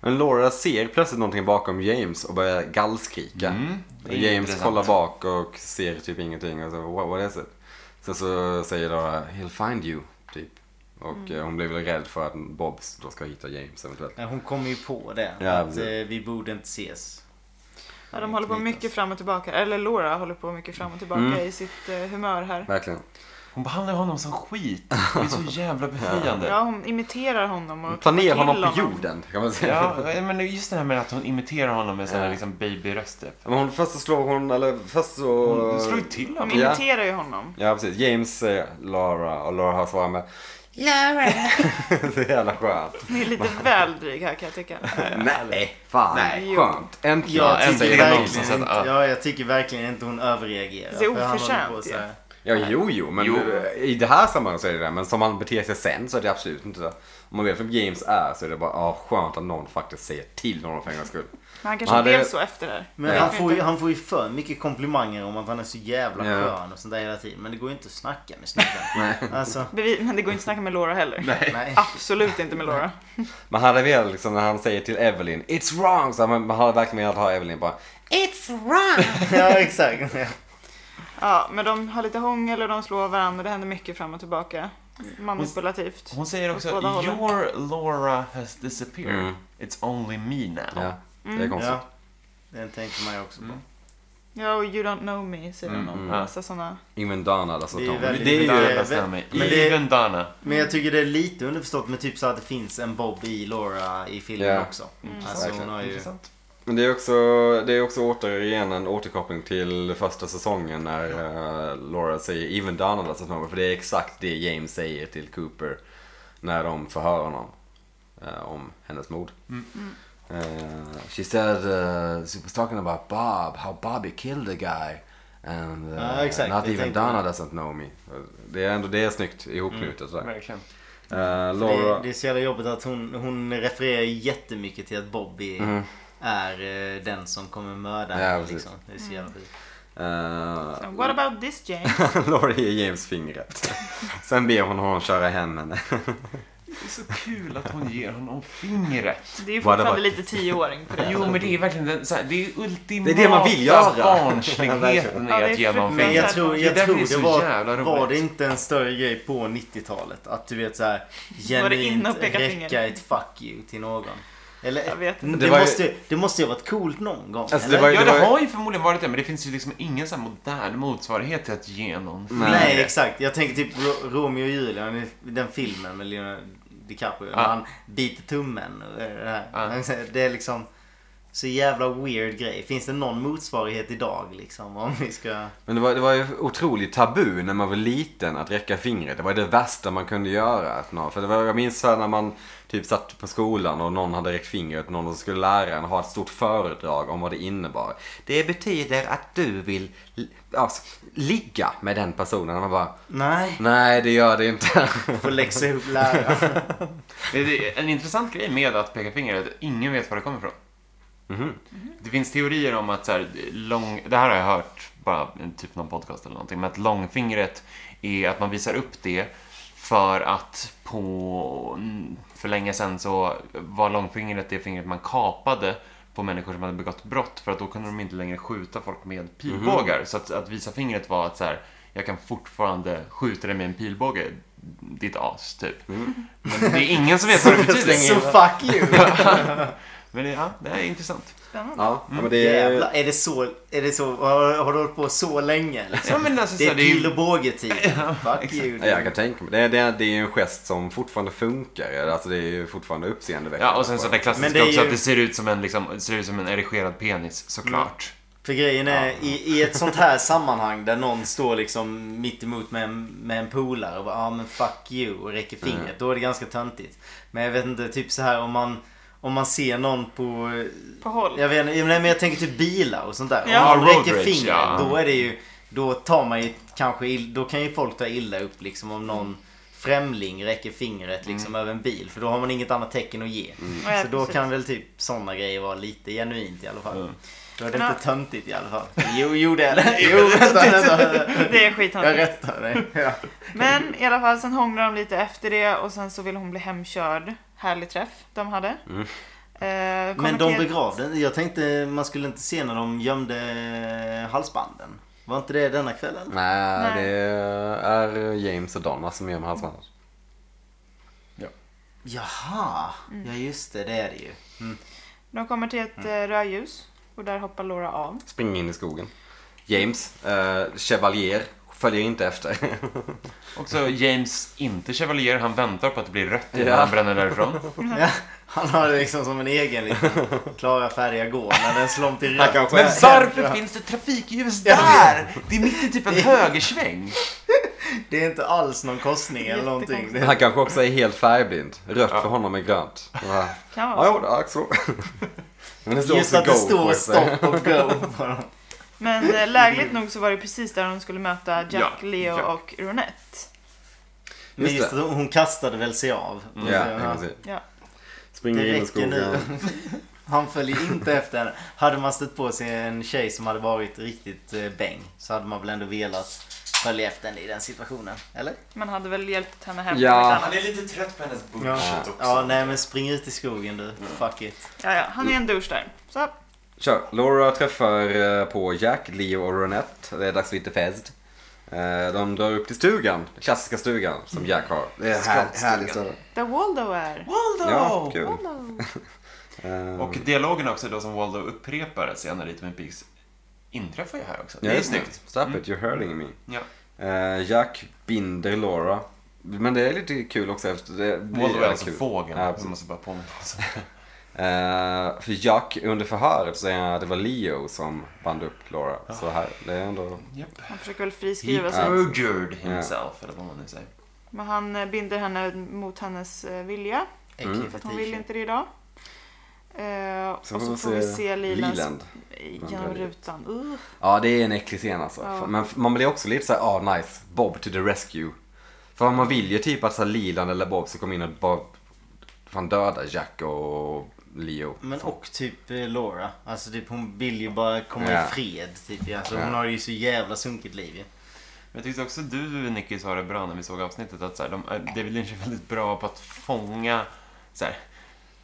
[SPEAKER 2] Men Laura ser plötsligt någonting bakom James och börjar gallskrika.
[SPEAKER 1] Mm, det är
[SPEAKER 2] och James
[SPEAKER 1] intressant.
[SPEAKER 2] kollar bak och ser typ ingenting och så what, what is it? Sen så säger då He'll find you, typ. Och eh, hon blir väl rädd för att Bob då ska hitta James eventuellt.
[SPEAKER 4] Nej, Hon kommer ju på det.
[SPEAKER 2] Ja,
[SPEAKER 4] att eh,
[SPEAKER 2] precis.
[SPEAKER 4] vi borde inte ses.
[SPEAKER 3] Ja, de håller på mycket fram och tillbaka. Eller Laura håller på mycket fram och tillbaka
[SPEAKER 2] Mm.
[SPEAKER 3] i sitt eh, humör här.
[SPEAKER 2] Verkligen.
[SPEAKER 1] Hon behandlar honom som skit. Det är så jävla befriande.
[SPEAKER 3] Ja, hon imiterar honom och
[SPEAKER 2] eh, Ta ner
[SPEAKER 3] till
[SPEAKER 2] honom på jorden, kan man säga.
[SPEAKER 1] Ja, men just det här med att hon imiterar honom med sån här
[SPEAKER 2] Ja.
[SPEAKER 1] liksom babyröst typ.
[SPEAKER 2] Men hon, först så slår hon, eller först så...
[SPEAKER 1] Hon slår ju till
[SPEAKER 3] Hon
[SPEAKER 1] honom.
[SPEAKER 2] Ja.
[SPEAKER 3] imiterar ju honom.
[SPEAKER 2] Ja, precis. James säger Laura och Laura har svarat med Laura. så jävla skönt.
[SPEAKER 3] Ni är lite väl dryg här kan jag tycka.
[SPEAKER 2] Nej, fan.
[SPEAKER 3] Nej.
[SPEAKER 2] Skönt. Äntligen.
[SPEAKER 1] Ja,
[SPEAKER 4] jag,
[SPEAKER 1] en säger
[SPEAKER 4] tycker
[SPEAKER 1] det någon som
[SPEAKER 4] verkligen
[SPEAKER 1] säger,
[SPEAKER 4] inte,
[SPEAKER 1] ah.
[SPEAKER 4] ja, jag tycker verkligen inte hon överreagerar.
[SPEAKER 3] Det är
[SPEAKER 4] för han håller
[SPEAKER 3] oförtjänt
[SPEAKER 4] på så
[SPEAKER 3] ju.
[SPEAKER 4] här.
[SPEAKER 2] Ja, jo, jo, men
[SPEAKER 1] Jo.
[SPEAKER 2] i det här sammanhanget så är det det. Men som han beter sig sen så är det absolut inte det. Om man vet vem James är så är det bara ah, skönt att någon faktiskt säger till honom för en gångs skull.
[SPEAKER 3] Men han kanske
[SPEAKER 2] Ja, det-
[SPEAKER 3] blev så efter det här.
[SPEAKER 4] Men
[SPEAKER 3] Jag
[SPEAKER 4] han,
[SPEAKER 3] vet
[SPEAKER 4] får ju,
[SPEAKER 3] inte.
[SPEAKER 4] han får ju för mycket komplimanger om att han är så jävla
[SPEAKER 2] Ja.
[SPEAKER 4] skön och sånt där hela tiden. Men det går ju inte att snacka med snubben. alltså,
[SPEAKER 3] Bevi- Men det går inte att snacka med Laura heller.
[SPEAKER 4] nej.
[SPEAKER 3] Ah. Absolut inte med Laura.
[SPEAKER 2] Man hade velat liksom när han säger till Evelyn It's wrong! Så man, man hade verkligen velat ha Evelyn bara It's wrong!
[SPEAKER 4] ja, exakt.
[SPEAKER 3] Ja, men de har lite hångel och de slår varandra. Det händer mycket fram och tillbaka. Manipulativt.
[SPEAKER 1] Hon säger också
[SPEAKER 3] Åt båda hållen.
[SPEAKER 1] Your Laura has disappeared.
[SPEAKER 2] Mm.
[SPEAKER 1] It's only me now.
[SPEAKER 2] Ja, det är konstigt. Mm.
[SPEAKER 4] Ja, Mm. den tänkte man ju också på.
[SPEAKER 3] Ja, och you don't know me säger
[SPEAKER 1] Mm,
[SPEAKER 3] de. Alltså
[SPEAKER 1] mm.
[SPEAKER 3] Massa sådana.
[SPEAKER 2] Even Donna alltså.
[SPEAKER 4] Det är
[SPEAKER 2] Tom.
[SPEAKER 4] väldigt-
[SPEAKER 2] det är
[SPEAKER 1] Even
[SPEAKER 4] ju-
[SPEAKER 1] Donna stämmer.
[SPEAKER 4] men det- Mm.
[SPEAKER 1] Even Donna.
[SPEAKER 4] Men jag tycker det är lite underförstått med typ så att det finns en Bob i Laura i filmen
[SPEAKER 2] Ja.
[SPEAKER 4] också.
[SPEAKER 3] Mm.
[SPEAKER 2] Intressant.
[SPEAKER 4] Alltså hon har ju...
[SPEAKER 1] Intressant.
[SPEAKER 2] Men det är också, det är också återigen en återkoppling till första säsongen när eh, Laura säger Even Donald alltså någon, för det är exakt det James säger till Cooper när de förhör honom eh, om hennes mord.
[SPEAKER 4] Mm.
[SPEAKER 2] Eh,
[SPEAKER 5] She said uh, she was talking about Bob, how Bobby killed a guy, and uh,
[SPEAKER 2] eh,
[SPEAKER 4] Ja, exakt.
[SPEAKER 5] not
[SPEAKER 4] Jag
[SPEAKER 5] even
[SPEAKER 4] tänkte
[SPEAKER 5] Donna
[SPEAKER 4] det.
[SPEAKER 5] doesn't know.
[SPEAKER 2] know me. Det är ändå det är snyggt ihopknutet sådär.
[SPEAKER 1] Verkligen.
[SPEAKER 2] Eh,
[SPEAKER 4] Det,
[SPEAKER 2] Laura,
[SPEAKER 4] det är så jävla jobbigt att hon, hon refererar ju jättemycket till att Bobby är eh, den som kommer mörda
[SPEAKER 2] Mm. Ja,
[SPEAKER 4] henne.
[SPEAKER 2] precis.
[SPEAKER 4] Liksom. Det är så jävla skit.
[SPEAKER 2] eh,
[SPEAKER 3] Så, What about this James?
[SPEAKER 2] Laura ger James fingret. Sen ber hon honom köra hem henne.
[SPEAKER 1] Det är så kul att hon ger honom fingret.
[SPEAKER 3] Det är ju
[SPEAKER 2] What about-
[SPEAKER 3] fortfarande lite tioåring på det.
[SPEAKER 1] Jo, men det är verkligen den, så här, det är ultimata
[SPEAKER 2] Det är det man vill göra.
[SPEAKER 1] barnsligheten
[SPEAKER 3] Ja,
[SPEAKER 1] i
[SPEAKER 3] det är
[SPEAKER 1] att ge
[SPEAKER 3] fruktansvärt.
[SPEAKER 1] någon
[SPEAKER 4] Men
[SPEAKER 1] fingret.
[SPEAKER 4] jag tror,
[SPEAKER 1] Det är
[SPEAKER 4] jag
[SPEAKER 1] därför
[SPEAKER 4] tror
[SPEAKER 1] det är
[SPEAKER 4] det
[SPEAKER 1] så jävla
[SPEAKER 4] var,
[SPEAKER 1] roligt.
[SPEAKER 4] var det inte en större grej på 90-talet? Att du vet såhär
[SPEAKER 3] Var det inne och
[SPEAKER 4] genuint
[SPEAKER 3] peka finger?
[SPEAKER 4] räcka ett fuck you till någon. Eller,
[SPEAKER 3] Jag vet
[SPEAKER 4] det,
[SPEAKER 3] inte.
[SPEAKER 2] Det var ju-
[SPEAKER 4] måste, det måste ju ha varit coolt någon gång.
[SPEAKER 2] Alltså, det
[SPEAKER 4] eller?
[SPEAKER 2] var ju-
[SPEAKER 1] Ja, det
[SPEAKER 2] ju-
[SPEAKER 1] har ju förmodligen varit det, men det finns ju liksom ingen så här modern motsvarighet till att ge någon fingret.
[SPEAKER 4] Nej, exakt. Jag tänker typ Ro- Romeo och Julia, den- den filmen med Leonardo DiCaprio.
[SPEAKER 1] Ah.
[SPEAKER 4] När han biter tummen. och Det, här.
[SPEAKER 1] Ah.
[SPEAKER 4] Men det är liksom så jävla weird grej. Finns det någon motsvarighet idag liksom? Om vi ska...
[SPEAKER 2] Men det var, det var ju otroligt tabu när man var liten att räcka fingret. Det var det värsta man kunde göra. Att någon, för det var, jag minns så här när man typ satt på skolan och någon hade räckt fingret åt någon och så skulle läraren ha ett stort föredrag om vad det innebar. Det betyder att du vill li- alltså, ligga med den personen. Och man bara,
[SPEAKER 4] Nej,
[SPEAKER 2] nej det gör det inte.
[SPEAKER 4] får läxa ihop läraren.
[SPEAKER 1] Det är en intressant grej med att peka finger är att ingen vet var det kommer ifrån. Det finns teorier om att så här, lång, det här har jag hört, bara i typ någon podcast eller någonting, men att långfingret är att man visar upp det för att på, mm, för länge sedan så var långfingret det fingret man kapade på människor som hade begått brott för att då kunde de inte längre skjuta folk med pilbågar. Så att, att visa fingret var att så här, jag kan fortfarande skjuta dig med en pilbåge, ditt as typ. Men det är ingen som vet vad det
[SPEAKER 4] Så
[SPEAKER 1] betyder.
[SPEAKER 4] fuck you!
[SPEAKER 1] Men det, ja, det här är intressant.
[SPEAKER 3] Spännande.
[SPEAKER 2] ja, ja, men det är,
[SPEAKER 4] Jävlar, är det så... Är det så har, har du hållit på så länge? Liksom?
[SPEAKER 1] Ja, men alltså,
[SPEAKER 4] Det
[SPEAKER 1] så här,
[SPEAKER 4] är
[SPEAKER 1] det är
[SPEAKER 4] pil
[SPEAKER 1] ju-
[SPEAKER 4] och båge-tid. Fuck you.
[SPEAKER 2] ja, jag kan tänka mig. Det är, det, är, det är ju en gest som fortfarande funkar. Alltså det är ju fortfarande uppseendeväckande.
[SPEAKER 1] Ja, och sen så det
[SPEAKER 4] Men
[SPEAKER 1] klassiska
[SPEAKER 4] det är
[SPEAKER 1] också
[SPEAKER 4] ju-
[SPEAKER 1] att det ser ut som en, liksom, ser ut som en erigerad penis, såklart.
[SPEAKER 4] För grejen är, i, i ett sånt här sammanhang där någon står liksom mitt emot med en, med en polare och bara ah, men fuck you och räcker fingret. Då är det ganska töntigt. Men jag vet inte, typ så här om man, om man ser någon på...
[SPEAKER 3] På håll.
[SPEAKER 4] Jag vet inte, nej, men jag tänker typ bilar och sånt där.
[SPEAKER 3] Ja.
[SPEAKER 4] Om någon
[SPEAKER 1] Ja, road
[SPEAKER 4] räcker
[SPEAKER 1] rage,
[SPEAKER 4] fingret
[SPEAKER 1] ja.
[SPEAKER 4] då är det ju... Då tar man ju kanske ill, Då kan ju folk ta illa upp liksom om någon främling räcker fingret liksom
[SPEAKER 1] Mm.
[SPEAKER 4] över en bil. För då har man inget annat tecken att ge.
[SPEAKER 3] Ja,
[SPEAKER 4] Så då
[SPEAKER 3] precis.
[SPEAKER 4] kan väl typ sådana grejer vara lite genuint i alla fall.
[SPEAKER 1] Mm.
[SPEAKER 4] Då är det
[SPEAKER 3] Men
[SPEAKER 4] inte
[SPEAKER 3] har-
[SPEAKER 4] töntigt i alla fall. Jo, jo det är det. Jo, vänta, vänta.
[SPEAKER 3] Det är
[SPEAKER 4] Jag
[SPEAKER 3] skithårt.
[SPEAKER 4] rättar dig. Ja.
[SPEAKER 3] Men i alla fall, sen hånglar de lite efter det och sen så vill hon bli hemkörd. Härlig träff de hade. Eh,
[SPEAKER 4] Men de
[SPEAKER 3] konverter-
[SPEAKER 4] begravde Jag tänkte man skulle inte se när de gömde halsbanden. Var inte det denna kvällen?
[SPEAKER 2] Nej,
[SPEAKER 3] Nej.
[SPEAKER 2] det är James och Donna som gömmer hans annars.
[SPEAKER 4] Jaha,
[SPEAKER 2] Mm.
[SPEAKER 4] ja just det, det är det ju.
[SPEAKER 3] De kommer till ett mm. rödljus och där hoppar Laura av.
[SPEAKER 2] Springer in i skogen. James, eh, Chevalier, följer inte efter.
[SPEAKER 1] Också James, inte Chevalier, han väntar på att det blir rött innan
[SPEAKER 2] Ja.
[SPEAKER 1] han bränner därifrån.
[SPEAKER 4] Ja, han har det liksom som en egen liten klara färja gå när den slår om till
[SPEAKER 2] Han
[SPEAKER 4] rött.
[SPEAKER 2] kanske-
[SPEAKER 1] Men varför finns det trafikljus där? Det är mitt i typ en högersväng.
[SPEAKER 4] Det är inte alls någon korsning eller någonting. Det,
[SPEAKER 2] Han kanske också är helt färgblind. Rött för honom är grönt. Ja,
[SPEAKER 3] Kan vara
[SPEAKER 2] ja
[SPEAKER 3] så.
[SPEAKER 2] jo, det är så. Men det
[SPEAKER 4] just att det
[SPEAKER 2] också go på
[SPEAKER 4] står
[SPEAKER 2] sig.
[SPEAKER 4] stopp och go på dem.
[SPEAKER 3] Men eh, lägligt nog så var det precis där de skulle möta Jack,
[SPEAKER 1] Ja,
[SPEAKER 3] Leo
[SPEAKER 1] Jack.
[SPEAKER 3] och Ronette.
[SPEAKER 4] Men
[SPEAKER 2] Just
[SPEAKER 4] just att hon kastade väl sig av.
[SPEAKER 2] Ja, i princip.
[SPEAKER 3] Ja.
[SPEAKER 2] Springer
[SPEAKER 4] Det
[SPEAKER 2] in i
[SPEAKER 4] räcker
[SPEAKER 2] skogen.
[SPEAKER 4] nu. Han följer inte efter henne. Hade man stött på sig en tjej som hade varit riktigt eh, bäng så hade man väl ändå velat följa efter henne i den situationen. Eller?
[SPEAKER 3] Man hade väl hjälpt henne hem.
[SPEAKER 2] Ja.
[SPEAKER 3] med annat.
[SPEAKER 6] Han är lite trött på hennes bullshit
[SPEAKER 4] Ja,
[SPEAKER 6] också.
[SPEAKER 4] ja nej men spring ut i skogen
[SPEAKER 2] Mm.
[SPEAKER 4] du. Fuck it.
[SPEAKER 3] Ja, ja, han är en douche där. Så,
[SPEAKER 2] Kör. Laura träffar eh, på Jack, Leo och Ronette. Det är dags för lite fest. Eh, De drar upp till stugan. Den klassiska stugan som Jack har. Det är här, härligt.
[SPEAKER 3] där Waldo är.
[SPEAKER 1] Waldo!
[SPEAKER 2] Ja, kul.
[SPEAKER 3] Waldo.
[SPEAKER 2] Eh,
[SPEAKER 1] Och dialogen också då som Waldo upprepar senare i Twin Peaks inträffar ju här också.
[SPEAKER 2] ja,
[SPEAKER 1] det är
[SPEAKER 2] just
[SPEAKER 1] snyggt.
[SPEAKER 2] Stop it, you're hurting me.
[SPEAKER 1] Ja.
[SPEAKER 2] Eh, Jack binder Laura. Men det är lite kul också. Efter det blir
[SPEAKER 1] Waldo är
[SPEAKER 2] jävligt
[SPEAKER 1] alltså
[SPEAKER 2] kul.
[SPEAKER 1] fågeln.
[SPEAKER 2] Ja,
[SPEAKER 1] Ja, måste bara påminna oss.
[SPEAKER 2] Eh, för Jack under förhöret säger han att det var Leo som band upp Laura. Så här, det är ändå...
[SPEAKER 1] Japp.
[SPEAKER 3] Han försöker väl friskriva sig.
[SPEAKER 2] Ja.
[SPEAKER 1] Perjured himself, eller vad man nu säger.
[SPEAKER 3] Men han eh, binder henne mot hennes eh, vilja.
[SPEAKER 4] Äcklig
[SPEAKER 2] Mm.
[SPEAKER 3] Hon vill
[SPEAKER 4] fetisch.
[SPEAKER 3] inte det idag. Eh,
[SPEAKER 2] Så
[SPEAKER 3] och
[SPEAKER 2] får
[SPEAKER 3] så
[SPEAKER 2] vi
[SPEAKER 3] får vi
[SPEAKER 2] se
[SPEAKER 3] se Lilan
[SPEAKER 2] Leland.
[SPEAKER 3] genom rutan. Uh,
[SPEAKER 2] Ja, det är en äcklig scen alltså.
[SPEAKER 3] Ja.
[SPEAKER 2] Men man blir också lite såhär, ah nice, Bob to the rescue. För man vill ju typ att så här, Leland eller Bob ska komma in och bara fan döda Jack och Leo.
[SPEAKER 4] Men och typ eh, Laura. Alltså typ hon vill ju bara komma
[SPEAKER 2] Ja.
[SPEAKER 4] i fred. Typ. Alltså,
[SPEAKER 2] Ja.
[SPEAKER 4] Hon har ju så jävla sunkigt liv ju.
[SPEAKER 1] Jag tyckte också du, Nicky, sa det bra när vi såg avsnittet att så här, de, eh, David Lynch är väldigt bra på att fånga så här,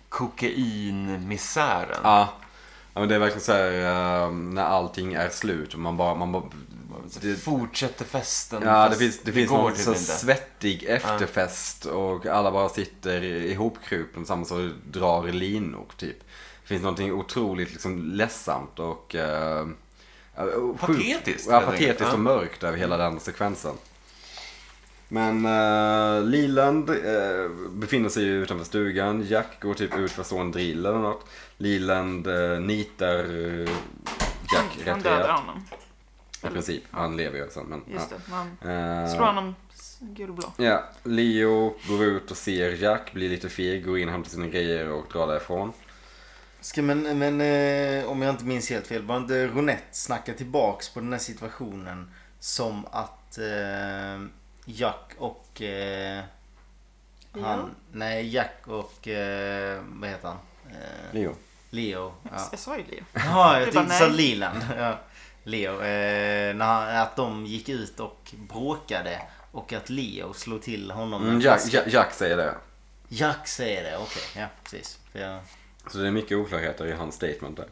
[SPEAKER 1] kokainmisären.
[SPEAKER 2] Ja. ja, men det är verkligen såhär när allting är slut och man bara, man bara
[SPEAKER 1] Så
[SPEAKER 2] det-
[SPEAKER 1] fortsätter festen.
[SPEAKER 2] Ja, det
[SPEAKER 1] fast
[SPEAKER 2] finns, det finns
[SPEAKER 1] går
[SPEAKER 2] någon
[SPEAKER 1] typ
[SPEAKER 2] så
[SPEAKER 1] inte.
[SPEAKER 2] svettig efterfest och alla bara sitter ihopkrupen tillsammans och drar i linor typ. Det finns någonting otroligt liksom ledsamt och... eh, och
[SPEAKER 1] Patetiskt,
[SPEAKER 2] Ja,
[SPEAKER 1] helt
[SPEAKER 2] patetiskt
[SPEAKER 1] enkelt.
[SPEAKER 2] och mörkt över hela den sekvensen. Men uh, Liland eh, befinner sig ju utanför stugan. Jack går typ ut för att slå en drill eller något. Liland eh, nitar eh,
[SPEAKER 3] han
[SPEAKER 2] Jack rätt
[SPEAKER 3] dödar
[SPEAKER 2] rejält.
[SPEAKER 3] honom.
[SPEAKER 2] I princip. Han lever ju sen men...
[SPEAKER 3] Just det, man
[SPEAKER 2] Eh,
[SPEAKER 3] slår honom s- gulblå.
[SPEAKER 2] Ja, Leo går ut och ser Jack, blir lite feg, går in, hämtar sina grejer och drar därifrån.
[SPEAKER 4] Ska men, men eh, om jag inte minns helt fel, var inte Ronette snacka tillbaks på den här situationen som att eh, Jack och... Eh, han,
[SPEAKER 3] Ja.
[SPEAKER 4] Nej, Jack och... Eh, vad heter han? Eh,
[SPEAKER 2] Leo.
[SPEAKER 4] Leo. Ja,
[SPEAKER 3] Jag sa ju Leo.
[SPEAKER 4] Jaha,
[SPEAKER 3] Du
[SPEAKER 4] jag
[SPEAKER 3] bara,
[SPEAKER 4] tänkte så
[SPEAKER 3] nej.
[SPEAKER 4] Liland. Ja. Leo. Eh, när han, att de gick ut och bråkade och att Leo slog till honom. med
[SPEAKER 2] Mm,
[SPEAKER 4] en
[SPEAKER 2] Jack,
[SPEAKER 4] flaska.
[SPEAKER 2] Jack, Jack säger det.
[SPEAKER 4] Jack säger det, okej. Ja, precis. För jag,
[SPEAKER 2] Så det är mycket oklarheter i hans statement där.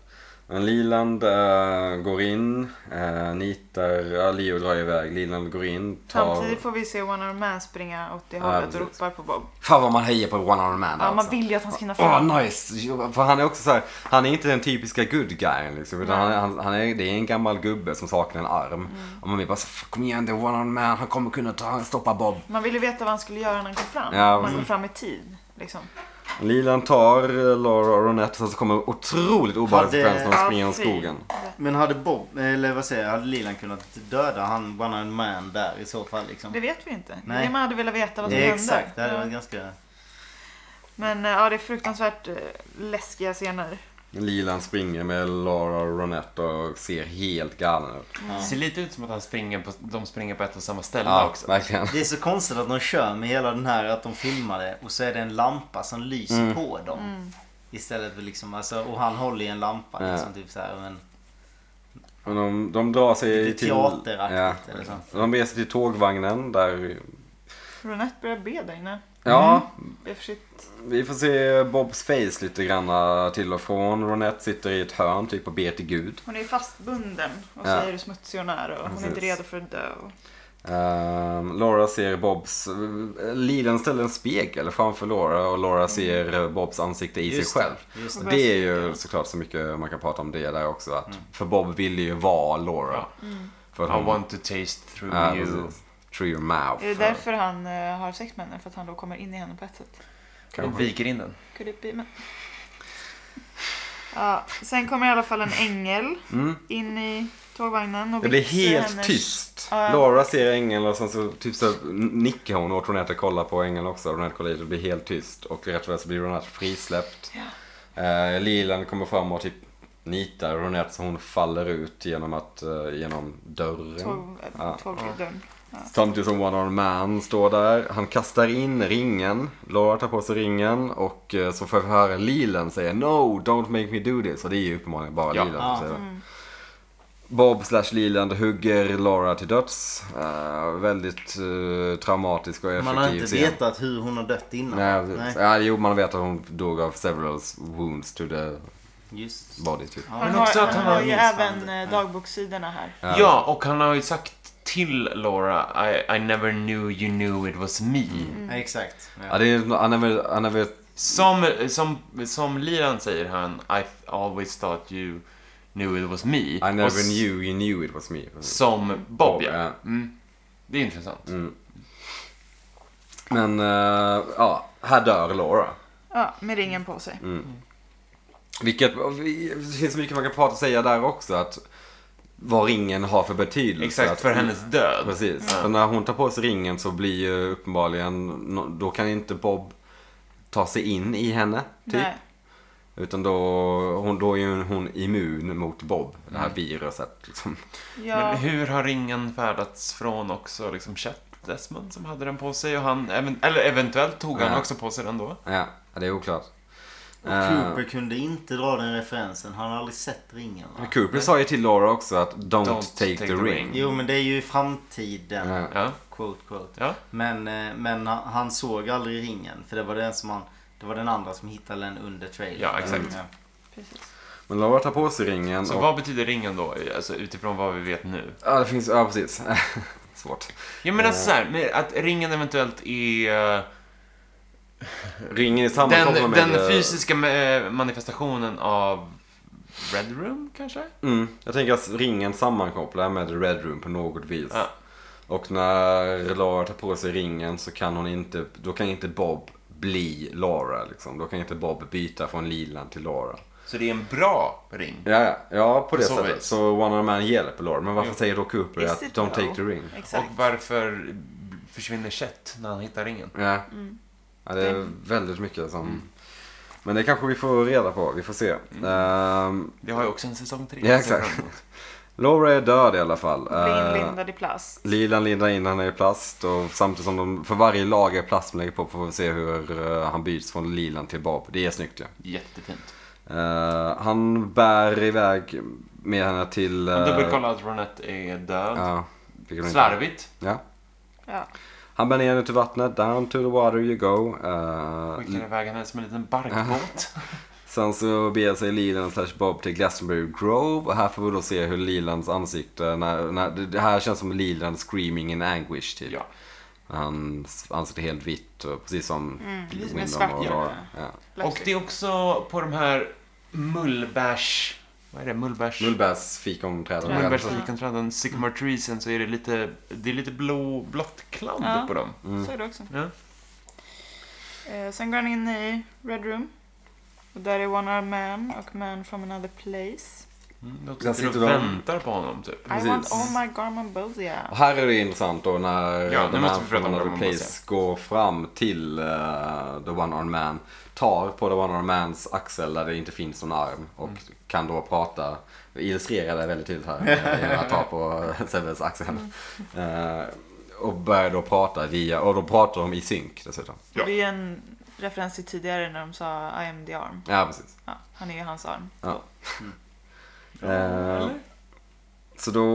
[SPEAKER 2] Men Liland eh, går in, eh, nitar, ja, Leo drar iväg, Liland går in, tar...
[SPEAKER 3] Samtidigt får vi se One Arm Man springa åt det
[SPEAKER 2] Ja,
[SPEAKER 3] hållet och
[SPEAKER 2] precis.
[SPEAKER 3] ropar på Bob.
[SPEAKER 2] Fan vad man hejar på One Arm Man
[SPEAKER 3] Ja, man
[SPEAKER 2] alltså.
[SPEAKER 3] vill ju att han ska hinna
[SPEAKER 2] Åh,
[SPEAKER 3] fram.
[SPEAKER 2] nice! Jo, För han är också så här, han är inte den typiska good guyen liksom. Utan han, han, han är, det är en gammal gubbe som saknar en arm.
[SPEAKER 3] Mm.
[SPEAKER 2] Och man blir bara så, "Fan, kom igen det är One Arm Man, han kommer kunna ta, stoppa Bob.
[SPEAKER 3] Man ville ju veta vad han skulle göra när han kom fram.
[SPEAKER 2] Ja,
[SPEAKER 3] om han kom
[SPEAKER 2] precis.
[SPEAKER 3] fram i tid. Liksom.
[SPEAKER 2] Lilan tar eh, Laura och Ronette och sen så kommer en otroligt obehaglig
[SPEAKER 4] Hade-
[SPEAKER 2] sekvens när de
[SPEAKER 3] Ja,
[SPEAKER 2] springer genom
[SPEAKER 3] fy.
[SPEAKER 2] skogen.
[SPEAKER 4] Men hade Bob, eller vad säger jag, hade Lilan kunnat döda han One Armed Man där i så fall liksom?
[SPEAKER 3] Det vet vi inte. Det är
[SPEAKER 4] Nej.
[SPEAKER 3] Det man hade velat veta vad som
[SPEAKER 4] Eh,
[SPEAKER 3] hände.
[SPEAKER 4] Exakt, det hade varit
[SPEAKER 3] Ja.
[SPEAKER 4] ganska...
[SPEAKER 3] Men eh, ja, det är fruktansvärt eh, läskiga scener.
[SPEAKER 2] Lilan springer med Laura och Ronette och ser helt galen ut.
[SPEAKER 4] Mm.
[SPEAKER 1] Det ser lite ut som att han springer på, de springer på ett och samma ställe
[SPEAKER 2] Ja,
[SPEAKER 1] också.
[SPEAKER 2] verkligen.
[SPEAKER 4] Det är så konstigt att de kör med hela den här, att de filmar det och så är det en lampa som lyser på dem.
[SPEAKER 3] Mm.
[SPEAKER 4] Istället för liksom, alltså, och han håller i en lampa
[SPEAKER 2] Ja.
[SPEAKER 4] liksom, typ så här, men
[SPEAKER 2] Men de, de drar sig
[SPEAKER 4] Lite
[SPEAKER 2] till...
[SPEAKER 4] teateraktigt eller så.
[SPEAKER 2] De reser till tågvagnen där
[SPEAKER 3] Ronette börjar be där inne.
[SPEAKER 2] Ja,
[SPEAKER 3] Be för sitt...
[SPEAKER 4] Mm.
[SPEAKER 2] vi får se Bobs face lite granna till och från. Ronette sitter i ett hörn typ och ber till Gud.
[SPEAKER 3] Hon är fastbunden och
[SPEAKER 2] Ja.
[SPEAKER 3] säger hur smutsig hon är och hon är inte
[SPEAKER 2] Precis.
[SPEAKER 3] redo för att dö. Och...
[SPEAKER 2] Ehm, Laura ser Bobs... Lilen ställer en spegel framför Laura och Laura ser eh, Bobs ansikte i
[SPEAKER 4] Mm. Just
[SPEAKER 2] sig själv.
[SPEAKER 4] det, Just det. Mm.
[SPEAKER 3] Och
[SPEAKER 2] Det är
[SPEAKER 3] börjar
[SPEAKER 2] ju
[SPEAKER 3] skrika.
[SPEAKER 2] såklart så mycket man kan prata om det där också. Att För Bob ville ju vara Laura. För att
[SPEAKER 1] Mm. I
[SPEAKER 2] hon,
[SPEAKER 1] want to taste through
[SPEAKER 2] Ja,
[SPEAKER 1] you.
[SPEAKER 2] precis. through your mouth.
[SPEAKER 3] Är det därför han eh, har sex med henne? För att han då kommer in i henne på ett sätt?
[SPEAKER 1] Och viker in den.
[SPEAKER 3] Could it be, men... ja, sen kommer i alla fall en ängel
[SPEAKER 2] Mm.
[SPEAKER 3] in i tågvagnen. Och
[SPEAKER 2] Det blir
[SPEAKER 3] vitsar
[SPEAKER 2] helt
[SPEAKER 3] hennes-
[SPEAKER 2] tyst.
[SPEAKER 3] Ja.
[SPEAKER 2] Laura ser ängeln och sen så typ så nickar hon åt Ronette och kollar på ängeln också. Ronette kollar hit och det blir helt tyst. Och rätt vad det är så blir Ronette frisläppt. Eh, Lilan kommer fram och typ nitar Ronette så hon faller ut genom, att, eh, genom dörren.
[SPEAKER 3] Tåg,
[SPEAKER 2] Ja.
[SPEAKER 3] Tågdörren.
[SPEAKER 2] Samtidigt som One Arm Man står där. Han kastar in ringen. Laura tar på sig ringen och eh, så får vi höra Lilen säga No, don't make me do this. Och det är ju uppenbarligen bara
[SPEAKER 1] Ja.
[SPEAKER 2] Lilen
[SPEAKER 4] Ja.
[SPEAKER 2] som säger det. Bob slash Leland hugger Laura till döds. Eh, väldigt eh, traumatisk och effektiv
[SPEAKER 4] Man har inte
[SPEAKER 2] scen.
[SPEAKER 4] vetat hur hon har dött innan.
[SPEAKER 2] Nej, precis. Ja, jo, man vet att hon dog av several wounds to the
[SPEAKER 4] Just
[SPEAKER 2] body typ.
[SPEAKER 4] Ja,
[SPEAKER 3] Han
[SPEAKER 1] Men
[SPEAKER 3] har,
[SPEAKER 1] också att
[SPEAKER 3] han
[SPEAKER 1] han
[SPEAKER 3] har ju
[SPEAKER 4] minns han
[SPEAKER 3] även
[SPEAKER 4] det.
[SPEAKER 3] eh, dagbokssidorna här.
[SPEAKER 2] Ja.
[SPEAKER 1] Ja, och han har ju sagt till Laura I, I never knew you knew it was me.
[SPEAKER 2] Mm.
[SPEAKER 4] Ja, exakt.
[SPEAKER 2] Ja, det är, han, är, han är väl...
[SPEAKER 1] Som, som, som Liran säger han I always thought you knew it was me. I
[SPEAKER 2] I never knew you knew it was me.
[SPEAKER 1] Som Bob,
[SPEAKER 2] Bob,
[SPEAKER 1] ja.
[SPEAKER 2] ja. Mm.
[SPEAKER 1] Mm. Det är intressant.
[SPEAKER 2] Men, eh, ja. Här dör Laura.
[SPEAKER 3] Ja, med ringen på
[SPEAKER 2] Mm.
[SPEAKER 3] sig.
[SPEAKER 2] Vilket, och vi- det finns mycket man kan prata och säga där också. Att vad ringen har för betydelse.
[SPEAKER 1] Exakt,
[SPEAKER 2] att,
[SPEAKER 1] för hennes död.
[SPEAKER 2] Precis.
[SPEAKER 1] Ja.
[SPEAKER 2] För när hon tar på sig ringen så blir ju uppenbarligen, no- då kan inte Bob ta sig in i henne. Typ.
[SPEAKER 3] Nej.
[SPEAKER 2] Utan då, hon, då är ju hon immun mot Bob, det här viruset. Liksom.
[SPEAKER 1] Men
[SPEAKER 3] Ja,
[SPEAKER 1] hur har ringen färdats från också liksom Chet Desmond som hade den på sig och han, even- eller eventuellt tog han
[SPEAKER 2] Ja.
[SPEAKER 1] också på sig den då?
[SPEAKER 2] Ja, det är oklart.
[SPEAKER 4] Och
[SPEAKER 2] Eh,
[SPEAKER 4] Cooper kunde inte dra den referensen. Han har aldrig sett ringen. Va?
[SPEAKER 2] Eh, Cooper sa ju till Laura också att don't, take, the, ring.
[SPEAKER 4] Jo, men det är ju i framtiden.
[SPEAKER 2] Ja.
[SPEAKER 1] Ja,
[SPEAKER 4] Quote, quote.
[SPEAKER 1] ja.
[SPEAKER 4] Men, eh, men han han såg aldrig ringen. För det var den som han... Det var den andra som hittade den under trailern.
[SPEAKER 1] Ja, exakt.
[SPEAKER 4] Ja.
[SPEAKER 3] precis.
[SPEAKER 2] Men Laura tar på sig ringen.
[SPEAKER 1] Så
[SPEAKER 2] och,
[SPEAKER 1] vad betyder ringen då, alltså utifrån vad vi vet nu?
[SPEAKER 2] Ja, det finns, ja precis. Svårt.
[SPEAKER 1] Jag menar så här, med att ringen eventuellt är eh,
[SPEAKER 2] Ringen är sammankopplar
[SPEAKER 1] den,
[SPEAKER 2] med...
[SPEAKER 1] den fysiska eh, manifestationen av Red Room kanske?
[SPEAKER 2] Mm, jag tänker att ringen sammankopplar med Red Room på något vis.
[SPEAKER 1] Ja.
[SPEAKER 2] Och när Laura tar på sig ringen så kan hon inte, då kan inte Bob bli Laura liksom. Då kan inte Bob byta från Lilan till Laura.
[SPEAKER 1] Så det är en bra ring.
[SPEAKER 2] Ja, ja, ja på det
[SPEAKER 1] Så
[SPEAKER 2] sättet.
[SPEAKER 1] vis. Mm.
[SPEAKER 2] Så One Arm Man hjälper Laura. Men varför säger då Cooper
[SPEAKER 3] Is
[SPEAKER 2] att
[SPEAKER 3] it
[SPEAKER 2] Don't
[SPEAKER 3] though?
[SPEAKER 2] take the ring?
[SPEAKER 3] Exakt.
[SPEAKER 1] Och varför försvinner Chet när han hittar ringen?
[SPEAKER 2] Ja.
[SPEAKER 3] Mm.
[SPEAKER 2] ja, det är väldigt mycket som...
[SPEAKER 1] Mm.
[SPEAKER 2] Men det kanske vi får reda på. Vi får se. Ehm,
[SPEAKER 1] Det har ju också en säsong tre.
[SPEAKER 2] Ja, exakt. Laura är död i alla fall.
[SPEAKER 3] Blir
[SPEAKER 2] Ehm,
[SPEAKER 3] inlindad i plast.
[SPEAKER 2] Lilan lindar in henne i plast och samtidigt som de, för varje lager plast man lägger på får vi se hur eh, han byts från Lilan till Bob. Det är snyggt ju.
[SPEAKER 1] Jättefint.
[SPEAKER 2] Eh, han bär iväg med henne till... eh,
[SPEAKER 1] Han dubbelkollar att Ronette är död.
[SPEAKER 2] ja, vilket hon inte-
[SPEAKER 1] Slarvigt.
[SPEAKER 2] Ja.
[SPEAKER 3] Ja.
[SPEAKER 2] Han bär ner henne till vattnet. Down to the water you go. Eh,
[SPEAKER 1] Skickar iväg henne som en liten barkbåt.
[SPEAKER 2] sen så beger sig Lilan slash Bob till Glastonbury Grove. Och här får vi då se hur Lilans ansikte... När, när, det här känns som Lilan screaming in anguish typ.
[SPEAKER 1] ja.
[SPEAKER 2] Hans ansikte är helt vitt, och precis som
[SPEAKER 3] precis som en
[SPEAKER 2] Windom
[SPEAKER 3] Mm. svart
[SPEAKER 2] och
[SPEAKER 3] hjärna.
[SPEAKER 2] Laura. Ja.
[SPEAKER 1] Och det är också på de här mullbärs... Vad är det? Mullbärs...
[SPEAKER 2] Mullbärs fikonträd.
[SPEAKER 3] Ja.
[SPEAKER 1] Mullbärsfikonträden, Sycamore Treesen, så är det lite, det är lite blå, blått kladd
[SPEAKER 3] Ja.
[SPEAKER 1] på dem.
[SPEAKER 3] Mm. Så är det också.
[SPEAKER 1] Ja.
[SPEAKER 3] Eh, sen går han in i Red Room. Och där är One Arm Man och Man from Another Place.
[SPEAKER 1] Mm, de
[SPEAKER 2] Där
[SPEAKER 1] sitter och
[SPEAKER 2] sitter de-
[SPEAKER 1] väntar på honom typ.
[SPEAKER 3] I
[SPEAKER 2] Precis.
[SPEAKER 3] want all my Garmin Bosia.
[SPEAKER 2] Och här är det intressant då när
[SPEAKER 1] Ja,
[SPEAKER 2] ja,
[SPEAKER 1] nu
[SPEAKER 2] The
[SPEAKER 1] måste
[SPEAKER 2] Man
[SPEAKER 1] vi prata om
[SPEAKER 2] from Another
[SPEAKER 1] Roman Mars,
[SPEAKER 2] Place går fram till eh, The One Arm Man. Tar på The One Arm Mans axel där det inte finns någon arm. Och
[SPEAKER 1] Mm.
[SPEAKER 2] kan då prata. Vi illustrerar det väldigt tydligt här. eh, Genom att ta på Severs axel.
[SPEAKER 1] Mm.
[SPEAKER 2] Eh, och börjar då prata via, och då pratar de i synk dessutom.
[SPEAKER 1] Ja.
[SPEAKER 3] Det är en referens till tidigare när de sa I am the arm.
[SPEAKER 2] Ja, precis.
[SPEAKER 3] Ja, han är ju hans arm.
[SPEAKER 2] Ja. Eh, så då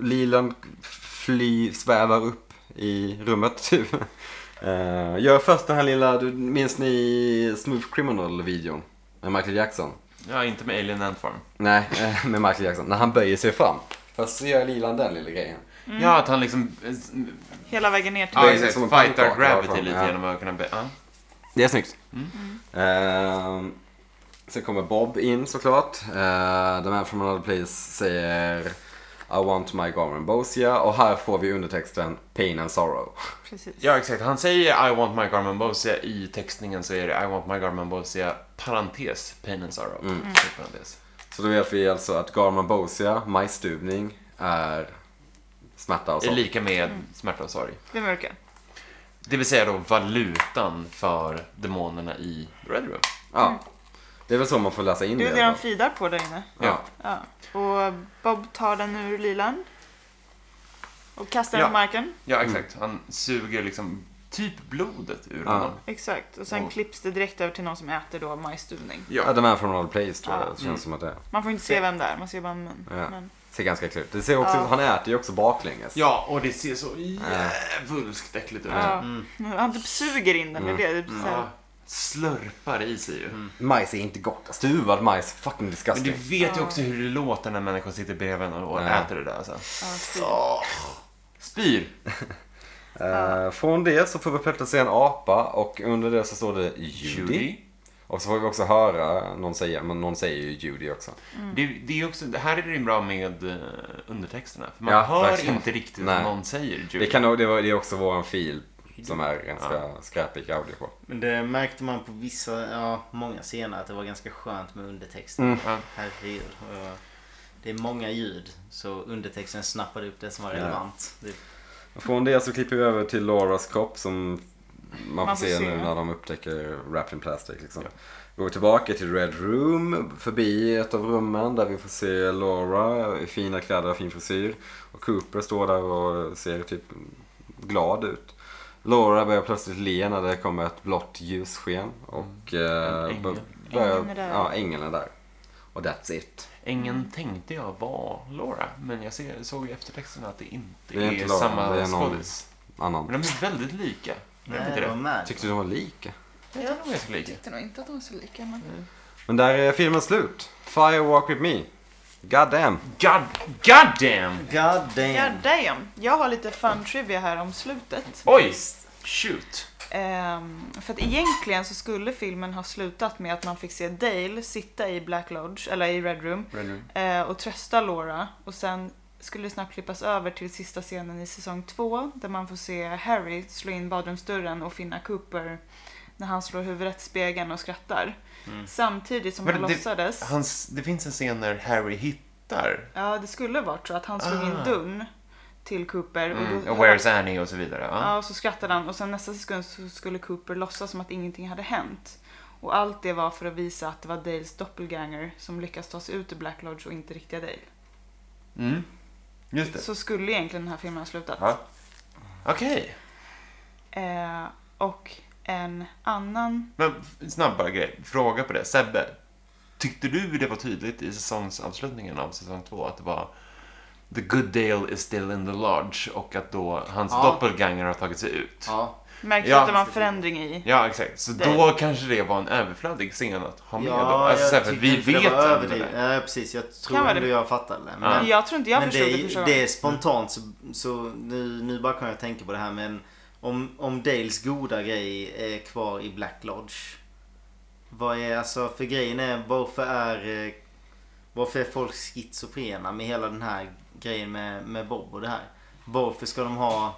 [SPEAKER 2] Lilan fly, svävar upp i rummet typ. Eh, gör först den här lilla, du, minns ni Smooth Criminal-videon? Med Michael Jackson?
[SPEAKER 1] Ja, inte med Alien Ant Farm.
[SPEAKER 2] Nej, eh, med Michael Jackson. När han böjer sig fram. Först så gör Lilan den lilla grejen.
[SPEAKER 1] Ja, att han liksom...
[SPEAKER 3] Hela vägen ner till...
[SPEAKER 1] Ja,
[SPEAKER 2] är liksom
[SPEAKER 1] exakt.
[SPEAKER 2] som en
[SPEAKER 1] Fightar
[SPEAKER 2] pannkaka
[SPEAKER 1] gravity
[SPEAKER 2] därifrån,
[SPEAKER 1] lite
[SPEAKER 2] ja.
[SPEAKER 1] genom att kunna... be- Ja.
[SPEAKER 2] Det är snyggt.
[SPEAKER 1] Mm.
[SPEAKER 2] Ehm, sen kommer Bob in såklart. Uh, the man from another place säger I want my Garmin Bosia och här får vi undertexten Pain and Sorrow.
[SPEAKER 3] Precis.
[SPEAKER 1] ja, exakt. Han säger I want my Garmin Bosia. I textningen så är det I want my Garmin Bosia, parentes, pain and sorrow.
[SPEAKER 2] Mm.
[SPEAKER 1] Slut Parentes.
[SPEAKER 2] Så då vet vi alltså att Garmin Bosia, majsstuvning, är smärta och
[SPEAKER 1] Är
[SPEAKER 2] sorg.
[SPEAKER 1] lika med smärta och sorg.
[SPEAKER 3] Det mörka.
[SPEAKER 1] Det vill säga då valutan för demonerna i Red Room.
[SPEAKER 2] Ja. Det är väl så man får läsa in
[SPEAKER 3] Mm. Det är
[SPEAKER 2] det.
[SPEAKER 3] det
[SPEAKER 2] då.
[SPEAKER 3] de fidar på där inne.
[SPEAKER 2] ja.
[SPEAKER 3] Ja. Och Bob tar den ur lilan. Och kastar den
[SPEAKER 1] Ja.
[SPEAKER 3] på marken.
[SPEAKER 1] Ja, exakt. Han suger liksom typ blodet ur
[SPEAKER 2] Mm. Ja.
[SPEAKER 1] honom.
[SPEAKER 3] Exakt. Och sen
[SPEAKER 1] Och-
[SPEAKER 3] klipps det direkt över till någon som äter då majsstuvning.
[SPEAKER 2] ja. The man from another place tror jag
[SPEAKER 3] Ja.
[SPEAKER 2] det känns som att det är.
[SPEAKER 3] Man får inte se vem det är, man ser bara en mun.
[SPEAKER 2] Ja.
[SPEAKER 3] Men...
[SPEAKER 2] Ser ganska klurigt ut. Det ser också,
[SPEAKER 3] Ja.
[SPEAKER 2] han äter ju också baklänges.
[SPEAKER 1] Ja, och det ser så jävulskt äckligt ut.
[SPEAKER 3] Ja. Men Han typ suger in den, det är det. det. Typ så här.
[SPEAKER 1] Mm. Ja, slurpar i sig ju.
[SPEAKER 2] Majs är inte gott. Stuvad majs, fucking
[SPEAKER 1] Mm. Men
[SPEAKER 2] disgusting.
[SPEAKER 1] du vet ju också hur det låter när människor sitter bredvid en och
[SPEAKER 2] Ja.
[SPEAKER 1] äter det där. Alltså.
[SPEAKER 3] Ja, fy.
[SPEAKER 1] Spyr!
[SPEAKER 2] Eh, Från det så får vi plötsligt se en apa och under det så står det Judy.
[SPEAKER 1] Judy.
[SPEAKER 2] Och så får vi också höra någon säga, men någon säger ju Judy också.
[SPEAKER 1] Det, det är också, det här är det ju bra med eh, undertexterna. För man
[SPEAKER 2] Ja,
[SPEAKER 1] hör
[SPEAKER 2] verkligen.
[SPEAKER 1] inte riktigt
[SPEAKER 2] Nej.
[SPEAKER 1] vad någon säger Judy.
[SPEAKER 2] Det, kan, nog- det, var, det är också våran fil som är ganska skräpig audio på.
[SPEAKER 4] Men det märkte man på vissa, ja många scener att det var ganska skönt med undertexten.
[SPEAKER 1] Ja.
[SPEAKER 4] Herregud. eh, Det är många ljud så undertexten snappade upp det som var
[SPEAKER 2] Ja.
[SPEAKER 4] relevant. Det,
[SPEAKER 2] Från det så klipper vi över till Lauras kropp som man får se nu när de upptäcker Wrapped in Plastic. Liksom. Går vi tillbaka till Red Room, förbi ett av rummen där vi får se Laura i fina kläder och fin frisyr. Och Cooper står där och ser typ glad ut. Laura börjar plötsligt le när det kommer ett blått ljussken. Och eh,
[SPEAKER 1] En ängel.
[SPEAKER 2] bör- börjar,
[SPEAKER 3] Ängeln är där.
[SPEAKER 2] Ja, ängeln är där. Och that's it.
[SPEAKER 1] Ängeln tänkte jag var Laura, men jag ser, såg i eftertexterna att det inte
[SPEAKER 2] Det är
[SPEAKER 1] är,
[SPEAKER 2] inte Laura,
[SPEAKER 1] samma
[SPEAKER 2] det är någon-
[SPEAKER 1] skådis.
[SPEAKER 2] Annan.
[SPEAKER 1] Men de är väldigt lika. Är de
[SPEAKER 4] nej,
[SPEAKER 1] inte
[SPEAKER 4] det var
[SPEAKER 1] det?
[SPEAKER 4] mad.
[SPEAKER 2] Tyckte du de var lika?
[SPEAKER 1] Jag tror de är så lika.
[SPEAKER 3] tyckte nog inte att de var så lika. Men...
[SPEAKER 2] Men där är filmen slut. Fire Walk With Me. God damn.
[SPEAKER 1] God, God damn!
[SPEAKER 4] God damn.
[SPEAKER 3] God damn. Jag har lite fun trivia här om slutet.
[SPEAKER 1] Oj! Shoot!
[SPEAKER 3] Ehm, för att egentligen så skulle filmen ha slutat med att man fick se Dale sitta i Black Lodge, eller i Red Room, eh, och trösta Laura. Och sen skulle det snabbt klippas över till sista scenen i säsong två där man får se Harry slå in badrumsdörren och finna Cooper när han slår huvudet i spegeln och skrattar. Samtidigt som
[SPEAKER 1] Men
[SPEAKER 3] han
[SPEAKER 1] Mm. det-
[SPEAKER 3] låtsades...
[SPEAKER 1] Hans, det finns en scen när Harry hittar
[SPEAKER 3] Ja, det skulle varit så att han slog in
[SPEAKER 1] Ah.
[SPEAKER 3] dörren till Cooper. Och
[SPEAKER 1] mm,
[SPEAKER 3] då,
[SPEAKER 1] Where's Annie och så vidare. Ja.
[SPEAKER 3] Ja, och så skrattade han och sen nästa sekund så skulle Cooper låtsas som att ingenting hade hänt. Och allt det var för att visa att det var Dales doppelganger som lyckas ta sig ut ur Black Lodge och inte riktiga Dale.
[SPEAKER 1] Mm. Just det.
[SPEAKER 3] Så skulle egentligen den här filmen ha slutat.
[SPEAKER 1] Ja. Okej.
[SPEAKER 3] Eh, och en annan...
[SPEAKER 1] Men f- snabbare grej, fråga på det. Sebbe, tyckte du det var tydligt i säsongsavslutningen av säsong två att det var The good Dale is still in the lodge och att då hans
[SPEAKER 4] Ja.
[SPEAKER 1] doppelganger har tagit sig ut? Ja,
[SPEAKER 4] Ja,
[SPEAKER 3] Märkte
[SPEAKER 1] Ja.
[SPEAKER 3] att det var en förändring i...
[SPEAKER 1] exakt. Så
[SPEAKER 3] Det-
[SPEAKER 1] då kanske det var en överflödig scen att ha med då.
[SPEAKER 4] ja
[SPEAKER 1] Alltså, så här, för
[SPEAKER 4] tyckte
[SPEAKER 1] vi
[SPEAKER 4] inte
[SPEAKER 1] vet
[SPEAKER 4] det var
[SPEAKER 1] ändå
[SPEAKER 4] överdrivet.
[SPEAKER 1] det.
[SPEAKER 4] Ja, precis. Jag
[SPEAKER 3] Kan
[SPEAKER 4] tror
[SPEAKER 3] vara
[SPEAKER 4] ändå
[SPEAKER 3] det.
[SPEAKER 4] jag fattade det.
[SPEAKER 1] Ja.
[SPEAKER 4] Men,
[SPEAKER 3] Jag tror inte jag
[SPEAKER 4] men
[SPEAKER 3] förstod det,
[SPEAKER 4] det,
[SPEAKER 3] första
[SPEAKER 4] är,
[SPEAKER 3] gången. Mm.
[SPEAKER 4] det är spontant så, så nu, nu bara kan jag tänka på det här men om, om Dales goda grej är kvar i Black Lodge. Vad är alltså för grejen är varför är eh, varför är folk schizofrena med hela den här grejen med, med Bob och det här? Varför ska de ha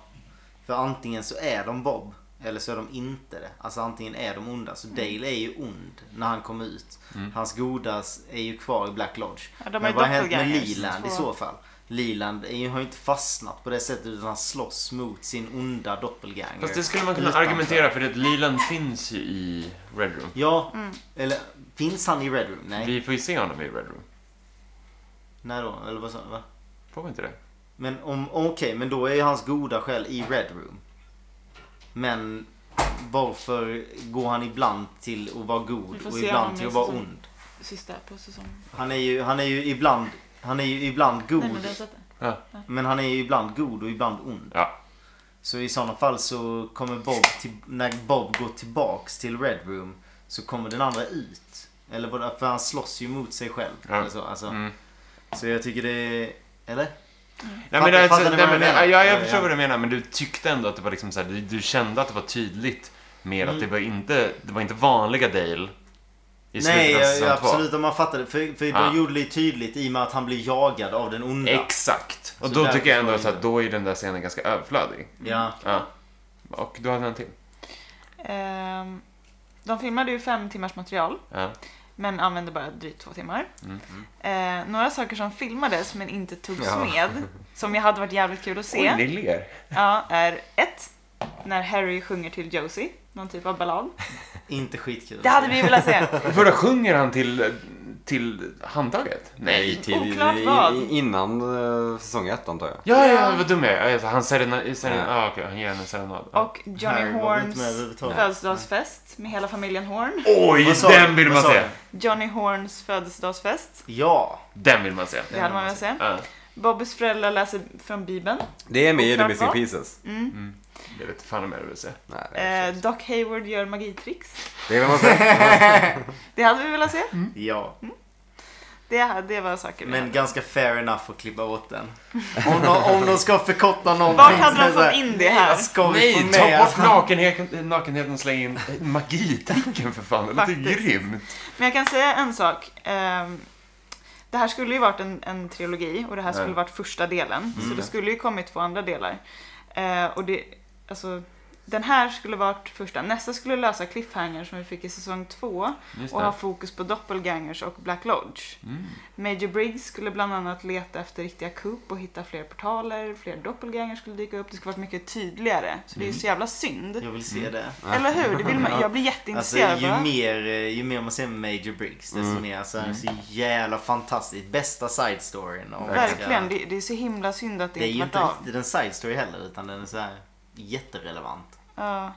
[SPEAKER 4] för antingen så är de Bob eller så är de inte det. Alltså antingen är de onda.
[SPEAKER 3] Mm.
[SPEAKER 4] Så Dale är ju ond när han kommer ut. Hans godas är ju kvar i Black Lodge.
[SPEAKER 3] Ja, de är
[SPEAKER 4] Men vad har hänt med
[SPEAKER 3] doppelgangers,
[SPEAKER 4] Leland i
[SPEAKER 3] två.
[SPEAKER 4] så fall? Leland är ju, har ju inte fastnat på det sättet utan han slåss mot sin onda doppelganger.
[SPEAKER 1] Fast det skulle man kunna
[SPEAKER 4] utanför.
[SPEAKER 1] argumentera för att Leland finns ju i Red Room.
[SPEAKER 4] Ja,
[SPEAKER 3] Mm.
[SPEAKER 4] eller finns han i Red Room? Nej.
[SPEAKER 1] Vi får ju se honom i Red Room.
[SPEAKER 4] När då? Eller vad sa va?
[SPEAKER 1] Får vi inte det?
[SPEAKER 4] Men om, okej, men då är ju hans goda själ i Red Room. Men varför går han ibland till att vara
[SPEAKER 3] Vi
[SPEAKER 4] god
[SPEAKER 3] får
[SPEAKER 4] och
[SPEAKER 3] se
[SPEAKER 4] ibland
[SPEAKER 3] honom
[SPEAKER 4] till
[SPEAKER 3] i
[SPEAKER 4] att vara
[SPEAKER 3] säsong-
[SPEAKER 4] ond?
[SPEAKER 3] Sista på säsongen.
[SPEAKER 4] Han är ju, han är ju ibland, han är ju ibland god.
[SPEAKER 3] Nej men
[SPEAKER 4] men,
[SPEAKER 3] du har sett det.
[SPEAKER 1] Ja.
[SPEAKER 4] han är ju ibland god och ibland ond.
[SPEAKER 1] ja.
[SPEAKER 4] Så i sådana fall så kommer Bob, till, när Bob går tillbaks till Red Room så kommer den andra ut. Eller bara, för han slåss ju mot sig själv.
[SPEAKER 1] Ja.
[SPEAKER 4] Eller så, alltså.
[SPEAKER 1] Mm.
[SPEAKER 4] så jag tycker det är... Eller?
[SPEAKER 1] Nej, men,
[SPEAKER 4] Fattar-
[SPEAKER 1] alltså,
[SPEAKER 4] fattar
[SPEAKER 1] nej,
[SPEAKER 4] ni vad jag
[SPEAKER 1] men,
[SPEAKER 4] menar?
[SPEAKER 1] jag, jag,
[SPEAKER 4] Ja,
[SPEAKER 1] förstår
[SPEAKER 4] ja.
[SPEAKER 1] vad du menar, men du tyckte ändå att det var liksom så här, du, du kände att det var tydligt mer att det var inte, det var inte vanliga Dale i
[SPEAKER 4] Mm. Nej,
[SPEAKER 1] slutet av
[SPEAKER 4] jag,
[SPEAKER 1] säsong
[SPEAKER 4] jag,
[SPEAKER 1] två.
[SPEAKER 4] absolut. Om man fattade. För, för
[SPEAKER 1] Ja.
[SPEAKER 4] de gjorde det ju tydligt i och med att han blir jagad av den onda.
[SPEAKER 1] Exakt. Och
[SPEAKER 4] Så
[SPEAKER 1] då
[SPEAKER 4] där
[SPEAKER 1] tycker jag ändå
[SPEAKER 4] förstår
[SPEAKER 1] så
[SPEAKER 4] jag
[SPEAKER 1] att då är den där scenen ganska överflödig.
[SPEAKER 4] Ja.
[SPEAKER 1] Ja. Och du hade en till.
[SPEAKER 3] Ehm, de filmade ju fem timmars material.
[SPEAKER 1] Ja.
[SPEAKER 3] Men använde bara drygt två timmar. Eh, några saker som filmades men inte togs
[SPEAKER 2] Ja.
[SPEAKER 3] med, som jag hade varit jävligt kul att se,
[SPEAKER 1] ni ler.
[SPEAKER 3] ja, är ett, när Harry sjunger till Josie, någon typ av ballad.
[SPEAKER 4] Inte skitkul.
[SPEAKER 3] Det hade vi velat se.
[SPEAKER 1] För då sjunger han till, till handtaget?
[SPEAKER 2] Nej, till,
[SPEAKER 3] Oklart
[SPEAKER 2] i-
[SPEAKER 3] vad.
[SPEAKER 2] i- innan eh, säsong ett antar jag.
[SPEAKER 1] Ja, ja, vad dum jag är. Ja, just det. Han serenad... Seren,
[SPEAKER 2] Ja.
[SPEAKER 1] ah, okej, han ger henne en serenad. Ja.
[SPEAKER 3] Och Johnny
[SPEAKER 4] Harry var inte med
[SPEAKER 3] Horns
[SPEAKER 4] överhuvudtaget.
[SPEAKER 3] födelsedagsfest med hela familjen Horn.
[SPEAKER 1] Oj,
[SPEAKER 4] Vad sa
[SPEAKER 1] den
[SPEAKER 4] du?
[SPEAKER 1] vill
[SPEAKER 4] Vad
[SPEAKER 1] man
[SPEAKER 4] sa
[SPEAKER 1] se!
[SPEAKER 4] du?
[SPEAKER 3] Johnny Horns födelsedagsfest,
[SPEAKER 4] Ja.
[SPEAKER 1] Den vill man se.
[SPEAKER 3] det hade man velat se.
[SPEAKER 1] Ja.
[SPEAKER 3] Bobbys föräldrar läser från Bibeln.
[SPEAKER 2] Det är med i The
[SPEAKER 3] Oklart
[SPEAKER 2] Missing
[SPEAKER 3] vad.
[SPEAKER 2] Pieces.
[SPEAKER 1] Jag vet inte fan om jag vill se.
[SPEAKER 2] Nej, det är
[SPEAKER 3] Eh, Doc Hayward gör magitricks.
[SPEAKER 2] det vill man säga.
[SPEAKER 3] Det hade vi velat se.
[SPEAKER 4] Ja.
[SPEAKER 3] Det, det var saker vi
[SPEAKER 4] Mm. Men
[SPEAKER 3] hade.
[SPEAKER 4] ganska fair enough att klippa åt den. Om de, om de ska förkorta någonting.
[SPEAKER 3] Vart hade de
[SPEAKER 4] så är
[SPEAKER 3] fått in det
[SPEAKER 4] så
[SPEAKER 3] här?
[SPEAKER 4] Ska vi få
[SPEAKER 1] Nej,
[SPEAKER 4] med
[SPEAKER 1] ta bort
[SPEAKER 4] alltså?
[SPEAKER 1] nakenheten, nakenheten och släng in magitricken för fan. Det låter ju
[SPEAKER 3] Faktiskt.
[SPEAKER 1] grymt.
[SPEAKER 3] Men jag kan säga en sak. Ehm, Det här skulle ju varit en, en trilogi och det här skulle
[SPEAKER 1] Ja. Mm.
[SPEAKER 3] varit första delen. Så det skulle ju kommit två andra delar. Eh, Och det, alltså, den här skulle varit första. Nästa skulle lösa cliffhanger som vi fick i säsong två
[SPEAKER 1] Just
[SPEAKER 3] och ha
[SPEAKER 1] det. Mm.
[SPEAKER 3] fokus på doppelgangers och Black Lodge. Major Briggs skulle bland annat leta efter riktiga kupp och hitta fler portaler, fler doppelgangers skulle dyka upp. Det skulle varit mycket tydligare. Så
[SPEAKER 1] Mm.
[SPEAKER 3] det är ju så jävla synd.
[SPEAKER 4] Jag vill se det.
[SPEAKER 3] Eller hur? Mm. Det vill man, jag blir
[SPEAKER 4] Alltså,
[SPEAKER 3] jätteintresserad.
[SPEAKER 4] ju,
[SPEAKER 3] bara.
[SPEAKER 4] mer, eh, ju mer man ser med Major Briggs desto mer alltså, mm. så jävla fantastiskt. Bästa side storyn. om man ska-
[SPEAKER 3] Verkligen, det, det är så himla synd att det,
[SPEAKER 4] Det är ju
[SPEAKER 3] inte
[SPEAKER 4] inte
[SPEAKER 3] varit av.
[SPEAKER 4] riktigt en side story heller utan den är så här jätterelevant.
[SPEAKER 3] Ja.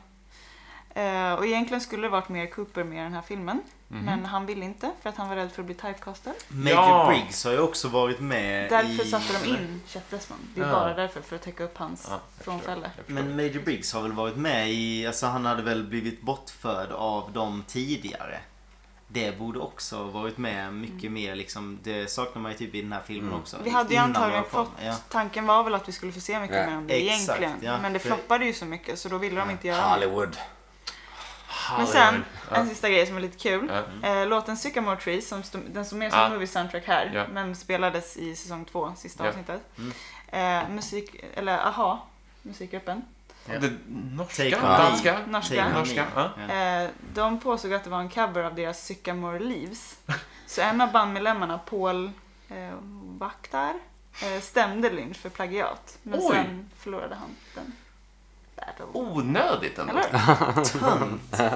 [SPEAKER 3] Eh, och egentligen skulle det varit mer Cooper med i den här filmen.
[SPEAKER 4] Mhm.
[SPEAKER 3] Men han ville inte för att han var rädd för att bli typecastad.
[SPEAKER 4] Major
[SPEAKER 1] Ja.
[SPEAKER 4] Briggs har ju också varit med
[SPEAKER 3] Därför
[SPEAKER 4] Eh, i...
[SPEAKER 3] satte de in Chet Desmond. Det är
[SPEAKER 1] Ja.
[SPEAKER 3] bara därför, för att täcka upp hans
[SPEAKER 1] Ja,
[SPEAKER 3] frånfälle.
[SPEAKER 4] Men Major Briggs har väl varit med i... Alltså han hade väl blivit bortförd av dem tidigare. Det borde också ha varit med mycket mer liksom. Det saknar man ju typ i den här filmen
[SPEAKER 1] Mm.
[SPEAKER 4] också.
[SPEAKER 3] Vi hade ju
[SPEAKER 4] Innan
[SPEAKER 3] antagligen
[SPEAKER 4] de kom.
[SPEAKER 3] fått...
[SPEAKER 4] Ja.
[SPEAKER 3] Tanken var väl att vi skulle få se mycket
[SPEAKER 2] Ja.
[SPEAKER 3] mer om det
[SPEAKER 4] Exakt,
[SPEAKER 3] egentligen.
[SPEAKER 4] ja.
[SPEAKER 3] Men det
[SPEAKER 4] För-
[SPEAKER 3] floppade ju så mycket så då ville de inte göra det.
[SPEAKER 2] Hollywood.
[SPEAKER 3] Men sen, en sista grej som är lite kul.
[SPEAKER 1] Ja.
[SPEAKER 3] Eh, låten Sycamore Tree, som st- den som är som
[SPEAKER 1] Ja.
[SPEAKER 3] movie soundtrack här,
[SPEAKER 1] Ah. Ja.
[SPEAKER 3] men spelades i säsong två, sista
[SPEAKER 1] Ja. Mm.
[SPEAKER 3] avsnittet. Eh, musik, eller aha, musikgruppen.
[SPEAKER 4] Ja.
[SPEAKER 1] Det
[SPEAKER 4] Take
[SPEAKER 1] norska,
[SPEAKER 4] on
[SPEAKER 1] danska,
[SPEAKER 3] Norska.
[SPEAKER 4] Take on
[SPEAKER 1] norska.
[SPEAKER 4] me.
[SPEAKER 1] Ja.
[SPEAKER 3] Eh, de påstod att det var en cover av deras Sycamore Leaves. Så en av bandmedlemmarna, Paul eh, Vaktar, eh, stämde Lynch för plagiat. Men
[SPEAKER 1] Oj.
[SPEAKER 3] sen förlorade han den. Battle.
[SPEAKER 1] Onödigt ändå.
[SPEAKER 3] Eller?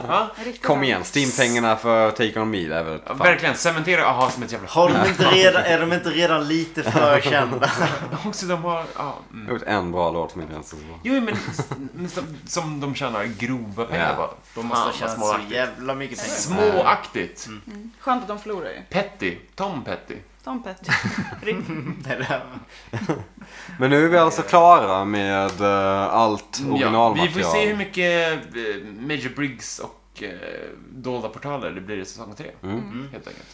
[SPEAKER 1] Ja.
[SPEAKER 3] Riktigt
[SPEAKER 2] Kom
[SPEAKER 3] bra.
[SPEAKER 2] igen, stimpengarna för Take On Me. Det är väl
[SPEAKER 1] Ja,
[SPEAKER 2] fan.
[SPEAKER 1] verkligen, cementera aha som ett jävla
[SPEAKER 4] Har de inte redan, är de inte redan lite för kända?
[SPEAKER 1] Också de har, ja. mm.
[SPEAKER 2] Jag har gjort en bra låt som inte ens är så bra.
[SPEAKER 1] Jo, men s- men som, som de tjänar grova
[SPEAKER 2] Ja.
[SPEAKER 1] pengar på.
[SPEAKER 4] De måste ha
[SPEAKER 1] Fan, vad
[SPEAKER 4] tjänat så
[SPEAKER 1] småaktigt.
[SPEAKER 4] jävla mycket pengar.
[SPEAKER 1] Småaktigt.
[SPEAKER 4] Mm.
[SPEAKER 3] Skönt att de förlorar ju.
[SPEAKER 1] Petty. Tom Petty.
[SPEAKER 3] Tom Petty. Rick-
[SPEAKER 4] Det där-
[SPEAKER 2] Men nu är vi alltså klara med eh, allt
[SPEAKER 1] Ja, vi
[SPEAKER 2] originalmaterial.
[SPEAKER 1] får se hur mycket eh, Major Briggs och eh, dolda portaler det blir i säsong tre.
[SPEAKER 2] Mm.
[SPEAKER 1] Helt enkelt.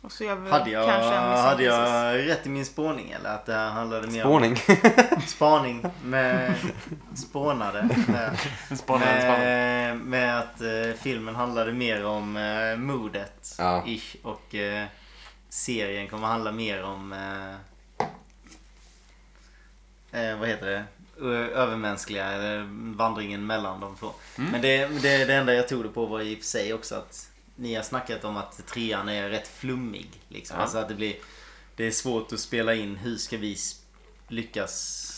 [SPEAKER 3] Och så gör vi
[SPEAKER 4] Hade jag,
[SPEAKER 3] kanske en Missing
[SPEAKER 4] hade
[SPEAKER 3] Princess.
[SPEAKER 4] jag rätt i min spåning eller? Att det här handlade mer
[SPEAKER 2] Spåning.
[SPEAKER 4] om spaning med spånade. Med,
[SPEAKER 1] En spanare, en spanare.
[SPEAKER 4] med, med att eh, filmen handlade mer om eh, modet
[SPEAKER 2] Ja.
[SPEAKER 4] ish, och eh, serien kommer handla mer om eh, eh, vad heter det? Ö- Övermänskliga, eller vandringen mellan de två. Men det, det, det enda jag tog det på var i och för sig också att ni har snackat om att trean är rätt flummig. Liksom.
[SPEAKER 1] Ja.
[SPEAKER 4] Alltså att det blir det är svårt att spela in. Hur ska vi s- lyckas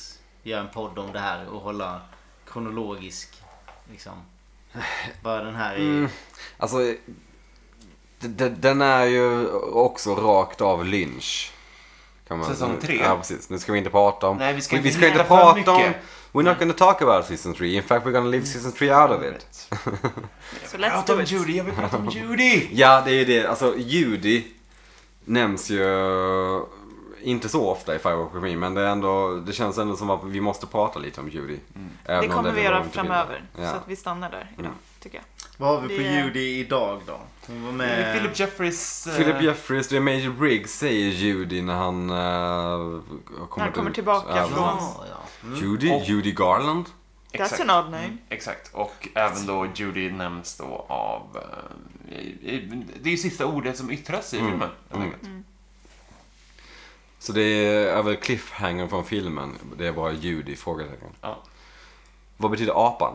[SPEAKER 4] göra en podd om det här och hålla kronologisk liksom. Bara den här är...
[SPEAKER 2] Alltså, d- d- den är ju också rakt av Lynch. Kan
[SPEAKER 1] Säsong tre.
[SPEAKER 2] Ja, precis. Nu ska vi inte prata om...
[SPEAKER 1] Nej, vi ska inte
[SPEAKER 2] vi ska inte
[SPEAKER 1] leta för
[SPEAKER 2] prata om...
[SPEAKER 1] mycket.
[SPEAKER 2] We're not gonna talk about season 3. In fact, we're gonna leave season 3 out of it.
[SPEAKER 3] Så let's do it.
[SPEAKER 1] Judy, jag vill prata om Judy!
[SPEAKER 2] Ja, det är ju det. Alltså, Judy nämns ju inte så ofta i Firewalk With Me, men det, är ändå, det känns ändå som att vi måste prata lite om Judy.
[SPEAKER 1] Mm.
[SPEAKER 2] Även
[SPEAKER 3] Det
[SPEAKER 2] om
[SPEAKER 3] kommer vi
[SPEAKER 2] var
[SPEAKER 3] göra
[SPEAKER 2] vår intervju.
[SPEAKER 3] framöver.
[SPEAKER 2] Ja. Mm.
[SPEAKER 3] Så att vi stannar där idag, tycker jag.
[SPEAKER 4] Vad har vi på
[SPEAKER 3] Det är-
[SPEAKER 4] Judy idag då? Hon var
[SPEAKER 1] Det är
[SPEAKER 4] med...
[SPEAKER 1] Philip Jeffries... eh,
[SPEAKER 2] Philip Jeffries, det är Major Briggs, säger Judy när han eh, kommer,
[SPEAKER 3] Han kommer
[SPEAKER 2] ut.
[SPEAKER 3] tillbaka
[SPEAKER 2] Ja,
[SPEAKER 3] från-
[SPEAKER 2] precis.
[SPEAKER 4] Ja, ja.
[SPEAKER 2] Judy,
[SPEAKER 1] Och-
[SPEAKER 2] Judy Garland.
[SPEAKER 3] That's
[SPEAKER 1] Exakt.
[SPEAKER 3] an odd
[SPEAKER 2] Mm.
[SPEAKER 3] name.
[SPEAKER 1] Exakt, och även då Judy nämns då av... eh, i- i- Det är ju sista ordet som yttras i
[SPEAKER 2] Mm.
[SPEAKER 1] filmen. helt
[SPEAKER 2] Mm.
[SPEAKER 1] enkelt.
[SPEAKER 2] Så det är över cliffhanger från filmen. Det är bara Judy? Frågetecken.
[SPEAKER 1] Ja.
[SPEAKER 2] Vad betyder apan?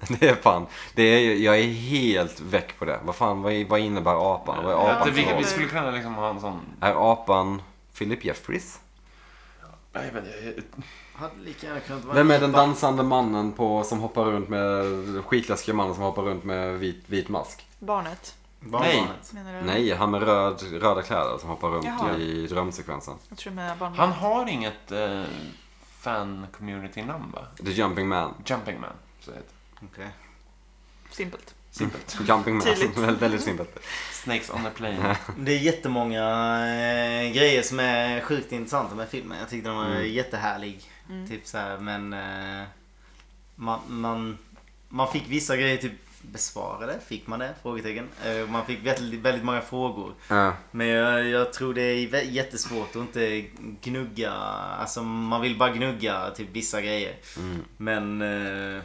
[SPEAKER 2] det är fan. Det är, jag är helt väck på det. Vad fan, vad, vad innebär apan? Vad är
[SPEAKER 1] Att
[SPEAKER 2] apan
[SPEAKER 1] vi,
[SPEAKER 2] för
[SPEAKER 1] vi
[SPEAKER 2] roll?
[SPEAKER 1] skulle kunna liksom ha en sån...
[SPEAKER 2] Är apan Philip Jeffries?
[SPEAKER 1] Jag vet inte,
[SPEAKER 4] Hade lika gärna kunnat vara
[SPEAKER 2] Vem är den
[SPEAKER 4] Ipa.
[SPEAKER 2] dansande mannen på, som hoppar runt med, skitläskiga mannen som hoppar runt med vit, vit mask?
[SPEAKER 3] Barnet,
[SPEAKER 4] Barnbarnet.
[SPEAKER 3] menar du?
[SPEAKER 2] Nej, han med röd, röda kläder som hoppar runt
[SPEAKER 3] Mm. Jaha.
[SPEAKER 2] i drömsekvensen.
[SPEAKER 3] Jag tror du menar barnet.
[SPEAKER 1] Han har inget eh, fan-community-namn, va?
[SPEAKER 2] The Jumping Man.
[SPEAKER 1] Jumping Man, så heter det.
[SPEAKER 4] Okej.
[SPEAKER 3] Simpelt.
[SPEAKER 1] Simpelt.
[SPEAKER 2] Jumping Man,
[SPEAKER 3] Tydligt.
[SPEAKER 2] väldigt, väldigt simpelt.
[SPEAKER 1] Snakes on a plane.
[SPEAKER 4] Det är jättemånga eh, grejer som är sjukt intressanta med filmen. Jag tyckte den var jättehärlig. Typ så här, men eh, man, man, man fick vissa grejer typ besvarade. Fick man det? Frågetecken. Eh, Man fick väldigt, väldigt många frågor.
[SPEAKER 2] Ja.
[SPEAKER 4] Men jag, jag tror det är vä- jättesvårt att inte gnugga. Alltså man vill bara gnugga typ vissa grejer. Men eh,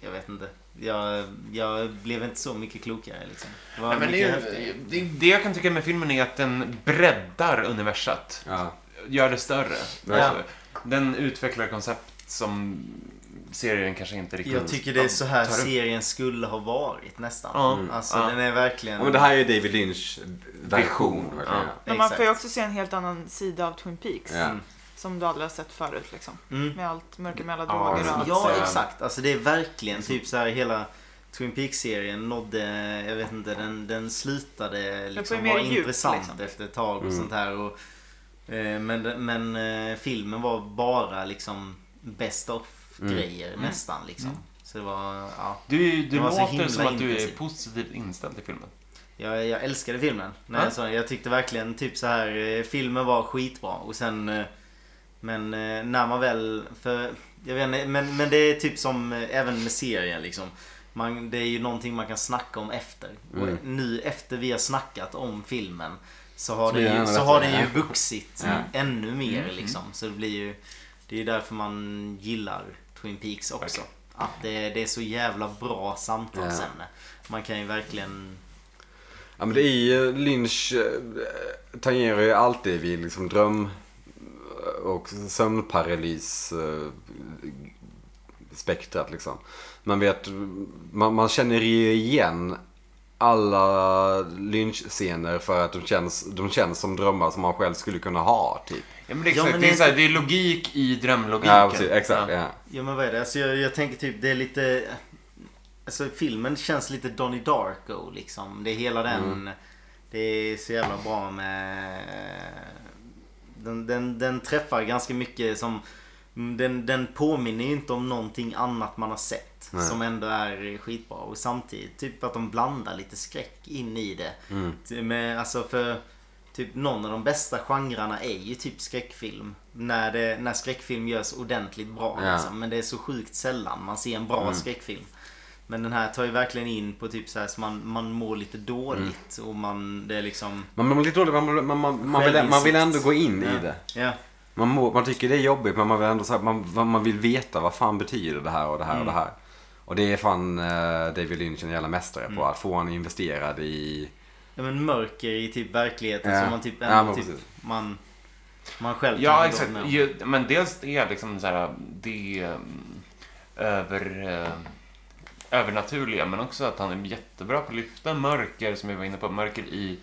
[SPEAKER 4] jag vet inte. Jag, jag blev inte så mycket klokare liksom. Det var
[SPEAKER 1] Nej, men det,
[SPEAKER 4] mycket
[SPEAKER 1] är,
[SPEAKER 4] häftigt.
[SPEAKER 1] ju- det, det jag kan tycka med filmen är att den breddar universat.
[SPEAKER 2] Ja.
[SPEAKER 1] Gör det större.
[SPEAKER 4] Ja.
[SPEAKER 1] Alltså, Den utvecklar koncept som serien kanske inte riktigt
[SPEAKER 4] Jag tycker det är så här
[SPEAKER 1] tar upp.
[SPEAKER 4] serien skulle ha varit nästan.
[SPEAKER 1] Ja.
[SPEAKER 4] Alltså
[SPEAKER 1] Ja.
[SPEAKER 4] den är verkligen...
[SPEAKER 2] Ja, men det här är ju David Lynch version. verkligen.
[SPEAKER 1] Ja.
[SPEAKER 3] Men man
[SPEAKER 4] Exakt.
[SPEAKER 3] får ju också se en helt annan sida av Twin Peaks.
[SPEAKER 2] Ja.
[SPEAKER 3] Som du aldrig har sett förut liksom.
[SPEAKER 4] Mm.
[SPEAKER 3] Med allt mörker med alla
[SPEAKER 1] Ja,
[SPEAKER 3] droger och
[SPEAKER 1] men-
[SPEAKER 3] allt.
[SPEAKER 4] Ja,
[SPEAKER 1] Så-
[SPEAKER 4] exakt. Alltså det är verkligen typ så här hela Twin Peaks-serien nådde, jag vet inte, den, den slutade liksom
[SPEAKER 3] mer
[SPEAKER 4] vara
[SPEAKER 3] djup,
[SPEAKER 4] intressant
[SPEAKER 3] liksom.
[SPEAKER 4] efter ett tag och sånt här. Och, eh, men men eh, filmen var bara liksom best of-grejer
[SPEAKER 3] Mm.
[SPEAKER 4] nästan liksom. Så det var, ja.
[SPEAKER 1] Du, du
[SPEAKER 4] Det var så
[SPEAKER 1] låter
[SPEAKER 4] himla
[SPEAKER 1] som att du är
[SPEAKER 4] intensivt.
[SPEAKER 1] positivt inställd till filmen.
[SPEAKER 4] Jag, jag älskade filmen. När
[SPEAKER 1] Ja.
[SPEAKER 4] jag, såg den. jag tyckte verkligen typ så här eh, filmen var skitbra och sen eh, men eh, när man väl för jag vet inte, men, men det är typ som eh, även med serien liksom. Man, det är ju någonting man kan snacka om efter.
[SPEAKER 2] Mm.
[SPEAKER 4] Och nu efter vi har snackat om filmen så har,
[SPEAKER 2] Så
[SPEAKER 4] den
[SPEAKER 2] blir
[SPEAKER 4] ju,
[SPEAKER 2] den
[SPEAKER 4] så
[SPEAKER 2] bättre,
[SPEAKER 4] har den ju
[SPEAKER 2] ja.
[SPEAKER 4] vuxit
[SPEAKER 2] Ja. Mm.
[SPEAKER 4] ännu mer liksom. Så det blir ju Det är ju därför man gillar Twin Peaks också. Att det, det är så jävla bra samtalsämne. Man kan ju verkligen
[SPEAKER 2] Ja, men det är ju, Lynch eh, tangerar ju alltid vid liksom dröm eh, och sömnparalys eh, spektrat liksom. Man vet, man, man känner ju igen alla Lynch-scener för att de känns, de känns som drömmar som man själv skulle kunna ha typ.
[SPEAKER 1] Ja, men det är,
[SPEAKER 4] Ja,
[SPEAKER 1] exakt,
[SPEAKER 4] men
[SPEAKER 1] det, är
[SPEAKER 4] det-
[SPEAKER 1] så här, det är logik i drömlogiken.
[SPEAKER 2] Ja, precis, exakt.
[SPEAKER 1] Ja.
[SPEAKER 2] Ja.
[SPEAKER 4] Ja men vad är det? Alltså jag, jag tänker typ det är lite... Alltså filmen känns lite Donnie Darko liksom. Det är hela den... Det är så jävla bra med... Den, den, den träffar ganska mycket som... Den, den påminner ju inte om någonting annat man har sett.
[SPEAKER 2] Nej.
[SPEAKER 4] Som ändå är skitbra. Och samtidigt typ att de blandar lite skräck in i det.
[SPEAKER 2] Mm.
[SPEAKER 4] Ty- Med, alltså för... Typ någon av de bästa genrerna är ju typ skräckfilm. När, det, när skräckfilm görs ordentligt bra.
[SPEAKER 2] Ja. Mm.
[SPEAKER 4] Liksom. Men det är så sjukt sällan man ser en bra skräckfilm. Men den här tar ju verkligen in på typ så här så man, man mår lite dåligt.
[SPEAKER 2] Mm.
[SPEAKER 4] Och man, det är liksom...
[SPEAKER 2] Man mår lite dåligt, man, man, man, man, vill, man vill ändå gå in i det.
[SPEAKER 4] Ja.
[SPEAKER 2] Man, mår, man tycker det är jobbigt men man vill ändå så här, man, man- man vill veta vad fan betyder det här och det här och det här. Och det är fan eh, David Lynch en jävla mästare på. Att få honom investerad i...
[SPEAKER 4] ja men mörker i typ verkligheten.
[SPEAKER 2] Ja.
[SPEAKER 4] Så man typ
[SPEAKER 2] Ja,
[SPEAKER 4] ändå
[SPEAKER 2] men
[SPEAKER 4] typ...
[SPEAKER 2] precis.
[SPEAKER 4] Man, man själv
[SPEAKER 1] Ja,
[SPEAKER 4] kan
[SPEAKER 2] Typ
[SPEAKER 1] exakt.
[SPEAKER 4] gå med om.
[SPEAKER 1] Ju, men dels är liksom så här, det mm, över, eh, övernaturliga, men också att han är jättebra på att lyfta mörker, som vi var inne på, mörker i,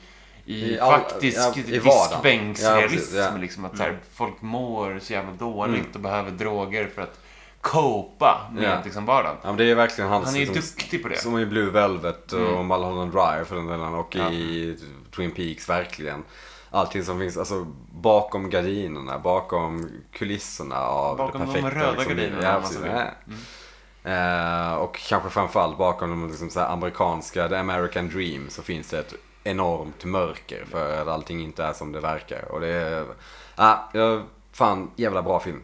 [SPEAKER 1] i,
[SPEAKER 2] I all-
[SPEAKER 1] faktisk
[SPEAKER 2] ja, i vardagen. Ja, precis,
[SPEAKER 1] diskbänksrealism.
[SPEAKER 2] ja. Mm.
[SPEAKER 1] liksom, att så här, folk mår så jävla dåligt och behöver droger för att copa med
[SPEAKER 2] Ja.
[SPEAKER 1] liksom, vardagen.
[SPEAKER 2] Ja, men det är verkligen hans...
[SPEAKER 1] Han är ju
[SPEAKER 2] liksom,
[SPEAKER 1] duktig på det. Mm.
[SPEAKER 2] Som i Blue Velvet och Mulholland Drive för den delen. Och i Twin Peaks verkligen. Allting som finns alltså, bakom gardinerna, bakom kulisserna av
[SPEAKER 1] Bakom
[SPEAKER 2] det
[SPEAKER 1] de
[SPEAKER 2] perfekta.
[SPEAKER 1] röda
[SPEAKER 2] liksom,
[SPEAKER 1] gardinerna, Mm.
[SPEAKER 2] Ja,
[SPEAKER 1] om man
[SPEAKER 2] precis,
[SPEAKER 1] så vill.
[SPEAKER 2] ja. Eh, och kanske framförallt bakom de liksom, så här, amerikanska, the American dream, så finns det ett enormt mörker för att allting inte är som det verkar. Och det är... Ja, jag- fan, jävla bra film.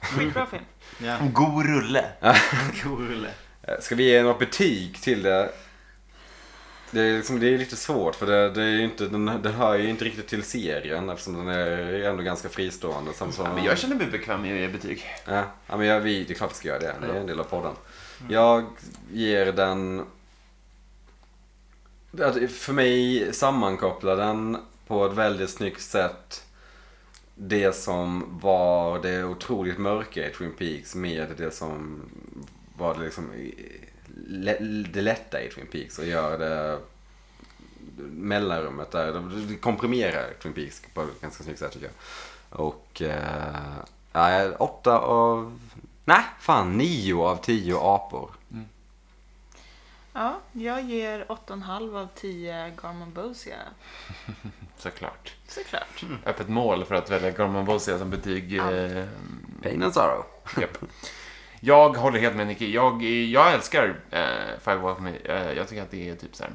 [SPEAKER 3] Skitbra film.
[SPEAKER 4] Ja,
[SPEAKER 1] En god rulle.
[SPEAKER 4] god rulle.
[SPEAKER 2] Eh, Ska vi ge något betyg till det? Det är, liksom, det är lite svårt för det, det är ju inte, den, den hör ju inte riktigt till serien eftersom den är ändå ganska fristående. Som, som,
[SPEAKER 1] Men jag känner mig bekväm med att ge betyg.
[SPEAKER 2] Ja, ja, men jag, vi, det är klart vi ska göra det. Det är en del av podden. Jag ger den... att För mig sammankopplar den på ett väldigt snyggt sätt det som var det otroligt mörka i Twin Peaks med det som var det liksom i- le- det lätta i Twin Peaks och gör det mellanrummet där. Det komprimerar Twin Peaks på ett ganska snyggt sätt tycker jag. Och eh, nej, åtta av... Nej, fan nio av tio apor.
[SPEAKER 3] Ja, jag ger 8,5 av 10 Garmon Bosia.
[SPEAKER 1] Såklart.
[SPEAKER 3] Såklart.
[SPEAKER 2] Mm.
[SPEAKER 1] Öppet mål för att välja Gorman Bosia som betyg. Eh,
[SPEAKER 2] Pain and sorrow.
[SPEAKER 1] japp. Jag håller helt med Nicky. Jag, jag älskar eh, Five Walk Me. Eh, jag tycker att det är typ så här.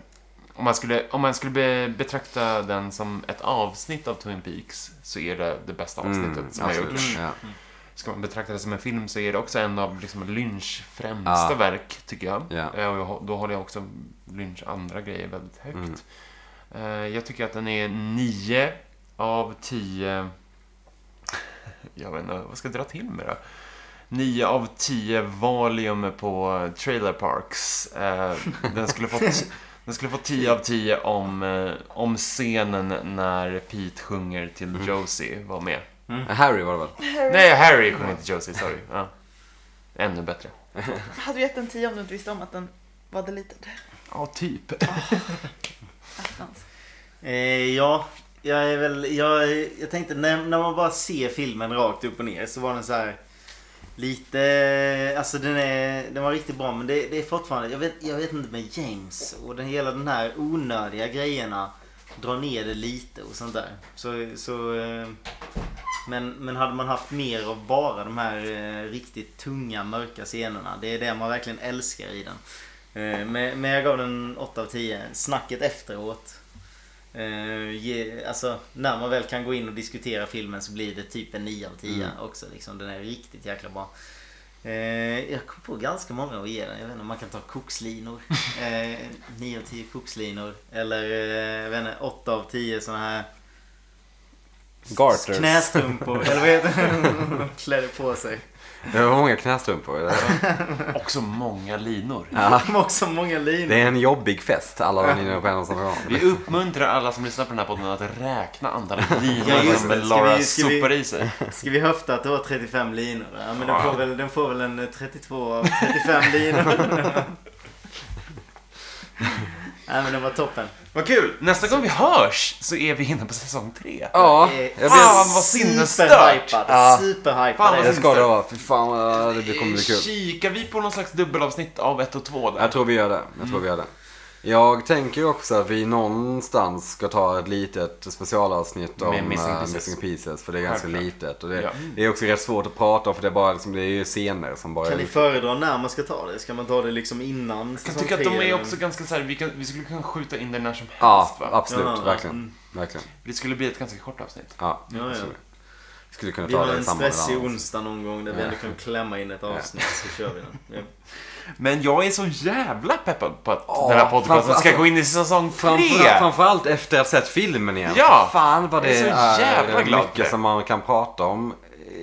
[SPEAKER 1] Om man skulle, om man skulle be, betrakta den som ett avsnitt av Twin Peaks så är det det bästa avsnittet som har
[SPEAKER 2] Mm, absolut.
[SPEAKER 1] gjorts.
[SPEAKER 2] Ja.
[SPEAKER 1] Ska man betrakta det som en film så är det också en av liksom Lynch främsta
[SPEAKER 2] Ja.
[SPEAKER 1] verk, tycker jag.
[SPEAKER 2] Ja.
[SPEAKER 1] Eh, Och jag hå- då håller jag också Lynch andra grejer väldigt högt.
[SPEAKER 2] Mm.
[SPEAKER 1] Eh, Jag tycker att den är 9 av 10... Jag vet inte, vad ska jag dra till med då? 9 av 10 Valium på Trailer Parks. Eh, Den skulle fått... Den skulle få 10 av 10 om, eh, om scenen när Pete sjunger till
[SPEAKER 2] Mm.
[SPEAKER 1] Josie var med.
[SPEAKER 2] Harry var det väl?
[SPEAKER 1] Nej, Harry sjunger inte Josie, sorry. Ja. Ännu bättre.
[SPEAKER 3] Jag hade gett en 10 om du inte visste om att den var deleted.
[SPEAKER 1] Ja, typ.
[SPEAKER 3] Attans.
[SPEAKER 4] Eh, ja, jag är väl... Jag, jag tänkte när, när man bara ser filmen rakt upp och ner så var den så här lite... Alltså den, är, den var riktigt bra men det, det är fortfarande... Jag vet, jag vet inte med James och den hela den här onödiga grejerna drar ner det lite och sånt där. Så... så eh, men, men hade man haft mer av bara de här eh, riktigt tunga mörka scenerna. Det är det man verkligen älskar i den. Eh, men, men jag gav den 8 av 10. Snacket efteråt. Eh, ge, alltså, när man väl kan gå in och diskutera filmen så blir det typ en 9 av 10 också. Liksom. Den är riktigt jäkla bra. Eh, jag kom på ganska många att ge den. Jag vet inte, man kan ta kokslinor. Eh, 9 av 10 kokslinor. Eller eh, jag vet inte, 8 av 10 sådana här
[SPEAKER 2] Garters.
[SPEAKER 4] knästrumpor. eller vad heter det? De klädde på sig.
[SPEAKER 2] Det var många knästrumpor. Det är-
[SPEAKER 1] Också många linor.
[SPEAKER 2] Ja.
[SPEAKER 4] De har också många linor.
[SPEAKER 2] Det är en jobbig fest, alla var inne på en och samma gång.
[SPEAKER 1] Vi uppmuntrar alla som lyssnar på den här podden att räkna antalet linor
[SPEAKER 4] Ja, just
[SPEAKER 1] som
[SPEAKER 4] det. Ska
[SPEAKER 1] Laura
[SPEAKER 4] vi- ska vi-
[SPEAKER 1] sopar i sig.
[SPEAKER 4] Ska vi höfta att det var 35 linor? Ja, men den får, väl, den får väl en eh, 32 av 35 linor. Nej men den var toppen.
[SPEAKER 1] Vad kul! Nästa gång vi hörs så är vi inne på säsong tre.
[SPEAKER 2] Ja,
[SPEAKER 4] Eh,
[SPEAKER 2] jag
[SPEAKER 1] Ah,
[SPEAKER 2] blev...
[SPEAKER 1] vad sinnesstört.
[SPEAKER 4] Superhypad,
[SPEAKER 2] Ja.
[SPEAKER 1] Fan,
[SPEAKER 4] superhypad.
[SPEAKER 1] vad
[SPEAKER 2] Det ska det
[SPEAKER 1] sinnesstört.
[SPEAKER 2] vara. Fy fan vad det kommer bli kul.
[SPEAKER 1] Kikar vi på någon slags dubbelavsnitt av ett och två där?
[SPEAKER 2] Jag tror vi gör det. Jag tror vi gör det. Jag tänker också att vi någonstans ska ta ett litet specialavsnitt
[SPEAKER 1] Med
[SPEAKER 2] om
[SPEAKER 1] Missing
[SPEAKER 2] eh,
[SPEAKER 1] Pieces.
[SPEAKER 2] Missing Pieces. För det är ganska
[SPEAKER 1] Självklart.
[SPEAKER 2] litet. Och det,
[SPEAKER 1] Ja.
[SPEAKER 2] det är också rätt svårt att prata om för det är, bara, liksom, det är ju scener som bara...
[SPEAKER 4] Kan ni föredra när man ska ta det? Ska man ta det liksom innan
[SPEAKER 1] Jag
[SPEAKER 4] säsong
[SPEAKER 1] kan tycka att de
[SPEAKER 4] tre,
[SPEAKER 1] är
[SPEAKER 4] eller?
[SPEAKER 1] också ganska så här, vi, kan, vi skulle kunna skjuta in den när som helst
[SPEAKER 2] Ja,
[SPEAKER 1] va?
[SPEAKER 2] absolut.
[SPEAKER 4] Ja, ja,
[SPEAKER 2] verkligen.
[SPEAKER 4] mm.
[SPEAKER 2] Verkligen.
[SPEAKER 1] Det skulle bli ett ganska kort avsnitt.
[SPEAKER 2] Ja,
[SPEAKER 4] Ja, ja.
[SPEAKER 2] jag tror det. Vi skulle kunna
[SPEAKER 4] Vi
[SPEAKER 2] ta
[SPEAKER 4] har
[SPEAKER 2] det i
[SPEAKER 4] en
[SPEAKER 2] samband med
[SPEAKER 4] stressig
[SPEAKER 2] det andra.
[SPEAKER 4] onsdag någon gång där vi
[SPEAKER 2] Ja.
[SPEAKER 4] ändå kan klämma in ett avsnitt så kör vi den. Ja.
[SPEAKER 1] Men jag är så jävla peppad på att
[SPEAKER 2] Ja,
[SPEAKER 1] den här podcasten
[SPEAKER 2] framför-
[SPEAKER 1] ska
[SPEAKER 2] alltså-
[SPEAKER 1] gå in i säsong
[SPEAKER 2] Framförallt,
[SPEAKER 1] tre!
[SPEAKER 2] framförallt efter att ha sett filmen igen.
[SPEAKER 1] Ja!
[SPEAKER 2] Fan vad
[SPEAKER 1] Jag
[SPEAKER 2] det
[SPEAKER 1] är så jävla glad för
[SPEAKER 2] mycket
[SPEAKER 1] det.
[SPEAKER 2] som man kan prata om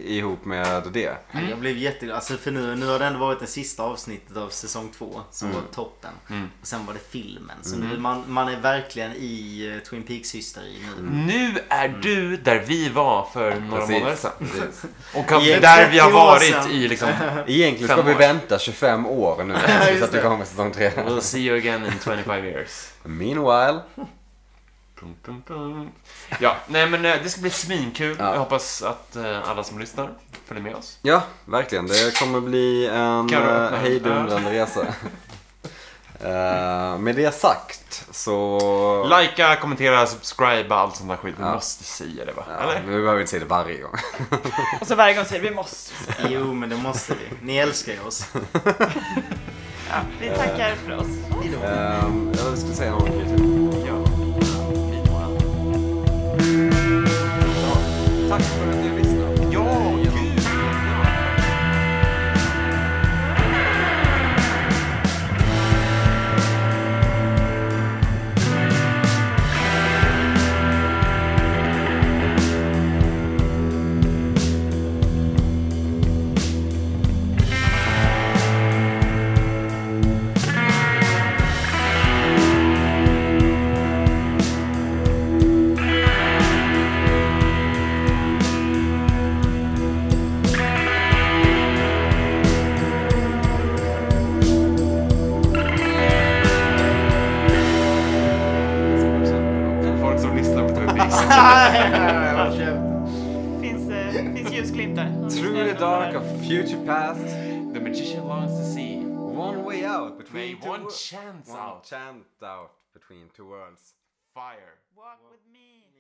[SPEAKER 2] ihop med det.
[SPEAKER 4] Jag blev jätteglad. Alltså för nu, nu har det ändå varit det sista avsnittet av säsong två som var toppen. Och sen var det filmen. Så nu, man, man är verkligen i eh, Twin Peaks-hysteri nu.
[SPEAKER 1] Nu är du där vi var för några
[SPEAKER 2] Precis.
[SPEAKER 1] månader sedan. Och kan,
[SPEAKER 4] I
[SPEAKER 1] där vi har
[SPEAKER 4] 30 år
[SPEAKER 1] varit
[SPEAKER 4] sedan.
[SPEAKER 1] i liksom...
[SPEAKER 2] Egentligen ska
[SPEAKER 1] Fem
[SPEAKER 2] vi
[SPEAKER 1] år.
[SPEAKER 2] vänta 25 år nu tills att det kommer säsong 3.
[SPEAKER 1] We'll see you again in 25 years.
[SPEAKER 2] Meanwhile.
[SPEAKER 1] Pum, pum, pum. Ja, nej men eh, det ska bli svinkul.
[SPEAKER 2] Ja.
[SPEAKER 1] Jag hoppas att eh, alla som lyssnar följer med oss.
[SPEAKER 2] Ja, verkligen. Det kommer bli
[SPEAKER 1] Kan
[SPEAKER 2] en
[SPEAKER 1] du öppna
[SPEAKER 2] eh,
[SPEAKER 1] den?
[SPEAKER 2] hejdundrande resa. Eh, med det sagt så...
[SPEAKER 1] Likea, kommentera, subscriba, allt sånt där skit. Vi
[SPEAKER 2] Ja.
[SPEAKER 1] måste säga det va?
[SPEAKER 2] Ja,
[SPEAKER 1] Eller?
[SPEAKER 2] nu behöver vi inte säga det varje gång.
[SPEAKER 3] Och så varje gång säger vi vi måste.
[SPEAKER 4] Jo, men det måste vi. Ni älskar ju oss.
[SPEAKER 3] Ja, vi tackar för oss.
[SPEAKER 4] Hejdå.
[SPEAKER 1] Mm.
[SPEAKER 2] Eh, Uh, jag skulle säga någonting till.
[SPEAKER 1] Ja.
[SPEAKER 2] tack för att ni har lyssnat.
[SPEAKER 1] Ja, gud! Folk som lyssnar på Twin Peaks.
[SPEAKER 3] Finns, eh, finns ljusglimtar.
[SPEAKER 2] Through the dark of future past,
[SPEAKER 1] The magician longs to see.
[SPEAKER 2] one way out
[SPEAKER 1] May
[SPEAKER 2] between two
[SPEAKER 1] one
[SPEAKER 2] worlds.
[SPEAKER 1] chance
[SPEAKER 2] One
[SPEAKER 1] out.
[SPEAKER 2] chant out between two worlds.
[SPEAKER 1] Fire.
[SPEAKER 3] Walk with me.